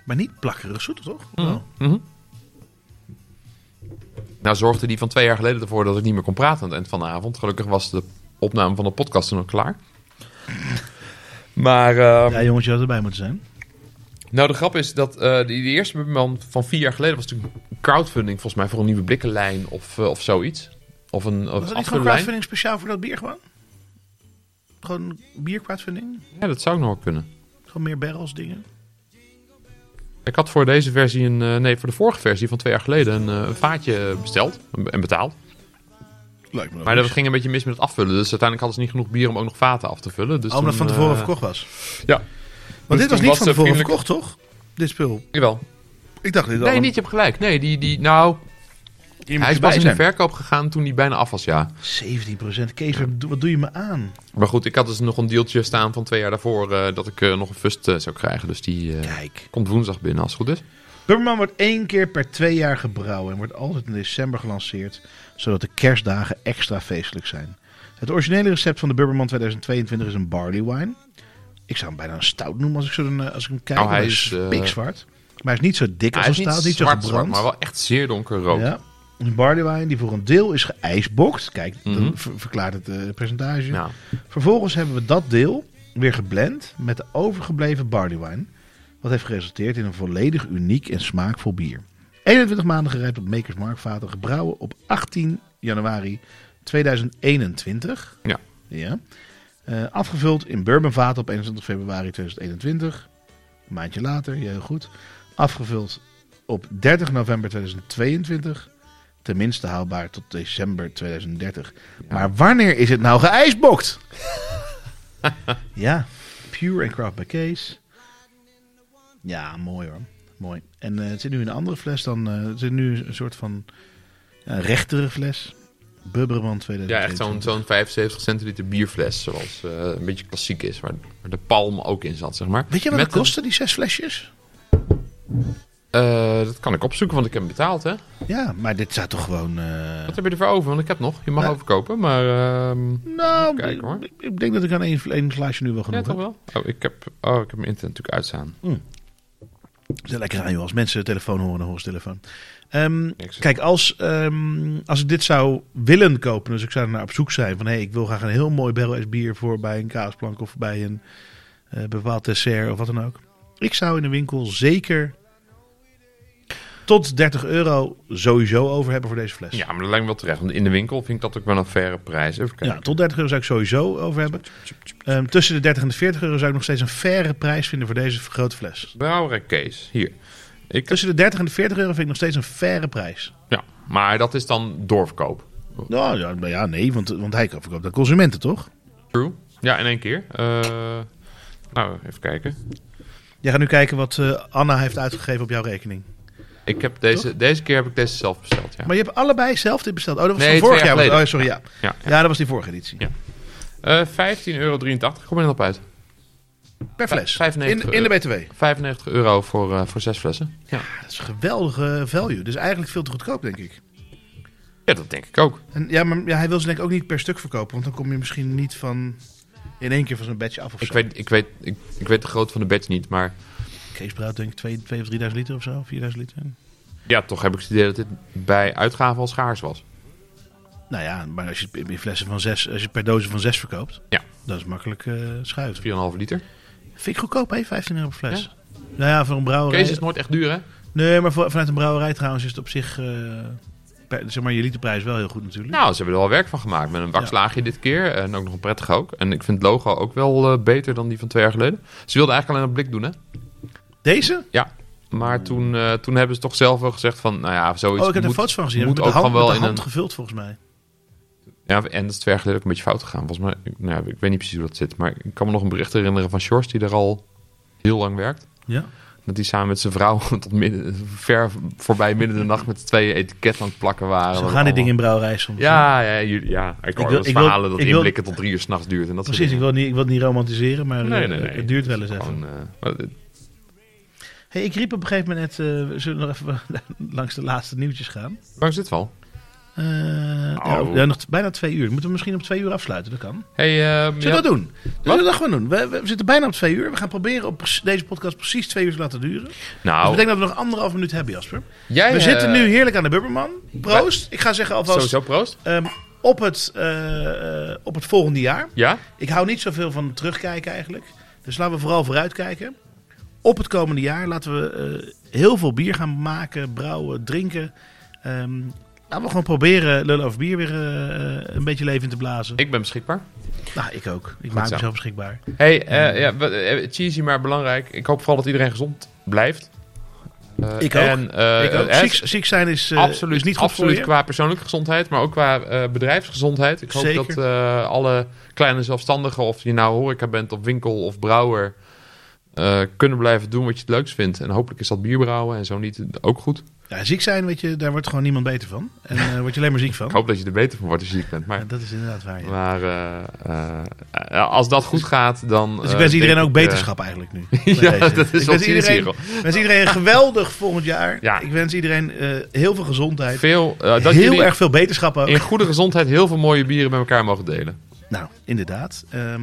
[SPEAKER 2] Maar niet plakkerig zoet, toch? Wel.
[SPEAKER 1] Nou zorgde die van twee jaar geleden ervoor dat ik niet meer kon praten aan het eind van de avond. Gelukkig was de opname van de podcast toen al klaar. Maar, ehm,
[SPEAKER 2] Ja, jongens, je had erbij moeten zijn.
[SPEAKER 1] nou de grap is dat eh die, die eerste man van vier jaar geleden was natuurlijk crowdfunding volgens mij voor een nieuwe blikkenlijn of, eh, of zoiets. Of een of
[SPEAKER 2] Was dat niet gewoon
[SPEAKER 1] afvullijn.
[SPEAKER 2] crowdfunding speciaal voor dat bier gewoon? Gewoon bier crowdfunding?
[SPEAKER 1] Ja, dat zou nog wel kunnen.
[SPEAKER 2] Gewoon meer barrels dingen?
[SPEAKER 1] Ik had voor deze versie een, eh, nee, voor de vorige versie van twee jaar geleden een, eh, een vaatje besteld en betaald.
[SPEAKER 2] Lijkt me
[SPEAKER 1] Maar dat ging een beetje mis met het afvullen. Dus uiteindelijk hadden ze niet genoeg bier om ook nog vaten af te vullen. Dus
[SPEAKER 2] Oh, omdat het van
[SPEAKER 1] toen,
[SPEAKER 2] tevoren
[SPEAKER 1] eh,
[SPEAKER 2] verkocht was.
[SPEAKER 1] Ja.
[SPEAKER 2] Want
[SPEAKER 1] toen
[SPEAKER 2] dit was niet
[SPEAKER 1] was
[SPEAKER 2] van
[SPEAKER 1] de
[SPEAKER 2] tevoren
[SPEAKER 1] vriendelijke-
[SPEAKER 2] verkocht, toch? Dit spul.
[SPEAKER 1] Jawel.
[SPEAKER 2] Ik dacht dit al.
[SPEAKER 1] Nee, niet, je hebt gelijk. Nee, die, die, nou, hij is pas in de verkoop gegaan toen die bijna af was, ja.
[SPEAKER 2] 17 Kees, wat doe- wat doe je me aan?
[SPEAKER 1] Maar goed, ik had dus nog een deeltje staan van twee jaar daarvoor eh, dat ik eh, nog een fust eh, zou krijgen. Dus die eh,
[SPEAKER 2] Kijk.
[SPEAKER 1] komt woensdag binnen, als het goed is.
[SPEAKER 2] Bummerman wordt één keer per twee jaar gebrouwen en wordt altijd in december gelanceerd, zodat de kerstdagen extra feestelijk zijn. Het originele recept van de Bummerman 2022 is een barley wine. Ik zou hem bijna een stout noemen als ik, zo een, eh, als ik hem kijk.
[SPEAKER 1] Nou,
[SPEAKER 2] want
[SPEAKER 1] hij
[SPEAKER 2] hij
[SPEAKER 1] is,
[SPEAKER 2] is
[SPEAKER 1] eh,
[SPEAKER 2] pikzwart. Maar hij is niet zo dik als
[SPEAKER 1] hij
[SPEAKER 2] een
[SPEAKER 1] is
[SPEAKER 2] stout, niet, zo
[SPEAKER 1] zwart,
[SPEAKER 2] gebrand.
[SPEAKER 1] zwart, maar wel echt zeer donkerrood.
[SPEAKER 2] Ja. Een barley wine die voor een deel is geijsbokt. Kijk, dan ver- verklaart het eh, percentage.
[SPEAKER 1] Nou,
[SPEAKER 2] Vervolgens hebben we dat deel weer geblend met de overgebleven barley wine. Wat heeft geresulteerd in een volledig uniek en smaakvol bier. 21 maanden gerijpt op Makers Mark vaten, gebrouwen op 18 januari 2021.
[SPEAKER 1] Ja.
[SPEAKER 2] ja. Eh, afgevuld in bourbonvaten op 21 februari 2021. Een maandje later, ja, heel goed. Afgevuld op 30 november 2022. Tenminste haalbaar tot december 2030. Maar wanneer is het nou
[SPEAKER 1] [laughs]
[SPEAKER 2] geijsbokt? ja, Pure en Craft by Case. Ja, mooi hoor. Mooi. En eh, het zit nu in een andere fles dan... eh, het zit nu een soort van ja, rechtere fles. Bubberman 2022.
[SPEAKER 1] ja echt zo'n zo'n 75 centiliter bierfles, zoals eh, een beetje klassiek is, waar, waar de palm ook in zat, zeg maar.
[SPEAKER 2] Weet je wat het
[SPEAKER 1] Met een-
[SPEAKER 2] kostte, die zes flesjes?
[SPEAKER 1] Eh, dat kan ik opzoeken, want ik heb hem betaald, hè.
[SPEAKER 2] Ja, maar dit staat toch gewoon... eh,
[SPEAKER 1] Wat heb je ervoor over? Want ik heb nog. Je mag
[SPEAKER 2] Ja.
[SPEAKER 1] overkopen, maar... ehm,
[SPEAKER 2] Nou,
[SPEAKER 1] Kijk,
[SPEAKER 2] ik-
[SPEAKER 1] hoor.
[SPEAKER 2] Ik, ik denk dat ik aan één, één glaasje nu wel
[SPEAKER 1] ja,
[SPEAKER 2] genoeg
[SPEAKER 1] toch
[SPEAKER 2] heb.
[SPEAKER 1] wel? Oh, ik heb, oh, ik heb mijn internet natuurlijk uitstaan.
[SPEAKER 2] Het is lekker aan, joh. Als mensen de telefoon horen, dan horen ze de telefoon. Ehm,
[SPEAKER 1] Ik zeg-
[SPEAKER 2] kijk, als, ehm, als ik dit zou willen kopen, dus ik zou er naar op zoek zijn van... hé, hey, ik wil graag een heel mooi barrel aged bier voor bij een kaasplank of bij een eh, bepaald dessert of wat dan ook. Ik zou in de winkel zeker tot 30 euro sowieso over hebben voor deze fles.
[SPEAKER 1] Ja, maar dat lijkt me wel terecht. Want in de winkel vind ik dat ook wel een faire prijs. Even kijken.
[SPEAKER 2] Dus- Ja, tot 30 euro zou ik sowieso over hebben. Ehm, tussen de 30 en de 40 euro zou ik nog steeds een faire prijs vinden voor deze grote fles.
[SPEAKER 1] Brouwerij Kees, hier. Ik,
[SPEAKER 2] Tussen de 30 en de 40 euro vind ik nog steeds een faire prijs.
[SPEAKER 1] ja, maar dat is dan doorverkoop.
[SPEAKER 2] Nou ja, maar ja nee, want, want hij verkoopt aan consumenten, toch?
[SPEAKER 1] True. Ja, in één keer. Eh, nou, even kijken.
[SPEAKER 2] Jij gaat nu kijken wat eh, Anna heeft uitgegeven op jouw rekening.
[SPEAKER 1] Ik heb deze, deze keer heb ik deze zelf besteld, ja.
[SPEAKER 2] Maar je hebt allebei zelf dit besteld. Oh, dat was
[SPEAKER 1] Nee,
[SPEAKER 2] van
[SPEAKER 1] twee
[SPEAKER 2] vorig
[SPEAKER 1] jaar
[SPEAKER 2] jaar.
[SPEAKER 1] geleden.
[SPEAKER 2] Oh, sorry, ja.
[SPEAKER 1] ja,
[SPEAKER 2] Ja, dat was die vorige editie.
[SPEAKER 1] Ja. Eh 15,83 euro. Kom er dan op uit.
[SPEAKER 2] Per fles.
[SPEAKER 1] Vijf- 95
[SPEAKER 2] in, in de BTW.
[SPEAKER 1] 95 euro voor, eh, voor zes flessen. Ja.
[SPEAKER 2] Ja, dat is een geweldige value. Dus eigenlijk veel te goedkoop, denk ik.
[SPEAKER 1] ja, dat denk ik ook.
[SPEAKER 2] En, ja, maar ja, hij wil ze denk ik ook niet per stuk verkopen. Want dan kom je misschien niet van... In één keer van zo'n badge af of
[SPEAKER 1] Ik
[SPEAKER 2] zo.
[SPEAKER 1] weet, ik, weet, ik, ik weet de grootte van de batch niet, maar...
[SPEAKER 2] Kees Brouwt denk ik 2 of 3000 liter of zo. 4000 liter.
[SPEAKER 1] Ja, toch heb ik het idee dat dit bij uitgaven al schaars was.
[SPEAKER 2] Nou ja, maar als je het in flessen van zes, als je het per dozen van zes verkoopt,
[SPEAKER 1] Ja.
[SPEAKER 2] dat is makkelijk eh, schuiven.
[SPEAKER 1] 4,5 liter.
[SPEAKER 2] Vind ik goedkoop, hè? 15 euro per fles. Nou ja, voor een brouwerij.
[SPEAKER 1] Kees is nooit echt duur, hè?
[SPEAKER 2] Nee, maar voor- vanuit een brouwerij trouwens is het op zich, eh, per- zeg maar, je literprijs wel heel goed natuurlijk.
[SPEAKER 1] Nou, ze hebben er wel werk van gemaakt. Met een wakslaagje dit keer. En ook nog een prettig ook. En ik vind het logo ook wel eh, beter dan die van twee jaar geleden. Ze wilden eigenlijk alleen een blik doen, hè?
[SPEAKER 2] Deze? Oh,
[SPEAKER 1] Ja. Maar toen, eh, toen hebben ze toch zelf wel gezegd van... Nou ja, zoiets
[SPEAKER 2] Oh, ik heb er
[SPEAKER 1] moet-
[SPEAKER 2] foto's van gezien.
[SPEAKER 1] moet
[SPEAKER 2] Moet met
[SPEAKER 1] ook
[SPEAKER 2] de hand,
[SPEAKER 1] gewoon wel
[SPEAKER 2] met de
[SPEAKER 1] in
[SPEAKER 2] hand
[SPEAKER 1] een-
[SPEAKER 2] gevuld volgens mij.
[SPEAKER 1] Ja, en dat is twee jaar geleden ook een beetje fout gegaan. Volgens mij, ik- nou, ik weet niet precies hoe dat zit. Maar ik kan me nog een bericht herinneren van Sjors... die er al heel lang werkt.
[SPEAKER 2] Ja.
[SPEAKER 1] Dat die samen met zijn vrouw [laughs] tot midden, ver voorbij midden de nacht met z'n tweeën etiket aan het plakken waren. Dat
[SPEAKER 2] Zo gaan die
[SPEAKER 1] allemaal-
[SPEAKER 2] dingen in brouwerij soms.
[SPEAKER 1] Ja, ja, jullie- ja. Ik hoor
[SPEAKER 2] wil-
[SPEAKER 1] wel
[SPEAKER 2] ik wil-
[SPEAKER 1] verhalen dat
[SPEAKER 2] ik wil-
[SPEAKER 1] inblikken tot drie uur s'nachts duurt. En dat soort
[SPEAKER 2] Precies, ik
[SPEAKER 1] dingen.
[SPEAKER 2] wil, niet, ik wil het niet romantiseren, maar
[SPEAKER 1] Nee,
[SPEAKER 2] eh,
[SPEAKER 1] nee, nee.
[SPEAKER 2] het duurt wel eens even.
[SPEAKER 1] Gewoon, eh, maar dit-
[SPEAKER 2] Hey, ik riep op een gegeven moment, net, eh, we zullen nog even [laughs] langs de laatste nieuwtjes gaan.
[SPEAKER 1] waar is dit wel?
[SPEAKER 2] Eh, ja,
[SPEAKER 1] Oh.
[SPEAKER 2] ja, nog t- bijna twee uur. Moeten we misschien om twee uur afsluiten? Dat kan.
[SPEAKER 1] Hey, ehm,
[SPEAKER 2] Zullen we
[SPEAKER 1] ja,
[SPEAKER 2] dat doen? Zullen we dat gewoon doen? We, we zitten bijna op twee uur. We gaan proberen om pre- deze podcast precies twee uur te laten duren. Dus
[SPEAKER 1] nou,
[SPEAKER 2] ik denk dat we nog anderhalf minuut hebben, Jasper.
[SPEAKER 1] jij,
[SPEAKER 2] we
[SPEAKER 1] eh,
[SPEAKER 2] zitten nu heerlijk aan de Bubberman. Proost. Ik ga zeggen alvast
[SPEAKER 1] Sowieso proost.
[SPEAKER 2] ehm, op, het, eh, eh, op het volgende jaar.
[SPEAKER 1] Ja?
[SPEAKER 2] Ik hou niet zoveel van terugkijken eigenlijk. Dus laten we vooral vooruitkijken. Op het komende jaar laten we eh, heel veel bier gaan maken, brouwen, drinken. Ehm, laten we gewoon proberen lullen over bier weer eh, een beetje leven in te blazen.
[SPEAKER 1] Ik ben beschikbaar.
[SPEAKER 2] nou, ik ook. Ik maak
[SPEAKER 1] zo.
[SPEAKER 2] mezelf beschikbaar.
[SPEAKER 1] Hey,
[SPEAKER 2] Hmm.
[SPEAKER 1] eh, ja, we- eh, cheesy, maar belangrijk. Ik hoop vooral dat iedereen gezond blijft. Eh,
[SPEAKER 2] Ik ook.
[SPEAKER 1] En, eh,
[SPEAKER 2] ik ook.
[SPEAKER 1] eh,
[SPEAKER 2] Ziek, ziek zijn is, eh,
[SPEAKER 1] absoluut,
[SPEAKER 2] is niet goed
[SPEAKER 1] absoluut
[SPEAKER 2] voor je.
[SPEAKER 1] qua persoonlijke gezondheid, maar ook qua eh, bedrijfsgezondheid. Ik hoop
[SPEAKER 2] Zeker.
[SPEAKER 1] dat eh, alle kleine zelfstandigen, of je nou horeca bent of winkel of brouwer, eh, kunnen blijven doen wat je het leukst vindt. En hopelijk is dat bier brouwen en zo niet eh, ook goed.
[SPEAKER 2] Ja, ziek zijn, weet je, daar wordt gewoon niemand beter van. En eh word je alleen maar ziek van.
[SPEAKER 1] Ik hoop dat je er beter van wordt als je ziek bent.
[SPEAKER 2] Ja,
[SPEAKER 1] Maar,
[SPEAKER 2] dat is inderdaad waar. ja.
[SPEAKER 1] maar eh, eh, als dat goed gaat, dan...
[SPEAKER 2] Dus ik
[SPEAKER 1] eh,
[SPEAKER 2] wens iedereen
[SPEAKER 1] denk
[SPEAKER 2] ook
[SPEAKER 1] ik, eh,
[SPEAKER 2] beterschap eigenlijk nu.
[SPEAKER 1] [laughs] Ja,
[SPEAKER 2] Bij
[SPEAKER 1] dat is
[SPEAKER 2] ik
[SPEAKER 1] wel
[SPEAKER 2] wens
[SPEAKER 1] cynisch
[SPEAKER 2] iedereen,
[SPEAKER 1] hier,
[SPEAKER 2] ik wens iedereen een geweldig volgend jaar.
[SPEAKER 1] Ja.
[SPEAKER 2] Ik wens iedereen eh, heel veel gezondheid.
[SPEAKER 1] veel, eh, dat
[SPEAKER 2] heel
[SPEAKER 1] jullie-
[SPEAKER 2] erg veel beterschap ook.
[SPEAKER 1] in goede gezondheid heel veel mooie bieren met elkaar mogen delen.
[SPEAKER 2] Nou, inderdaad. Ehm,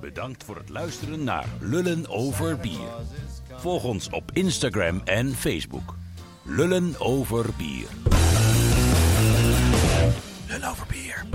[SPEAKER 6] Bedankt voor het luisteren naar Lullen over Bier. Volg ons op Instagram en Facebook. Lullen over Bier. Lullen over Bier.